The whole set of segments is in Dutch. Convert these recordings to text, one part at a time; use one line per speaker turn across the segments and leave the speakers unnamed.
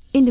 verscheen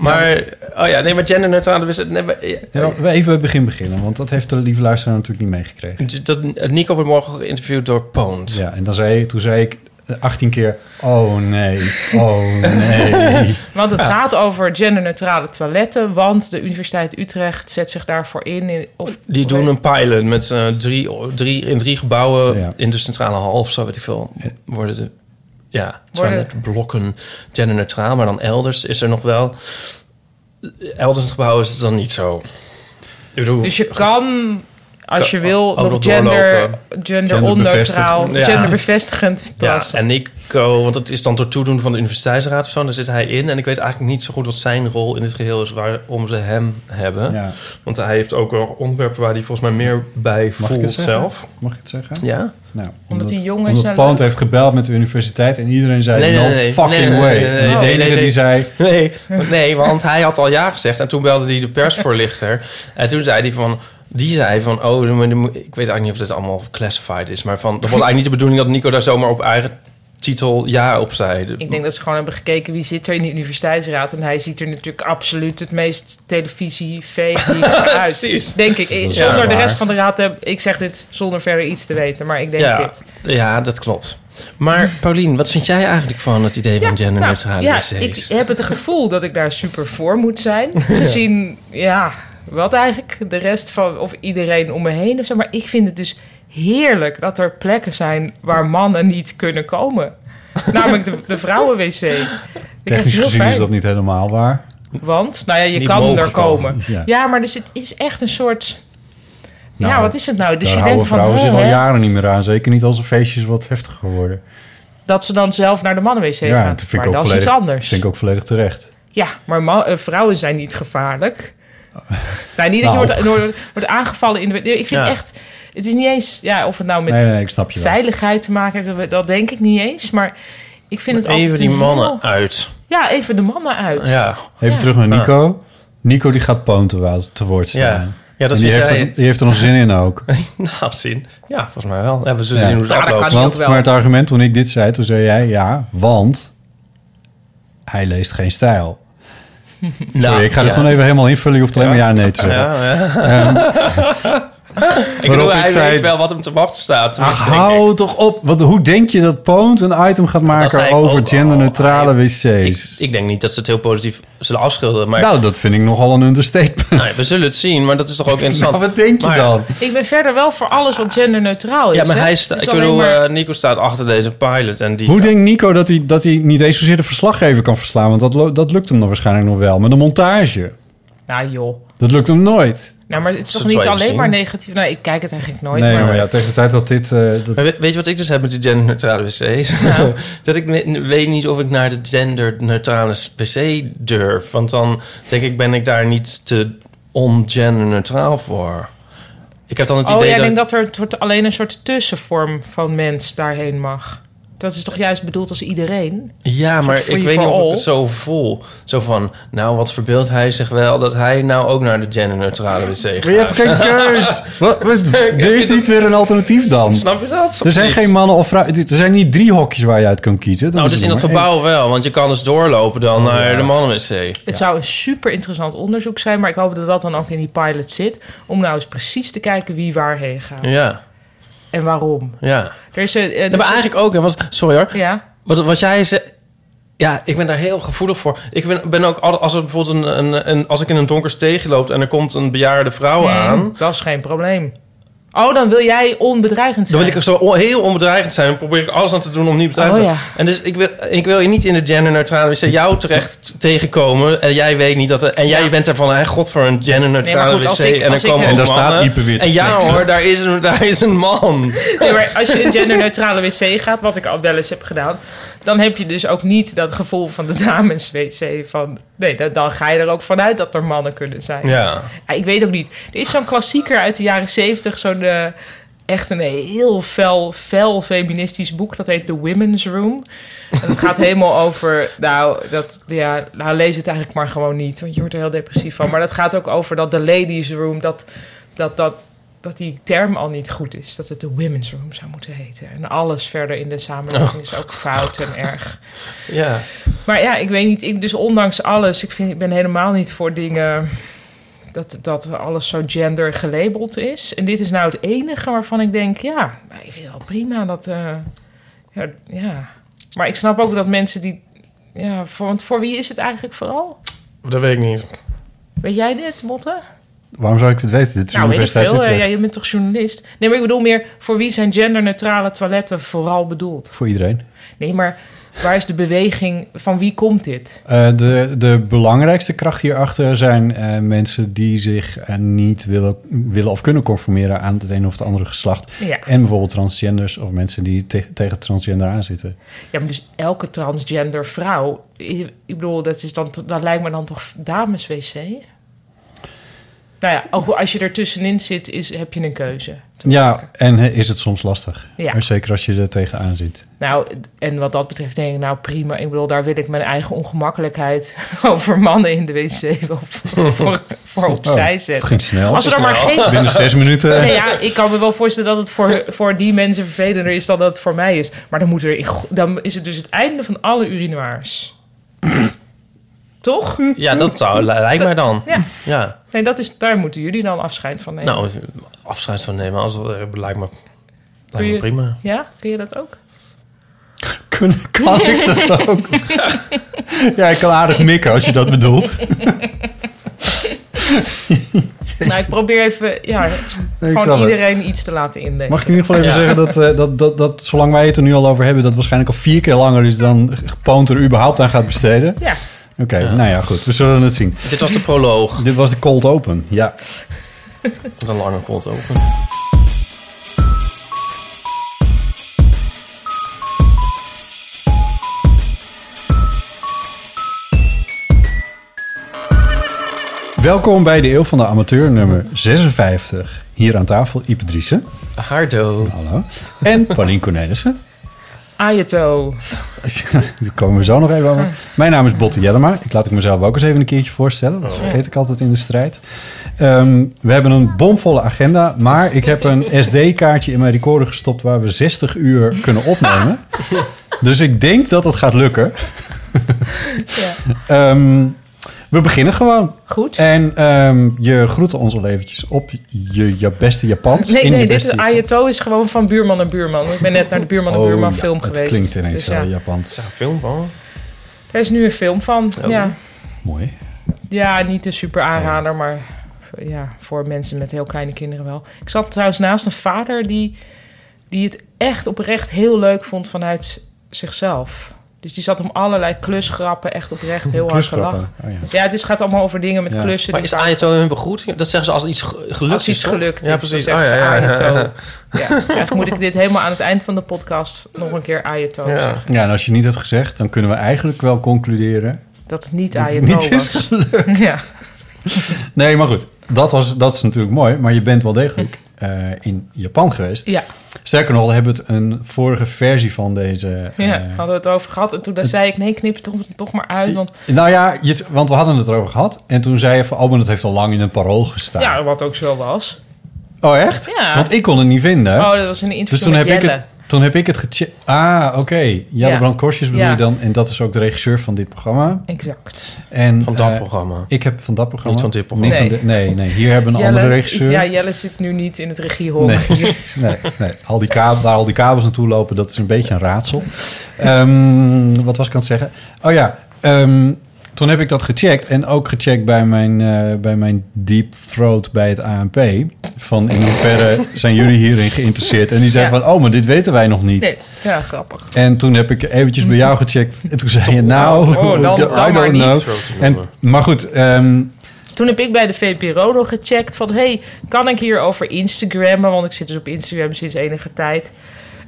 Maar, oh ja, nee, maar genderneutrale wisseling. Nee, maar, ja.
Ja, laten we even bij het begin beginnen, want dat heeft de lieve luisteraar natuurlijk niet meegekregen.
dat, Nico wordt morgen geïnterviewd door Poont.
Ja, en dan zei, toen zei ik eh, 18 keer, oh nee, oh nee.
Want het gaat over genderneutrale toiletten. Want de Universiteit Utrecht zet zich daarvoor in. in- Of,
Die doen een pilot met eh, drie, drie, in drie gebouwen
Ja.
in de centrale hal of zo, weet ik veel. Worden de, ja, het zijn
Worden-
net blokken genderneutraal, maar dan elders is er nog wel. Elders in het gebouw is het dan niet zo. Ik bedoel,
Dus je kan, als je
Kan
wil,
ook nog
nog gender,
doorlopen.
genderonneutraal,
Ja.
genderbevestigend
Ja,
plassen.
en Nico, want dat is dan door toedoen van de universiteitsraad of zo, daar zit hij in. En ik weet eigenlijk niet zo goed wat zijn rol in dit geheel is waarom ze hem hebben.
Ja.
Want hij heeft ook wel onderwerpen waar hij volgens mij meer bij
Mag ik
voelt
het zeggen?
zelf.
Mag ik het zeggen?
Ja?
Nou,
hij jong is
Omdat
en
Pant
leuk.
heeft gebeld met de universiteit en iedereen zei,
Nee, nee,
no
nee, nee.
fucking
Nee,
way.
nee, nee, nee, nee,
en de
nee,
enige
nee, nee.
die zei,
Nee, nee, want hij had al ja gezegd. En toen belde hij de persvoorlichter. En toen zei hij van... Die zei van, oh, maar dan moet- ik weet eigenlijk niet of dit allemaal classified is. Maar van, dat was eigenlijk niet de bedoeling dat Nico daar zomaar op eigen titel ja op zei. De-
Ik denk dat ze gewoon hebben gekeken wie zit er in de universiteitsraad. En hij ziet er natuurlijk absoluut het meest televisie fake uit.
Precies.
Denk ik.
is
Zonder
waar.
de rest van de raad te hebben. Ik zeg dit zonder verder iets te weten. Maar ik denk
ja,
dit.
ja, dat klopt. Maar Paulien, wat vind jij eigenlijk van het idee van genderneutrale
nou, ja, ik
wc's?
heb het gevoel dat ik daar super voor moet zijn. Gezien, ja, wat eigenlijk de rest van, of iedereen om me heen of zo. Maar ik vind het dus heerlijk dat er plekken zijn waar mannen niet kunnen komen. Namelijk de, de vrouwenwc. Ik vind het
technisch
heel
gezien
fijn.
is dat niet helemaal waar.
Want, nou ja, je
Niet
kan
mogen
er komen.
Ja.
Ja. maar dus het is echt een soort... ja,
Nou,
wat is het nou? Dus
Daar
je
houden
denkt van,
vrouwen
hè,
zich al
hè,
jaren niet meer aan. Zeker niet als er feestjes wat heftiger worden.
dat ze dan zelf naar de mannenwc
ja,
gaan.
dat vind
maar
ik ook
dat is
volledig,
iets anders.
vind ik ook volledig terecht.
Ja, maar ma- eh, vrouwen zijn niet gevaarlijk. nou, niet dat
Nou.
je wordt, wordt, wordt aangevallen in de... nee, Ik vind
Ja.
echt... Het is niet eens... Ja, of het nou met
nee, nee, ik snap je wel.
veiligheid te maken heeft, dat denk ik niet eens. Maar ik vind het altijd...
Even die
een
mannen
heel-
uit.
Ja, even de mannen uit.
Ja,
Even
Ja.
terug naar Nico. Nico die gaat Poon te, wo- te woord staan.
ja. ja dat
en die
vind
heeft,
jij...
er, die heeft er nog zin in ook.
Nou, zien. Ja, volgens mij wel. Ja, Dus we zullen
Ja.
zien hoe het
Nou, dat
afloopt.
kan
Want,
ook wel.
maar het argument toen ik dit zei, toen zei jij ja, want hij leest geen stijl.
Nou,
Sorry, ik ga er
ja.
gewoon even helemaal invullen. Je hoeft alleen
Ja.
maar ja en nee te zeggen. Ehm,
Ja, ja. ik bedoel,
Waarop
hij
ik zei- Ah.
weet wel wat hem te wachten staat.
Ach,
denk ik.
hou toch op. Wat, hoe denk je dat Poont een item gaat
zei
maken
ik
over
ook al.
genderneutrale
Ah,
wc's?
Ik, ik denk niet dat ze het heel positief zullen afschilderen. Maar
nou, dat vind ik nogal een understatement.
nou, we zullen het zien, maar dat is toch ook interessant.
Nou, wat denk je
Maar-
dan?
Ik ben verder wel voor alles wat genderneutraal Oh, is.
Ja, maar
hè.
hij
Het
sta,
is
ik
alleen
bedoel,
maar-
eh, Nico staat achter deze pilot. En die
Hoe denkt Nico dat hij, dat hij niet eens zozeer de verslaggever kan verslaan? Want dat, lo- dat lukt hem dan waarschijnlijk nog wel. Maar de montage,
Nou joh.
dat lukt hem nooit.
Nou, maar het is
Dat
toch
zou
niet
je
alleen
zien.
maar negatief? Nou, ik kijk het eigenlijk nooit.
nee,
maar,
maar ja, tegen de tijd dat dit... eh, dat-
Maar we- weet je wat ik dus heb met die genderneutrale wc's? dat ik ne- weet niet of ik naar de genderneutrale wc durf. Want dan denk ik, ben ik daar niet te ongenderneutraal voor. Ik heb dan het
Oh,
idee
jij
dat...
denkt dat er het wordt alleen een soort tussenvorm van mens daarheen mag. Dat is toch juist bedoeld als iedereen?
Ja, maar
free
ik weet
for
niet of ik
all.
het zo voel. Zo van, nou, wat verbeeldt hij zich wel... dat hij nou ook naar de genderneutrale wc gaat.
Maar je hebt geen keus. Wat- wat- er is niet weer een alternatief dan.
Snap je dat?
Er zijn
Of
geen
niet?
mannen of vrouwen. Er zijn niet drie hokjes waar je uit kan kiezen. Dan
Nou,
is
dus
er
in dat
maar één.
gebouw wel. Want je kan dus doorlopen dan naar de mannenwc.
Het zou een super interessant onderzoek zijn, maar ik hoop dat dat dan ook in die pilot zit. Om nou eens precies te kijken wie waarheen gaat
Ja,
en waarom.
ja. dus-
Er is een,
Nee, maar eigenlijk ook, hè, want, sorry hoor.
Ja,
Wat, wat jij zei. Ja, ik ben daar heel gevoelig voor. Ik ben, ben ook altijd, als er bijvoorbeeld een, een, een- als ik in een donker steegje loop en er komt een bejaarde vrouw aan,
Mm, dat is geen probleem. Oh, dan wil jij onbedreigend
dan
zijn.
wil ik zo on- heel onbedreigend zijn. Dan probeer ik alles aan te doen om niet bedreigend
Oh,
te zijn. En dus ik wil, ik wil je niet in de genderneutrale wc jou terecht tegenkomen en jij weet niet dat er, en jij
Ja.
bent ervan, hè, god voor een genderneutrale
Nee, maar goed, als
wc
ik-
en dan
als ik-
komen
En
ook
daar staat
mannen.
Ipe weer te
En ja
flexen.
hoor, daar is een, daar is een man.
Nee, maar als je een genderneutrale wc gaat, wat ik al wel eens heb gedaan, dan heb je dus ook niet dat gevoel van de dames-wc. Van, nee, dan, dan ga je er ook vanuit dat er mannen kunnen zijn.
Ja.
Ja, ik weet ook niet. Er is zo'n klassieker uit de jaren zeventig, zo'n eh, echt een heel fel, fel feministisch boek. Dat heet The Women's Room. En het gaat helemaal over, nou, dat, ja, nou, lees het eigenlijk maar gewoon niet, want je wordt er heel depressief van. Maar dat gaat ook over dat de ladies' room, dat, dat, dat, dat die term al niet goed is. Dat het de women's room zou moeten heten. En alles verder in de samenleving is ook fout en erg.
Ja.
Maar ja, ik weet niet. Ik, dus ondanks alles, ik, vind, ik ben helemaal niet voor dingen dat, dat alles zo gender gelabeld is. En dit is nou het enige waarvan ik denk, ja, maar ik vind het wel prima dat. eh, ja, ja. Maar ik snap ook dat mensen die. Ja, voor, want voor wie is het eigenlijk vooral?
Dat weet ik niet.
Weet jij dit, Botte?
Waarom zou ik dit weten? Dit is
Nou, weet ik
Universiteit
veel. eh,
Utrecht.
Ja, je bent toch journalist? Nee, maar ik bedoel meer, voor wie zijn genderneutrale toiletten vooral bedoeld?
Voor iedereen.
Nee, maar waar is de beweging? Van wie komt dit?
Eh, de, de belangrijkste kracht hierachter zijn eh, mensen die zich eh, niet willen, willen of kunnen conformeren aan het een of het andere geslacht.
Ja.
En bijvoorbeeld transgenders of mensen die te- tegen transgender aanzitten.
Ja, maar dus elke transgender vrouw. Ik ik bedoel, dat, is dan, to- dat lijkt me dan toch dames-wc? Nou ja, ook als je ertussenin zit, is, heb je een keuze.
Ja, en eh, is het soms lastig.
Ja.
Maar Zeker als je er tegenaan zit.
Nou, en wat dat betreft denk ik, nou prima. Ik bedoel, daar wil ik mijn eigen ongemakkelijkheid over mannen in de wc wel voor, voor, voor opzij
Oh, Het
zetten.
ging snel.
Als er dan maar geen...
Binnen zes minuten.
Nee, ja, ik kan me wel voorstellen dat het voor, voor die mensen vervelender is dan dat het voor mij is. Maar dan, moet er, in go- dan is het dus het einde van alle urinoirs. Toch?
Ja, dat zou, lijkt mij dan.
Ja.
ja.
Nee, dat is, daar moeten jullie dan afscheid van nemen.
Nou, afscheid van nemen, als, eh, lijkt me,
Kun
lijkt me
je-
prima.
Ja, kun je dat ook?
Kunnen, kan ik dat ook? ja, ik kan aardig mikken als je dat bedoelt.
Nou, ik probeer even ja,
snap
gewoon
het.
iedereen iets te laten indenken.
Mag ik in ieder geval even zeggen dat, eh, dat, dat, dat, zolang wij het er nu al over hebben, dat waarschijnlijk al vier keer langer is dan Poont er überhaupt aan gaat besteden?
Ja,
Oké, nou ja, goed. We zullen het zien.
Dit was de proloog.
Dit was de cold open. Ja.
Met een lange kont open.
Welkom bij de Eeuw van de Amateur, nummer 56. Hier aan tafel Ipe Driessen.
Haardo.
Hallo. En Paulien Cornelissen.
Ayato.
Daar komen we zo nog even over. Mijn naam is Botte Jellema. Ik laat ik mezelf ook eens even een keertje voorstellen.
Oh.
Dat vergeet ik altijd in de strijd. Ehm, we hebben een bomvolle agenda, maar ik heb een SD-kaartje in mijn recorder gestopt waar we 60 uur kunnen opnemen. Dus ik denk dat het gaat lukken. Ehm, we beginnen gewoon.
Goed.
En ehm, je groette ons al eventjes op je, je beste Japans.
Nee,
in je
nee, dit
beste
is,
Japans.
Ayato is gewoon van buurman en buurman. Ik ben net naar de buurman en buurman
Oh ja,
film
het
geweest.
klinkt ineens
Dus
wel
ja,
Japans.
Film van?
Er is nu een film van.
Oh.
Ja.
Mooi.
ja, niet een super
Oh.
aanrader, maar ja, voor mensen met heel kleine kinderen wel. Ik zat trouwens naast een vader die, die het echt oprecht heel leuk vond vanuit zichzelf. Dus die zat om allerlei klusgrappen echt oprecht heel hard
Klusgrappen.
gelachen.
Oh ja.
Ja, het is, gaat allemaal over dingen met
Ja.
klussen. dus
Maar
die
is Ayato hun begroet? Dat zeggen ze als iets ge- gelukt
Als iets
is, toch?
gelukt
Ja,
is,
precies.
dan
Ah,
zeggen
ja,
ze
ja, ja,
Ayato.
ja.
Ja, dus eigenlijk moet ik dit helemaal aan het eind van de podcast nog een keer Ayato
Ja.
zeggen.
Ja, en als je niet hebt gezegd, dan kunnen we eigenlijk wel concluderen.
Dat het niet
het
Ayato
niet is
was. Ja.
Nee, maar goed, dat, was, dat is natuurlijk mooi, maar je bent wel degelijk eh, in Japan geweest.
Ja,
Sterker nog, we hebben het een vorige versie van deze. eh,
ja hadden we het over gehad. En toen daar zei ik, nee, knip het toch, toch maar uit. Want
Nou ja, je, want we hadden het erover gehad. En toen zei je van, oh, maar dat heeft al lang in een parool gestaan.
ja, wat ook zo was.
Oh, echt?
Ja.
Want ik kon het niet vinden.
Oh, dat was een interview
dus toen
met
heb, ik
Jelle.
het, toen heb ik het gecheckt. Ah, oké. Jelle
Ja.
Brand Korsjes bedoel
Ja.
je dan. En dat is ook de regisseur van dit programma.
Exact.
En,
Van dat
eh,
programma.
ik heb van dat programma.
Niet van dit programma.
niet van dit- nee, nee. Hier hebben we een andere regisseur.
Ja, Jelle zit nu niet in het regiehok.
Nee, nee, nee. Al die kabel, waar al die kabels naartoe lopen, dat is een beetje een raadsel. Ehm, wat was ik aan het zeggen? Oh ja, ehm, toen heb ik dat gecheckt. En ook gecheckt bij mijn, eh, bij mijn deep throat bij het ANP. Van in hoeverre zijn jullie hierin geïnteresseerd? En die zei
Ja.
van, oh, maar dit weten wij nog niet.
Nee, ja, grappig.
En toen heb ik eventjes bij jou gecheckt. En toen zei je, nou,
Oh, dan-
I
dan maar
don't
niet.
know. En, maar goed, ehm,
Toen heb ik bij de VPRO nog gecheckt van... hey, kan ik hier over Instagrammen? Want ik zit dus op Instagram sinds enige tijd.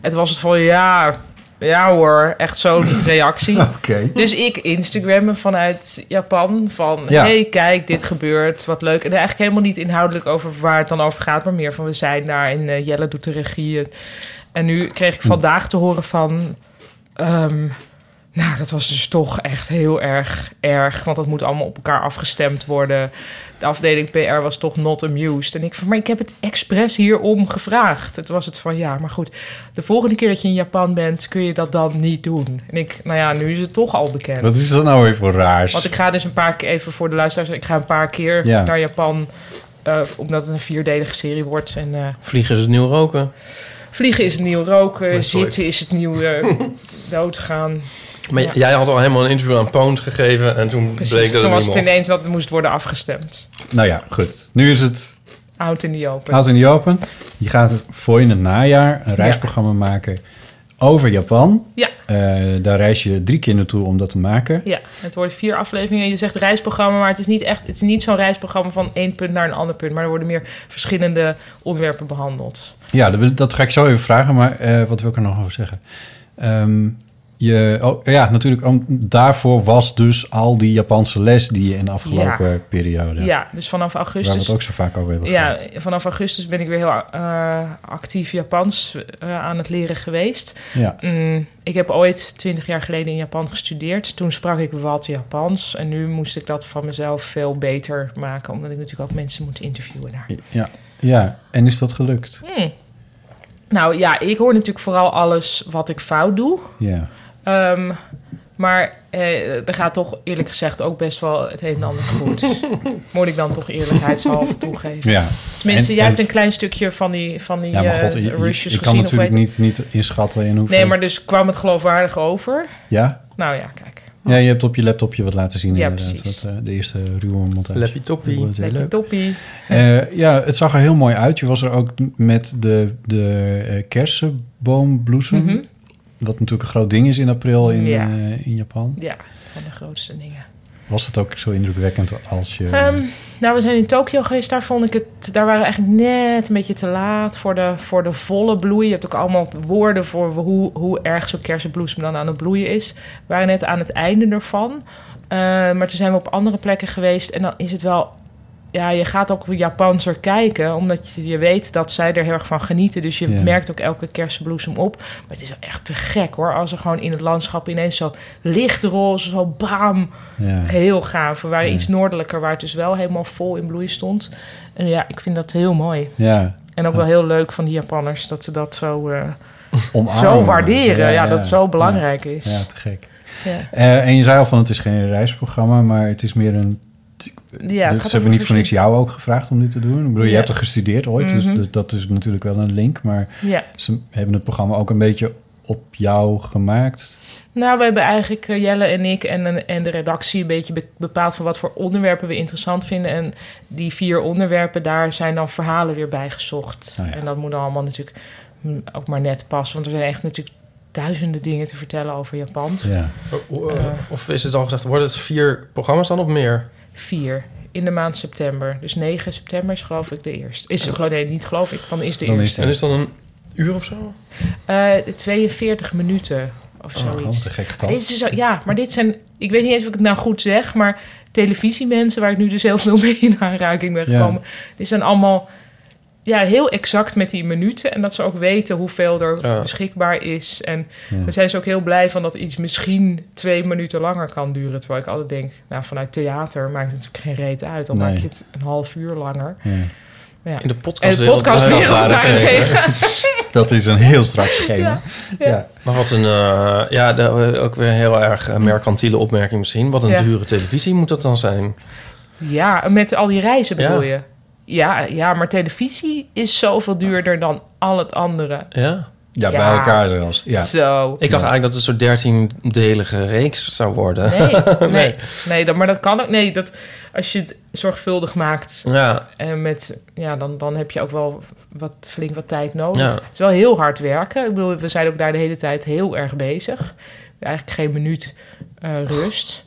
En toen was het van, ja, ja hoor, echt zo'n reactie.
oké.
Dus ik Instagrammen vanuit Japan van...
Ja.
hey, kijk, dit gebeurt, wat leuk. En eigenlijk helemaal niet inhoudelijk over waar het dan over gaat... maar meer van, we zijn daar en eh, Jelle doet de regie. En nu kreeg ik vandaag te horen van... ehm, nou, dat was dus toch echt heel erg erg. Want dat moet allemaal op elkaar afgestemd worden. De afdeling PR was toch not amused. En ik van, maar ik heb het expres hierom gevraagd. Het was het van, ja, maar goed. De volgende keer dat je in Japan bent, kun je dat dan niet doen. En ik, nou ja, nu is het toch al bekend.
Wat is dat nou weer voor raars?
Want ik ga dus een paar keer, even voor de luisteraars... Ik ga een paar keer
Ja.
naar Japan... eh, omdat het een vierdelige serie wordt. En eh,
Vliegen is het nieuw roken.
vliegen is het nieuw roken,
Nee, sorry.
zitten is het nieuw eh, doodgaan.
Maar
Ja.
jij had al helemaal een interview aan Pound gegeven. En toen
Precies,
bleek dat het
toen was
niet
het
mocht.
ineens dat het moest worden afgestemd.
Nou ja, goed. Nu is het
Out in the open.
Houd in die open. Je gaat voor in het najaar een reisprogramma maken over Japan.
Ja.
Eh, daar reis je drie keer naartoe om dat te maken.
Ja, het worden vier afleveringen. Je zegt reisprogramma, maar het is niet echt... Het is niet zo'n reisprogramma van één punt naar een ander punt. Maar er worden meer verschillende onderwerpen behandeld.
Ja, dat, wil- dat ga ik zo even vragen, maar eh, wat wil ik er nog over zeggen? Ehm, je, oh, ja, natuurlijk, om- daarvoor was dus al die Japanse les die je in de afgelopen periode...
Ja, dus vanaf
Waar we het
augustus...
ook zo vaak over hebben
Ja,
gehad.
vanaf augustus ben ik weer heel eh, actief Japans eh, aan het leren geweest.
Ja.
Mm, ik heb ooit twintig jaar geleden in Japan gestudeerd. Toen sprak ik wat Japans. En nu moest ik dat van mezelf veel beter maken. Omdat ik natuurlijk ook mensen moet interviewen daar.
Ja. ja, en is dat gelukt?
Nou ja, ik hoor natuurlijk vooral alles wat ik fout doe.
Ja.
Ehm, maar eh, er gaat toch eerlijk gezegd ook best wel het een en ander goed. Moet ik dan toch eerlijkheidshalve toegeven.
ja.
Tenminste,
En-
jij
en-
hebt een klein stukje van die, van die
Ja, maar
eh,
god, je- je-
rushes
ik kan
gezien. of
natuurlijk
weet
niet, niet inschatten in hoeveel...
Nee, maar dus kwam het geloofwaardig over.
Ja?
Nou ja, kijk.
Ja, je hebt op je laptopje wat laten zien.
Ja,
inderdaad.
precies.
Dat, eh, de eerste ruwe montage.
Lappie toppie.
Dat was heel
Lekker
leuk.
toppie.
Eh, ja, het zag er heel mooi uit. Je was er ook met de, de eh, kersenboombloesem.
Mhm.
Wat natuurlijk een groot ding is in april in,
Ja.
eh, in Japan.
Ja, van de grootste dingen.
Was dat ook zo indrukwekkend als je...
Ehm, nou, we zijn in Tokio geweest. Daar vond ik het. Daar waren we eigenlijk net een beetje te laat voor de, voor de volle bloei. Je hebt ook allemaal woorden voor hoe, hoe erg zo'n kersenbloesem dan aan het bloeien is. We waren net aan het einde ervan. Eh, maar toen zijn we op andere plekken geweest. En dan is het wel. Ja, je gaat ook Japanser kijken, omdat je, je weet dat zij er heel erg van genieten. Dus je
Ja.
merkt ook elke kersenbloesem op. Maar het is wel echt te gek hoor. Als er gewoon in het landschap ineens zo lichtroze, zo bam,
ja.
Heel gaaf. We waren
Ja.
iets noordelijker, waar het dus wel helemaal vol in bloei stond. En ja, ik vind dat heel mooi.
ja,
En ook wel heel leuk van die Japanners dat ze dat zo, eh,
omarmen.
zo waarderen. Ja, dat het zo belangrijk
Ja, ja,
is.
te gek.
Ja,
Eh, en je zei al van het is geen reisprogramma, maar het is meer een...
Ja, het
Dus
gaat
ze hebben
over
niet voor niks jou ook gevraagd om dit te doen. Ik bedoel, je
Ja.
hebt er gestudeerd ooit, dus-
Mhm.
dus dat is natuurlijk wel een link. Maar
Ja.
Ze hebben het programma ook een beetje op jou gemaakt.
Nou, we hebben eigenlijk eh, Jelle en ik en, en- en de redactie een beetje be- bepaald van wat voor onderwerpen we interessant vinden. En die vier onderwerpen, daar zijn dan verhalen weer bij gezocht.
Oh ja.
En dat moet dan allemaal natuurlijk mm, ook maar net passen. Want er zijn echt natuurlijk duizenden dingen te vertellen over Japan. Eh,
Ja.
O- o- Oh, eh, Of is het al gezegd, worden het vier programma's dan of meer?
vier in de maand september. Dus 9 september is geloof ik de eerste. Is geloof, nee, niet geloof ik, dan is de
Dan is
eerste.
En
het
is dan een uur of zo?
Eh, 42 minuten of
oh,
zoiets.
te gek getal.
dit is dus, ja, maar dit zijn... Ik weet niet eens of ik het nou goed zeg, maar televisiemensen... waar ik nu dus heel veel mee in aanraking ben
Ja.
gekomen... die zijn allemaal... ja, heel exact met die minuten. En dat ze ook weten hoeveel er
Ja.
beschikbaar is. En daar zijn ze ook heel blij van dat iets misschien twee minuten langer kan duren. Terwijl ik altijd denk, nou, vanuit theater maakt het natuurlijk geen reet uit. Dan
Nee.
maak je het een half uur langer. Maar ja.
In de
En
podcast
de podcastwereld daarentegen.
Dat is een heel strak schema.
Ja,
Ja.
Maar wat een, eh, ja, de- ook weer een heel erg eh, mercantiele opmerking misschien. Wat een
Ja.
dure televisie moet dat dan zijn?
Ja, met al die reizen
Ja.
bedoel je. Ja, ja, maar televisie is zoveel duurder dan al het andere.
Ja.
Ja.
Ja, bij elkaar zelfs. Ja.
Zo.
Ik dacht eigenlijk dat het een soort dertiendelige reeks zou worden.
Nee, nee, nee dat, maar dat kan ook. Nee, dat, als je het zorgvuldig maakt,
Ja,
en met, ja, dan, dan heb je ook wel wat, flink wat tijd nodig.
Ja.
Het is wel heel hard werken. Ik bedoel, we zijn ook daar de hele tijd heel erg bezig. Eigenlijk geen minuut eh, rust.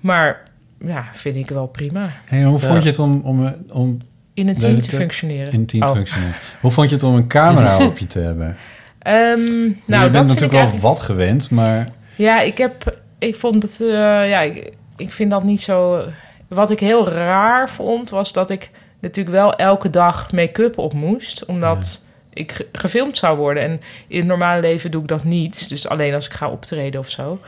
Maar ja, vind ik wel prima.
Hey, en hoe
Ja.
vond je het om, om, eh, om
In een
Nee,
team
dat
te
kan-
functioneren.
in een team te
Oh.
functioneren? Hoe vond je het om een camera op je te hebben?
Ehm, nou,
je
dat vind ik
bent natuurlijk wel
eigenlijk-
wat gewend, maar
Ja, ik heb. Ik vond het. eh, ja, ik, ik vind dat niet zo. Wat ik heel raar vond, was dat ik natuurlijk wel elke dag make-up op moest. Omdat ik ge- gefilmd zou worden. En in het normale leven doe ik dat niet. Dus alleen als ik ga optreden of zo.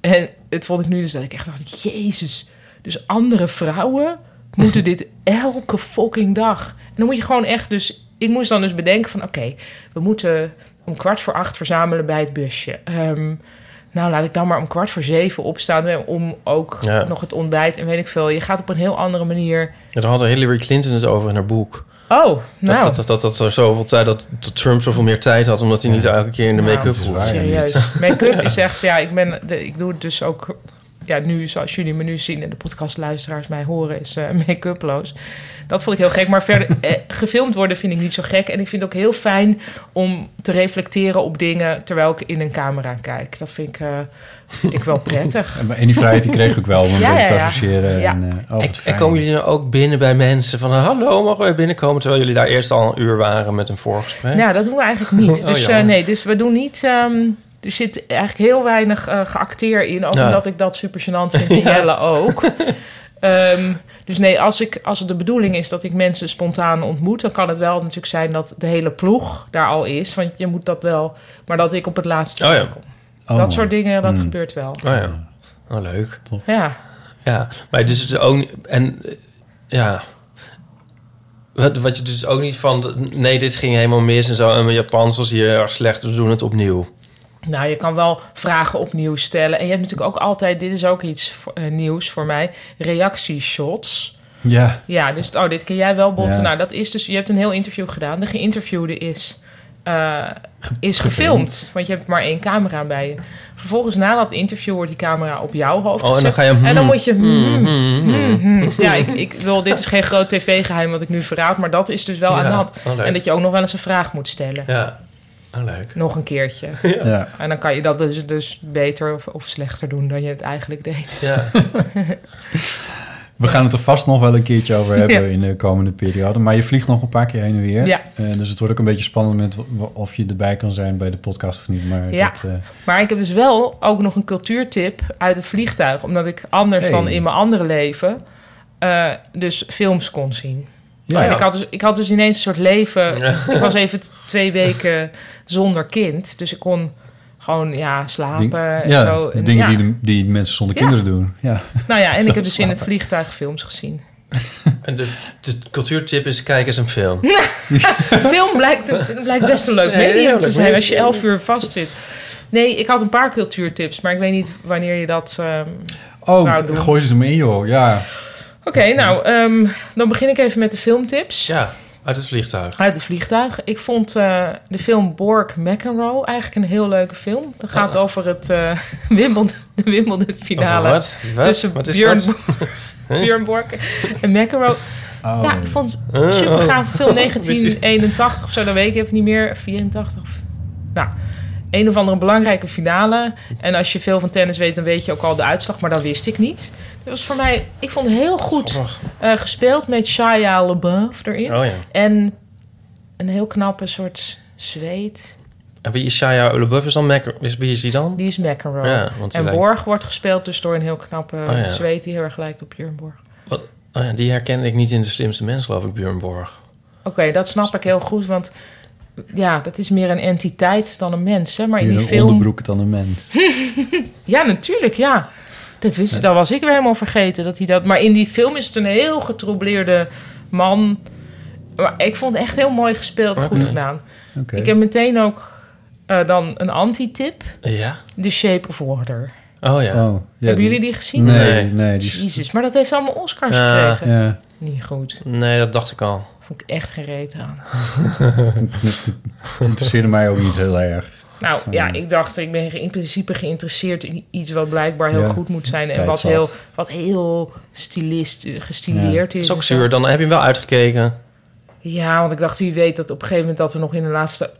En het vond ik nu dus dat ik echt dacht: Jezus. Dus andere vrouwen moeten dit elke fucking dag. En dan moet je gewoon echt dus... Ik moest dan dus bedenken van... Oké, we moeten om kwart voor acht verzamelen bij het busje. Ehm, nou, laat ik dan maar om kwart voor zeven opstaan... hè, om ook
Ja.
nog het ontbijt en weet ik veel. Je gaat op een heel andere manier...
daar had Hillary Clinton het over in haar boek.
Oh,
Dat,
nou...
dat, dat, dat, dat er zoveel tijd, dat, dat Trump zoveel meer tijd had... omdat hij niet elke keer in de
Nou,
make-up
dat is
hoefde.
waar.
Serieus. Make-up is echt, ja, ik, ben, de, ik doe het dus ook. Ja, nu, zoals jullie me nu zien en de podcastluisteraars mij horen, is eh, make-uploos. Dat vond ik heel gek. Maar verder, eh, gefilmd worden vind ik niet zo gek. En ik vind het ook heel fijn om te reflecteren op dingen terwijl ik in een camera kijk. Dat vind ik, eh, vind ik wel prettig.
en die vrijheid die kreeg ik wel om hem
Ja,
weer
ja,
te
ja.
associëren.
Ja.
En, eh, oh,
En,
wat
en
fijn.
komen jullie dan ook binnen bij mensen van... hallo, mogen wij binnenkomen? Terwijl jullie daar eerst al een uur waren met een voorgesprek.
Nou, dat doen we eigenlijk niet.
Oh,
Dus eh,
jammer.
nee, dus we doen niet... ehm, er zit eigenlijk heel weinig eh, geacteer in. Ook
Ja.
omdat ik dat super gênant vind. En Jelle ook. Ehm, dus nee, als, ik, als het de bedoeling is dat ik mensen spontaan ontmoet... dan kan het wel natuurlijk zijn dat de hele ploeg daar al is. Want je moet dat wel... Maar dat ik op het laatste
Oh ja.
kom.
Oh,
dat
mooi.
soort dingen, dat gebeurt wel.
Oh ja, oh, leuk.
Ja.
Ja, maar dus het is ook niet- en eh, ja, wat, wat je dus ook niet van nee, dit ging helemaal mis en zo. En mijn Japans was hier erg slecht, dus we doen het opnieuw.
Nou, je kan wel vragen opnieuw stellen. En je hebt natuurlijk ook altijd... dit is ook iets voor- eh, nieuws voor mij. Reactieshots...
Ja,
Ja, dus oh, dit ken jij wel, Botte.
Ja.
Nou, dat is dus, je hebt een heel interview gedaan. De geïnterviewde is, eh, is gefilmd, want je hebt maar één camera bij je. Vervolgens na dat interview wordt die camera op jouw hoofd
Oh, en dan
gezet.
ga je,
En
hmm,
dan moet je... hmm, hmm, hmm. Ja, ik, ik wil, dit is geen groot tv-geheim wat ik nu verraad, maar dat is dus wel aan de
Ja,
hand.
oh, leuk.
En dat je ook nog wel eens een vraag moet stellen.
Ja, oh, leuk.
Nog een keertje.
ja.
En dan kan je dat dus, dus beter of, of slechter doen dan je het eigenlijk deed.
Ja,
We gaan het er vast nog wel een keertje over hebben
Ja.
in de komende periode. Maar je vliegt nog een paar keer heen en weer.
Ja.
Eh, dus het wordt ook een beetje spannend met w- of je erbij kan zijn bij de podcast of niet. Maar
Ja.
dat, eh,
Maar ik heb dus wel ook nog een cultuurtip uit het vliegtuig. Omdat ik anders
Hey.
dan in mijn andere leven eh, dus films kon zien.
ja,
En ik, had dus, ik had dus ineens een soort leven.
Ja.
Ik was even t- twee weken zonder kind. Dus ik kon gewoon ja, slapen.
Ding-
en
ja,
zo. En
dingen
ja.
Die, de- die mensen zonder
Ja.
kinderen doen. Ja.
Nou ja, en ik heb dus in
slapen.
het vliegtuig films gezien.
en de, de cultuurtip is kijk eens een film.
Film blijkt, een- blijkt best een leuk
Ja, heel
medium
leuk
te zijn
medium.
als je elf uur vast zit. Nee, ik had een paar cultuurtips, maar ik weet niet wanneer je dat... ehm,
Oh,
Nou, doen.
gooi ze hem in, joh. Ja.
Oké, nou, ehm, dan begin ik even met de filmtips.
Ja, uit het vliegtuig.
Uit het vliegtuig. Ik vond eh, de film Borg McEnroe eigenlijk een heel leuke film. Dat gaat over het eh Wimbledon, de Wimbledon finale.
Over wat? Wat?
Tussen
Wat is
Björn,
dat?
Björn Borg en McEnroe.
Oh.
Ja, ik vond het een
Oh.
super gaaf film. 1981 of zo, dat weet ik even niet meer. 84 of... Nou, een of andere belangrijke finale. En als je veel van tennis weet, dan weet je ook al de uitslag. Maar dat wist ik niet. Dat was voor mij... Ik vond het heel goed
Grappig.
eh, gespeeld met Shia LaBeouf erin.
Oh ja.
En een heel knappe soort zweet.
En wie is Shia LaBeouf is dan Mac? Is, wie is die dan?
Die is McEnroe.
Ja, want die
en
lijkt- Oh,
Borg wordt gespeeld dus door een heel knappe
ja.
zweet... die heel erg lijkt op Björn Borg.
Wat? Oh ja, die herkende ik niet in de slimste mens, geloof ik, Björn Borg.
Oké, dat snap ik heel goed, want ja, dat is meer een entiteit dan een mens, hè? Maar in
Meer
die
een
film...
onderbroek dan een mens.
Ja, natuurlijk, ja. Dat, wist, dat was ik weer helemaal vergeten. Dat hij dat, maar in die film is het een heel getroubleerde man. Maar ik vond het echt heel mooi gespeeld, goed gedaan.
Oké.
Ik heb meteen ook eh, dan een anti-tip.
Ja?
The Shape of Water.
Oh ja.
Oh, ja,
Hebben
die-
jullie die gezien?
Nee,
Nee.
nee. Die... is-
Jezus, maar dat heeft allemaal Oscars
Ja.
gekregen.
Ja.
Niet goed.
Nee, dat dacht ik al.
Vond ik echt gereed aan.
Het interesseerde mij ook niet heel erg.
Nou ja,
eh,
ik dacht, ik ben in principe geïnteresseerd in iets wat blijkbaar heel
Ja,
goed moet zijn. En wat
tijdsvat.
heel, wat heel stilist, gestileerd is.
is ook
en zo.
zuur. Dan heb je hem wel uitgekeken.
Ja, want ik dacht, wie weet dat op een gegeven moment dat er nog in de laatste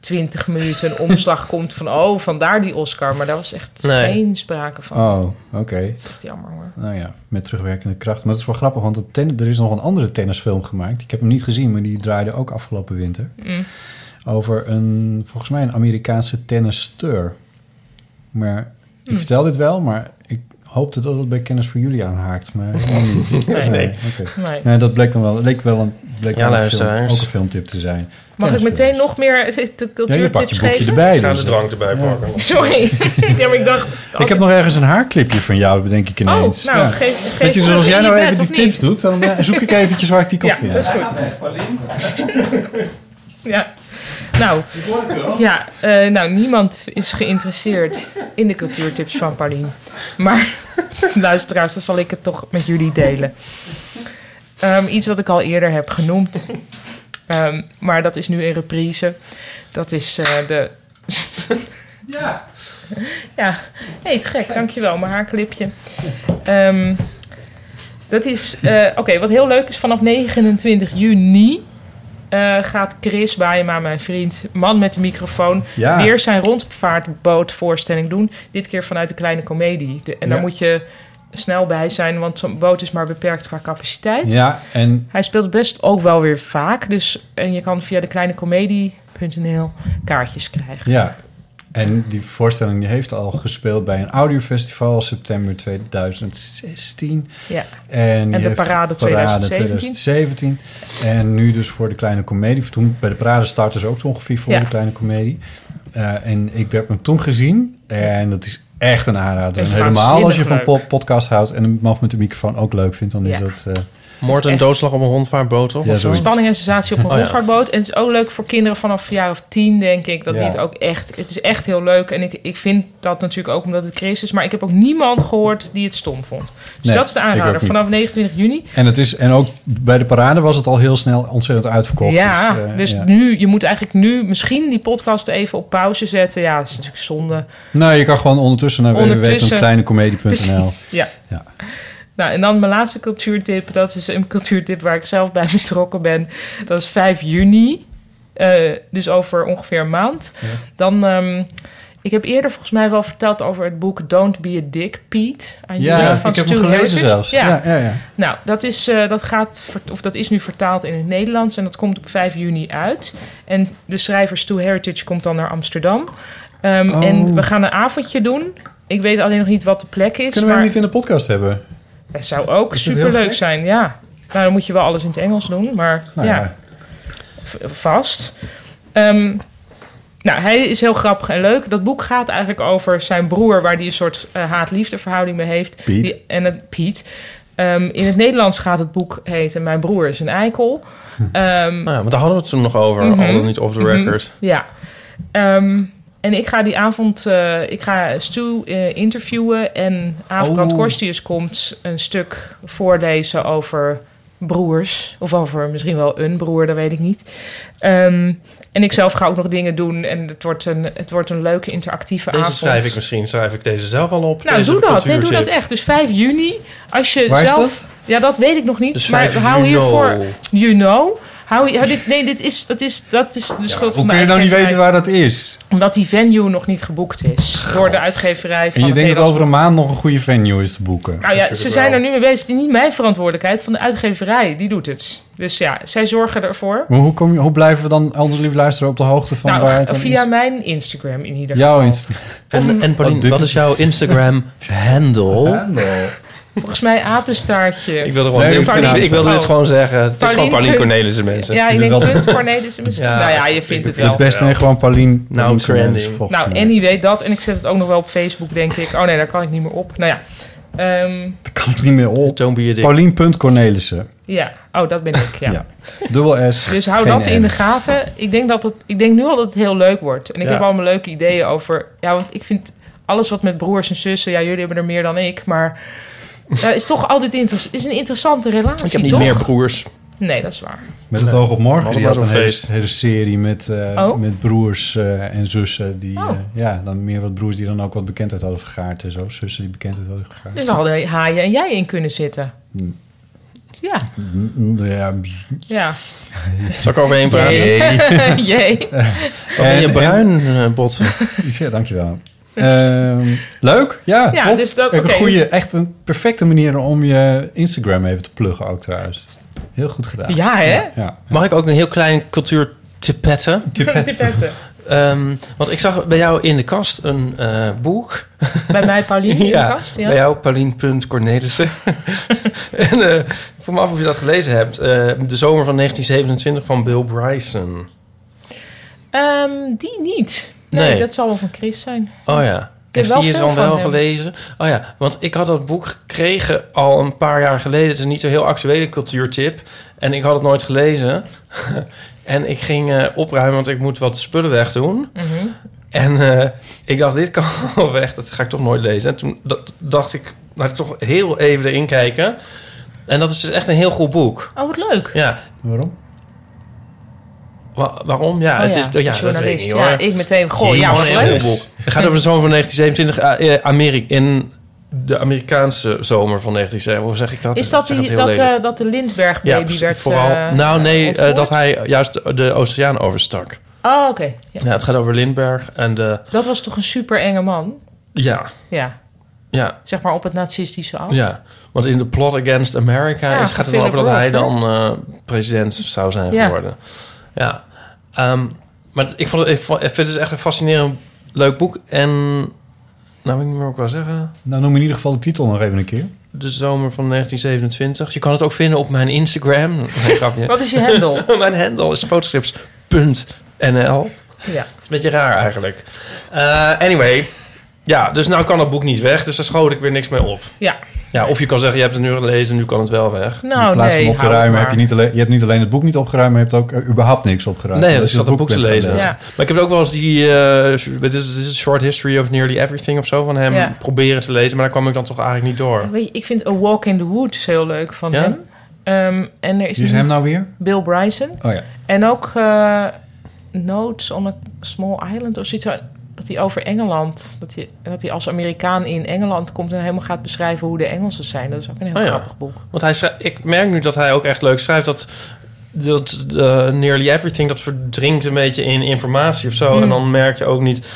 20 minuten een omslag komt van, oh, vandaar die Oscar. Maar daar was echt
Nee.
geen sprake van.
Oh, oké.
Dat is echt jammer hoor.
Nou ja, met terugwerkende kracht. Maar het is wel grappig, want het ten- er is nog een andere tennisfilm gemaakt. Ik heb hem niet gezien, maar die draaide ook afgelopen winter.
Mm.
Over een, volgens mij, een Amerikaanse tennisster. Maar ik
Hm.
vertel dit wel, maar ik hoopte dat het bij Kennis voor jullie aanhaakt. Maar helemaal niet.
Nee, nee.
oké.
Nee.
Nee, dat bleek dan wel, leek wel een, bleek
Ja,
wel een film,
luisteraars.
ook een filmtip te zijn.
Mag ik
Tennisfilms.
meteen nog meer eh, de
Ja, je pakt je
cultuurtips
boekje
geven?
erbij.
Ik ga
dus.
de drank erbij pakken.
Sorry. ja, maar ik dacht...
Ik heb nog ergens een haarclipje van jou, bedenk ik
Oh, nou,
ineens. Ja.
geef,
Weet
geef
je,
me
zoals
in
jij
je
nou
bed,
even die
of niet?
tips doet, dan eh, zoek ik eventjes waar ik die
Ja,
koffie
dat
heb.
is goed. Ja. Nou, ja, eh, nou, niemand is geïnteresseerd in de cultuurtips van Paulien. Maar luisteraars, dan zal ik het toch met jullie delen. Ehm, iets wat ik al eerder heb genoemd, ehm, maar dat is nu in reprise. Dat is eh, de. ja. Ja, hey, te gek, dankjewel, mijn haarklipje. Ehm, dat is, eh, oké, wat heel leuk is, vanaf 29 juni eh, gaat Chris Baaema, mijn vriend, man met de microfoon,
Ja.
weer zijn rondvaartbootvoorstelling doen. Dit keer vanuit de kleine komedie. De- en daar
Ja.
moet je snel bij zijn, want zo'n boot is maar beperkt qua capaciteit.
Ja, en
Hij speelt best ook wel weer vaak, dus en je kan via de kleinecomedie.nl kaartjes krijgen.
Ja, en die voorstelling die heeft al gespeeld bij een audiofestival september 2016.
Ja.
En, die
de
heeft
parade 2017.
2017. En nu dus voor de kleine komedie. Toen, bij de parade startte ze ook zo ongeveer voor
Ja.
de kleine komedie. Eh, en ik heb hem toen gezien. En dat is echt een aanrader.
Is
En helemaal als je van
waanzinnig
po- podcast houdt en een man met de microfoon ook leuk vindt, dan is
Ja.
dat... eh,
Moord en doodslag op een rondvaartboot, toch?
Ja,
Of zoiets?
zoiets. Oh,
Spanning en sensatie op een
ja.
rondvaartboot. En het is ook leuk voor kinderen vanaf een jaar of tien, denk ik. Dat
Ja.
dit ook echt... Het is echt heel leuk. En ik, ik vind dat natuurlijk ook omdat het Chris is. Maar ik heb ook niemand gehoord die het stom vond. Dus
Nee,
dat is de
ik ook
aanrader.
niet.
Vanaf 29 juni.
en, het is, en ook bij de parade was het al heel snel ontzettend uitverkocht.
ja,
dus,
dus,
eh, ja.
nu... Je moet eigenlijk nu misschien die podcast even op pauze zetten. Ja, dat is natuurlijk zonde.
Nou, je kan gewoon ondertussen naar
Ondertussen.
www.kleinecomedie.nl.
Precies, ja.
Ja.
Nou, en dan mijn laatste cultuurtip. Dat is dus een cultuurtip waar ik zelf bij betrokken ben. Dat is 5 juni. Eh, dus over ongeveer een maand. Dan, ehm, ik heb eerder volgens mij wel verteld over het boek Don't Be a Dick, Pete. Aan jullie, van
ik heb
Stu
hem gelezen
Hurwitz.
zelfs.
Ja.
Ja, ja, ja.
Nou, dat is, eh, dat, gaat, ver- of dat is nu vertaald in het Nederlands en dat komt op 5 juni uit. En de schrijver Stu Heritage komt dan naar Amsterdam. Ehm,
Oh.
En we gaan een avondje doen. Ik weet alleen nog niet wat de plek is.
Kunnen we
maar...
hem niet in de podcast hebben?
Dat zou ook
Is dat heel
superleuk
gek?
zijn, ja. Nou, dan moet je wel alles in het Engels doen, maar
Nou
ja,
ja.
v- vast. Ehm, nou, hij is heel grappig en leuk. Dat boek gaat eigenlijk over zijn broer, waar hij een soort eh, haat-liefde verhouding mee heeft.
Piet.
Die- en een Piet. Ehm, in het Nederlands gaat het boek heten Mijn broer is een eikel.
Hm.
Ehm,
Nou ja, want daar hadden we het toen nog over.
Mhm.
Al dan niet off the record.
ja. Ehm, en ik ga die avond, eh, ik ga Stu eh, interviewen en Aafbrand
Oh.
Korstius komt een stuk voorlezen over broers. Of over misschien wel een broer, dat weet ik niet. Ehm, en ik zelf ga ook nog dingen doen en het wordt een, het wordt een leuke interactieve
Deze
avond.
schrijf ik misschien. Schrijf ik deze zelf al op.
Nou,
deze
doe dat. Nee, doe
cultuurtip.
dat echt. Dus 5 juni, als je
Waar is
zelf...
dat?
Ja, dat weet ik nog niet.
Dus
maar
5
hou
you
hiervoor...
know.
You know. Hou, hou dit, nee, dit is, dat, is, dat is de schuld van
Hoe
de
kun je nou niet
uitgeverij
weten waar dat is?
omdat die venue nog niet geboekt is door de uitgeverij van
En je
het
denkt dat
Nederlands
over een maand nog een goede venue is te boeken.
nou ja, ze
Natuurlijk
zijn
wel.
er nu mee bezig. Het is niet mijn verantwoordelijkheid, van de uitgeverij. Die doet het. Dus ja, zij zorgen ervoor.
Maar hoe, kom je, hoe blijven we dan, anders lieve luisteren, op de hoogte van waar
Nou,
het dan
via
is?
mijn Instagram in ieder
Jouw
geval.
Insta-
En, en Paulien,
Oh, dit
wat
is-
is jouw Instagram handle?
handle.
Volgens mij apenstaartje.
Ik wilde, gewoon
Nee,
dit,
Paulien-
ik wilde dit
Oh.
gewoon zeggen. Het is gewoon Paulien
punt.
Cornelissen, mensen.
Ja, ik denk
Wel-
punt Cornelissen misschien.
Ja.
nou ja, je vindt het
Het
wel.
beste en gewoon Paulien.
Nou,
Paulien
trending.
Cornelissen, volgens
Nou,
mij.
en die weet dat. En ik zet het ook nog wel op Facebook, denk ik. Oh nee, daar kan ik niet meer op. Nou ja. Ehm,
Dat kan ik niet meer op.
Don't be a dick.
Paulien.Cornelissen.
ja, oh, dat ben ik. Ja.
Ja. Dubbel S.
Dus hou
geen
dat in
N.
de gaten. Ik denk, dat het, ik denk nu al dat het heel leuk wordt. En ik
Ja.
heb allemaal leuke ideeën over. Ja, want ik vind alles wat met broers en zussen. Ja, jullie hebben er meer dan ik. Maar ja, is toch altijd inter- is een interessante relatie.
Ik heb niet
toch?
meer broers.
Nee, dat is waar.
Met het oog op morgen. Die
Allemaal
had een
zo'n
hele,
feest.
hele serie met, eh,
Oh.
met broers eh, en zussen. Die,
Oh.
eh, ja, dan meer wat broers die dan ook wat bekendheid hadden vergaard en zo. Zussen die bekendheid hadden vergaard.
Dus daar hadden haaien en jij in kunnen zitten.
Hmm.
Ja,
Mm, mm, Ja, bzz.
ja.
Zal ik overheen praten?
Jee. Jee.
En
En-
je
en-
bruin eh, botsen.
Ja, dankjewel. Ehm, leuk, ja,
Ja,
tof.
dus dat-
Ook
oké.
een goede, echt een perfecte manier om je Instagram even te pluggen ook trouwens. Heel goed gedaan.
Ja, hè?
Ja.
Mag ik ook een heel klein cultuur tipetten?
Pipetten.
Ehm, want ik zag bij jou in de kast een eh, boek.
Bij mij Paulien in de kast, ja.
bij jou Paulien.Cornelissen. en eh, ik vroeg me af of je dat gelezen hebt. Eh, de zomer van 1927 van Bill Bryson.
Ehm, die niet. Nee,
Nee.
dat zal wel van Chris zijn.
Oh ja.
heb
Heeft
wel
die je
veel
dan
van
wel
hem.
gelezen? Oh ja, want ik had dat boek gekregen al een paar jaar geleden. Het is niet zo'n heel actuele cultuurtip. En ik had het nooit gelezen. en ik ging eh, opruimen, want ik moet wat spullen wegdoen.
Mhm.
En eh, ik dacht, dit kan wel weg. Dat ga ik toch nooit lezen. En toen dat, dacht ik, laat ik toch heel even erin kijken. En dat is dus echt een heel goed boek.
Oh, wat leuk.
Ja,
Waarom?
wa- waarom? Ja,
Oh
het is... Ja, dat weet ik
journalist.
niet,
ja,
hoor.
ik meteen. Goh,
Jezus.
ja, wat
Gewoon een
leuk.
heel boek. Het gaat over de zomer van 1927 eh, eh, Ameri- in de Amerikaanse zomer van 1927. Hoe zeg ik dat?
Is dat,
zeg het
die,
heel
dat,
lelijk.
eh, dat de Lindbergh-baby
precies,
werd
vooral.
eh,
nou, nee, eh,
ontvoerd?
dat hij juist eh, de oceaan overstak.
Oh, oké. Ja.
Ja, het gaat over Lindbergh en de.
Dat was toch een super enge man?
Ja,
Ja,
ja,
zeg maar op het nazistische af.
ja. Want in The Plot Against America
Oh. Ja,
is, gaat het
van
dan over dat
Philip
hij
Roth,
dan eh, president zou zijn
Ja.
geworden. Ja. Ehm, maar ik, vond, het- ik, vond, ik vind het echt een fascinerend leuk boek. En. Nou, weet ik niet meer wat ik wil zeggen.
Nou, noem in ieder geval de titel nog even een keer.
de zomer van 1927. Je kan het ook vinden op mijn Instagram. Nee, grapje.
Wat is je hendel?
mijn handle is fotostrips.nl.
ja.
Het is een beetje raar eigenlijk. Eh, anyway. Ja, dus nou kan dat boek niet weg. Dus daar schoot ik weer niks mee op.
ja,
Ja, of je kan zeggen, je hebt het nu gelezen, nu kan het wel weg.
nou
in plaats
nee.
van op te
hou het
ruimen
maar.
heb je niet alleen, je hebt niet alleen het boek niet opgeruimd, maar je hebt ook eh, überhaupt niks opgeruimd.
Nee, dus dat
Omdat
is
je
dat een boek te
bent gaan
lezen.
lezen. Ja.
Maar ik heb ook wel eens die... eh, dit is dit is Short History of Nearly Everything of zo van hem
Ja.
proberen te lezen. Maar daar kwam ik dan toch eigenlijk niet door.
Weet je, ik vind A Walk in the Woods heel leuk van
Ja?
hem. Ehm, en er is,
Wie is
nu
hem nou weer?
Bill Bryson.
Oh ja.
En ook eh Notes on a Small Island of zoiets. Dat hij over Engeland, dat hij, dat hij als Amerikaan in Engeland komt en helemaal gaat beschrijven hoe de Engelsen zijn. Dat is ook een heel
Oh ja.
grappig boek.
Want hij schrijft- ik merk nu dat hij ook echt leuk schrijft dat, dat eh, nearly everything dat verdrinkt een beetje in informatie of
Mm.
zo. En dan merk je ook niet.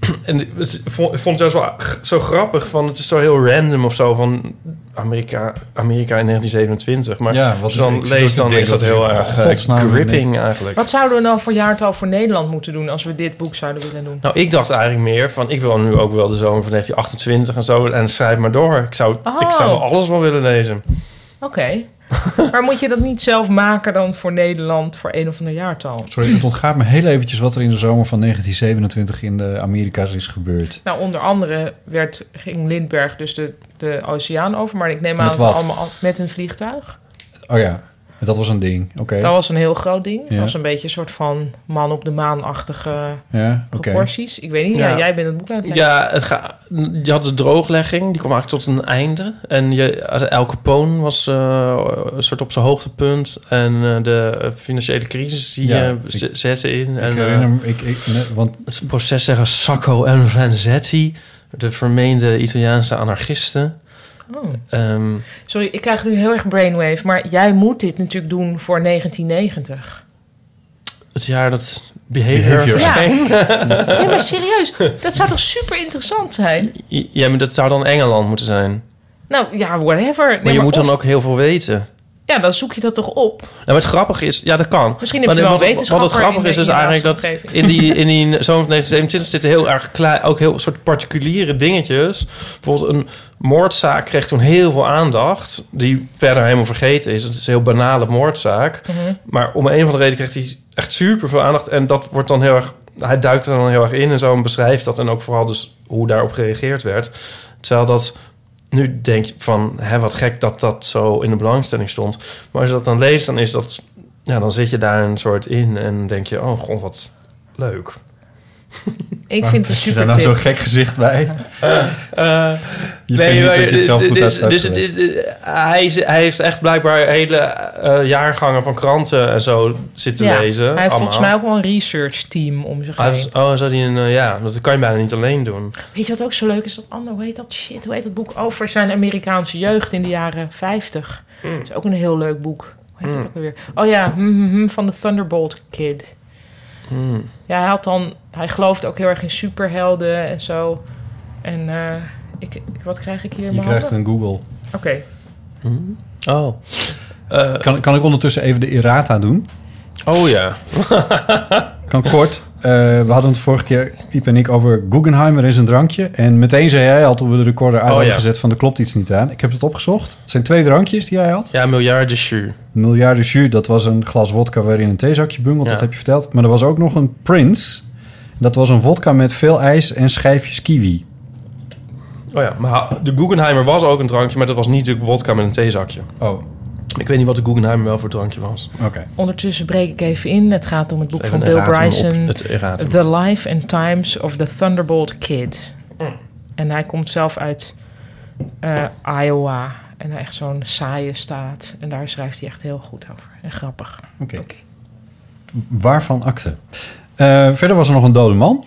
En het, ik vond ik vond het juist wel g- zo grappig van het is zo heel random of zo van Amerika, Amerika in 1927. Maar
Ja, wat
als je
ik
dan
zit ook
leest,
te
dan is
denken,
dat
wat is
heel
in
erg eh,
godsnaam
gripping eigenlijk.
Wat zouden we nou voor jaartal voor Nederland moeten doen als we dit boek zouden willen doen?
Nou, ik dacht eigenlijk meer van ik wil nu ook wel de zomer van 1928 en zo en schrijf maar door. Ik zou, ik
Oh.
zou wel alles wel willen lezen.
Oké. maar moet je dat niet zelf maken dan voor Nederland voor een of ander jaartal?
Sorry, het ontgaat me heel eventjes wat er in de zomer van 1927 in de Amerika's is gebeurd.
Nou, onder andere werd, ging Lindbergh dus de, de oceaan over. Maar ik neem
Met
aan
wat?
allemaal al- met een vliegtuig.
Oh ja, dat was een ding. Oké.
Dat was een heel groot ding.
Ja.
Dat was een beetje een soort van man op de maan-achtige
Ja, oké.
proporties. Ik weet niet, ja.
Ja.
jij bent het boek aan het lezen.
Ja, het ga, je had de drooglegging, die kwam eigenlijk tot een einde. En je, El Capone was eh, een soort op zijn hoogtepunt. En eh, de financiële crisis die
Ja,
eh,
ik-
z- zette in. En,
Ik
eh,
herinner me, ik, ik, nee, want
het proces tegen Sacco en Vanzetti, de vermeende Italiaanse anarchisten.
Oh.
Ehm,
Sorry, ik krijg nu heel erg brainwave. Maar jij moet dit natuurlijk doen voor 1990.
het jaar dat behavior...
Behavior.
Ja.
Ja. Nee, maar serieus. Dat zou toch super interessant zijn?
ja, maar dat zou dan Engeland moeten zijn. Maar,
Nou ja, whatever. Nee,
je moet
of-
dan ook heel veel weten.
ja, dan zoek je dat toch op.
Nou, maar het grappige is, ja, dat kan.
Misschien heb
Maar
je wel
wat-
wetenschapper
Wat het grappige
in
is,
de-
is
in je
eigenlijk dat
omgeving.
in die, in die zomer van 1927 zitten heel erg klein, ook heel soort particuliere dingetjes. Bijvoorbeeld een moordzaak kreeg toen heel veel aandacht, die verder helemaal vergeten is. Het is een heel banale moordzaak.
Mhm.
Maar om een of andere reden kreeg hij echt super veel aandacht. En dat wordt dan heel erg, hij duikt er dan heel erg in en zo en beschrijft dat. En ook vooral dus hoe daarop gereageerd werd. Terwijl dat nu denk je van, hè, wat gek dat dat zo in de belangstelling stond. Maar als je dat dan leest, dan is dat, ja, dan zit je daar een soort in en denk je, oh, god, wat leuk.
Ik vind het een
Daar
super
nou
tip.
zo'n gek gezicht bij.
Eh,
Je vindt niet dat je het zelf goed
dus,
hebt
dus het is- eh, hij, is- hij heeft echt blijkbaar hele eh, jaargangen van kranten en zo zitten
Ja,
lezen.
Hij heeft volgens
allemaal.
mij ook wel een research team om zich
Hij
heen.
heeft- Oh, zou die een, eh, ja, dat kan je bijna niet alleen doen.
Weet je wat ook zo leuk is? Dat ander, hoe heet dat shit? Hoe heet dat boek over zijn Amerikaanse jeugd in de jaren 50?
Hmm.
Dat is ook een heel leuk boek. Hoe heet dat ook alweer? Oh ja, hm, hm, hm, van de Thunderbolt Kid. Ja, hij had dan... Hij gelooft ook heel erg in superhelden en zo. En eh, ik, ik- wat krijg ik hier in
Je
mijn
krijgt
handen?
een Google.
Oké.
Oh.
Kan, kan ik ondertussen even de errata doen?
Oh ja.
Kan kort. Eh, we hadden het vorige keer, Iep en ik, over Guggenheimer en zijn drankje. En meteen zei jij al toen we de recorder uit
Oh,
hadden
ja.
gezet van er klopt iets niet aan. Ik heb het opgezocht. Het zijn twee drankjes die jij had.
Ja, miljarden jus.
Miljarden jus, dat was een glas wodka waarin een theezakje bungelt.
Ja.
Dat heb je verteld. Maar er was ook nog een Prince. Dat was een wodka met veel ijs en schijfjes kiwi.
Oh ja, maar de Guggenheimer was ook een drankje, maar dat was niet de wodka met een theezakje.
Oh, oké.
Ik weet niet wat de Guggenheimer wel voor drankje was.
Ondertussen breek ik even in. Het gaat om het boek van
Even
Bill
erratum op
Bryson.
Het erratum.
The Life and Times of the Thunderbolt Kid. En hij komt zelf uit eh, Iowa. En hij echt zo'n saaie staat. En daar schrijft hij echt heel goed over. En grappig.
Oké. Waarvan akte? Eh, verder was er nog een dode man.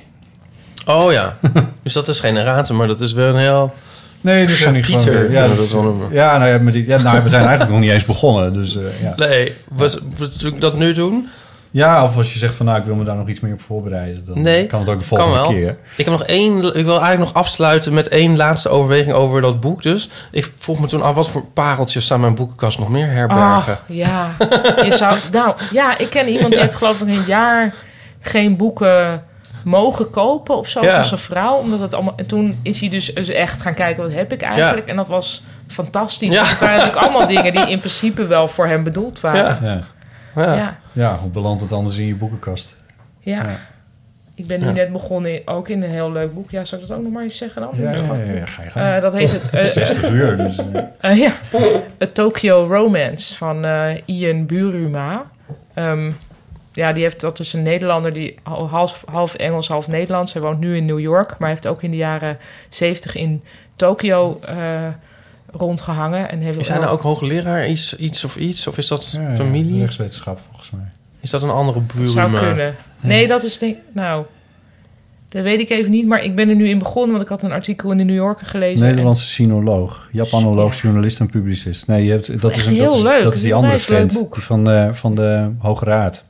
Oh ja, dus dat is geen erratum, maar dat is wel een heel...
Nee, dat zijn niet
Pieter.
gewoon-
Ja, dat is wel een-
Ja, nou, ja, maar die, ja, nou, we zijn eigenlijk nog niet eens begonnen. Dus, eh, ja.
Nee, was, moet ik dat nu doen?
ja, of als je zegt van nou, ik wil me daar nog iets meer op voorbereiden. Dan eh,
Nee,
kan het ook de volgende
kan wel.
keer.
Ik, heb nog één, ik wil eigenlijk nog afsluiten met één laatste overweging over dat boek dus. Ik vroeg me toen af, wat voor pareltjes zou mijn boekenkast nog meer herbergen?
Ah.
Ach, ja. Je zou, nou, ja, ik ken iemand die heeft geloof ik een jaar geen boeken mogen kopen of zo
Ja.
van zijn vrouw. Omdat het allemaal, en toen is hij dus eens echt gaan kijken, wat heb ik eigenlijk? En dat was fantastisch.
Ja.
want Het waren natuurlijk allemaal dingen die in principe wel voor hem bedoeld waren.
Ja.
Ja.
Ja.
ja.
ja, hoe belandt het anders in je boekenkast?
Ja.
Ja.
Ik ben nu net begonnen in- ook in een heel leuk boek. Ja, zou ik dat ook nog maar eens zeggen dan?
Ja, ja, ja, ja, ga je gaan.
Eh, dat heet het, eh,
60 uur. Dus, eh.
eh, ja. het Tokyo Romance van eh, Ian Buruma. Ehm, ja, die heeft, dat is een Nederlander die hal- half, half Engels, half Nederlands. Hij woont nu in New York, maar hij heeft ook in de jaren 70 in Tokyo eh, rondgehangen. En heeft
Is hij nou ook hoogleraar iets, iets of iets? Of is dat familie?
Rechtswetenschap volgens mij.
Is dat een andere eh? buurman?
zou kunnen. Nee, dat is denk Nou, dat weet ik even niet, maar ik ben er nu in begonnen, want ik had een artikel in de New Yorker gelezen. en-
Nederlandse sinoloog, Japanoloog,
Ja.
journalist en publicist. Nee, je hebt, dat, is
Echt
een, dat,
heel
is,
leuk.
dat is die
Een
andere
onwijs leuk
vent
boek.
die van, eh, van de Hoge Raad.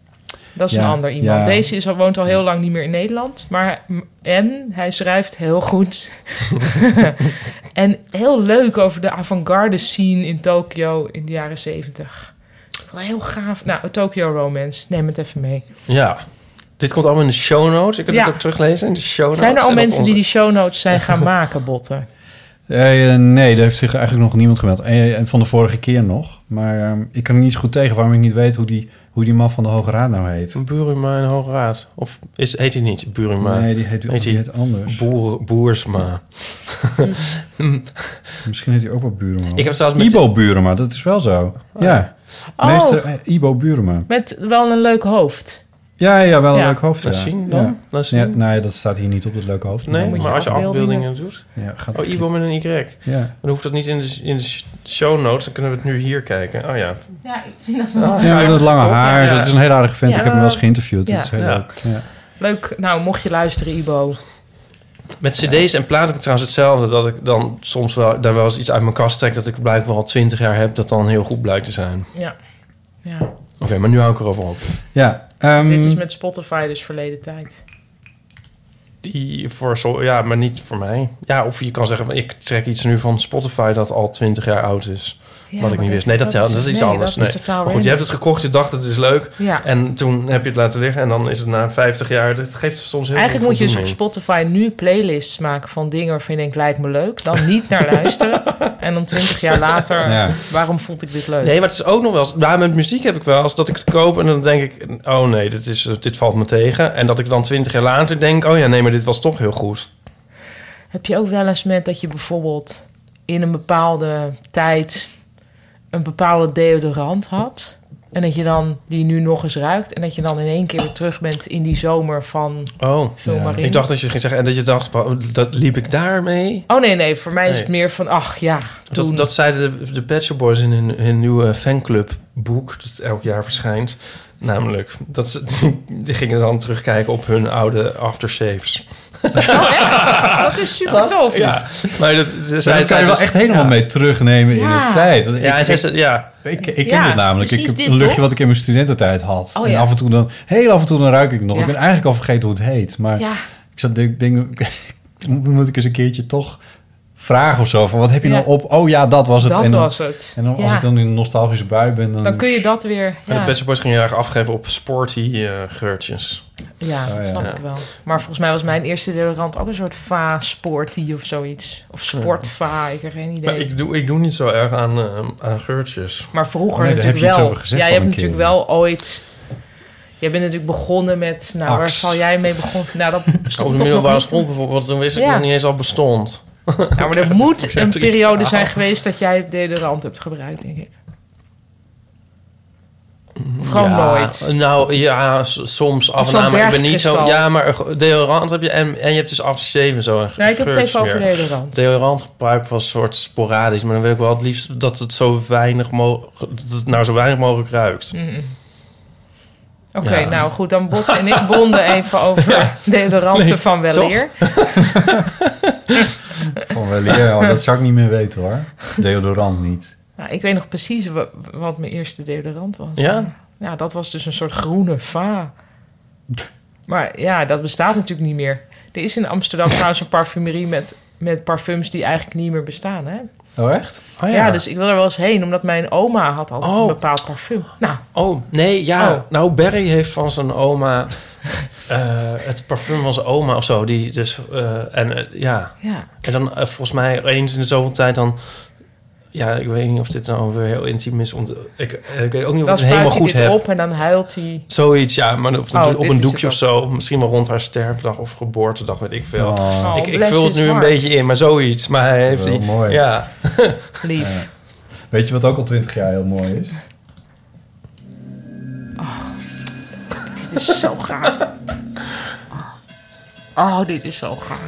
Dat is
Ja,
een ander iemand.
ja.
Deze is al, woont al heel lang niet meer in Nederland. Maar, en hij schrijft heel goed. en heel leuk over de avant-garde scene in Tokio in de jaren zeventig. Heel gaaf. Nou, een Tokyo Romance. Neem het even mee.
Ja. Dit komt allemaal in de show notes. Ik kan
Ja.
het ook teruglezen in de show notes.
Zijn er al
En op
mensen
onze-
die die show notes zijn gaan maken, Botten?
Eh, nee, daar heeft zich eigenlijk nog niemand gemeld. En en van de vorige keer nog. Maar eh, ik kan er niet zo goed tegen waarom ik niet weet hoe die, hoe die man van de Hoge Raad nou heet.
Een Buruma in Hoge Raad. Of is, heet hij niet Buruma?
nee, die heet, die
heet die-
heet anders.
Boer, Boersma.
Misschien heet hij ook wel Burema.
Ik heb trouwens met...
Ibo Burema, dat is wel zo. ja,
Oh.
meester eh, Ibo Burema.
Met wel een leuk hoofd.
Ja, ja, wel een
Ja.
leuk hoofd.
Laat
ja.
zien dan.
Ja.
Laat
Ja,
zien.
nee, dat staat hier niet op het leuke hoofd.
nee,
moet
maar als je
afbeeldingen-
afbeeldingen doet...
Ja, gaat
Oh, Ibo met een Y.
Ja.
Dan hoeft dat niet in de, in de sh- show notes. Dan kunnen we het nu hier kijken. Oh ja.
Ja, ik vind dat wel.
Ja, met dat lange haar.
Ja.
Dat is een heel aardige vent.
Ja.
Ik heb hem wel eens geïnterviewd. Dat is
Ja.
heel
Ja.
leuk. Ja.
Leuk. Nou, mocht je luisteren, Ibo.
Met cd's en platen heb ik trouwens hetzelfde. Dat ik dan soms wel, daar wel eens iets uit mijn kast trek... dat ik blijkbaar al twintig jaar heb... dat dan heel goed blijkt te zijn. Oké,
Ja. ja.
maar nu hou ik erover op.
Ja, ehm,
Dit is met Spotify dus verleden tijd.
die voor zo, ja, maar niet voor mij. Ja, of je kan zeggen, van, ik trek iets nu van Spotify dat al 20 jaar oud is.
Ja,
wat ik niet
maar dat-
wist. Nee, dat,
dat
telt.
is-
Dat is iets
nee,
anders.
dat is
nee.
totaal
maar goed, je
random.
hebt het gekocht, je dacht het is leuk.
Ja.
En toen heb je het laten liggen en dan is het na 50 jaar. Dat geeft soms heel
Eigenlijk
veel
moet je dus op
voldoening.
Spotify nu playlists maken van dingen waarvan je denkt, lijkt me leuk. Dan niet naar luisteren. en dan twintig jaar later,
Ja.
waarom vond ik dit leuk?
Nee, maar het is ook nog wel eens... Ja, met muziek heb ik wel eens dat ik het koop en dan denk ik... Oh nee, dit, is, dit valt me tegen. En dat ik dan 20 jaar later denk... Oh ja, nee, maar dit was toch heel goed.
Heb je ook wel eens met dat je bijvoorbeeld in een bepaalde tijd een bepaalde deodorant had? En dat je dan die nu nog eens ruikt. En dat je dan in één keer weer terug bent in die zomer van
Oh,
zomarin.
ik dacht dat je ging zeggen... En dat je dacht, oh, dat liep ik daarmee?
Oh nee, nee, voor mij is het
Nee.
meer van, ach ja, toen.
Dat, dat zeiden de, de Pet Shop Boys in hun, hun nieuwe fanclubboek, dat elk jaar verschijnt. Namelijk, dat ze, die gingen dan terugkijken op hun oude aftershaves.
Oh, echt? dat is super tof.
Ja, maar dat, ze- zij
Daar kan
zeiden
je wel
dus-
echt helemaal
ja.
mee terugnemen in
Ja.
de tijd. Want
Ja,
ik,
en zij
ik,
zei- ja,
ik, ik ken
Ja,
dit namelijk. Ik
precies
heb
dit,
een luchtje
toch?
wat ik in mijn studententijd had.
Oh,
en
ja.
af en toe dan, heel af en toe dan ruik ik het nog.
Ja.
Ik ben eigenlijk al vergeten hoe het heet. Maar
Ja.
ik zat denk, denk moet ik eens een keertje toch vragen of zo. Van wat heb je
Ja.
nou op? Oh ja, dat was het.
Dat
en dan,
was het.
En dan, als
Ja.
ik dan in een nostalgische bui ben, dan...
Dan kun je dat weer.
de
Ja,
Pet Shop Boys gingen heel erg afgeven op sporty eh, geurtjes.
ja
Oh, ja.
dat snap
Ja.
ik wel. Maar volgens mij was mijn eerste deodorant ook een soort va-sportie of zoiets. Of sportva, ik heb geen idee.
Maar ik doe, ik doe niet zo erg aan, eh, aan geurtjes.
Maar vroeger
Oh Nee, daar
natuurlijk
heb je iets
wel.
over gezegd
jij
al
hebt
een
natuurlijk
keer.
wel ooit. Jij bent natuurlijk begonnen met. Nou, waar
Ax.
zal jij mee begonnen? Nou, dat
Op
stond
de
toch nog
middelbare
niet.
school bijvoorbeeld, toen wist ik
Ja.
nog niet eens al bestond.
Nou, maar er moet
er
een
iets
periode
aan.
zijn geweest dat jij deodorant hebt gebruikt, denk ik. Of gewoon
ja,
nooit.
Nou ja, s- soms af en
zo'n
aan. Maar ik ben niet zo.
bergkristal.
Ja, maar er- deodorant heb je en, en je hebt dus afgeschreven en zo. En
Nou, ik heb het even
geursmeer.
over deodorant.
Deodorant gebruik was soort sporadisch, maar dan wil ik wel het liefst dat het zo weinig mogelijk, dat het nou zo weinig mogelijk ruikt.
Oké,
Ja.
nou goed, dan Bot en ik bonden even over deodoranten
Nee,
van weleer.
Van wel, ja, dat zou ik niet meer weten hoor. Deodorant niet.
Nou, ik weet nog precies wa- wat mijn eerste deodorant was.
Ja?
Ja, dat was dus een soort groene va. Maar ja, dat bestaat natuurlijk niet meer. Er is in Amsterdam trouwens een parfumerie met, met parfums die eigenlijk niet meer bestaan. Hè?
Oh echt?
Oh,
Ja. dus ik wil er wel eens heen, omdat mijn oma had altijd
Oh.
een bepaald parfum. Nou,
Oh nee, ja.
Oh.
Nou, Barry heeft van zijn oma eh, het parfum van zijn oma of zo. Die dus eh, en eh, ja.
ja.
En dan eh, volgens mij eens in de zoveel tijd dan. Ja, ik weet niet of dit nou weer heel intiem is. Want ik, eh, ik weet ook niet of ik
Dan
het helemaal
spuit hij
goed
dit
heb.
op en dan huilt hij.
Zoiets, ja. Maar of, dus
Oh,
op
dit
een
is
doekje of
het
zo. Misschien wel rond haar sterfdag of geboortedag, weet ik veel.
Oh.
ik ik
bless
vul het
his
nu een
heart.
beetje in, maar zoiets. Maar hij heeft
Wel
die...
mooi.
Ja.
Lief.
Weet je wat ook al twintig jaar heel mooi is?
Dit is zo gaaf. Oh, dit is zo gaaf.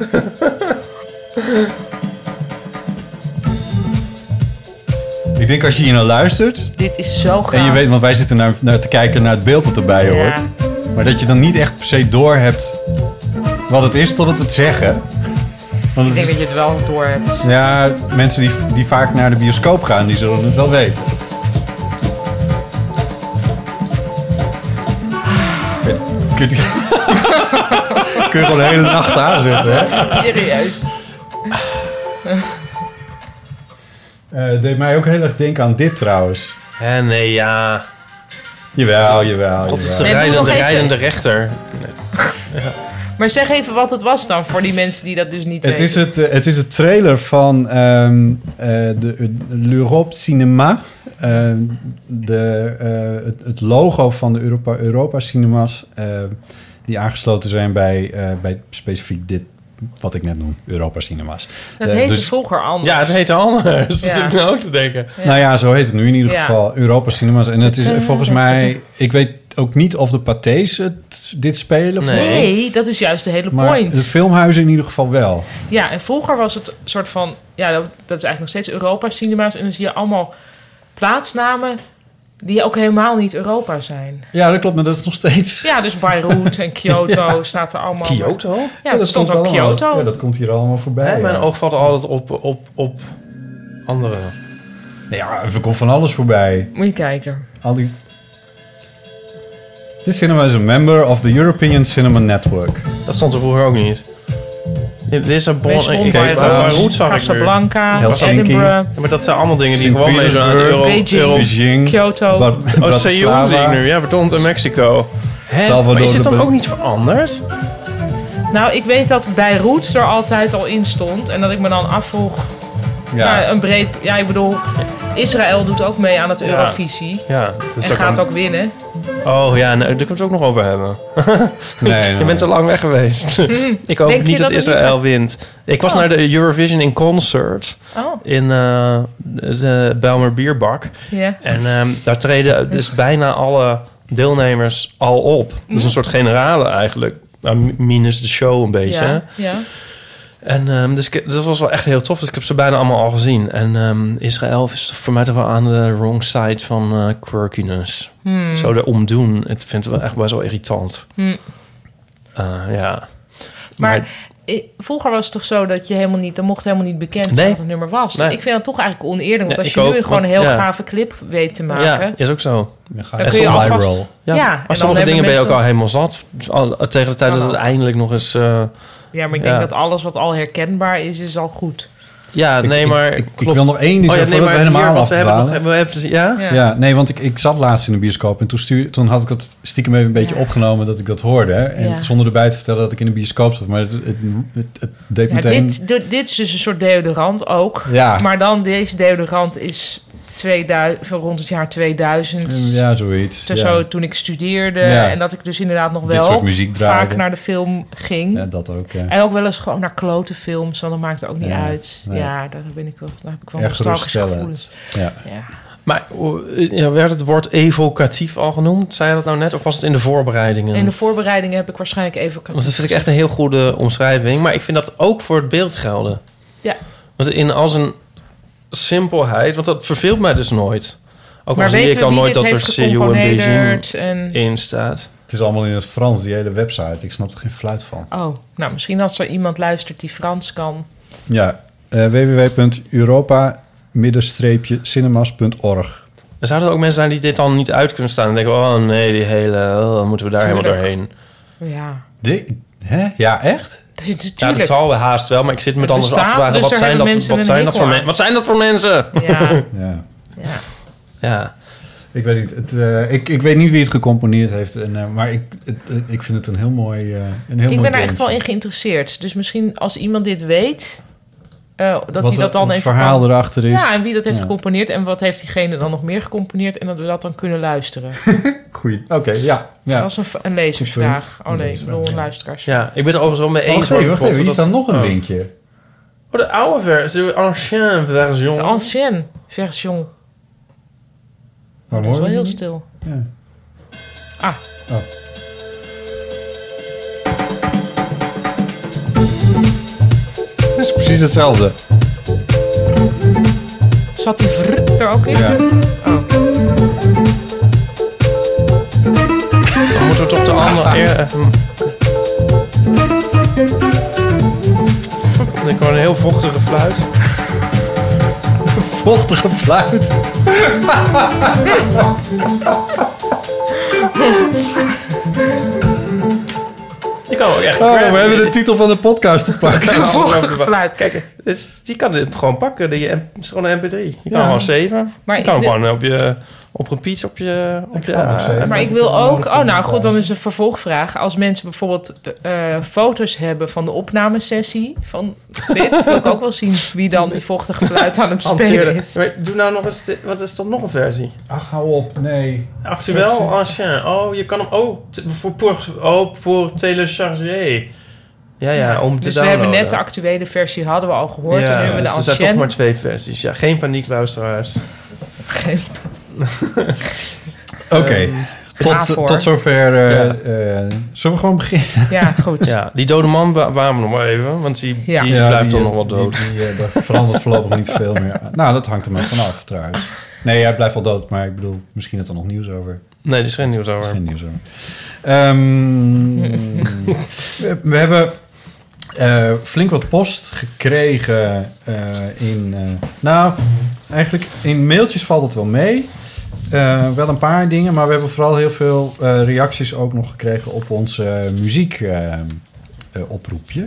Ik denk als je hier naar luistert
Dit is zo gaaf.
en je weet, want wij zitten naar, naar te kijken naar het beeld dat erbij
Ja.
hoort. Maar dat je dan niet echt per se door hebt wat het is totdat het zeggen. Want
Ik
het
denk
is-
dat je het wel door hebt.
ja, mensen die, die vaak naar de bioscoop gaan, die zullen het wel weten. Kun je- Kun je, kun je gewoon de hele nacht aanzetten, hè?
Serieus.
Eh, het deed mij ook heel erg denken aan dit trouwens.
Hè, nee, ja.
Jawel, jawel.
God, het is de
Nee, doe nog
rijdende,
even.
rijdende rechter.
Maar zeg even wat het was dan voor die mensen die dat dus niet
Het
weten.
is het, eh, het is het trailer van ehm, eh, de, eh, L'Europe Cinema. Ehm, de, eh, het, het logo van de Europa, Europa Cinemas. eh, die aangesloten zijn bij, eh, bij specifiek dit, wat ik net noem, Europa Cinemas.
dat
Eh,
heette
dus-
vroeger anders.
Ja, het heet anders. Dat
Ja.
zit ik nou ook te denken.
Ja.
Nou ja, zo heet het nu in ieder
Ja.
geval. Europa Cinemas. En het is eh, volgens mij... Ik weet ook niet of de Pathés het, dit spelen. of
Nee.
niet.
Nee, dat is juist de hele
Maar
point.
de filmhuizen in ieder geval wel.
Ja, en vroeger was het soort van... Ja, dat, dat is eigenlijk nog steeds Europa-cinema's. En dan zie je allemaal plaatsnamen die ook helemaal niet Europa zijn.
Ja, dat klopt, maar dat is nog steeds...
Ja, dus Beirut en Kyoto staat er allemaal...
Kyoto?
Ja, dat stond ook
allemaal.
Kyoto.
Ja, dat komt hier allemaal voorbij.
Hè, mijn
ja.
oog valt altijd op, op, op andere.
Nee, ja, er komt van alles voorbij.
Moet je kijken.
Al die... This cinema is a member of the European Cinema Network.
Dat stond er vroeger ook niet. Lissabon,
Lisbon,
ik weet
Barbados,
waar Roet zag ik weer.
eh, Casablanca,
Helsinki.
Edinburgh,
Ja, maar dat zijn allemaal dingen die
Sint
gewoon meedoen aan de euro.
Beijing.
euro
Beijing,
Kyoto.
Bra-
oh,
Bratislava.
Seoul zie ik nu. Ja, verdomd, en Mexico. Hè?
Salvador
maar is het
de
dan
Bel-
ook niet veranderd?
Nou, ik weet dat Beirut er altijd al in stond. En dat ik me dan afvroeg, ja.
Ja.
een breed... Ja, ik bedoel, Israël doet ook mee aan het Eurovisie.
Ja. Dus
En
dat
gaat
kan-
ook winnen.
Oh ja, nou, daar kunnen we het ook nog over hebben.
Nee, nee,
Je
nee.
bent te lang weg geweest. ik hoop
Hm. Denk je
niet dat,
dat het
Israël
niet
wint. Ik was
Oh.
naar de Eurovision in concert
Oh,
in eh, de Belmer Bierbak.
ja.
En ehm, daar treden dus bijna alle deelnemers al op. Dus een soort generale eigenlijk. Nou, mi- minus de show een beetje. hè?
Ja, ja.
En ehm, dus ik- dat was wel echt heel tof. Dus ik heb ze bijna allemaal al gezien. En ehm, Israël is toch voor mij toch wel aan de wrong side van eh, quirkiness.
Hmm.
Zo er omdoen. Het vindt wel echt best wel irritant. Eh, ja.
Maar eh, vroeger was het toch zo dat je helemaal niet... Dan mocht helemaal niet bekend zijn
Nee.
wat het nummer was.
Nee.
Ik vind dat toch eigenlijk oneerlijk. Want
Ja,
als
ik
je nu
ook,
gewoon een
want-
heel
ja.
gave clip weet te maken...
Ja, is ook zo.
Dan ga
Dan
je
kun je
viral.
alvast...
Ja,
Ja, en
maar
dan
sommige
hebben
dingen ben je ook
mensen-
al helemaal zat. Al- Tegen de tijd dat het eindelijk nog eens... eh,
Ja, maar ik denk
Ja.
dat alles wat al herkenbaar is, is al goed.
ja, nee,
ik-
maar...
ik- ik
klopt. Oh
wil nog één ding zeggen voordat we
hier,
helemaal
want we hebben nog,
afdwalen.
we hebben, ja?
Ja.
Ja, nee, want ik, ik zat laatst in de bioscoop en toen, stuur, toen had ik dat stiekem even een beetje opgenomen dat ik dat hoorde. hè. En
Ja.
zonder erbij te vertellen dat ik in de bioscoop zat, maar het, het, het, het deed
Ja,
meteen...
dit, dit, dit is dus een soort deodorant ook.
Ja.
Maar dan, deze deodorant is 2000, zo rond het jaar 2000.
Mm, Ja, zoiets.
Toen
ja.
Zo toen ik studeerde.
Ja.
En dat ik dus inderdaad nog
Dit
wel
soort muziek draaide.
vaak naar de film ging.
Ja, dat ook. Ja.
En ook wel eens gewoon naar klote films, want dat maakt ook niet
Ja,
uit.
nee.
Ja, daar, ben ik wel, daar heb ik wel
Erg
nostalgische gevoelens.
geruststellend. Ja.
Ja.
Maar eh, ja, werd het woord evocatief al genoemd? Zei je dat nou net? Of was het in de voorbereidingen?
In de voorbereidingen heb ik waarschijnlijk even...
Want dat vind ik echt een heel goede omschrijving. Maar ik vind dat ook voor het beeld gelden.
Ja.
Want in als een simpelheid... Want dat verveelt mij dus nooit. Ook al
Maar
zie
weten
ik
we
dan
wie
nooit
dit
dat er
heeft
CEO en Beijing
gecomponeerd? En...
in staat.
Het is allemaal in het Frans, die hele website. Ik snap er geen fluit van.
Oh, nou misschien als er iemand luistert die Frans kan.
Ja, eh www.europa-cinemas.org.
Er zouden ook mensen zijn die dit dan niet uit kunnen staan. En denken, oh nee, die hele... oh, dan moeten we daar helemaal
Tuurlijk.
doorheen.
Ja,
Dit- Hè? Ja, echt?
Tu- tu-
Ja, dat
tuurlijk.
zal wel haast wel. Maar ik zit me
Het
dan dus af te
bestaat,
vragen...
dus
wat,
daar
zijn
hebben
dat,
mensen
wat,
een
zijn
hekel
dat voor
aan.
men- wat zijn dat voor mensen?
Ja,
Ja.
ja.
Ja.
Ik weet niet. Het, eh, ik, ik weet niet wie het gecomponeerd heeft. En, eh, maar ik, het- het- ik vind het een heel mooi... eh, een heel
Ik
mooi
ben daar echt wel
deuntje.
in geïnteresseerd. Dus misschien als iemand dit weet, eh, dat
Wat
hij dat
het-
dan
het
even
verhaal
kan-
erachter is.
Ja, en wie dat heeft
Ja.
gecomponeerd en wat heeft diegene dan nog meer gecomponeerd en dat we dat dan kunnen luisteren.
Goeie. Oké, ja.
Dat
ja.
was een, v- een lezersvraag. Oh
Een
nee, ik
lezersvraag,
bedoel een
ja.
luisteraars.
ja, ik ben het overigens wel mee eens.
Wacht even, wacht even. Hier
dat-
staat nog een
Oh.
linkje.
Oh, de oude versie, de ancienne version.
De ancienne version. Oh,
Waarom
dat is
hoor
wel
je
heel
niet?
stil.
Ja.
Ah.
Oh. Het is precies hetzelfde.
Zat die vr er ook in?
Ja.
Oh.
Dan moeten we toch de andere...
Ah.
eer- Fuck, Ik hoor een heel vochtige fluit.
Vochtige fluit.
Die kan ook echt...
Oh, we hebben de titel van de podcast te pakken.
Een vochtige fluit.
Kijk, dit, is- die kan dit gewoon pakken. Die, M- het is gewoon een mp3. Je kan
Ja.
gewoon zeven.
Maar
je kan
ik wil-
gewoon op je... Op repeat op je... Op je
ook zeven.
Maar ik wil ook... Oh, nou goed, dan is een vervolgvraag. Als mensen bijvoorbeeld eh, foto's hebben van de opnamesessie van dit... wil ik ook wel zien wie dan die vochtige fluit aan het spelen
Hanteren.
is.
Maar doe nou nog eens... de- wat is dat nog een versie?
Ach, hou op. Nee.
Actueel ancien. Oh, je kan hem... Oh, t- voor, pour, oh, voor télécharger. Ja, ja, om te
Dus we hebben net de
downloaden.
actuele versie hadden we al gehoord. en nu hebben we de
dus er zijn toch
ancienne.
maar twee versies. Ja, geen paniek, luisteraars.
Oké.
Ehm, Ga
Tot,
voor.
tot zover. eh,
Ja.
eh, zullen we gewoon beginnen?
Ja, goed.
Ja, die dode man wa- waren we nog maar even, want die,
Ja.
die blijft toch nog wel
die-
dood.
Die, eh, daar verandert voorlopig niet veel meer. Nou, dat hangt er maar vanaf trouwens. Nee, hij blijft wel dood, maar ik bedoel, misschien dat er nog nieuws over.
Nee, die is geen nieuws
is
over.
geen nieuws over. Ehm, we, we hebben eh, flink wat post gekregen eh, in... eh, nou, eigenlijk in mailtjes valt het wel mee. Eh, wel een paar dingen, maar we hebben vooral heel veel eh, reacties ook nog gekregen op onze muziek. eh, eh, oproepje.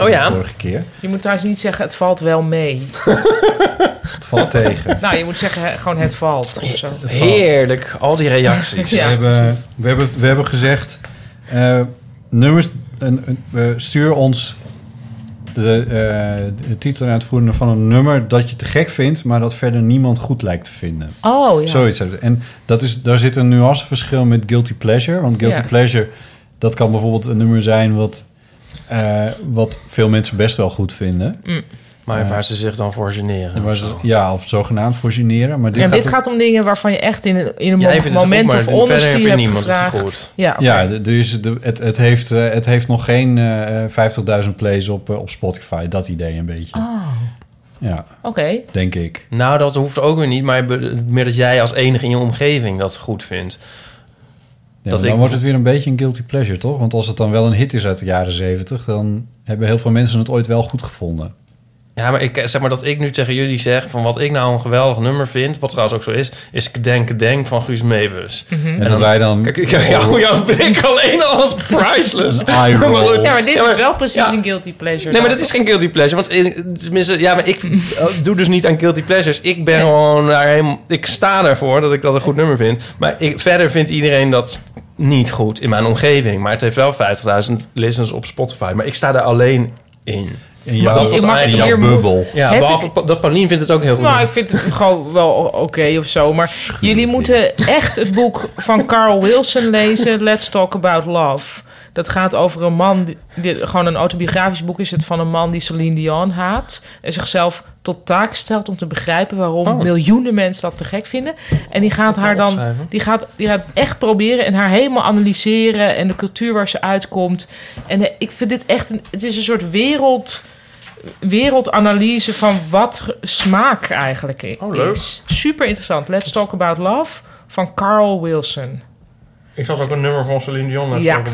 Oh ja.
Van de Vorige keer.
Je moet trouwens niet zeggen, het valt wel mee.
Het valt tegen.
nou, je moet zeggen, hè, gewoon het valt. Of zo.
Heerlijk, al die reacties.
We,
Ja.
hebben, we, hebben, we hebben gezegd, eh, nummers, een, een- eh, stuur ons de, eh, de titel en uitvoerende van een nummer dat je te gek vindt, maar dat verder niemand goed lijkt te vinden.
Oh, ja.
Zoiets. hebben we. En dat is, daar zit een nuanceverschil met Guilty Pleasure. Want Guilty
Ja.
Pleasure, dat kan bijvoorbeeld een nummer zijn wat, eh, wat veel mensen best wel goed vinden.
Mm.
Eh,
Maar waar ze zich dan voor generen.
Waar ze- ja, of zogenaamd voor generen. Maar dit
en
gaat
dit gaat om dingen waarvan je echt in een, in een
Jij
mo-
vindt het
moment
goed, maar
of
verder
onderstuur
vindt
hebt
niemand het
gevraagd.
goed.
Ja, oké.
Ja, de- er is, de, het, het, heeft, eh, het heeft nog geen eh, 50.000 plays op, eh, op Spotify. Dat idee een beetje. Ja,
Oh. Oké.
denk ik.
Nou, dat hoeft ook weer niet. Maar be- meer dat jij als enige in je omgeving dat goed vindt.
Ja,
Dat
maar dan
ik-
wordt het weer een beetje een guilty pleasure, toch? Want als het dan wel een hit is uit de jaren 70... dan hebben heel veel mensen het ooit wel goed gevonden.
Ja, maar ik zeg maar dat ik nu tegen jullie zeg van wat ik nou een geweldig nummer vind, wat trouwens ook zo is, is Denk Denk van Guus Meeuwis.
Mhm.
En, dat wij dan...
Kijk, ik kijk jou, jouw blik alleen al als priceless.
Een eye roll.
Maar goed.
Ja, maar dit
Ja, maar-
is wel precies
ja.
een guilty pleasure.
Nee, maar
dan.
dat is geen guilty pleasure. Want in- tenminste, ja, maar ik eh, doe dus niet aan guilty pleasures. Ik ben gewoon daar helemaal. Ik sta ervoor dat ik dat een goed nummer vind. Maar ik, verder vindt iedereen dat niet goed in mijn omgeving. Maar het heeft wel 50.000 listens op Spotify. Maar ik sta daar alleen in.
in jouw,
dat was
in
eigenlijk-
jouw
hier moet-
bubbel.
Ja,
Heb
behalve
ik-
Pa- dat Paulien vindt het ook heel goed.
Nou, ik vind het gewoon wel o- oké of zo. Maar jullie moeten echt het boek van Carl Wilson lezen. Let's Talk About Love. Dat gaat over een man... die- die- gewoon een autobiografisch boek is het van een man die Celine Dion haat. En zichzelf tot taak stelt om te begrijpen... waarom
Oh.
miljoenen mensen dat te gek vinden. En die gaat haar dan...
opschrijven.
Die gaat, die gaat het echt proberen en haar helemaal analyseren... en de cultuur waar ze uitkomt. En eh, ik vind dit echt... Een, het is een soort wereld wereldanalyse van wat ge- smaak eigenlijk i-
Oh, leuk.
is. Super interessant. Let's Talk About Love van Carl Wilson.
Ik zat ook een nummer van Celine Dion
laatst Ja. Ik-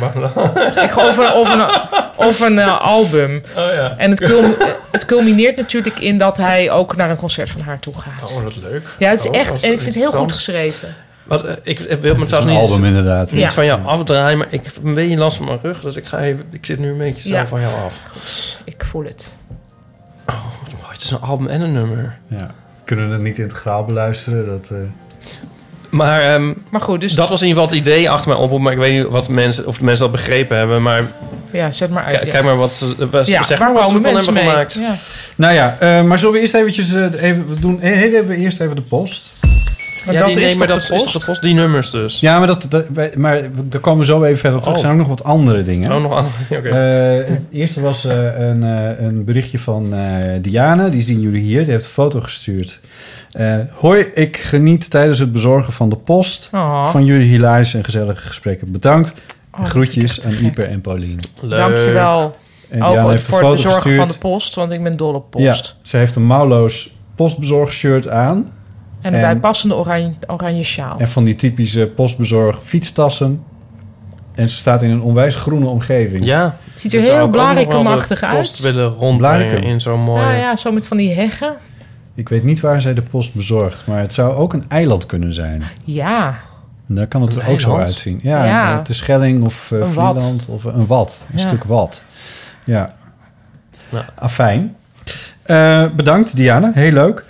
Of een, of een, of een eh, album.
Oh ja.
En het, culm- eh, het culmineert natuurlijk in dat hij ook naar een concert van haar toe gaat.
dat leuk.
Ja, het is
Oh,
echt...
dat is
En ik vind het heel goed
interessant.
geschreven.
Wat, eh, ik, ik wil me
Het is
zelfs
een
niet,
album inderdaad.
niet
Ja.
van jou afdraaien, maar ik heb een beetje last van mijn rug. Dus ik, ga even, ik zit nu een beetje zo
Ja.
van jou af.
Ik voel het.
Oh, het is een album en een nummer.
Ja. Kunnen we het niet integraal beluisteren? Dat, eh,
Maar ehm,
Maar goed, dus...
dat was in ieder geval het idee achter mijn oproep. Maar ik weet niet wat mensen, of de mensen dat begrepen hebben. Maar
ja, zet maar
ki-
uit. ja.
kijk maar wat ze, wat ze-
Ja,
zeg
waar
maar wat ze
komen
ervan
mensen
hebben
mee?
gemaakt.
Ja.
Nou ja, eh, maar zullen we eerst eventjes... eh, even, we doen eh, heel even, eerst even de post.
Maar
Ja,
dat
die- nee,
is
maar
toch
dat
de
is
post?
toch de post? Die nummers dus.
Ja, maar, dat, dat, wij- maar we- daar komen we zo even verder op terug.
Oh.
Er zijn ook nog wat andere dingen.
Oh, nog aan. Oké.
Eh, het eerste was eh, een, eh, een berichtje van eh Diana. Die zien jullie hier. Die heeft een foto gestuurd. Eh, Hoi, ik geniet tijdens het bezorgen van de post
Oh,
van jullie hilarische en gezellige gespreken. Bedankt.
oh,
Groetjes aan
te gek.
Ieper en Paulien.
Leuk.
Dankjewel.
En Diana
Ook
heeft
voor
een
het
foto
bezorgen
gestuurd.
van de post, want ik ben dol op post.
Ja, ze heeft een mouwloos postbezorgshirt aan.
En
En-
een bijpassende oranje, oranje sjaal.
Oh. En van die typische postbezorg fietstassen. En ze staat in een onwijs groene omgeving.
Ja.
Ziet er heel blarikumachtig uit.
post willen rondbrengen
Blarikum.
in zo'n mooie...
Nou ja, zo met van die heggen.
Ik weet niet waar zij de post bezorgt, maar het zou ook een eiland kunnen zijn.
Ja,
En daar kan het
Een
er ook zo
eiland?
uitzien. Ja,
Ja.
eh, de Schelling of eh
Een wat.
Vlieland of een wat. Een
Ja.
stuk wat. Ja.
Ja.
Afijn. Eh, bedankt, Diana. Heel leuk.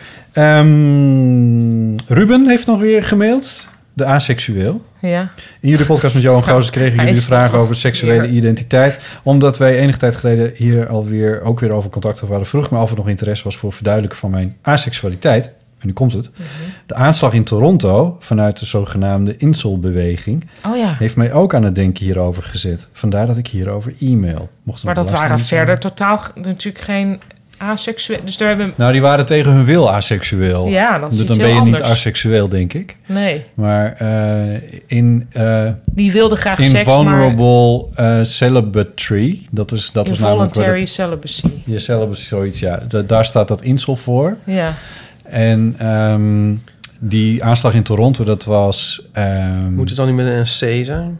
Ehm, Ruben heeft nog weer gemaild. De aseksueel.
ja.
In jullie podcast met Johan Goosens kregen
Hij
jullie de
is
vragen
nog-
over seksuele
Ja.
identiteit. Omdat wij enige tijd geleden hier alweer ook weer over contact over hadden vroeg. Maar of er nog interesse was voor verduidelijken van mijn aseksualiteit. En nu komt het.
Mhm.
De aanslag in Toronto vanuit de zogenaamde inselbeweging
Oh ja,
heeft mij ook aan het denken hierover gezet. Vandaar dat ik hierover e-mail mocht. er
maar
nog eh,
dat waren
belasting zijn.
verder totaal g- natuurlijk geen asexueel. Dus daar hebben...
Nou, die waren tegen hun wil aseksueel.
Ja, dat is
Dus
iets
dan ben
heel
je niet
anders.
aseksueel, denk ik.
Nee,
Maar eh, in eh,
die wilden graag seks, maar...
Invulnerable eh, Celibatry. Dat is, dat is namelijk waar
Involuntary
dat,
celibacy.
je celibacy zoiets, ja. Da- daar staat dat insel voor.
Ja,
En ehm, die aanslag in Toronto, dat was... ehm,
Moet het dan niet met een C zijn?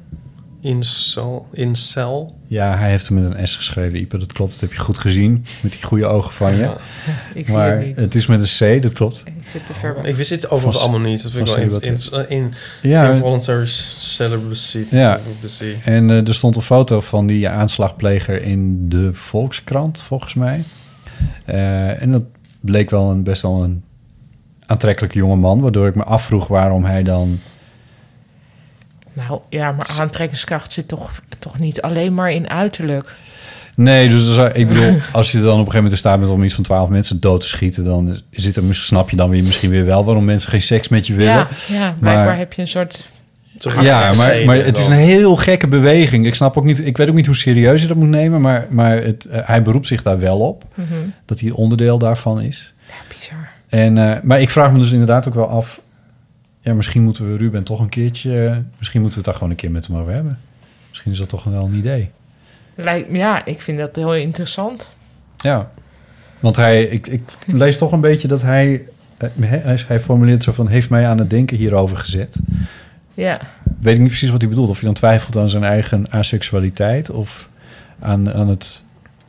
Incel. Incel.
Ja, hij heeft hem met een S geschreven, Ipe. Dat klopt, dat heb je goed gezien. Met die goede ogen van je.
Ja.
Ik zie
Maar
het niet.
het is met een C, dat klopt.
Ik zit te ver weg.
Ik wist dit overigens
Vast-
allemaal niet. Dat vind ik wel
vast
in,
niet
in, in,
Ja,
involuntary celibacy.
Ja.
Celibacy.
En eh, er stond een foto van die eh, aanslagpleger in de Volkskrant, volgens mij. Eh, en dat bleek wel een, best wel een aantrekkelijke jonge man, waardoor ik me afvroeg waarom hij dan.
Nou ja, maar aantrekkingskracht zit toch, toch niet alleen maar in uiterlijk.
Nee, dus er zou- ik bedoel, als je dan op een gegeven moment er staat met om iets van twaalf mensen dood te schieten, dan zit er, mis- snap je dan weer misschien weer wel waarom mensen geen seks met je willen.
Ja, ja blijkbaar
Maar-
heb je een soort...
Toch
Ja, maar,
zeker
maar het is
wel.
een heel gekke beweging. Ik snap ook niet, ik weet ook niet hoe serieus je dat moet nemen, maar, maar het, eh, hij beroept zich daar wel op. Dat hij onderdeel daarvan is.
Mhm. Ja, bizar.
En, eh, maar ik vraag me dus inderdaad ook wel af. Ja, misschien moeten we Ruben toch een keertje. eh, Misschien moeten we het daar gewoon een keer met hem over hebben. Misschien is dat toch wel een idee.
Lijkt, ja, ik vind dat heel interessant.
Ja. Want hij, ik, ik lees toch een beetje dat hij. eh, hè, Hij, hij formuleert zo van: heeft mij aan het denken hierover gezet.
Ja,
Weet ik niet precies wat hij bedoelt. Of hij dan twijfelt aan zijn eigen asexualiteit of aan, aan het.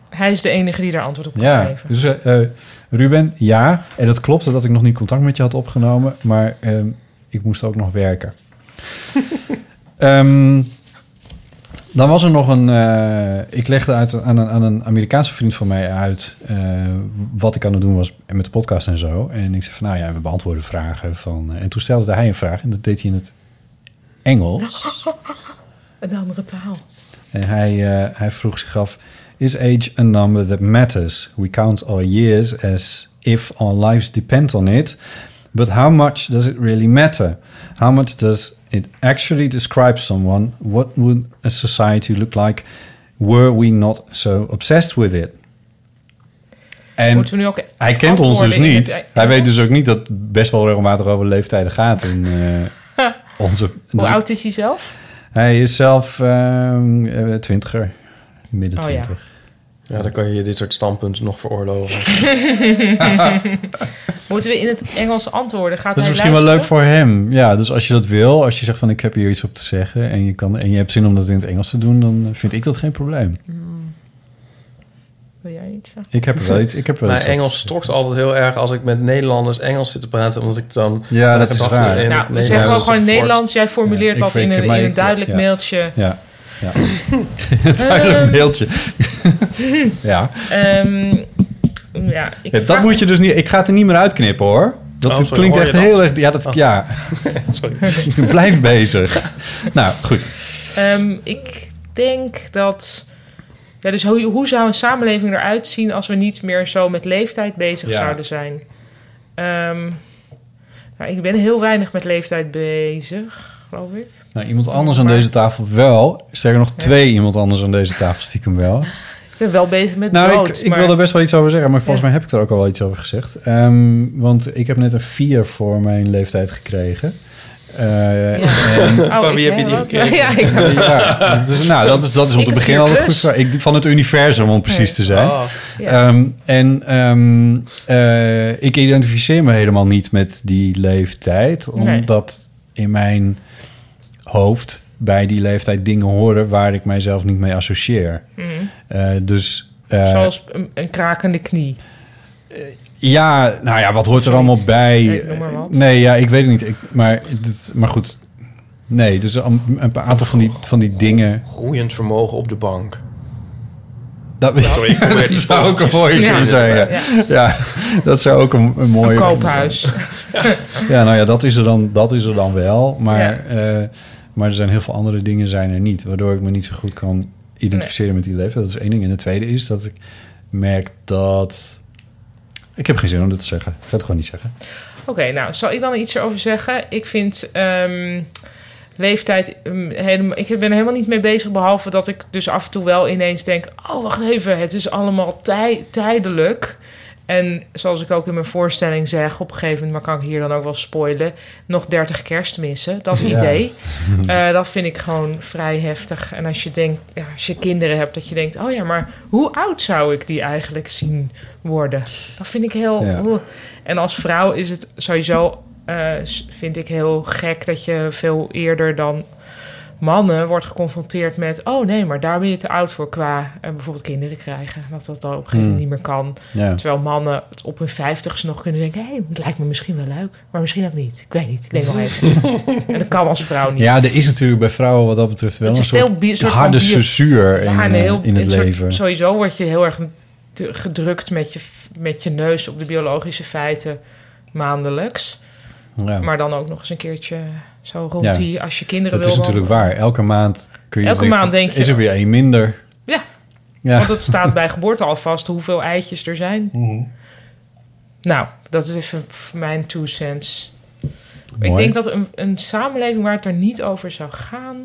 hij is de enige die daar antwoord op kan
Ja.
geven.
Dus eh, eh, Ruben, ja. En dat klopt dat ik nog niet contact met je had opgenomen. Maar ehm, ik moest ook nog werken. Ehm, dan was er nog een. eh, ik legde uit aan, een, aan een Amerikaanse vriend van mij uit eh, wat ik aan het doen was met de podcast en zo. En ik zei van nou ja, we beantwoorden vragen van. eh, en toen stelde hij een vraag en dat deed hij in het Engels.
Een andere taal.
En hij, eh, hij vroeg zich af: Is age a number that matters? We count our years as if our lives depend on it. But how much does it really matter? How much does it actually describe someone? What would a society look like were we not so obsessed with it? En
Moeten we nu ook
hij kent ons dus
antwoorden in
niet.
het
hij weet
Engels?
dus ook niet dat het best wel regelmatig over leeftijden gaat in eh, onze.
Hoe
dus ik-
oud is hij zelf?
hij is zelf ehm, eh, twintiger. Midden
Oh,
twintig.
Ja, dan kan je je dit soort standpunten nog veroorloven.
Moeten we in het Engels antwoorden? Gaat
Dat is
hij
misschien wel leuk
luisteren?
voor hem. Ja, dus als je dat wil, als je zegt van ik heb hier iets op te zeggen... en je, kan, en je hebt zin om dat in het Engels te doen... dan vind ik dat geen probleem.
Wil jij iets zeggen?
Ik heb er wel iets. Ik heb er wel
Mijn
iets op
Engels
te
stort altijd heel erg als ik met Nederlanders Engels zit te praten, omdat ik dan...
Ja,
mijn
dat is
gedachten
waar.
in het
Nou, we
Nederlands
zeggen
voort-
gewoon gewoon Nederlands. Jij formuleert
Ja,
dat
ik weet
in
het,
een,
maar
in een
ik-
duidelijk
ja.
mailtje.
zeggen. Ja, ja. het duidelijk beeldje. ja,
Ehm, ja, ik
Ja, dat
vraag-
moet je dus niet... Ik ga het er niet meer uitknippen, hoor. Dat
Oh,
dit
sorry,
klinkt
hoor
echt
je dat? Oh.
heel erg... Ja, dat, ja,
Sorry.
blijf bezig. Nou, goed.
Ehm, ik denk dat. Ja, dus hoe, hoe zou een samenleving eruit zien als we niet meer zo met leeftijd bezig
Ja.
zouden zijn? Ehm, nou, ik ben heel weinig met leeftijd bezig, geloof ik.
Nou, iemand anders aan deze tafel wel. Sterker nog, twee iemand anders aan deze tafel stiekem wel.
Ik ben wel bezig met
Nou,
brood.
ik, ik
maar-
wil er best wel iets over zeggen, maar volgens
Ja.
mij heb ik er ook al wel iets over gezegd. Ehm, want ik heb net een 4 voor mijn leeftijd gekregen. Eh, en-
Oh,
Van
ik-
wie heb je die
hè, wat?
gekregen?
Ja, ik dacht-
ja, dat is, nou, dat is, dat is om
Ik
te
een Oh.
begin
4
al een
plus.
goed vraag. Ik, van het universum, om precies te zijn.
Ah,
ja.
Ehm, en ehm, eh, ik identificeer me helemaal niet met die leeftijd,
Nee.
omdat in mijn hoofd bij die leeftijd dingen horen waar ik mijzelf niet mee associeer.
Mhm.
Eh, dus. eh,
Zoals een, een krakende knie.
Ja, nou ja, wat hoort er allemaal bij?
Nee, noem maar wat.
Nee, ja, ik weet het niet. Ik, maar, dit- maar goed. Nee, dus een, een paar aantal van die, van die dingen.
groeiend vermogen op de bank.
Dat,
Sorry, ik probeer
dat
iets
zou ook een
positiefs
mooie
te
zin
verzinnen.
zijn. Ja. Ja. dat zou ook een, een mooie.
Een koophuis.
Oh, Ja, nou ja, dat is er dan, dat is er dan wel. Maar,
Ja.
eh, maar er zijn heel veel andere dingen zijn er niet. Waardoor ik me niet zo goed kan identificeren met die leeftijd. Dat is één ding. En de tweede is dat ik merk dat. Ik heb geen zin om dit te zeggen. Ik ga het gewoon niet zeggen.
Oké, nou, zal ik dan iets erover zeggen? Ik vind ehm, leeftijd... ehm, helemaal, ik ben er helemaal niet mee bezig... behalve dat ik dus af en toe wel ineens denk... oh, wacht even, het is allemaal tij- tijdelijk... En zoals ik ook in mijn voorstelling zeg, op een gegeven moment, maar kan ik hier dan ook wel spoilen, nog 30 kerstmissen. Dat
Ja.
idee. Eh, dat vind ik gewoon vrij heftig. En als je denkt, ja, als je kinderen hebt, dat je denkt, oh ja, maar hoe oud zou ik die eigenlijk zien worden? Dat vind ik heel.
Ja.
oeh. En als vrouw is het sowieso, eh, s- vind ik heel gek dat je veel eerder dan mannen wordt geconfronteerd met... oh nee, maar daar ben je te oud voor qua eh, bijvoorbeeld kinderen krijgen. Dat dat dan op een gegeven moment niet
Hmm.
meer kan.
Ja.
Terwijl mannen het op hun vijftigste nog kunnen denken... hé, hey, het lijkt me misschien wel leuk, maar misschien ook niet. Ik weet niet, ik denk wel even. en dat kan als vrouw niet.
ja, er is natuurlijk bij vrouwen wat dat betreft wel
Het
een
is
soort,
veel bi- soort van
harde
bio-
censuur in,
Ja, en
eh,
heel-
in het
soort-
leven.
sowieso word je heel erg te- gedrukt met je, f- met je neus op de biologische feiten maandelijks.
Ja.
Maar dan ook nog eens een keertje zo rond
Ja.
die, als je kinderen
dat
wil
is natuurlijk
wandelen.
waar. Elke maand kun je
Elke
denken,
maand denk je-
Is er weer één minder?
Ja.
Ja.
Want het staat bij geboorte al vast hoeveel eitjes er zijn. Nou, dat is even f- mijn two cents. Ik
Mooi.
denk dat een, een samenleving waar het er niet over zou gaan...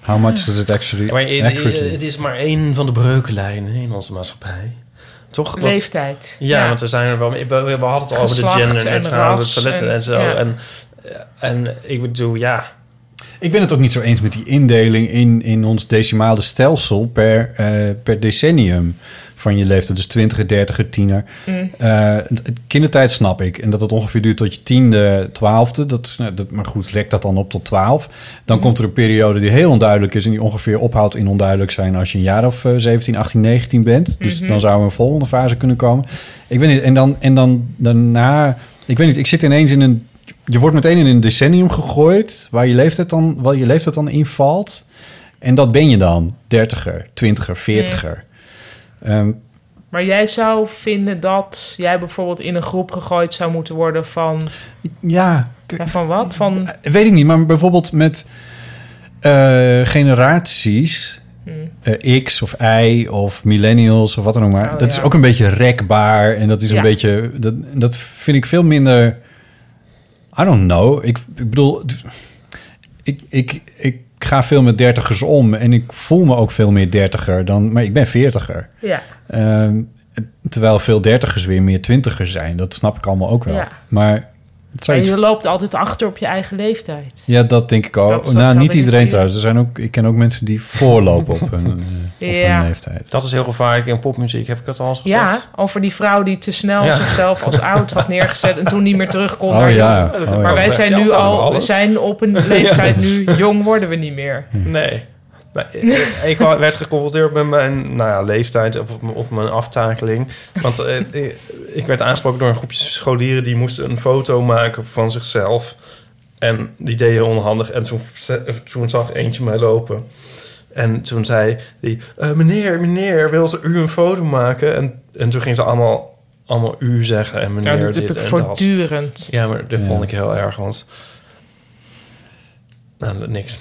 How much does it actually...
Maar i-
accurately?
i- het is maar één van de breukenlijnen in onze maatschappij. Toch? Want-
leeftijd.
Ja, want er zijn er wel. We, we hadden het al over de
Geslacht en
genderneutrale
ras
toiletten
en-
en zo.
ja.
En, eh, en ik bedoel, ja.
Ik ben het ook niet zo eens met die indeling in, in ons decimale stelsel per, eh, per decennium van je leeftijd. Dus 20, 30, tiener. Eh, het- het kindertijd snap ik. En dat het ongeveer duurt tot je tiende, twaalfde. Dat, is- nou, dat, maar goed, lek dat dan op tot twaalf. Dan komt er een periode die heel onduidelijk is... en die ongeveer ophoudt in onduidelijk zijn als je een jaar of eh, 17, 18, 19 bent. Dus dan zou een volgende fase kunnen komen. Ik weet niet, en dan, en dan daarna... Ik weet niet, ik zit ineens in een je wordt meteen in een decennium gegooid waar je leeftijd dan, waar je leeftijd dan in valt. En dat ben je dan. Dertiger, twintiger, veertiger. Ehm,
Maar jij zou vinden dat jij bijvoorbeeld in een groep gegooid zou moeten worden van...
ja, ik-
Ja, van wat? Van,
eh,
eh, weet ik niet. Maar bijvoorbeeld met eh, generaties...
Hmm.
eh, X of Y of millennials of wat dan ook maar.
Oh,
dat
ja.
is ook een beetje rekbaar. En dat is een
Ja.
beetje... Dat, dat vind ik veel minder... I don't know. Ik, ik bedoel... ik, ik, ik ga veel met dertigers om en ik voel me ook veel meer dertiger dan, maar ik ben veertiger.
ja,
Ehm, terwijl veel dertigers weer meer twintiger zijn. Dat snap ik allemaal ook wel.
Ja.
Maar het zou
en
iets-
je loopt altijd achter op je eigen leeftijd.
ja, dat denk ik
Dat-
ook.
dat
nou,
geldt
niet
denk ik
iedereen
voor
trouwens. Er zijn ook, ik ken ook mensen die voorlopen op hun, eh, op
Ja.
hun leeftijd.
Dat is heel gevaarlijk in popmuziek, heb ik het al eens
Ja,
gezegd.
over die vrouw die te snel
Ja.
zichzelf als oud had neergezet en toen niet meer terug kon.
Oh
naar
ja.
jong.
Oh,
Maar
ja.
wij
Dat
zijn
geldt
nu
allemaal
al,
alles.
zijn op een leeftijd nu, jong worden we niet meer.
Nee. Maar ik- ik werd geconfronteerd met mijn nou ja, leeftijd of, of mijn aftakeling. Want eh, ik- ik werd aangesproken door een groepje scholieren... die moesten een foto maken van zichzelf. En die deden onhandig. En toen, ze- toen zag eentje mij lopen. En toen zei die... eh, meneer, meneer, wilt u een foto maken? En, en toen ging ze allemaal, allemaal u zeggen en
Ja,
meneer
dat heb
dit
ik
en dat.
voortdurend.
Ja, maar dat
Ja.
vond ik heel erg, want... Nou, niks.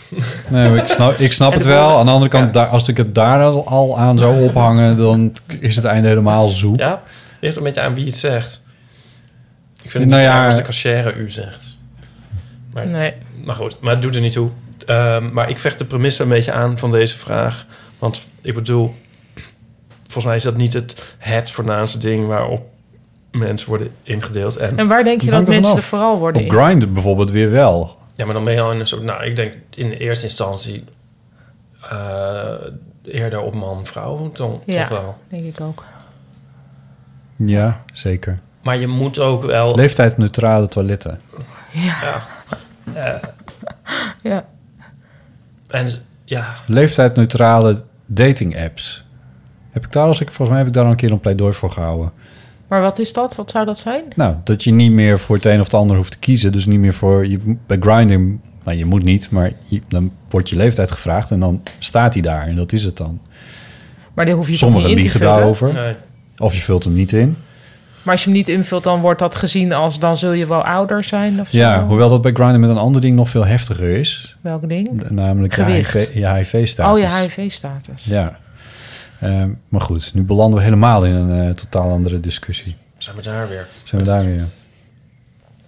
Nee, maar ik snap, ik snap het wel. Aan de andere kant,
Ja.
daar, als ik het daar al- al aan zou ophangen... dan is het einde helemaal zoek.
Ja, ligt een beetje aan wie het zegt. Ik vind het
Nou
niet
ja.
raar als de cashier u zegt. Maar,
Nee.
maar goed, maar het doet er niet toe. Ehm, maar ik vecht de premisse een beetje aan van deze vraag. Want ik bedoel, volgens mij is dat niet het, het voornaamste ding waarop mensen worden ingedeeld. En,
En waar denk je
Het
dat
hangt
mensen
ervan
er
af.
vooral worden
Op
in?
Grindr bijvoorbeeld weer wel.
ja, maar dan ben je al in een soort, nou, ik denk in de eerste instantie eh, eerder op man-vrouw dan
Ja.
toch wel.
Denk ik ook.
Ja, zeker.
Maar je moet ook wel...
Leeftijdsneutrale toiletten.
Ja.
En, ja,
Leeftijdsneutrale dating apps. Heb ik daar als ik volgens mij heb ik daar al een keer een pleidooi voor gehouden.
Maar wat is dat? Wat zou dat zijn?
Nou, dat je niet meer voor het een of het ander hoeft te kiezen, dus niet meer voor je bij grinding. Nou, je moet niet, maar je- dan wordt je leeftijd gevraagd en dan staat hij daar en dat is het dan.
Maar daar hoef je toch
Sommigen
niet in te
liegen
vullen?
daarover,
nee.
of je vult hem niet in.
Maar als je hem niet invult, dan wordt dat gezien als... dan zul je wel ouder zijn of zo.
Ja, hoewel dat bij grinding met een ander ding nog veel heftiger is,
Welk ding?
namelijk je
Gewicht.
HIV je HIV-status.
Oh, je HIV-status.
Ja. Ehm, maar goed, nu belanden we helemaal in een eh, totaal andere discussie.
Zijn we daar weer?
Zijn we daar weer?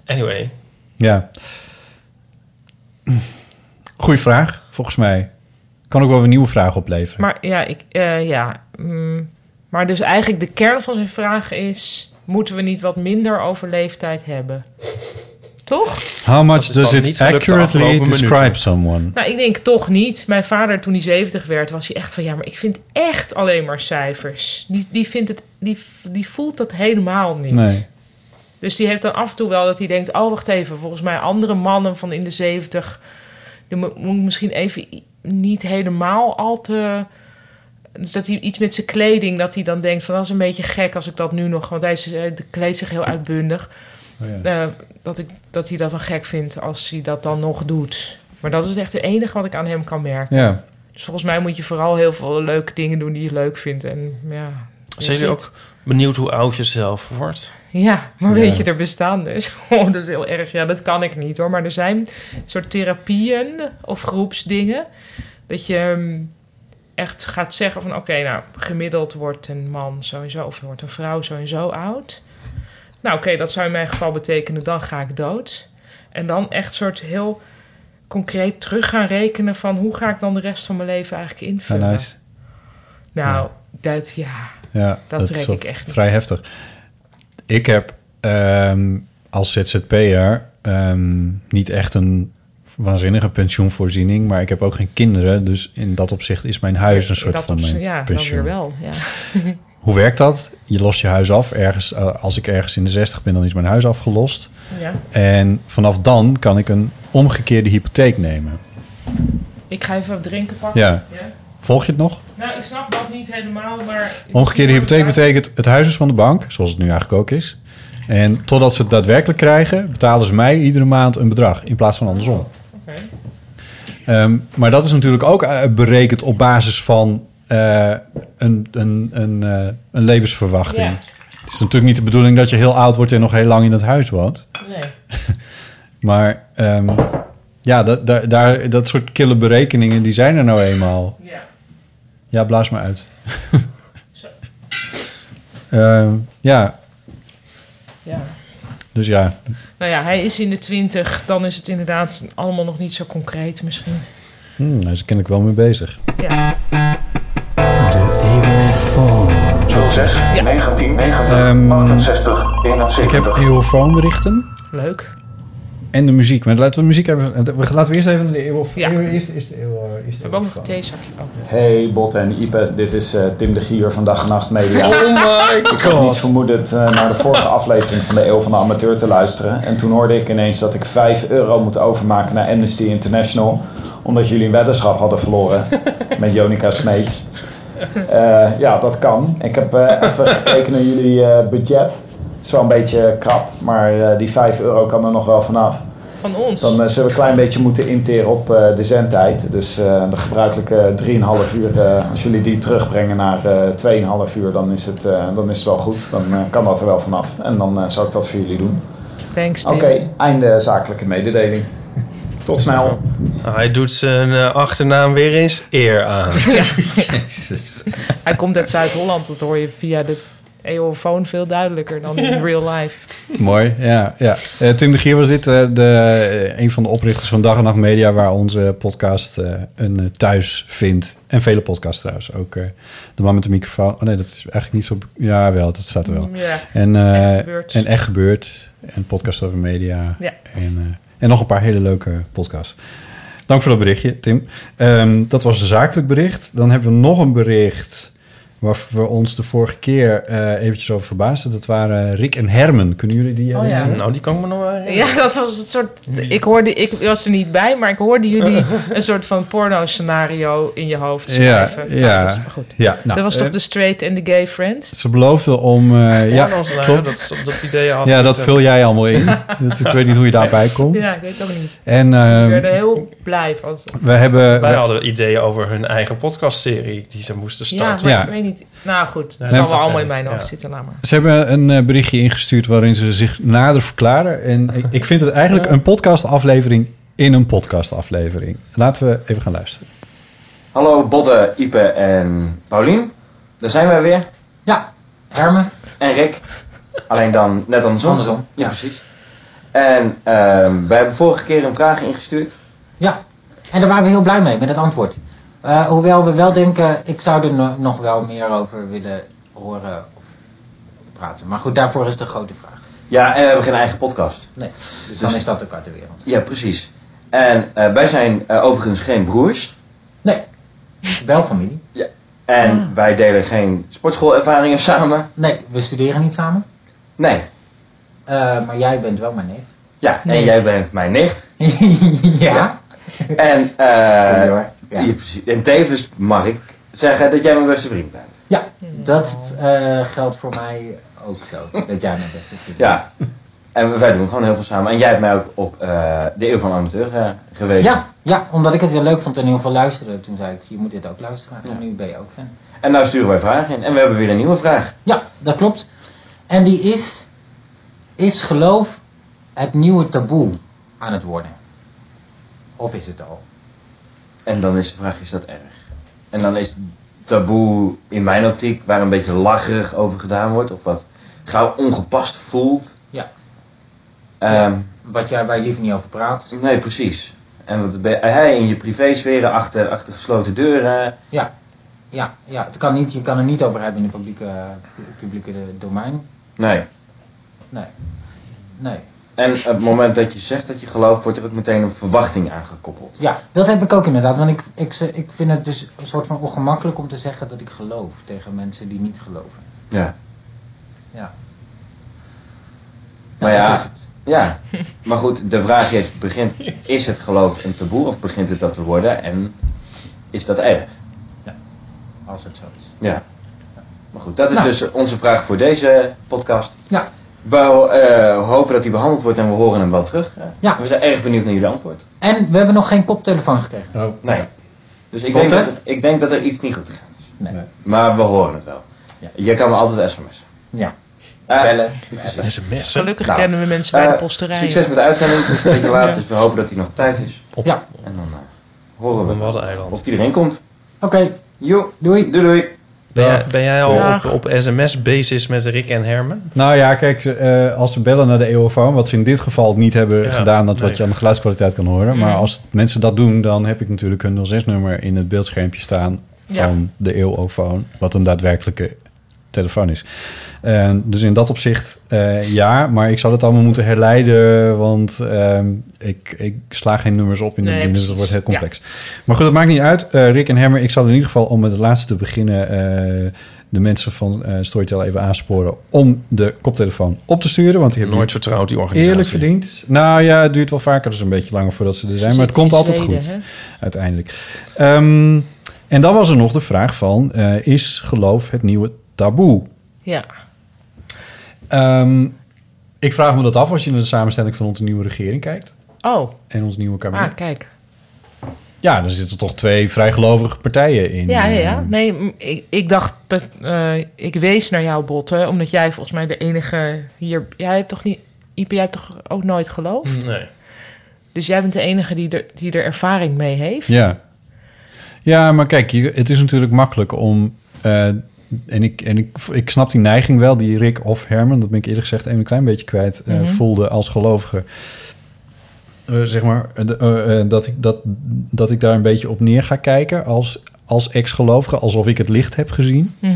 Anyway,
Ja. Goeie vraag, volgens mij. Kan ook wel weer een nieuwe vraag opleveren.
Maar ja, ik, eh, ja. mm. maar dus eigenlijk de kern van zijn vraag is... moeten we niet wat minder over leeftijd hebben? toch?
How
Dat
much
is dan
does
niet
it
gelukt de
accurately
afgelopen
describe
minuten.
someone?
Nou, ik denk toch niet. Mijn vader, toen hij 70 werd, was hij echt van... ja, maar ik vind echt alleen maar cijfers. Die, die, vindt het, die, die voelt dat helemaal niet.
Nee.
Dus die heeft dan af en toe wel dat hij denkt... oh, wacht even, volgens mij andere mannen van in de 70... dan mo- moet ik misschien even i- niet helemaal al te... Dus dat hij iets met zijn kleding, dat hij dan denkt van dat is een beetje gek als ik dat nu nog... Want hij, is- eh, hij kleedt zich heel uitbundig.
Oh ja.
Eh, dat, ik, dat hij dat dan gek vindt als hij dat dan nog doet. Maar dat is echt het enige wat ik aan hem kan merken.
Ja.
Dus volgens mij moet je vooral heel veel leuke dingen doen die je leuk vindt. En ja,
Zijn jullie ook benieuwd hoe oud je zelf wordt?
ja, maar
Ja.
weet je, er bestaan dus. Oh, dat is heel erg. Ja, dat kan ik niet hoor. Maar er zijn soort therapieën of groepsdingen. Dat je ehm, echt gaat zeggen van... Oké, nou, gemiddeld wordt een man zo en zo... of wordt een vrouw zo en zo oud. Nou, oké, dat zou in mijn geval betekenen... dan ga ik dood. En dan echt soort heel concreet terug gaan rekenen... van hoe ga ik dan de rest van mijn leven eigenlijk
Ja,
invullen.
Ah, nice.
Nou, dat ja...
Ja,
Dat
is
trek
wel
ik echt niet.
Vrij heftig. Ik heb ehm, als ZZP'er ehm, niet echt een waanzinnige pensioenvoorziening, maar ik heb ook geen kinderen, dus in dat opzicht is mijn huis een soort
dat
van
op z'n-
mijn
ja,
pensioen.
dan weer wel. Ja.
Hoe werkt dat? Je lost je huis af ergens. eh, als ik ergens in de 60 ben, dan is mijn huis afgelost.
Ja.
En vanaf dan kan ik een omgekeerde hypotheek nemen.
Ik ga even wat drinken pakken.
Ja. Volg je het nog?
Nou, ik snap dat niet helemaal, maar...
Omgekeerde hypotheek betekent het huis is van de bank, zoals het nu eigenlijk ook is. En totdat ze het daadwerkelijk krijgen, betalen ze mij iedere maand een bedrag in plaats van andersom.
Oké.
Ehm, maar dat is natuurlijk ook eh, berekend op basis van eh, een, een, een, eh, een levensverwachting.
Ja.
Het is natuurlijk niet de bedoeling dat je heel oud wordt en nog heel lang in het huis woont.
Nee.
Maar ehm, ja, dat, daar, daar, dat soort kille berekeningen, die zijn er nou eenmaal.
Ja.
Ja, blaas maar uit. Ehm, ja,
ja.
dus ja.
Nou ja, hij is in de twintig. Dan is het inderdaad allemaal nog niet zo concreet misschien.
Hmm, daar is kennelijk wel mee bezig.
Ja. Ja.
19, 90,
Ehm,
68, 71.
Ik heb eeuwfoon berichten
Leuk.
en de muziek. Maar laten we muziek hebben. Eh, we- Laten we eerst even de eeuwfoon.
Ja.
Eerst, eerst de eeuw, eerst
We hebben ook nog een theezakje. Oh.
Hey Bot en Ipe, dit is eh, Tim de Gier van Dag en Nacht Media.
Oh
Ik had niet vermoedend eh, naar de vorige aflevering van de Eeuw van de Amateur te luisteren. En toen hoorde ik ineens dat ik 5 euro moet overmaken naar Amnesty International. Omdat jullie een weddenschap hadden verloren met Jonica Smeets. Eh, ja, dat kan. Ik heb eh, even gekeken naar jullie eh, budget. Het is wel een beetje krap, maar eh, die 5 euro kan er nog wel vanaf.
Van ons.
Dan eh, zullen we een klein beetje moeten interen op eh, de zendtijd. Dus eh, de gebruikelijke 3,5 uur. eh, als jullie die terugbrengen naar eh 2,5 uur, dan is, het, eh, dan is het wel goed. Dan eh, kan dat er wel vanaf. En dan eh, zal ik dat voor jullie doen.
Thanks, Tim.
Oké, einde zakelijke mededeling. Tot snel.
Nou, hij doet zijn eh, achternaam weer eens eer aan.
Hij komt uit Zuid-Holland. Dat hoor je via de eeuwofoon veel duidelijker dan in real life.
Mooi, ja. ja. Eh, Tim de Gier was dit, eh, de, eh, een van de oprichters van Dag en Nacht Media... waar onze podcast eh, een eh, thuis vindt. En vele podcasts trouwens. Ook eh, de man met de microfoon. Oh nee, dat is eigenlijk niet zo... Ja, wel, dat staat er wel.
Ja.
En, eh,
Echt gebeurd.
en Echt Gebeurd. En podcast over media.
Ja.
En, eh, en nog een paar hele leuke podcasts. Dank voor dat berichtje, Tim. Ehm, dat was een zakelijk bericht. Dan hebben we nog een bericht waar we ons de vorige keer eh, eventjes over verbaasden. Dat waren Rick en Herman. Kunnen jullie die
Oh,
herinneren?
Nou, die kan ik me nog wel
Oh,
herinneren.
Ja, dat was het soort. Ik, hoorde, ik was er niet bij, maar ik hoorde jullie een soort van porno-scenario in je hoofd
Ja,
schrijven. Nou,
ja.
dat is maar goed.
Ja, nou,
dat was toch
eh,
de straight and the gay friend?
Ze beloofden om... eh, ja,
Porno's lagen,
klopt.
Dat, dat idee had
ja,
ik,
dat
eh,
vul jij allemaal in. dat, ik weet niet hoe je daarbij komt.
Ja, ik weet het ook niet.
En
Ik
ehm,
werd er heel blij van.
we hebben...
Wij hadden ideeën over hun eigen podcastserie die ze moesten
Ja, maar
starten.
Ja.
ik weet niet. Nou goed,
Ja,
dat zal
dat-
wel allemaal in mijn
ja.
hoofd zitten, laat maar.
Ze hebben een eh, berichtje ingestuurd waarin ze zich nader verklaren. En ik, ik vind het eigenlijk een podcastaflevering in een podcastaflevering. Laten we even gaan luisteren.
Hallo Bodde, Ipe en Paulien. Daar zijn wij weer. Ja, Herman. En Rick. Alleen dan net andersom. Andersom, ja, precies. En ehm, wij hebben vorige keer een vraag ingestuurd.
Ja, en daar waren we heel blij mee met het antwoord. Eh, hoewel we wel denken, ik zou er no- nog wel meer over willen horen of praten. Maar goed, daarvoor is de grote vraag.
Ja, en we hebben geen eigen podcast.
Nee, dus dan is dat ook uit de wereld.
Ja, precies. En eh, wij zijn eh, overigens geen broers.
Nee, wel familie.
En
Ah.
wij delen geen sportschoolervaringen samen.
Nee, we studeren niet samen.
Nee.
Eh, maar jij bent wel mijn neef.
Ja, en jij bent mijn nicht.
ja.
En, eh
Sorry hoor. Ja.
je- precies. en tevens mag ik zeggen dat jij mijn beste vriend bent.
Ja, dat eh, geldt voor mij ook zo. Dat jij mijn beste vindt.
Ja. En we- wij doen gewoon heel veel samen. En jij hebt mij ook op eh, de Eeuw van de Amateur eh, gewezen.
Ja, ja, omdat ik het heel leuk vond en heel veel luisterde. Toen zei ik, je moet dit ook luisteren. En nu ben je ook fan.
En nou sturen wij vragen in. En we hebben weer een nieuwe vraag.
Ja, dat klopt. En die is, is geloof het nieuwe taboe aan het worden? Of is het al?
En dan is de vraag, is dat erg? En dan is taboe in mijn optiek, waar een beetje lacherig over gedaan wordt. Of wat gauw ongepast voelt.
Ja.
Ehm,
Wat jij bij liever niet over praat.
Nee, precies. En wat ben hij in je privésferen achter, achter gesloten deuren.
Ja, ja, ja het kan niet, je kan er niet over hebben in het publieke, publieke domein.
Nee.
Nee. Nee.
En op het moment dat je zegt dat je gelooft, wordt er ook meteen een verwachting aangekoppeld.
Ja, dat heb ik ook inderdaad. Want ik, ik, ze- ik vind het dus een soort van ongemakkelijk om te zeggen dat ik geloof tegen mensen die niet geloven.
Ja.
Ja.
Maar
dat
ja.
is het.
Ja. Maar goed, de vraag is, begint, is het geloof een taboe of begint het dat te worden? En is dat erg?
als het zo is.
Ja. Maar goed, dat is
Nou.
dus onze vraag voor deze podcast.
Ja.
We eh, hopen dat die behandeld wordt en we horen hem wel terug.
Ja.
We zijn erg benieuwd naar jullie antwoord.
En we hebben nog geen koptelefoon gekregen.
Nee. Dus ik
Klopt,
denk,
hè?
dat, er- ik denk dat er iets niet goed gaat.
Nee.
Maar we horen het wel.
Ja.
Je kan me altijd sms'en.
Ja.
Eh,
Bellen.
precies.
SMS.
Gelukkig
Nou,
kennen we mensen bij de
eh,
posterij.
Succes met de uitzending. Het is een beetje laat, dus we hopen dat hij nog op tijd is.
Op-
Ja.
En dan eh, horen
Op
we
een
of
waddeneiland.
die erin komt.
Oké,
Jo,
doei.
doei doei.
Ben jij, ben jij al op,
Dag.
op sms-basis met Rick en Herman?
Nou ja, kijk, eh, als ze bellen naar de eeuwofoon... wat ze in dit geval niet hebben
Ja,
gedaan... dat wat
nee.
je aan de geluidskwaliteit kan horen. Maar
Mm.
als mensen dat doen, dan heb ik natuurlijk een 06-nummer... in het beeldschermpje staan
Ja.
van de eeuwofoon... wat een daadwerkelijke telefoon is. En dus in dat opzicht eh, ja, maar ik zou dat allemaal moeten herleiden... want ehm, ik, ik sla geen nummers op in de
Nee,
dingen, dus dat
precies.
wordt heel
Ja.
complex. Maar goed, dat maakt niet uit. Eh, Rick en Hammer, ik zal in ieder geval om met het laatste te beginnen... eh, de mensen van eh Storytel even aansporen om de koptelefoon op te sturen. Want die hebben
Nooit vertrouwd die
die
organisatie.
eerlijk verdiend. Nou ja, het duurt wel vaker, dus een beetje langer voordat ze er zijn. Maar het komt altijd goed, uiteindelijk. Ehm, en dan was er nog de vraag van, eh, is geloof het nieuwe taboe?
Ja.
Ehm, ik vraag me dat af als je naar de samenstelling van onze nieuwe regering kijkt.
Oh,
En ons nieuwe kabinet.
ah, kijk.
Ja, er zitten toch twee vrij gelovige partijen in.
Ja, ja, ja.
eh,
Nee, m- ik, ik dacht dat... eh, ik wees naar jou, Botte, omdat jij volgens mij de enige hier... Jij hebt toch niet... Ipe, jij hebt toch ook nooit geloofd?
Mm,
Nee.
Dus jij bent de enige die er, die er ervaring mee heeft?
Ja. Ja, maar kijk, je- het is natuurlijk makkelijk om. eh, en ik, en ik, ik snap die neiging wel, die Rick of Herman, dat ben ik eerlijk gezegd even een klein beetje kwijt, eh,
Mhm.
voelde als gelovige. Eh, zeg maar, eh, de- eh, eh, dat, ik, dat, dat ik daar een beetje op neer ga kijken als, als ex-gelovige, alsof ik het licht heb gezien.
Mhm.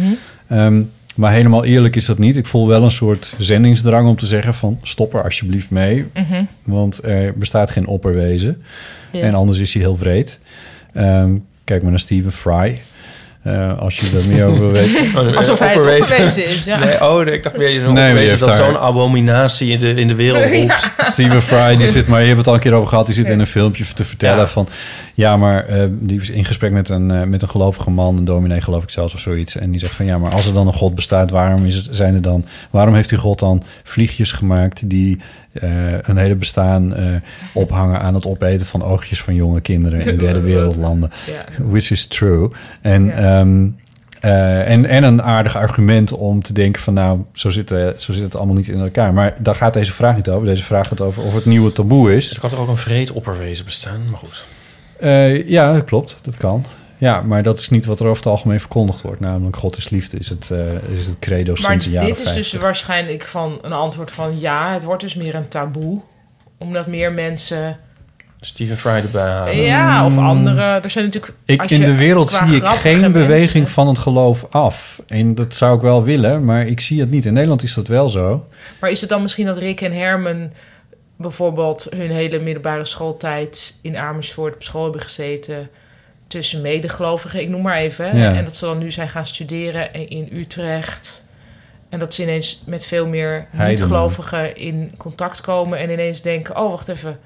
Ehm, maar helemaal eerlijk is dat niet. Ik voel wel een soort zendingsdrang om te zeggen van stop er alsjeblieft mee,
mhm.
want er bestaat geen opperwezen.
Ja.
En anders is hij heel vreed. Ehm, kijk maar naar Steven Fry. Eh, als je er meer over wil weten.
Oh,
Alsof hij het opgewezen is, ja.
Nee, oh, ik dacht weer je
Nee, maar die
opgewezen
heeft
dat
daar-
zo'n abominatie in de, in de wereld roept.
Steven Fry, die zit maar, je hebt het al een keer over gehad, die zit in een filmpje te vertellen
Ja.
van. Ja, maar eh, die is in gesprek met een, eh, met een gelovige man, een dominee geloof ik zelfs of zoiets. En die zegt van ja, maar als er dan een God bestaat, waarom, is het, zijn er dan, waarom heeft die God dan vliegjes gemaakt die eh, een hele bestaan eh, ophangen aan het opeten van oogjes van jonge kinderen in derde wereldlanden?
Ja.
Which is true. En,
Ja.
ehm, eh, en, en een aardig argument om te denken van... nou, zo zit, eh, zo zit het allemaal niet in elkaar. Maar daar gaat deze vraag niet over. Deze vraag gaat over of het nieuwe taboe is.
Er kan toch ook een vreed opperwezen bestaan? Maar goed.
Eh, ja, dat klopt. Dat kan. Ja, maar dat is niet wat er over het algemeen verkondigd wordt. Namelijk God is liefde is het, eh, is het credo
Maar
sinds de jaren
dit is
50.
dus waarschijnlijk van een antwoord van ja, het wordt dus meer een taboe. Omdat meer mensen.
Steven Fry erbij halen.
ja, of anderen. Er zijn natuurlijk.
Mm. Ik,
als
in
je-
de wereld
qua
zie ik
grappige
geen
mensen-
beweging van het geloof af. En dat zou ik wel willen, maar ik zie het niet. In Nederland is dat wel zo.
Maar is het dan misschien dat Rick en Herman bijvoorbeeld hun hele middelbare schooltijd in Amersfoort op school hebben gezeten? Tussen medegelovigen, ik noem maar even. hè?
Ja.
En dat ze dan nu zijn gaan studeren in Utrecht. En dat ze ineens met veel meer
Heidenen.
niet-gelovigen in contact komen. En ineens denken: oh, wacht even.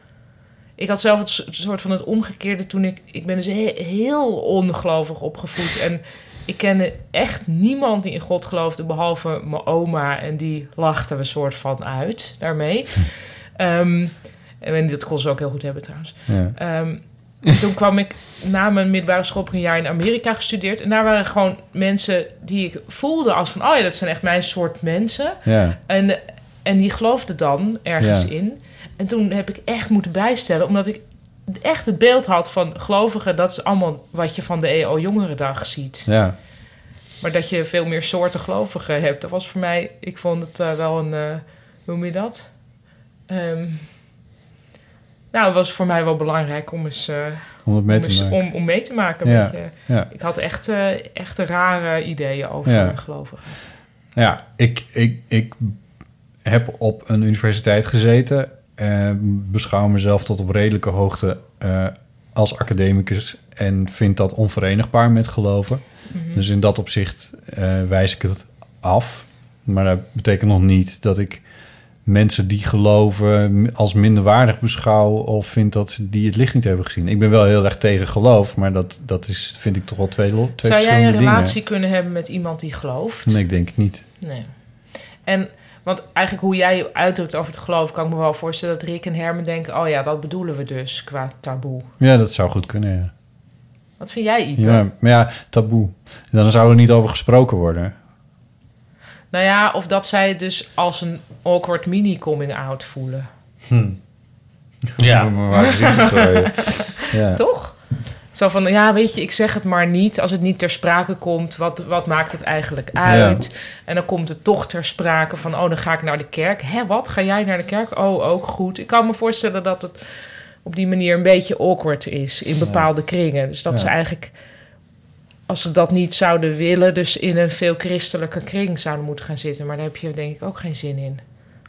Ik had zelf het s- soort van het omgekeerde toen ik... Ik ben dus he- heel ongelovig opgevoed. En ik kende echt niemand die in God geloofde... behalve mijn oma. En die lachten we soort van uit daarmee.
Hm.
Ehm, en dat kon ze ook heel goed hebben trouwens.
Ja.
Ehm, en toen kwam ik na mijn middelbare school heb ik een jaar in Amerika gestudeerd. En daar waren gewoon mensen die ik voelde als van... oh ja, dat zijn echt mijn soort mensen.
Ja.
En, en die geloofde dan ergens
Ja.
in. En toen heb ik echt moeten bijstellen, omdat ik echt het beeld had van gelovigen, dat is allemaal wat je van de E EO Jongerendag ziet.
Ja.
Maar dat je veel meer soorten gelovigen hebt, dat was voor mij, ik vond het eh, wel een, eh, hoe noem je dat? Ehm, nou, het was voor mij wel belangrijk om eens, eh,
Om het mee
om,
te
eens-
maken.
om, om mee te maken. een
Ja,
beetje.
ja.
Ik had echt, eh, echt rare ideeën over
Ja.
gelovigen.
Ja, ik, ik, ik heb op een universiteit gezeten. eh, beschouw mezelf tot op redelijke hoogte eh, als academicus. En vind dat onverenigbaar met geloven.
Mhm.
Dus in dat opzicht eh, wijs ik het af. Maar dat betekent nog niet dat ik mensen die geloven als minderwaardig beschouw. of vind dat ze die het licht niet hebben gezien. Ik ben wel heel erg tegen geloof, maar dat, dat is, vind ik toch wel twee, twee
Zou jij
verschillende
een
dingen.
relatie kunnen hebben met iemand die gelooft?
Nee, ik denk het niet.
Nee. En want eigenlijk hoe jij je uitdrukt over het geloof, kan ik me wel voorstellen dat Rick en Herman denken: oh ja, dat bedoelen we dus qua taboe.
Ja, dat zou goed kunnen, ja.
Wat vind jij, Ipe?
Ja, maar ja, taboe. Dan zou er niet over gesproken worden.
Nou ja, of dat zij het dus als een awkward mini-coming-out voelen.
Ja.
Hm. maar waar zit het gooien? Ja.
Toch? Zo van, ja, weet je, ik zeg het maar niet. Als het niet ter sprake komt, wat, wat maakt het eigenlijk uit? En dan komt het toch ter sprake van, oh, dan ga ik naar de kerk. Hé, wat? Ga jij naar de kerk? Oh, ook goed. Ik kan me voorstellen dat het op die manier een beetje awkward is in bepaalde kringen. Dus dat
Ja.
ze eigenlijk, als ze dat niet zouden willen, dus in een veel christelijker kring zouden moeten gaan zitten. Maar daar heb je denk ik ook geen zin in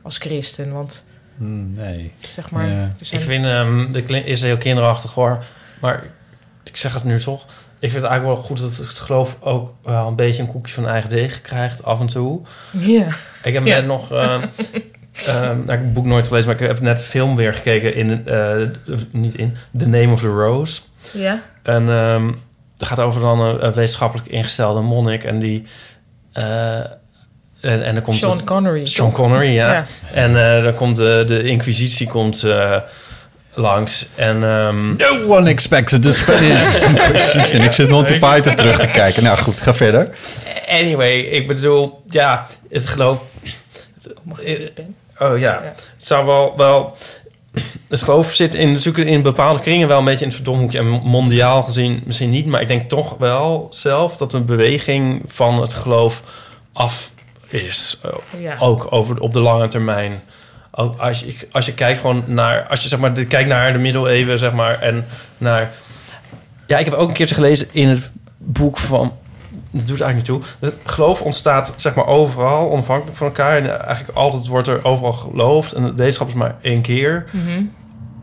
als christen, want...
Hmm, Nee.
Zeg maar,
Ja.
er zijn-
Ik vind, ehm dat klink- is heel kinderachtig hoor, maar ik zeg het nu toch. Ik vind het eigenlijk wel goed dat het geloof ook wel een beetje een koekje van eigen deeg krijgt af en toe.
Ja.
Ik heb
Ja.
net nog, ehm, ehm, nou, ik heb het boek nooit gelezen, maar ik heb net film weer gekeken in, eh, niet in, The Name of the Rose.
Ja.
En ehm, het gaat over dan een, een wetenschappelijk ingestelde monnik en die... eh, en, en dan komt
Sean
de-
Connery,
Sean
toch?
Connery, ja.
Ja.
En eh, dan komt de, de Inquisitie komt, eh, langs. En, ehm,
No one expected the Spanish Inquisition. Ik zit nog te Python terug te kijken. Nou goed, ga verder.
Anyway, ik bedoel, ja, het geloof. Oh ja, het zou wel, wel. Het geloof zit in, natuurlijk in bepaalde kringen wel een beetje in het verdomhoekje. En mondiaal gezien misschien niet, maar ik denk toch wel zelf dat een beweging van het geloof af is. Eh,
Ja.
Ook over, op de lange termijn. Ook als, je, als je kijkt gewoon naar. Als je zeg maar, de- kijkt naar de middeleeuwen, zeg maar. En naar. Ja, ik heb ook een keertje gelezen in het boek van. Dat doet eigenlijk niet toe. Het geloof ontstaat zeg maar overal, onafhankelijk van elkaar. En eigenlijk altijd wordt er overal geloofd. En de wetenschap is maar één keer
Mhm.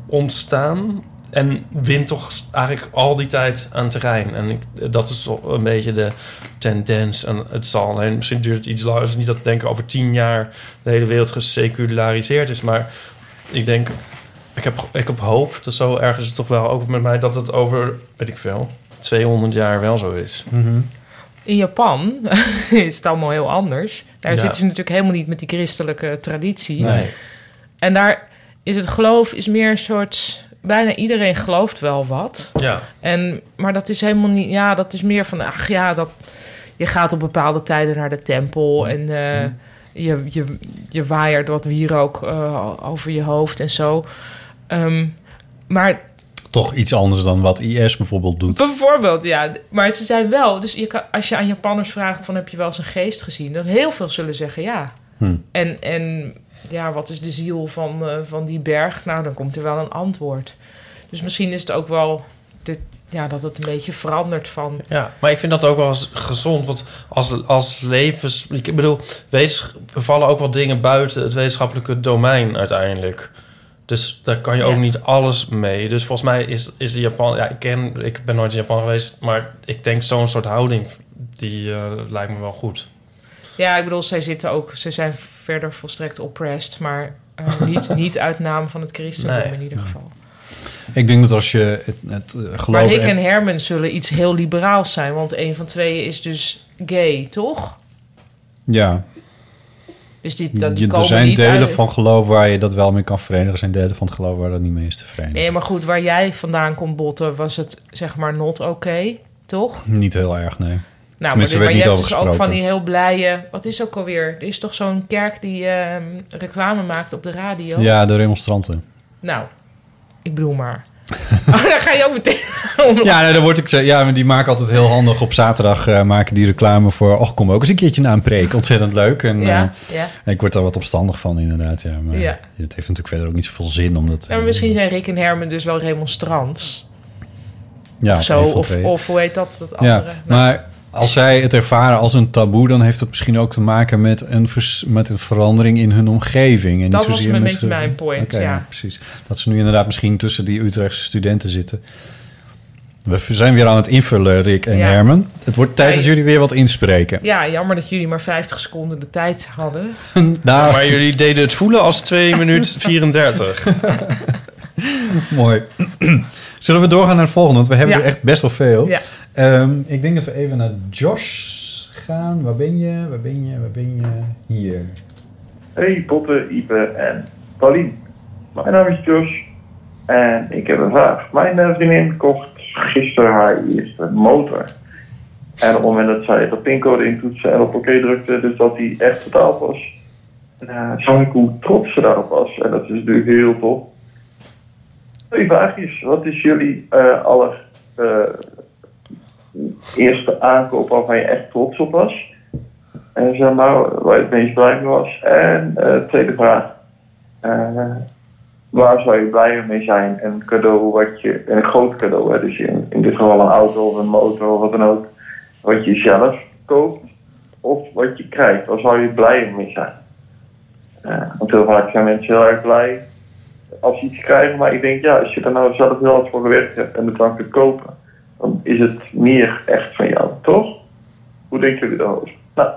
ontstaan. En wint toch eigenlijk al die tijd aan terrein. En ik, dat is toch een beetje de tendens. En het zal alleen, misschien duurt het iets langer. Het is niet dat ik denk over tien jaar de hele wereld geseculariseerd is. Maar ik denk, ik heb, ik heb hoop, dat zo erg is het toch wel ook met mij, dat het over, weet ik veel, 200 jaar wel zo is.
Mm-hmm.
In Japan is het allemaal heel anders. Daar
Ja.
zitten ze natuurlijk helemaal niet met die christelijke traditie.
Nee.
En daar is het geloof is meer een soort... Bijna iedereen gelooft wel wat.
Ja.
En, maar dat is helemaal niet... Ja, dat is meer van... Ach ja, dat, je gaat op bepaalde tijden naar de tempel. En eh,
Mhm.
je, je, je waaiert wat wierook eh over je hoofd en zo. Ehm, maar
Toch iets anders dan wat IS bijvoorbeeld doet.
Bijvoorbeeld, ja. Maar ze zijn wel... Dus je kan, als je aan Japanners vraagt van heb je wel eens een geest gezien... dat heel veel zullen zeggen ja.
Hmm.
En, en ja, wat is de ziel van, eh, van die berg? Nou, dan komt er wel een antwoord. Dus misschien is het ook wel... De, ja, dat het een beetje verandert van...
Ja, maar ik vind dat ook wel eens gezond. Want als, als levens... Ik bedoel, wees, er vallen ook wel dingen buiten het wetenschappelijke domein uiteindelijk. Dus daar kan je
Ja.
ook niet alles mee. Dus volgens mij is, is in Japan... Ja, ik, ken, ik ben nooit in Japan geweest. Maar ik denk zo'n soort houding, die eh, lijkt me wel goed.
Ja, ik bedoel, zij zitten ook... Ze zijn verder volstrekt oppressed, maar eh, niet, niet uit naam van het christendom
Nee.
in ieder geval.
Ik denk dat als je het, het eh, geloof...
Maar Rick
echt-
en Herman zullen iets heel liberaals zijn, want een van tweeën is dus gay, toch?
Ja,
Dus die, dat, die
je, er
komen
zijn
niet
delen
uit-
van geloof waar je dat wel mee kan verenigen. Er zijn delen van het geloof waar dat niet mee is te verenigen.
Nee, maar goed, waar jij vandaan komt, Botten, was het zeg maar not oké, toch?
Niet heel erg, nee.
Nou,
Tenminste, er
maar,
werd
je
niet
hebt
over
dus ook van
gesproken.
die heel blije... Wat is ook alweer? Er is toch zo'n kerk die ehm, reclame maakt op de radio?
Ja, de remonstranten.
Nou, ik bedoel maar. oh, daar ga je ook meteen om.
Ja, nee, dan word ik, zo- ja, maar die maken altijd heel handig. Op zaterdag eh, maken die reclame voor... Och, kom ook eens een keertje naar een preek. Ontzettend leuk. En,
Ja,
eh,
ja.
Ik word daar wat opstandig van, inderdaad. Ja, maar
Ja.
het heeft natuurlijk verder ook niet zoveel zin. eh, Omdat,
Nou, maar misschien zijn Rick en Herman dus wel remonstrants.
ja,
of zo,
een van
of,
twee.
of hoe heet dat, dat andere? Nou,
Ja, maar als zij het ervaren als een taboe... dan heeft dat misschien ook te maken met een, vers- met een verandering in hun omgeving. En
Dat
niet
was
zozeer
een
met
beetje
ge-
mijn point,
Oké,
ja.
Precies. Dat ze nu inderdaad misschien tussen die Utrechtse studenten zitten. We v- zijn weer aan het invullen, Rick en
Ja.
Herman. Het wordt tijd
Ja,
dat
je-
jullie weer wat inspreken.
Ja, jammer dat jullie maar 50 seconden de tijd hadden.
Nou,
Maar jullie deden het voelen als 2 minuut 34.
mooi. Zullen we doorgaan naar het volgende? Want we hebben
Ja.
er echt best wel veel.
Ja.
Ehm, ik denk dat we even naar Josh gaan. Waar ben je? Waar ben je? Waar ben je? Hier.
Hey Potten, Ipe en Paulien. Mijn naam is Josh en ik heb een vraag. Mijn eh, vriendin kocht gisteren haar eerste motor. En op het moment dat zij de pincode intoetste en op oké drukte, dus dat die echt betaald was. En, eh, zag ik hoe trots ze daarop was en dat is natuurlijk heel tof. Twee vraagjes. Wat is jullie eh aller eh, eerste aankoop waarvan je echt trots op was? En zeg maar, waar je het meest blij mee was. En eh, tweede vraag. Eh, waar zou je blijer mee zijn? Een cadeau wat je, een groot cadeau, hè? dus in, in dit geval een auto of een motor of wat dan ook. Wat je zelf koopt of wat je krijgt. Waar zou je blijer mee zijn? Eh, want heel vaak zijn mensen heel erg blij als ze iets krijgen. Maar ik denk, ja, als je er nou zelf heel hard voor gewerkt hebt en het dan kunt kopen, dan is het meer echt van jou, toch? Hoe denken jullie daarover? Nou,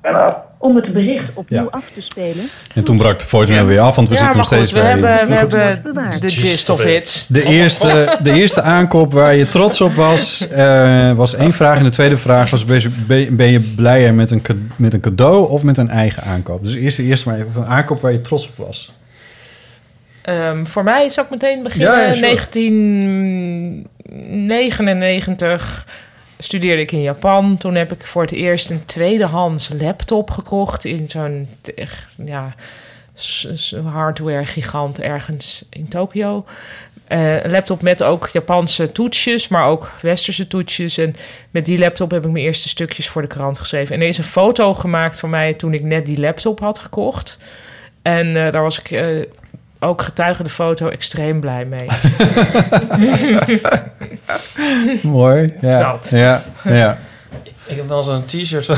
en af.
Om het bericht opnieuw
Ja.
af te spelen.
En toen brak de voicemail weer af, want we
ja,
zitten
maar
nog
goed,
steeds
we
bij...
hebben, we
Maar goed.
hebben
Bewaard.
de gist of it.
De eerste, de eerste aankoop waar je trots op was, eh, was één vraag. En de tweede vraag was, ben je- ben je blijer met een, cade- met een cadeau of met een eigen aankoop? Dus eerst de eerste maar even van aankoop waar je trots op was.
Ehm, voor mij zou ik meteen beginnen.
Ja, ja, sure.
1999 studeerde ik in Japan. Toen heb ik voor het eerst een tweedehands laptop gekocht in zo'n echt, ja, s- s- hardware gigant ergens in Tokio. Eh, een laptop met ook Japanse toetsjes, maar ook westerse toetsjes. En met die laptop heb ik mijn eerste stukjes voor de krant geschreven. En er is een foto gemaakt van mij toen ik net die laptop had gekocht. En eh, daar was ik eh, ook getuige de foto extreem blij mee.
Mooi. Ja,
Dat.
ja, ja.
Ik heb wel eens een t-shirt van,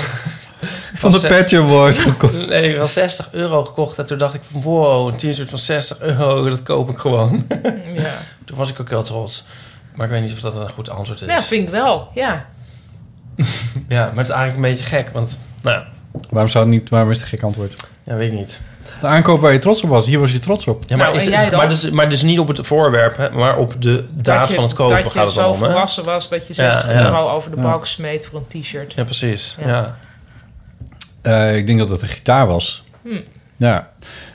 Van de Pet Shop Boys gekocht.
nee, van 60 euro gekocht. En toen dacht ik van wow, een t-shirt van 60 euro, dat koop ik gewoon.
Ja,
Toen was ik ook heel trots. Maar ik weet niet of dat een goed antwoord is.
ja vind ik wel. Ja.
Ja, maar het is eigenlijk een beetje gek, want nou ja,
Waarom, zou het niet, waarom is het een gek antwoord?
ja, weet ik niet.
De aankoop waar je trots op was, hier was je trots op.
Ja, maar,
Nou,
is
en
het-
jij dan?
maar, dus, maar dus niet op het voorwerp, hè, maar op de daad
Dat je-
van het kopen
Dat je
gaat het
zo
dan om. Hè?
volwassen was dat je 60
Ja, ja.
euro over de
Ja.
balk smeet voor een t-shirt.
Ja, precies. Ja.
Ja.
Eh, ik denk dat het een gitaar was.
Hm.
Ja.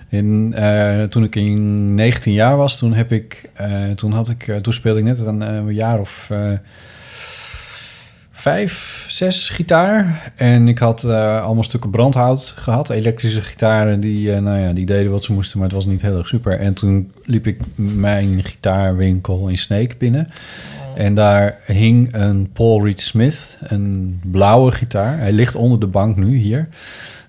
In, eh, toen ik in 19 jaar was, toen heb ik, eh, toen had ik, eh, toen speelde ik net een, eh, een jaar of eh, vijf, zes gitaar. En ik had eh, allemaal stukken brandhout gehad, elektrische gitaren die, eh, nou ja, die deden wat ze moesten, maar het was niet heel erg super. En toen liep ik mijn gitaarwinkel in Sneek binnen. En daar hing een Paul Reed Smith, een blauwe gitaar. Hij ligt onder de bank nu hier.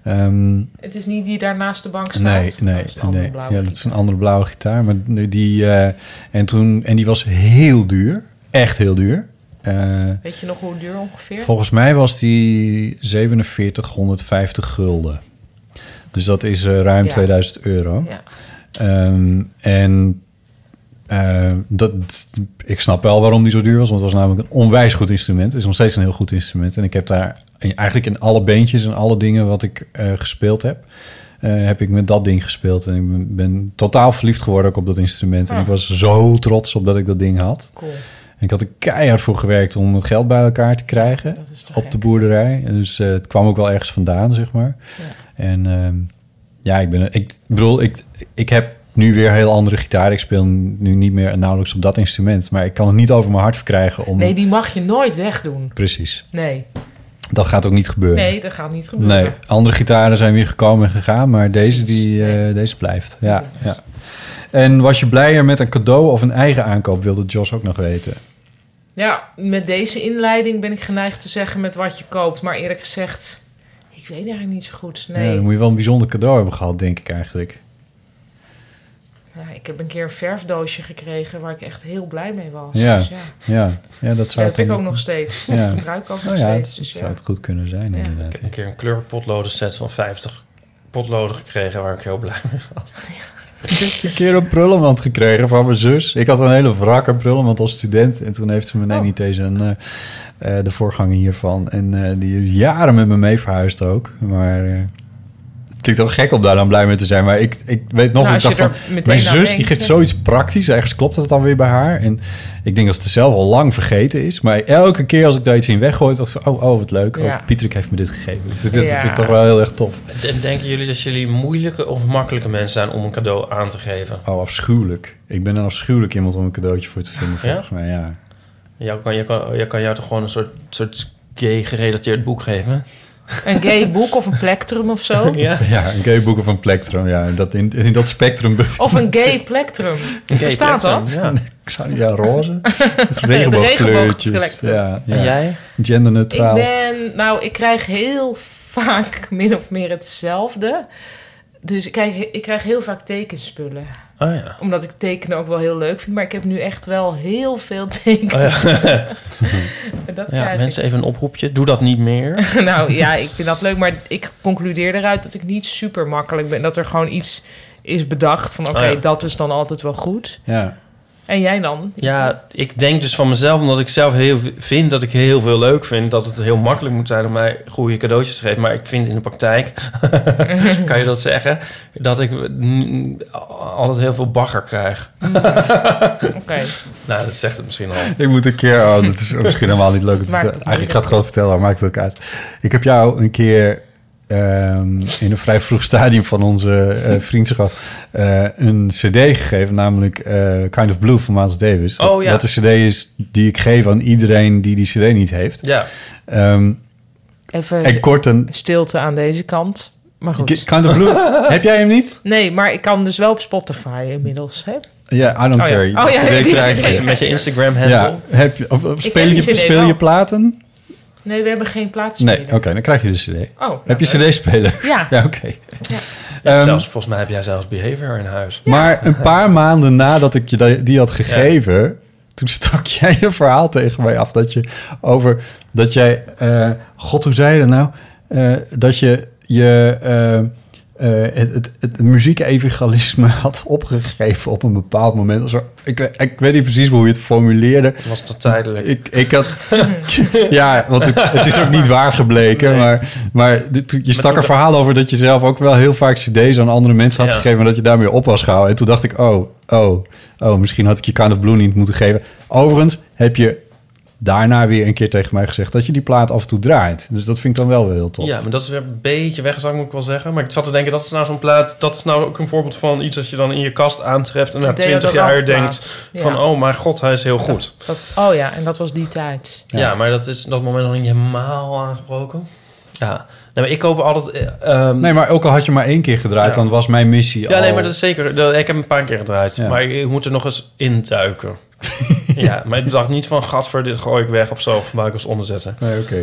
Ehm,
Het is niet die daar naast de bank staat.
Nee, nee,
Dat is een andere
nee.
blauwe
Ja, dat is een
gitaar.
andere blauwe gitaar. Maar die, eh, en, toen, en die was heel duur. Echt heel duur. Eh,
Weet je nog hoe duur ongeveer?
volgens mij was die 4750 gulden. Dus dat is eh, ruim
Ja.
2000 euro.
ja.
Ehm, en eh, dat, ik snap wel waarom die zo duur was. Want het was namelijk een onwijs goed instrument. Het is nog steeds een heel goed instrument. En ik heb daar in- eigenlijk in alle beentjes en alle dingen wat ik eh, gespeeld heb... eh, heb ik met dat ding gespeeld. En ik ben, ben totaal verliefd geworden ook op dat instrument. En
Ah.
ik was zo trots op dat ik dat ding had.
Cool.
En ik had er keihard voor gewerkt om het geld bij elkaar te krijgen op de boerderij. En Dus eh, het kwam ook wel ergens vandaan, zeg maar. En ehm, ja, ik ben... Ik bedoel, ik, ik heb nu weer heel andere gitaar. Ik speel nu niet meer nauwelijks op dat instrument. Maar ik kan het niet over mijn hart verkrijgen om...
Nee, die mag je nooit wegdoen.
Precies.
Nee.
Dat gaat ook niet gebeuren.
Nee, dat gaat niet gebeuren.
Nee, andere gitaren zijn weer gekomen en gegaan, maar deze, die, eh, deze blijft. Ja, ja. En was je blijer met een cadeau of een eigen aankoop, wilde Jos ook nog weten.
Ja, met deze inleiding ben ik geneigd te zeggen met wat je koopt. Maar eerlijk gezegd, ik weet eigenlijk niet zo goed.
Ja,
Nee,
dan moet je wel een bijzonder cadeau hebben gehad, denk ik eigenlijk.
Ja, ik heb een keer een verfdoosje gekregen waar ik echt heel blij mee was.
Ja,
Dus
ja. ja. dat zou
Ja, dat heb
dan-
ik ook nog steeds. Dat gebruik ik ook nog
Nou Ja,
steeds, dus
dat, dat
ja.
zou het goed kunnen zijn,
Ja.
inderdaad.
Ik heb een keer een kleurpotloden set van 50 potloden gekregen waar ik heel blij mee was.
Ik heb een keer een prullenmand gekregen van mijn zus. Ik had een hele wrakke prullenmand als student. En toen heeft ze me
Oh.
neem niet eens een, eh, eh, de voorganger hiervan. En eh, die is jaren met me mee verhuisd ook. Maar eh, het klinkt wel gek om daar dan blij mee te zijn. Maar ik, ik weet nog,
Nou,
ik
als
dacht
je
van,
er meteen
mijn
aan
zus
denkt, eh.
die geeft
hè.
zoiets praktisch. Ergens klopt dat dan weer bij haar. En ik denk dat ze het zelf al lang vergeten is. Maar elke keer als ik daar iets in weggooi, dacht ik van, oh, oh wat leuk.
Ja.
Oh, Pieterik heeft me dit gegeven. Dat vind, ik- dat
Ja.
vind ik toch wel heel erg tof.
En denken jullie dat jullie moeilijke of makkelijke mensen zijn om een cadeau aan te geven?
Oh, afschuwelijk. Ik ben een afschuwelijk iemand om een cadeautje voor te vinden,
Ja?
volgens mij, ja.
Jou kan, jou kan, jou kan jou toch gewoon een soort, soort gay-gerelateerd boek geven?
Een gay boek of een plectrum of zo.
Ja.
Ja, een gay boek of een plectrum, ja. Dat in, in dat spectrum... bevindt
Of een
zich-
gay plectrum. Bestaat dat?
Ik zou ja, roze.
regenboogkleurtjes.
Regenboogkleurtjes. Ja, ja.
En jij?
Genderneutraal.
Ik ben, nou, ik krijg heel vaak min of meer hetzelfde. Dus ik krijg, ik krijg heel vaak tekenspullen.
Oh ja.
Omdat ik tekenen ook wel heel leuk vind. Maar ik heb nu echt wel heel veel tekenen.
Oh ja.
En dat
Ja,
krijg ik.
mensen, even een oproepje. Doe dat niet meer.
nou ja, ik vind dat leuk, maar ik concludeer eruit dat ik niet super makkelijk ben. Dat er gewoon iets is bedacht van oké,
Oh ja.
dat is dan altijd wel goed.
Ja.
En jij dan?
Ja, ik denk dus van mezelf, omdat ik zelf heel v- vind dat ik heel veel leuk vind, dat het heel makkelijk moet zijn om mij goede cadeautjes te geven. Maar ik vind in de praktijk, kan je dat zeggen, dat ik mm, altijd heel veel bagger krijg.
Oké.
Nou, dat zegt het misschien al.
Ik moet een keer... Oh, dat is misschien helemaal niet leuk. om te
Het maakt het
vertellen. Eigenlijk, ik ga het gewoon vertellen, maar maakt het ook uit. Ik heb jou een keer ehm, in een vrij vroeg stadium van onze eh, vriendschap... eh, een cd gegeven, namelijk eh, Kind of Blue van Miles Davis.
Oh, ja.
Dat de cd is die ik geef aan iedereen die die cd niet heeft.
Ja.
Ehm,
Even
en kort een...
stilte aan deze kant. Maar goed.
Kind of Blue, heb jij hem niet?
Nee, maar ik kan dus wel op Spotify inmiddels, hè?
Ja, I don't
Oh ja.
care.
Oh ja,
Die
die
krijg
CD
je.
krijg
Met je Instagram-handle.
Ja, heb je, of, of
Ik
speel,
heb
je,
die CD
speel je
wel.
platen?
Nee, we hebben geen plaats
Nee, oké, dan krijg je de cd.
Oh, nou,
heb je
leuk.
cd-speler?
Ja.
ja oké. Ehm,
zelfs, volgens mij heb jij zelfs behavior in huis.
Maar een paar maanden nadat ik je die- die had gegeven... toen stak jij een verhaal tegen mij af dat je over... dat jij... eh, God, hoe zei je dat nou? Eh, dat je je... eh, eh, het, het, het muziek-evangelisme had opgegeven op een bepaald moment. Of zo. Ik, ik weet niet precies hoe je het formuleerde.
Was dat tijdelijk?
Ik, ik had... ja, want het, het is ook niet waar gebleken. Maar, maar de- toen- je stak
toen
een verhaal over dat je zelf ook wel heel vaak cd's aan andere mensen had
Ja.
gegeven... en dat je daarmee op was gehouden. En toen dacht ik, oh, oh, oh, misschien had ik je Kind of Blue niet moeten geven. Overigens heb je daarna weer een keer tegen mij gezegd... dat je die plaat af en toe draait. Dus dat vind ik dan wel weer heel tof.
Ja, maar dat is weer een beetje weggezakt, moet ik wel zeggen. Maar ik zat te denken, dat is nou zo'n plaat... dat is nou ook een voorbeeld van iets dat je dan in je kast aantreft... en na
Een
20 jaar
deodorantplaat.
denkt
Ja.
van... oh mijn god, hij is heel goed.
Dat, oh ja, en dat was die tijd.
Ja, maar dat is dat moment nog niet helemaal aangebroken. Ja, nee, maar ik koop altijd... eh, ehm,
Nee, maar ook al had je maar één keer gedraaid...
Ja.
dan was mijn missie
ja,
al...
nee, maar dat is zeker... dat- ik heb hem een paar keer gedraaid,
Ja.
maar ik moet er nog eens induiken. ja, maar ik dacht niet van... gadver, dit gooi ik weg of zo, of maak ik als onderzetten.
Nee, oké.